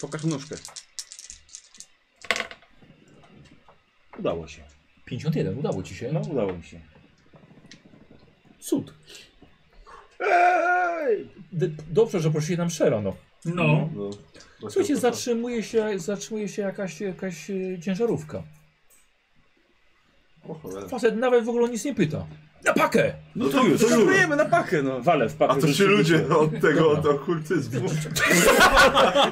Pokaż nóżkę.
Udało się.
51, udało ci się?
No udało mi się.
Cud. D- dobrze, że poszli nam szera, no.
No.
No.
Słuchajcie, zatrzymuje się, zatrzymuje się jakaś, jakaś e, ciężarówka.
O cholera.
Facet nawet w ogóle nic nie pyta. Na pakę!
No to już, to
Próbujemy na pachę, no.
Wale w papier.
A to ci ludzie od tego, od
Dobra.
okultyzmu.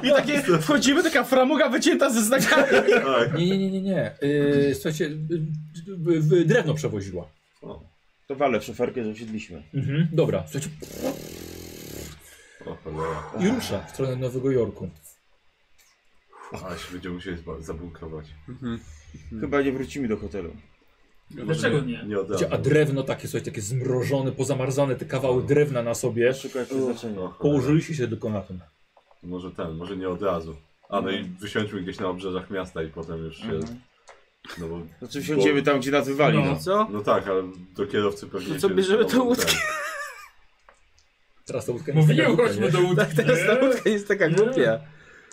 I takie wchodzimy, taka framuga wycięta ze znakami.
Tak.
Nie, nie, nie, nie, nie. Yy, słuchajcie, y, y, y, drewno przewoziła.
To wale w szoferkę, że wsiedliśmy.
Mhm. Dobra, słuchajcie,
O cholera.
i rusza w stronę Nowego Jorku.
Ale się będziemy musieli zba- zabunkrować.
Chyba nie wrócimy do hotelu.
No.
Dlaczego nie?
Nie od razu.
Słuchajcie, a drewno takie, słuchajcie, takie zmrożone, pozamarzane, te kawały drewna na sobie.
Szukaj przeznaczenia.
O cholera.
Położyliście się tylko na tym.
Może ten, może nie od razu. A no i wysiądźmy gdzieś na obrzeżach miasta i potem już się...
Mhm.
No bo...
Znaczy wsiądziemy tam, gdzie nas wywali,
No.
no.
Co?
No tak, ale do kierowcy pewnie
No co,
się-
bierzemy tą
no,
łódkę?
Teraz to łódka nie jest Tak, taka
Mówiłem,
głupia,
chodźmy
nie?
do łódki.
Teraz ta
nie?
łódka jest taka głupia.
ten.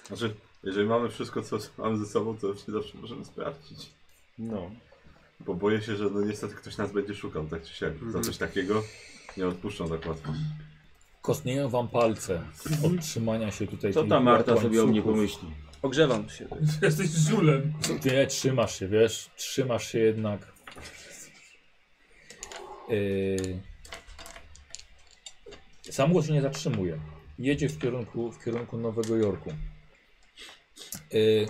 Znaczy, jeżeli mamy wszystko, co mamy ze sobą, to się zawsze możemy sprawdzić.
No.
Bo boję się, że no niestety ktoś nas będzie szukał, tak czy siak. Za coś takiego nie odpuszczą tak łatwo.
Kostnieją wam palce od trzymania się tutaj.
Co
tych
ta Marta sobie o mnie
łańcuchów.
pomyśli?
Ogrzewam się.
Jesteś żulem.
Ty nie, trzymasz się, wiesz? Trzymasz się jednak. Yy... Samochód się nie zatrzymuje. Jedzie w kierunku, w kierunku Nowego Jorku. Yy...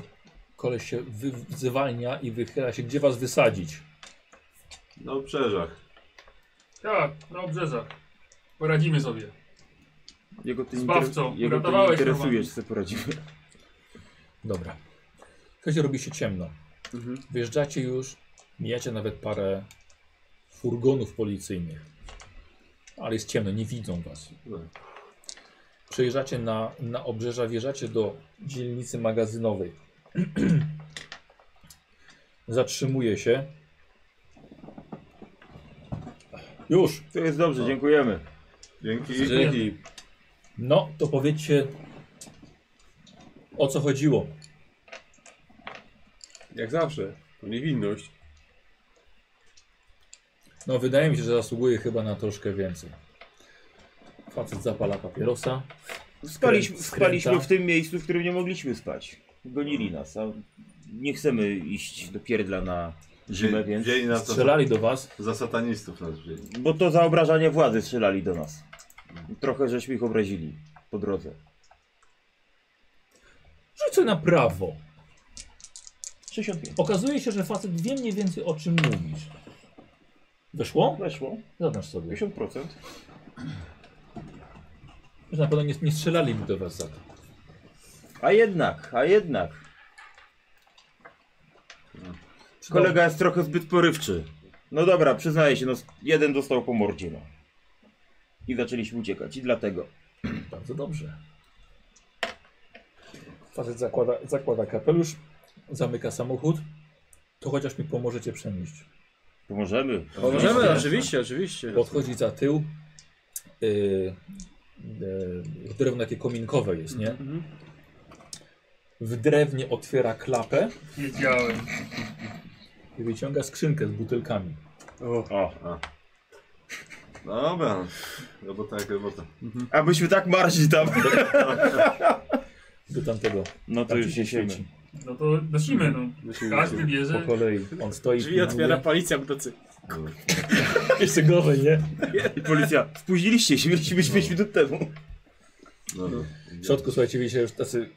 Koleś się wy zwalnia i wychyla się, gdzie was wysadzić.
Na obrzeżach.
Tak, na obrzeżach. Poradzimy sobie.
Jego ty,
Zbawco,
inter... jego ty
uratowałeś
interesujesz, co
chłopaki.
poradzimy.
Dobra. Słuchajcie, robi się ciemno. Wyjeżdżacie już, mijacie nawet parę furgonów policyjnych. Ale jest ciemno, nie widzą was. Przejeżdżacie na, na obrzeża, wjeżdżacie do dzielnicy magazynowej. [CLEARS THROAT] Zatrzymuje się. Już.
[LAUGHS] To jest
No.
dobrze, dziękujemy.
Dzięki.
Dzięki.
No, to powiedzcie o co chodziło.
Jak zawsze. To niewinność.
No, wydaje mi się, że zasługuje chyba na troszkę więcej. Facet zapala papierosa.
Spaliśmy,
Skręta.
spaliśmy w tym miejscu, w którym nie mogliśmy spać. Gonili nas, a nie chcemy iść do pierdla na zimę,
Wzię-
więc...
Wzięli nas za,
Strzelali do was.
za satanistów nas wzięli.
Bo to za obrażanie władzy strzelali do nas. Trochę żeśmy ich obrazili po drodze.
Rzucę na prawo.
65.
Okazuje się, że facet wie mniej więcej o czym mówisz. Wyszło?
Weszło.
Zaznacz sobie.
50%.
Że na pewno nie, nie strzelali mi do was za to.
A jednak, a jednak. No. Kolega jest trochę zbyt porywczy. No dobra, przyznaję się, no jeden dostał po mordzie, no. I zaczęliśmy uciekać, i dlatego.
Bardzo dobrze. Facet zakłada, zakłada kapelusz, zamyka samochód. To chociaż mi pomożecie przenieść.
Pomożemy.
Pomożemy, oczywiście, oczywiście.
Podchodzi za tył. Yy, yy, drewno takie kominkowe jest, nie? W drewnie otwiera klapę
Wiedziałem.
i wyciąga skrzynkę z butelkami.
O.
No, Dobra, No, tak, robota jak robota.
Abyśmy tak marzyli tam.
Do tamtego.
No to
tam
już
ci się
się siemy.
świeci.
No to nosimy, no. Każdy
Po
bierze.
kolei. On stoi.
Drzwi otwiera policja w nocy.
No,
Jeszcze gorzej, nie?
I policja, spóźniliście się, No. mieliśmy być 5 minut temu.
Dobra.
W środku, słuchajcie, widzicie już tacy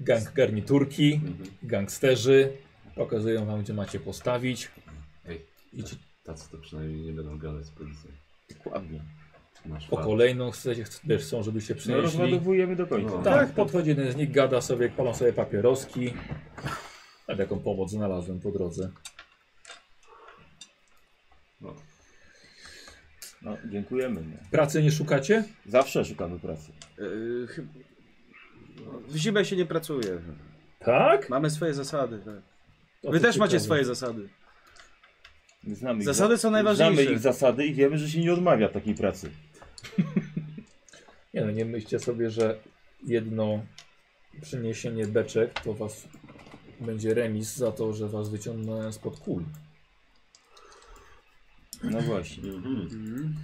gang garniturki, gangsterzy. Pokazują wam, gdzie macie postawić.
Ej.
I ci
Tacy to przynajmniej nie będą gadać z policją.
Dokładnie.
Masz
po
farta.
kolejną chcecie, chc- wiesz, chcą, żebyście
No
przynieśli.
rozładowujemy do końca.
No.
tak, podchodzi jeden z nich, gada sobie, palą sobie papieroski. Ale jaką pomoc znalazłem po drodze.
No, dziękujemy. No.
Pracy nie szukacie?
Zawsze szukamy pracy.
Yy, chyb- W zimę się nie pracuje.
Tak?
Mamy swoje zasady. Tak.
O,
Wy
to
też macie
ciekawe.
swoje zasady.
My znamy ich
Zasady są
Znamy
najważniejsze.
ich zasady i wiemy, że się nie odmawia takiej pracy.
Nie no, nie myślcie sobie, że jedno przyniesienie beczek to was będzie remis za to, że was wyciągnąłem spod kul.
No właśnie.
Mhm.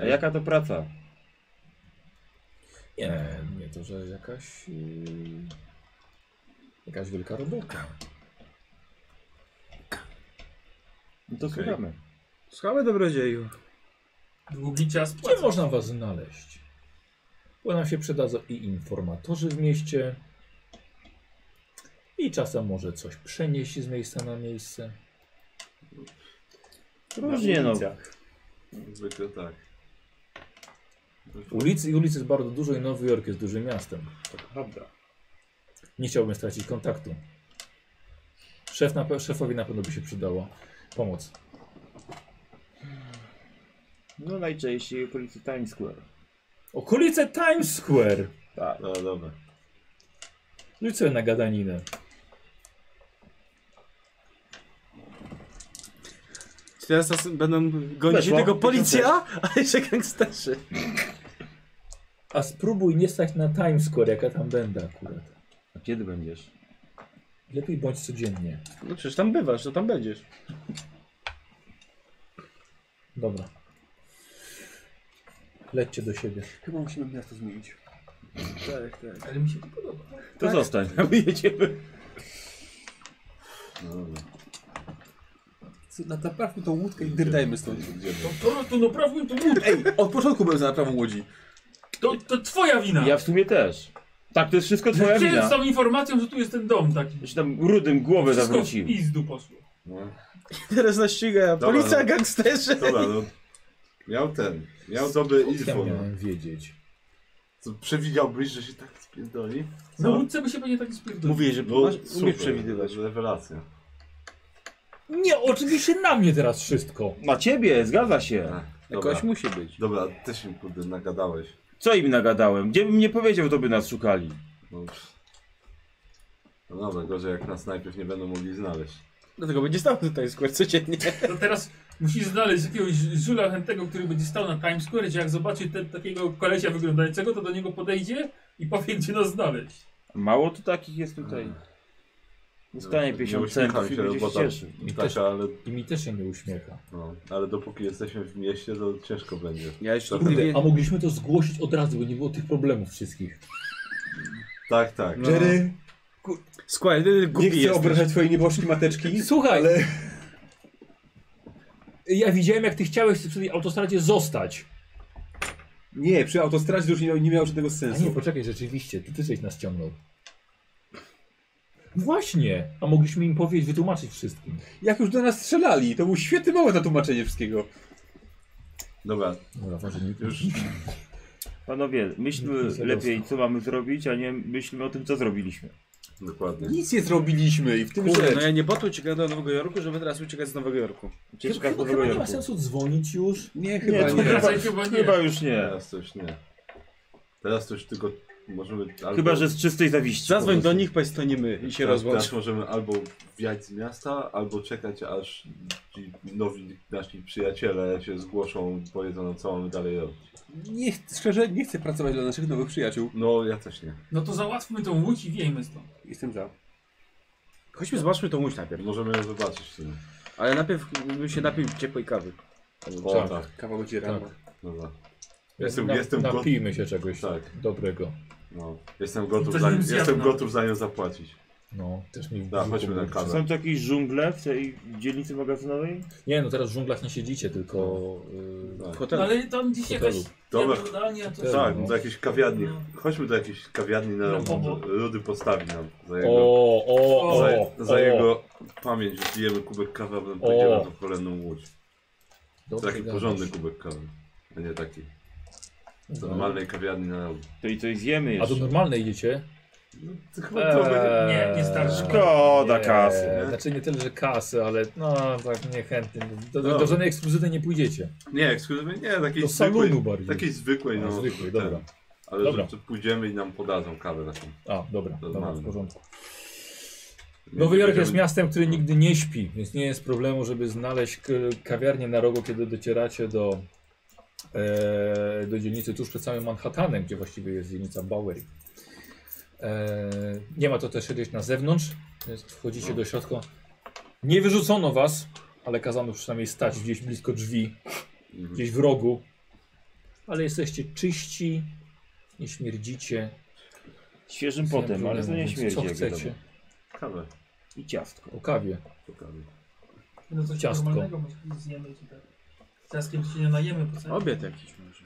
A jaka to praca?
Nie, nie to, że jakaś. yy, Jakaś wielka robota.
No to słuchamy.
Słuchamy dobrodzieju.
Długi czas
Gdzie
płacą.
można was znaleźć? Bo nam się przydadzą i informatorzy w mieście. I czasem może coś przenieść z miejsca na miejsce.
Różnie no.
Zwykle tak.
Ulicy i ulicy jest bardzo dużo i Nowy Jork jest dużym miastem. Nie chciałbym stracić kontaktu. Szef na, pe- szefowi na pewno by się przydało pomoc.
No najczęściej okolicy Times Square.
Okolice Times Square.
Tak.
No dobra.
Rzuć sobie na gadaninę.
Czy Teraz nas będą gonić
Weszło.
tego policja, a jeszcze gangsterzy.
A spróbuj nie stać na Times Square, jaka tam będę akurat.
A kiedy będziesz?
Lepiej bądź codziennie.
No przecież tam bywasz, to tam będziesz.
Dobra. Lećcie do siebie.
Chyba musimy miasto zmienić.
Tak, tak.
Ale mi się to podoba.
To zostań, a my jedziemy.
No dobra.
Naprawmy tą łódkę i dyrdajmy stąd.
To, to, to naprawdę to mój.
Ej, od początku byłem za naprawą łodzi.
To, to twoja wina.
Ja w sumie też. Tak, to jest wszystko twoja
Gdzie
wina.
z tą informacją, że tu jest ten dom taki?
Że tam rudym głowę
Wszystko w
zawrócił.
pizdu poszło.
No.
Teraz nas ściga
Dobra,
policja,
no.
gangsterzy.
Dobra, no. Miał ten. Miał dobry
Ja
info. no.
miałem wiedzieć.
Co, Przewidziałbyś, że się tak spierdoli?
Na łódce by się pewnie tak spierdolił.
Mówię, że
No,
masz, umiesz
super,
przewidywać.
Rewelacja.
Nie, oczywiście na mnie teraz wszystko.
Na ciebie, zgadza się.
Ach, Tak, Dobra,
Jakoś musi być.
dobra ty się kurde nagadałeś.
Co im nagadałem? Gdzie bym nie powiedział, to by nas szukali.
No, pff. no dobra, gorzej jak nas najpierw nie będą mogli znaleźć.
Dlatego będzie stał tutaj w codziennie.
To teraz musisz znaleźć jakiegoś żula chętnego, który będzie stał na Times Square, gdzie jak zobaczy te, takiego kolesia wyglądającego, to do niego podejdzie i powie, gdzie nas znaleźć.
Mało tu takich jest tutaj. Dostanie 50
uśmiechaj
centów i
się,
będzie
bo
się
tam-
cieszył.
Tak, ale,
I mi też się nie uśmiecha.
no, ale dopóki jesteśmy w mieście, to ciężko będzie.
Ja jeszcze
Kurde,
nigdy...
A mogliśmy to zgłosić od razu, by nie było tych problemów wszystkich.
Tak, tak.
Jerry,
Squire, ty
nie
głupi
chcę
jesteś.
obrażać twojej nieboszki mateczki,
Słuchaj,
ale
ja widziałem jak ty chciałeś przy tej autostradzie zostać.
nie, przy autostradzie już nie, miał- nie miało żadnego
A nie,
sensu.
poczekaj, rzeczywiście, ty też żeś nas ciągnął. No Właśnie, a mogliśmy im powiedzieć, wytłumaczyć wszystkim.
Jak już do nas strzelali, to był świetny moment na tłumaczenie wszystkiego.
Dobra,
Dobra, może nie
już
Panowie,
Nie
myślmy
się
lepiej, co mamy zrobić, a nie myślmy o tym, co zrobiliśmy.
dokładnie.
Nic nie zrobiliśmy i w tym
Kurde,
rzecz.
no ja nie po to uciekałem do Nowego Jorku, żeby teraz uciekać z Nowego Jorku.
Ucieczka
chyba,
z Nowego
chyba nie ma
Jorku.
sensu dzwonić już.
Nie,
Nie,
chyba
to
nie.
chyba,
Raczej chyba nie.
chyba już nie.
Teraz to już nie. Teraz to już tylko możemy... Albo...
Chyba, że z czystej zawiści.
Zadzwoń do nich, powiedz to nie my i się
teraz,
rozłącz.
teraz możemy albo wjechać z miasta, albo czekać aż ci nowi nasi przyjaciele się zgłoszą i powiedzą nam, co mamy dalej robić.
nie. ch- Szczerze, nie chcę pracować dla naszych nowych przyjaciół.
No, ja też nie.
No to załatwmy tą łódź i wiejmy stąd.
tak.
Jestem za.
Chodźmy, zobaczmy tą łódź najpierw.
Możemy ją zobaczyć w sumie.
Ale najpierw bym się napił ciepłej kawy.
O, tak,
Kawał będzie rano.
dobra. Jestem,
Na-
jestem gotów.
Napijmy się czegoś
Tak.
dobrego.
No. Jestem gotów,
Coś
za,
bym zjadł
jestem
nawet.
gotów za nią zapłacić.
No, też mi w
Da,
brzuchu
Tak, chodźmy na
burczy.
kawę.
Są tu jakieś żungle w tej dzielnicy magazynowej?
Nie, no teraz w dżunglach nie siedzicie, tylko... Yy,
Tak.
W hotelu.
No, ale tam gdzieś jakaś
Hotelu.
Dobra.
jadalnia, to
Hotelu.
Tak,
No.
do jakiejś kawiarni.
No.
Chodźmy do jakiejś kawiarni na
No,
Rudy.
bo-
Rudy postawi nam za
o,
jego,
o, o,
za,
o,
za jego pamięć. Zbijemy kubek kawy, a potem pójdziemy na tą kolejną łódź.
Dobrze
Taki
gadasz.
porządny kubek kawy, a nie taki z
Dobra.
normalnej kawiarni na Rudy.
To i coś zjemy
A do
jeszcze.
normalnej idziecie?
No
Eee.
nie- nie starczy.
Szkoda kasy,
nie?
nie?
Znaczy nie tyle, że kasy, ale no tak niechętnie. Do, do, do żadnej ekskluzywy nie pójdziecie.
Nie, ekskluzywnie, nie, takiej
Do
zwykłej,
salonu bardziej.
takiej zwykłej,
A,
no.
zwykłej,
ten.
dobra.
Ale
Dobra.
Że, że pójdziemy i nam podadzą kawę taką.
A, dobra,
To
dobra,
mamy.
w porządku.
Nie
Nowy Jork jest
będziemy-
miastem, które nigdy nie śpi, więc nie jest problemu, żeby znaleźć k- kawiarnię na rogu, kiedy docieracie do, e, do dzielnicy tuż przed samym Manhattanem, gdzie właściwie jest dzielnica Bowery. E, nie ma to też gdzieś na zewnątrz, więc wchodzicie do środka. Nie wyrzucono was, ale kazano przynajmniej stać gdzieś blisko drzwi,
Mhm.
gdzieś w rogu. Ale jesteście czyści, nie śmierdzicie.
Świeżym
Nie ma
potem, ale
problemu,
to nie
więc
śmierdzi.
Co
jak
chcecie?
wiadomo.
Kawę,
I ciastko.
O kawie.
to kawę.
No coś
Ciastko.
normalnego może zjemy tutaj. Ciastkiem się nie najemy po całym.
Obiad jakiś może.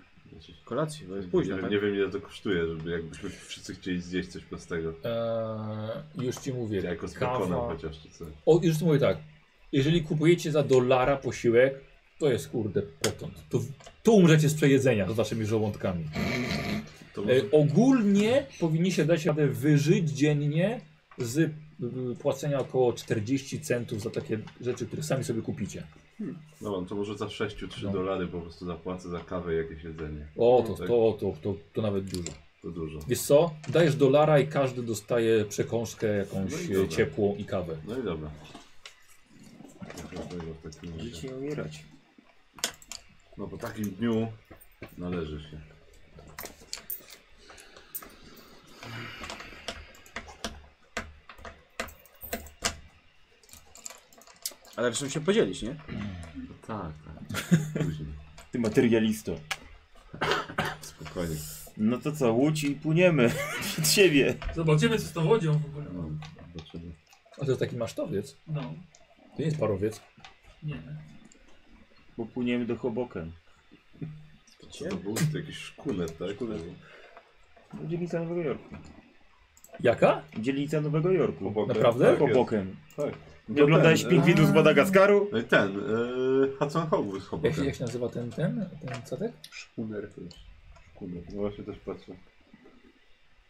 Kolację, bo jest późno,
Znaczy, nie,
tak?
nie wiem ile to kosztuje, żeby jakbyśmy wszyscy chcieli zjeść coś prostego.
Eee, już ci mówię.
Jako z bekonem
kawa.
chociaż czy coś.
O, już ci mówię tak. Jeżeli kupujecie za dolara posiłek, to jest kurde potąd. To, to umrzecie z przejedzenia z waszymi żołądkami.
To może...
E, ogólnie powinniście dać radę wyżyć dziennie z y, płacenia około 40 centów za takie rzeczy, które sami sobie kupicie.
No, to może za 6-3
No.
dolary po prostu zapłacę za kawę i jakieś jedzenie.
O, to,
Tak.
to, to, to, to nawet dużo.
To dużo.
Wiesz co? Dajesz dolara i każdy dostaje przekąskę
No
jakąś
i
e,
dobra.
ciepłą i kawę.
No i dobra. Dobrego w takim razie.
Życie nie umierać.
No po takim dniu należy się.
Ale zresztą się podzielić, nie?
No tak, tak. Później.
Ty materialisto.
Spokojnie.
No to co, łódź i płyniemy [LAUGHS] przed siebie.
Zobaczymy co z tą łodzią w ogóle.
No, zobaczymy.
A to jest taki masztowiec.
No,
To nie jest parowiec.
nie.
Bo płyniemy do Hoboken.
Co to był? To jakiś szkunet, tak? Szkunet.
No, Dzielnica Nowego Jorku.
Jaka?
Dzielnica Nowego Jorku.
Naprawdę?
Tak jest.
Hoboken. No
Tak.
Nie oglądałeś
ten,
pingwinów z Madagaskaru?
No i ten, yy, Hudson Hawk z
Jak się,
[LAUGHS]
Hoboken.
jak się nazywa ten, ten, ten statek?
Szkuner też. Szkuner, no właśnie też patrzę.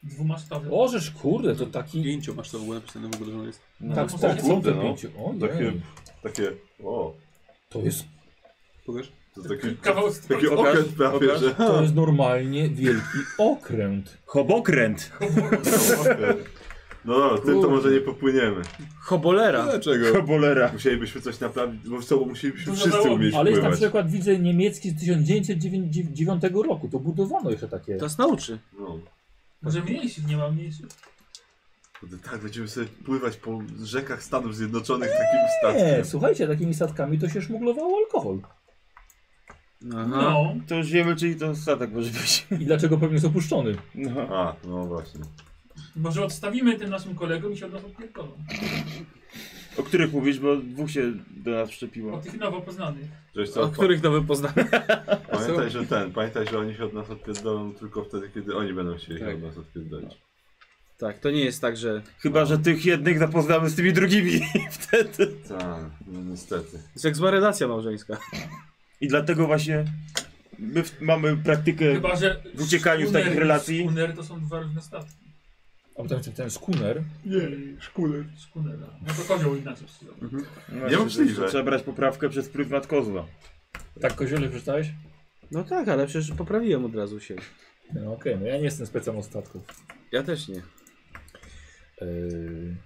Dwumasztowy.
Ożesz, kurde, to taki...
Pięcio masz to w ogóle napisane w ogóle, że on jest.
No,
tak,
tak,
o
tak,
kurde, no.
pięciu.
Takie,
Ojej,
takie, o,
to jest,
Pokaż?
to takie,
Kawał z
takie
Pokaż,
okręt prawie,
pokaż.
że
to jest normalnie wielki okręt.
Hobokręt!
okręt. [LAUGHS] No dobra, tym to może nie popłyniemy.
Chobolera.
Dlaczego?
Bolera.
Musielibyśmy coś naprawić, bo co, musielibyśmy
Dużo
wszyscy
załogi.
umieć
Ale jest na
pływać.
przykład, widzę, niemiecki z 1909 roku. To budowano jeszcze takie.
To nas nauczy.
No,
Może mniejszych, nie ma mniejszych.
to tak, będziemy sobie pływać po rzekach Stanów Zjednoczonych takim
Nie,
statkiem.
słuchajcie, takimi statkami to się szmuglowało alkohol.
No.
To już wiemy, czyli to statek może być.
I dlaczego pewnie jest opuszczony?
No.
A, no właśnie.
Może odstawimy tym naszym kolegom i się od nas odpierdolą.
O których mówisz, bo dwóch się do nas wszczepiło.
O tych nowo poznanych.
Żeś co,
O których nowy poznamy.
pa- pamiętaj, że ten, pamiętaj, że oni się od nas odpierdolą tylko wtedy, kiedy oni będą chcieli
Tak.
się od nas odpierdolić.
Tak, to nie jest tak, że...
Chyba, że tych jednych zapoznamy z tymi drugimi [LAUGHS] wtedy.
Tak, no niestety.
To jest jak zła relacja małżeńska.
I dlatego właśnie my w, mamy praktykę.
Chyba, że
E, w uciekaniu z
szkunery-
takich relacji.
Szkunery to są dwa różne statki.
A potem ten, ten skuner.
Nie, szkuner. Szkuner, no. no to kozioł inaczej przyjął.
No,
Niemożliwe.
że- że Trzeba brać poprawkę przez pryzmat kozła.
Tak koziole przeczytałeś?
No tak, ale przecież poprawiłem od razu się.
No okej, no ja nie jestem specem od statków.
Ja też nie.
Yy,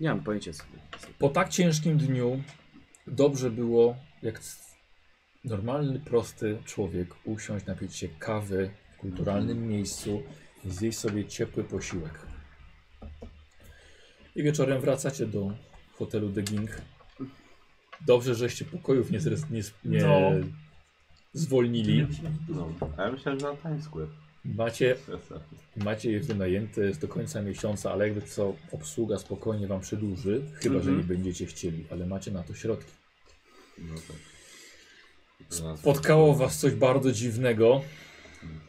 Nie mam pojęcia sobie.
po tak ciężkim dniu dobrze było, jak s- normalny, prosty człowiek, usiąść, napić się kawy w kulturalnym miejscu i zjeść sobie ciepły posiłek. I wieczorem wracacie do hotelu The King. Dobrze, żeście pokojów nie, zres- nie, s- nie
No.
zwolnili.
No. A ja myślałem, że na Times Square. [LAUGHS]
Macie
Jasne.
Macie je wynajęte jest do końca miesiąca, ale jakby co, obsługa spokojnie wam przedłuży, chyba że nie będziecie chcieli, ale macie na to środki.
No tak. Znalazłem.
Spotkało was coś bardzo dziwnego,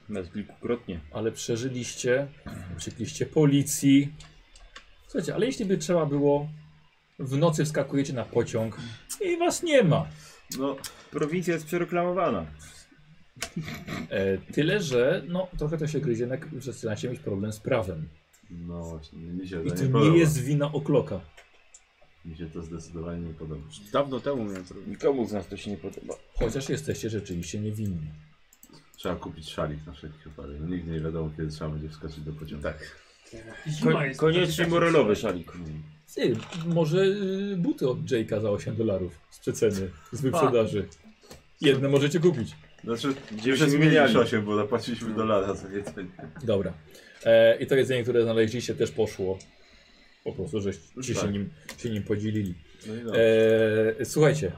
Nawet kilkukrotnie.
ale przeżyliście, uciekliście policji. Słuchajcie, ale jeśli by trzeba było, w nocy wskakujecie na pociąg i was nie ma.
No, prowincja jest przereklamowana.
E, tyle, że no, trochę to się gryzie, jak zaczynacie mieć problem z prawem.
No właśnie, mi się
I
to
to
nie
nie
podoba.
jest wina okloka.
Mi się to zdecydowanie nie podoba.
Dawno temu miałem problem.
Nikomu z nas to się nie podoba.
Chociaż jesteście rzeczywiście niewinni.
Trzeba kupić szalik na wszelki wypadek. No, nigdy nie wiadomo, kiedy trzeba będzie wskoczyć do pociągu. Tak.
Zima jest. Tak.
koniecznie morelowy szalik.
Mm.
Ty, może y, buty od Jake'a za 8 dolarów z przeceny, z wyprzedaży. Jedne możecie kupić.
Znaczy,
Gdzie
my
się
się No.
zmieniali.
zmieniliśmy 8, bo zapłaciliśmy dolara za jedzenie.
Dobra. E, I to jedzenie, które znaleźliście, też poszło. Po prostu, żeście się
Tak.
nim, się nim podzielili.
No i no.
E, słuchajcie,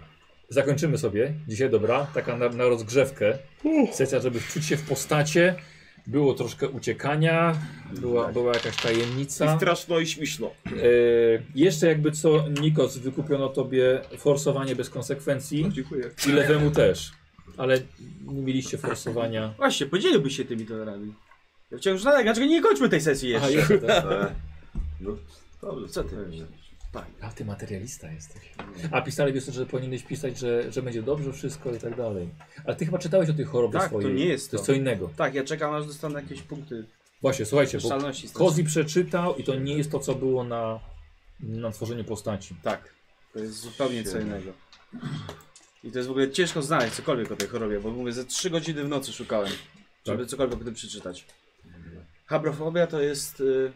zakończymy sobie dzisiaj, dobra? Taka na, na rozgrzewkę. Sesja, żeby wczuć się w postacie. Było troszkę uciekania, była, była jakaś tajemnica.
I straszno i śmieszno.
E, jeszcze jakby co, Nikos, wykupiono tobie forsowanie bez
No,
konsekwencji.
Dziękuję.
I lewemu też. Ale nie mieliście forsowania.
Właśnie, podzieliłby się tymi dolarami. Ja chciałem już nadal, dlaczego nie kończmy tej sesji jeszcze?
Aha, jeszcze tak.
E, no, dobrze, no
Co ty
spokojnie.
A ty materialista jesteś. A pisali wiesz, że powinieneś pisać, że, że będzie dobrze wszystko i tak dalej. Ale ty chyba czytałeś o tej chorobie
Tak, to
swojej.
nie jest
to jest
to.
co innego.
Tak, ja czekam aż dostanę jakieś punkty
Właśnie, słuchajcie, bo
szalności. z
Kozi przeczytał i to nie jest to, co było na, na tworzeniu postaci.
Tak, to jest zupełnie co innego. I to jest w ogóle ciężko znaleźć cokolwiek o tej chorobie, bo mówię, ze 3 godziny w nocy szukałem, żeby cokolwiek o tym przeczytać. Habrofobia to jest... y,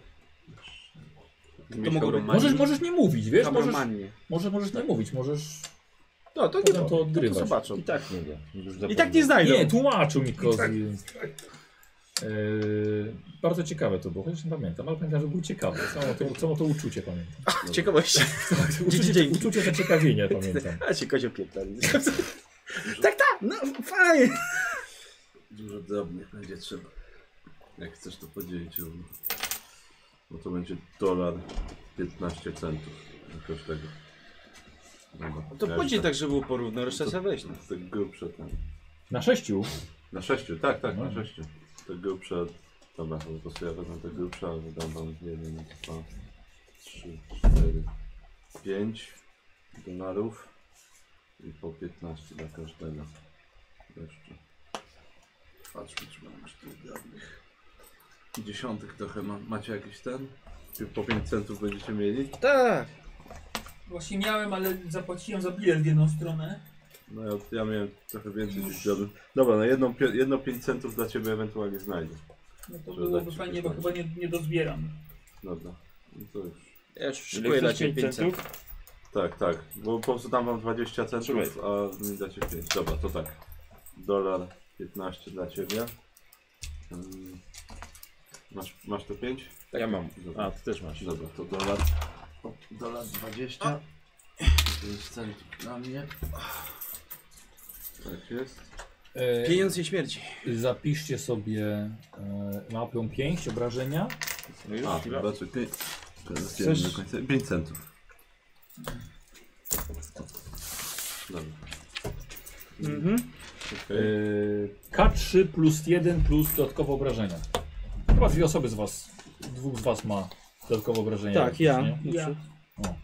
To mogą być...
Możesz, możesz nie mówić, wiesz? Możesz,
Habromanie.
możesz, możesz nie mówić, możesz
No, to nie
potem to
to, to
odgrywać.
zobaczą.
I tak nie wiem. Już
I tak nie znajdą.
Nie, tłumaczył mi Kozi. Yy, bardzo ciekawe to było, chociaż nie pamiętam, ale pamiętam, że było ciekawe. Samo to, samo to uczucie pamiętam.
Ciekawość.
Uczucie,
dzięki.
uczucie zaciekawienia
[LAUGHS]
pamiętam.
A się kozio
[LAUGHS]
pierdoli. tak, tak, no fajnie.
no. Dużo drobnych będzie trzeba. Jak chcesz to podzielić, równo. bo to będzie dolar 15 centów. Jakoś tego. Dobra.
To
Ja
później
już tak-
tak, żeby było porówno, reszta sobie weź. No.
Tak grubsze tam.
Na sześciu?
Na sześciu, tak, tak,
No.
na sześciu. Te grubsze. Dobra, to po prostu ja wezmę te grubsze, ale dam wam jeden, dwa, trzy, cztery, pięć dolarów i po 15 dla każdego. Jeszcze. Patrzmy, czy mam jeszcze tych drobnych. Dziesiątek trochę ma, macie jakiś ten? Czy Po 5 centów będziecie mieli?
Tak.
Właśnie miałem, ale zapłaciłem za bilet w jedną stronę.
No ja, ja miałem trochę więcej tych drobnych. Dobra, no jedną, pio- jedno 5 centów dla ciebie ewentualnie znajdę.
No to
Że
byłoby
tak ci
fajnie, bo
wyszło.
chyba nie, nie dozbieram.
Dobra. No to już.
Ja już
Ile
szykuję dla
chcesz?
Ciebie
5
500.
centów?
Tak, tak. Bo po prostu dam wam 20
Trzymaj.
centów, a mi dacie 5. Dobra, to tak. Dolar 15 dla ciebie. Ym, Masz, masz to 5?
Ja mam.
Dobra.
A, ty też masz.
Dobra, to dolar. o, Dolar 20. 5 centów dla mnie. Tak jest.
E,
Pieniądz nie śmierci.
zapiszcie sobie e, mapą 5 obrażenia.
No już,
A,
chwila.
zobaczę, ty. Teraz chciałem do końca. 5 centów. Dobra.
E, K3 plus 1 plus dodatkowe obrażenia. Chyba dwie osoby z was, dwóch z was ma dodatkowe obrażenia.
Tak, ja.
Nie?
Ja.
O.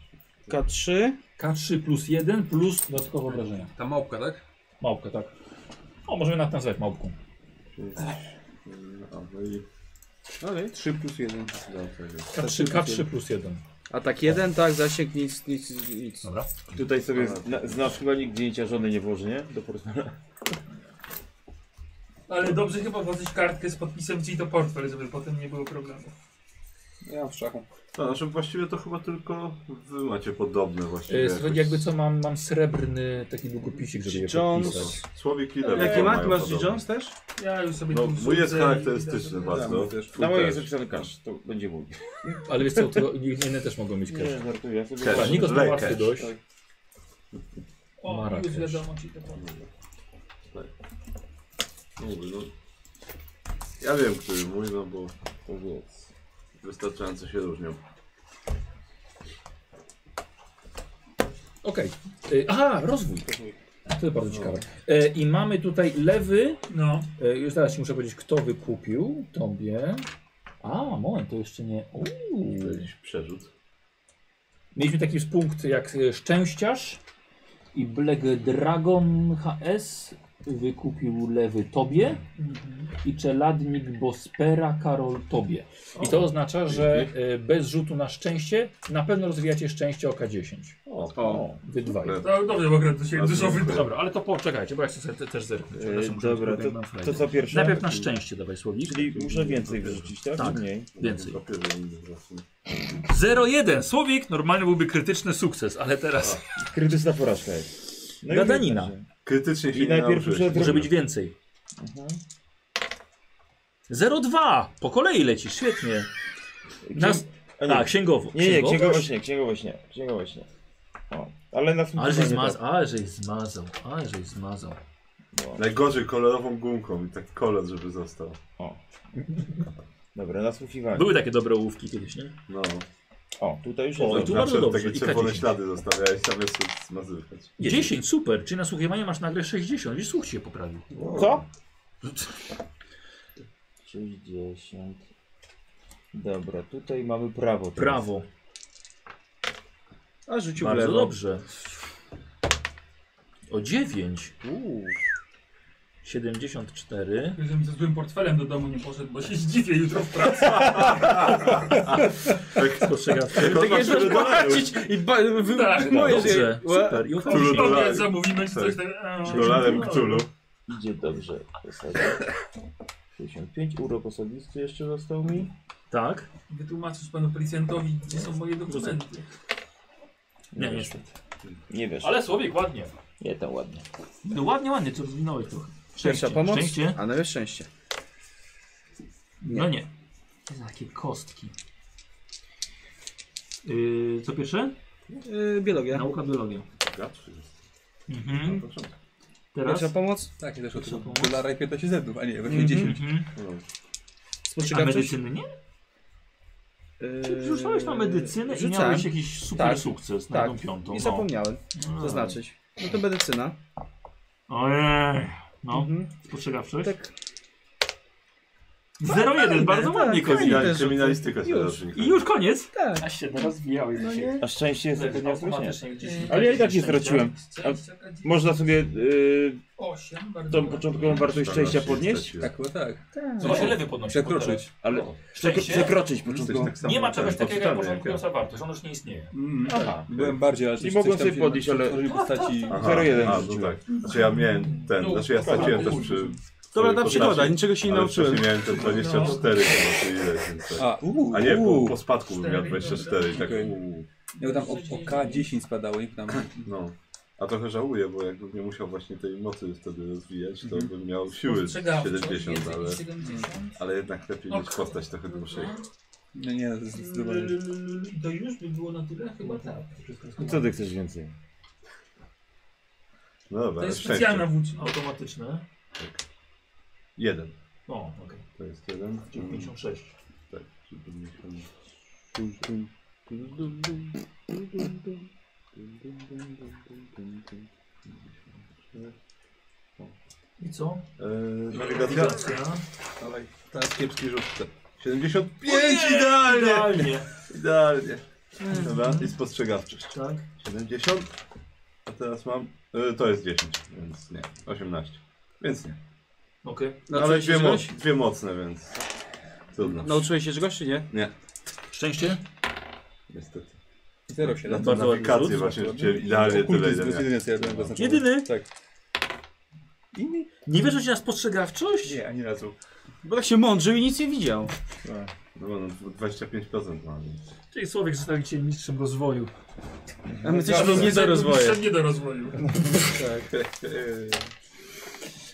K3.
K3 plus 1 plus dodatkowe obrażenia.
Ta małpka, tak?
Małpkę, tak. O, możemy nawet nazwać małpką.
A, no i
Okej.
3 plus 1.
dobrze.
K3, K3 plus 1.
Atak jeden, tak, zasięg nic, nic, nic.
Dobra.
Tutaj sobie zna, znasz chyba nikt zdjęcia żony nie włoży, nie? Do portfela.
Ale dobrze chyba włożyć kartkę z podpisem G to portfel, żeby potem nie było problemu.
Ja mam w szachu.
No, znaczy właściwie to chyba tylko wy macie podobne właściwie.
E, słuchajcie, jakby co, mam, mam srebrny taki długopisik, żeby je podpisać.
Jones.
Słowik ile mają
Jakie ma? Ty masz
podobne?
G. Jones też?
Ja już sobie
No,
tu
mój jest
rzucę i- tak
charakterystyczny bardzo.
też.
Na mojej jest
też.
zapisany kasz, to będzie mój.
Ale wiesz co, to inne też mogą mieć cash.
żartuję. Ja sobie
Cash.
Dobra,
zobaczę.
Nikos ma
Lej
łatwy
cash.
dość.
O, już
Marrakesz.
wiadomo G to portfel.
Mówię, no. Ja wiem, który mój, no bo to jest wystarczająco się różnią.
Okej. E, Aha, rozwój. To jest bardzo ciekawe. E, I mamy tutaj lewy.
No,
E, już zaraz ci muszę powiedzieć, kto wykupił tobie. A, moment, to jeszcze nie. Uuu.
To jakiś przerzut.
Mieliśmy taki punkt jak e, Szczęściarz i Black Dragon HS wykupił lewy tobie i czeladnik Bospera Karol tobie. I to oznacza, że e, bez rzutu na szczęście na pewno rozwijacie szczęście o K10.
O,
Wy dwaj.
No,
to dobrze, bo gra tu się
A,
dużo
dziękuję.
wyda.
Dobra, ale to poczekajcie, bo ja chcę sobie te, też zerknąć. Przepraszam, muszę
E, dobra,
tutaj mam frajdę.
To co pierwsze?
Najpierw na szczęście dawaj słownik.
Czyli muszę więcej wyrzucić, tak?
Tak.
Czy mniej?
Więcej.
Papieru inny właśnie.
0-1. Słowik normalnie byłby krytyczny sukces, ale teraz
Krytyczna porażka jest. No i
Gadanina.
wydarzy.
Krytycznie się
I
nie
najpierw
nauczyłeś.
muszę
może być więcej. 0-2. Po kolei lecisz, świetnie. Nas...
A nie.
Tak, księgowo.
Nie, nie,
Księgowość?
księgowość nie, księgowość nie, księgowość nie. O, ale na
Ale żeś
smutek-
zmazał, ale żeś zmazał, ale żeś zmazał.
Najgorzej kolorową gumką i tak kolor, żeby został.
Dobra, nasłuchiwanie.
Były takie dobre ołówki kiedyś, nie?
No.
O, tutaj już
O,
jest.
i tu
dobrze.
bardzo
Zawsze
dobrze.
takie
I
czerwone
K10.
ślady zostawiałeś, tam jest zmazywać.
10, super. Czyli na słuchiwanie masz nagle 60 i słuch się poprawił.
Co? 60. Dobra, tutaj mamy prawo. teraz.
Prawo.
A rzucił w
Bardzo
lewo.
dobrze. O 9. 74.
Żebym ze złym portfelem do domu nie poszedł, bo się zdziwię jutro w
[LAUGHS]
pracy. Tak,
[LAUGHS]
Spostrzegawczy.
Kolor,
Takie,
który
że płacić i ba- wy-
Tak,
moje,
Dobrze,
że-
super. I
Którą
uchwalisz.
dolarem?
Obiad zamówimy czy coś
Tak.
takiego. a, no.
Dolarem Cthulhu.
Idzie dobrze. w zasadzie. 65. Urok osobisty jeszcze został mi.
Tak.
Wytłumaczysz panu policjantowi, gdzie są moje dokumenty.
Nie, niestety.
Nie wiesz.
Ale Słowik, ładnie.
Nie, tam ładnie.
No ładnie, ładnie, co rozwinąłeś trochę.
Pierwsza pomoc,
Szczęście?
a nawet szczęście.
No nie. To są Takie kostki. Yy, co pierwsze?
Yy, biologia.
Nauka, biologia.
Gatszy jest.
Mhm. Teraz?
Pierwsza pomoc,
Tak, nie też od
Proszę
tego
pomóc.
dolara i 15 centów, a nie, weźmie 10.
Mhm. A
spostrzegawczość.
medycyny nie?
Yy,
Rzucałeś na medycynę i
rzucałem.
miałeś jakiś super
Tak.
sukces na
Tak.
tą piątą.
no.
I zapomniałem
no.
zaznaczyć. No to medycyna.
Ojej. No,
Mhm.
spostrzegawczość?
Tak.
0-1, bardzo
tak,
ładnie
tak.
kozi.
Kryminal,
też-
kryminalistyka się
już.
rocznie.
I już koniec?
Tak.
A się rozwijałeś
No
dzisiaj.
nie.
A szczęście jest tego nie odwrócenie.
gdzieś-
Ale ja i tak nie straciłem. Można sobie y,
Osiem, bardzo
tą
ładnie.
początkową wartość szczęścia podnieść,
Tak, chyba tak.
To No się lewy podnosi. tak.
Przekroczyć.
ale przekro,
Szczęście?
przekroczyć
Jesteś
początkową.
tak samo
Nie ma
ten,
czegoś takiego jak
podczytany
początkująca wartość, ona już nie istnieje.
Mm,
Aha.
Byłem bardziej, ale
I mogłem sobie podnieść, ale-
Postaci...
Aha,
0,1
a, no
rzuciłem.
tak.
No,
Znaczy ja miałem ten, znaczy ja straciłem też przy
Dobra,
Który
ta przygoda,
potrafi-
niczego się nie
ale
nauczyłem.
wcześniej miałem ten 24 chyba, czy ile, więc tak.
A, uuu,
A nie, po,
uuu.
po spadku bym miał 24 i tak
Okej.
uuu.
Miał tam o, o K10 spadało, nie tam.
No. A trochę żałuję, bo jakbym nie musiał właśnie tej mocy wtedy rozwijać,
Mhm.
to bym miał siły
Ostrzegawczość,
70,
więcej
ale,
niż 70.
ale jednak lepiej mieć postać
no,
trochę dłuższej.
No nie, zdecydowanie.
I Mm. to już by było na tyle? Chyba tak.
Co ty chcesz więcej?
No dobra,
To jest
szczęście.
specjalna włócz automatyczna.
Jeden.
O, okej.
To jest jeden.
Czyli
Mm.
56.
Tak, czyli 50.
I co?
Eee, nawigacja?
Nawigacja.
Dawaj, teraz kiepski rzut. 75! Idealnie!
Idealnie.
Idealnie. Dobra, i spostrzegawczość.
Tak.
70. A teraz mam. y, to jest 10, więc nie. 18. Więc nie.
Okej.
No, ale dwie, mo dwie mocne, więc. Trudno.
Nauczyłeś się czegoś, czy nie?
Szczęście?
Niestety.
07.
Na tą nawigację właśnie rzuciłem idealnie tyle, ile miałem.
Jedyny, co ja bym zaznaczył.
Jedyny?
Tak.
Nie wiesz, że się na spostrzegawczość?
Nie, ani razu.
Bo tak się mądrzył i nic nie widział.
No, no 25% mam. więc-
Czyli człowiek zostawił cię mistrzem rozwoju.
A my jesteśmy nie do rozwoju.
Przed nie do rozwoju.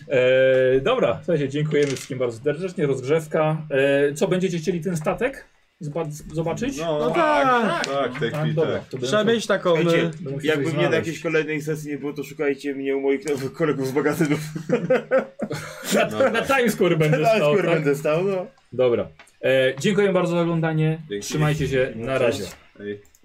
E, dobra, słuchajcie, dziękujemy wszystkim bardzo serdecznie. Rozgrzewka. E, co, będziecie chcieli ten statek zba- zobaczyć?
No,
No
tak,
tak,
tak, w tej
A,
chwili
dobra,
tak.
to
trzeba
będę-
mieć taką...
Słuchajcie,
e,
będę musiał
Jakby
coś
mnie na
znaleźć.
jakiejś kolejnej sesji nie było, to szukajcie mnie u moich nowych kolegów z magazynów.
Na, na Times Square będę
Ale
stał,
skór
tak?
będę stał, no.
Dobra. E, dziękuję bardzo za oglądanie.
Dzięki.
Trzymajcie się. Na razie.
Ej.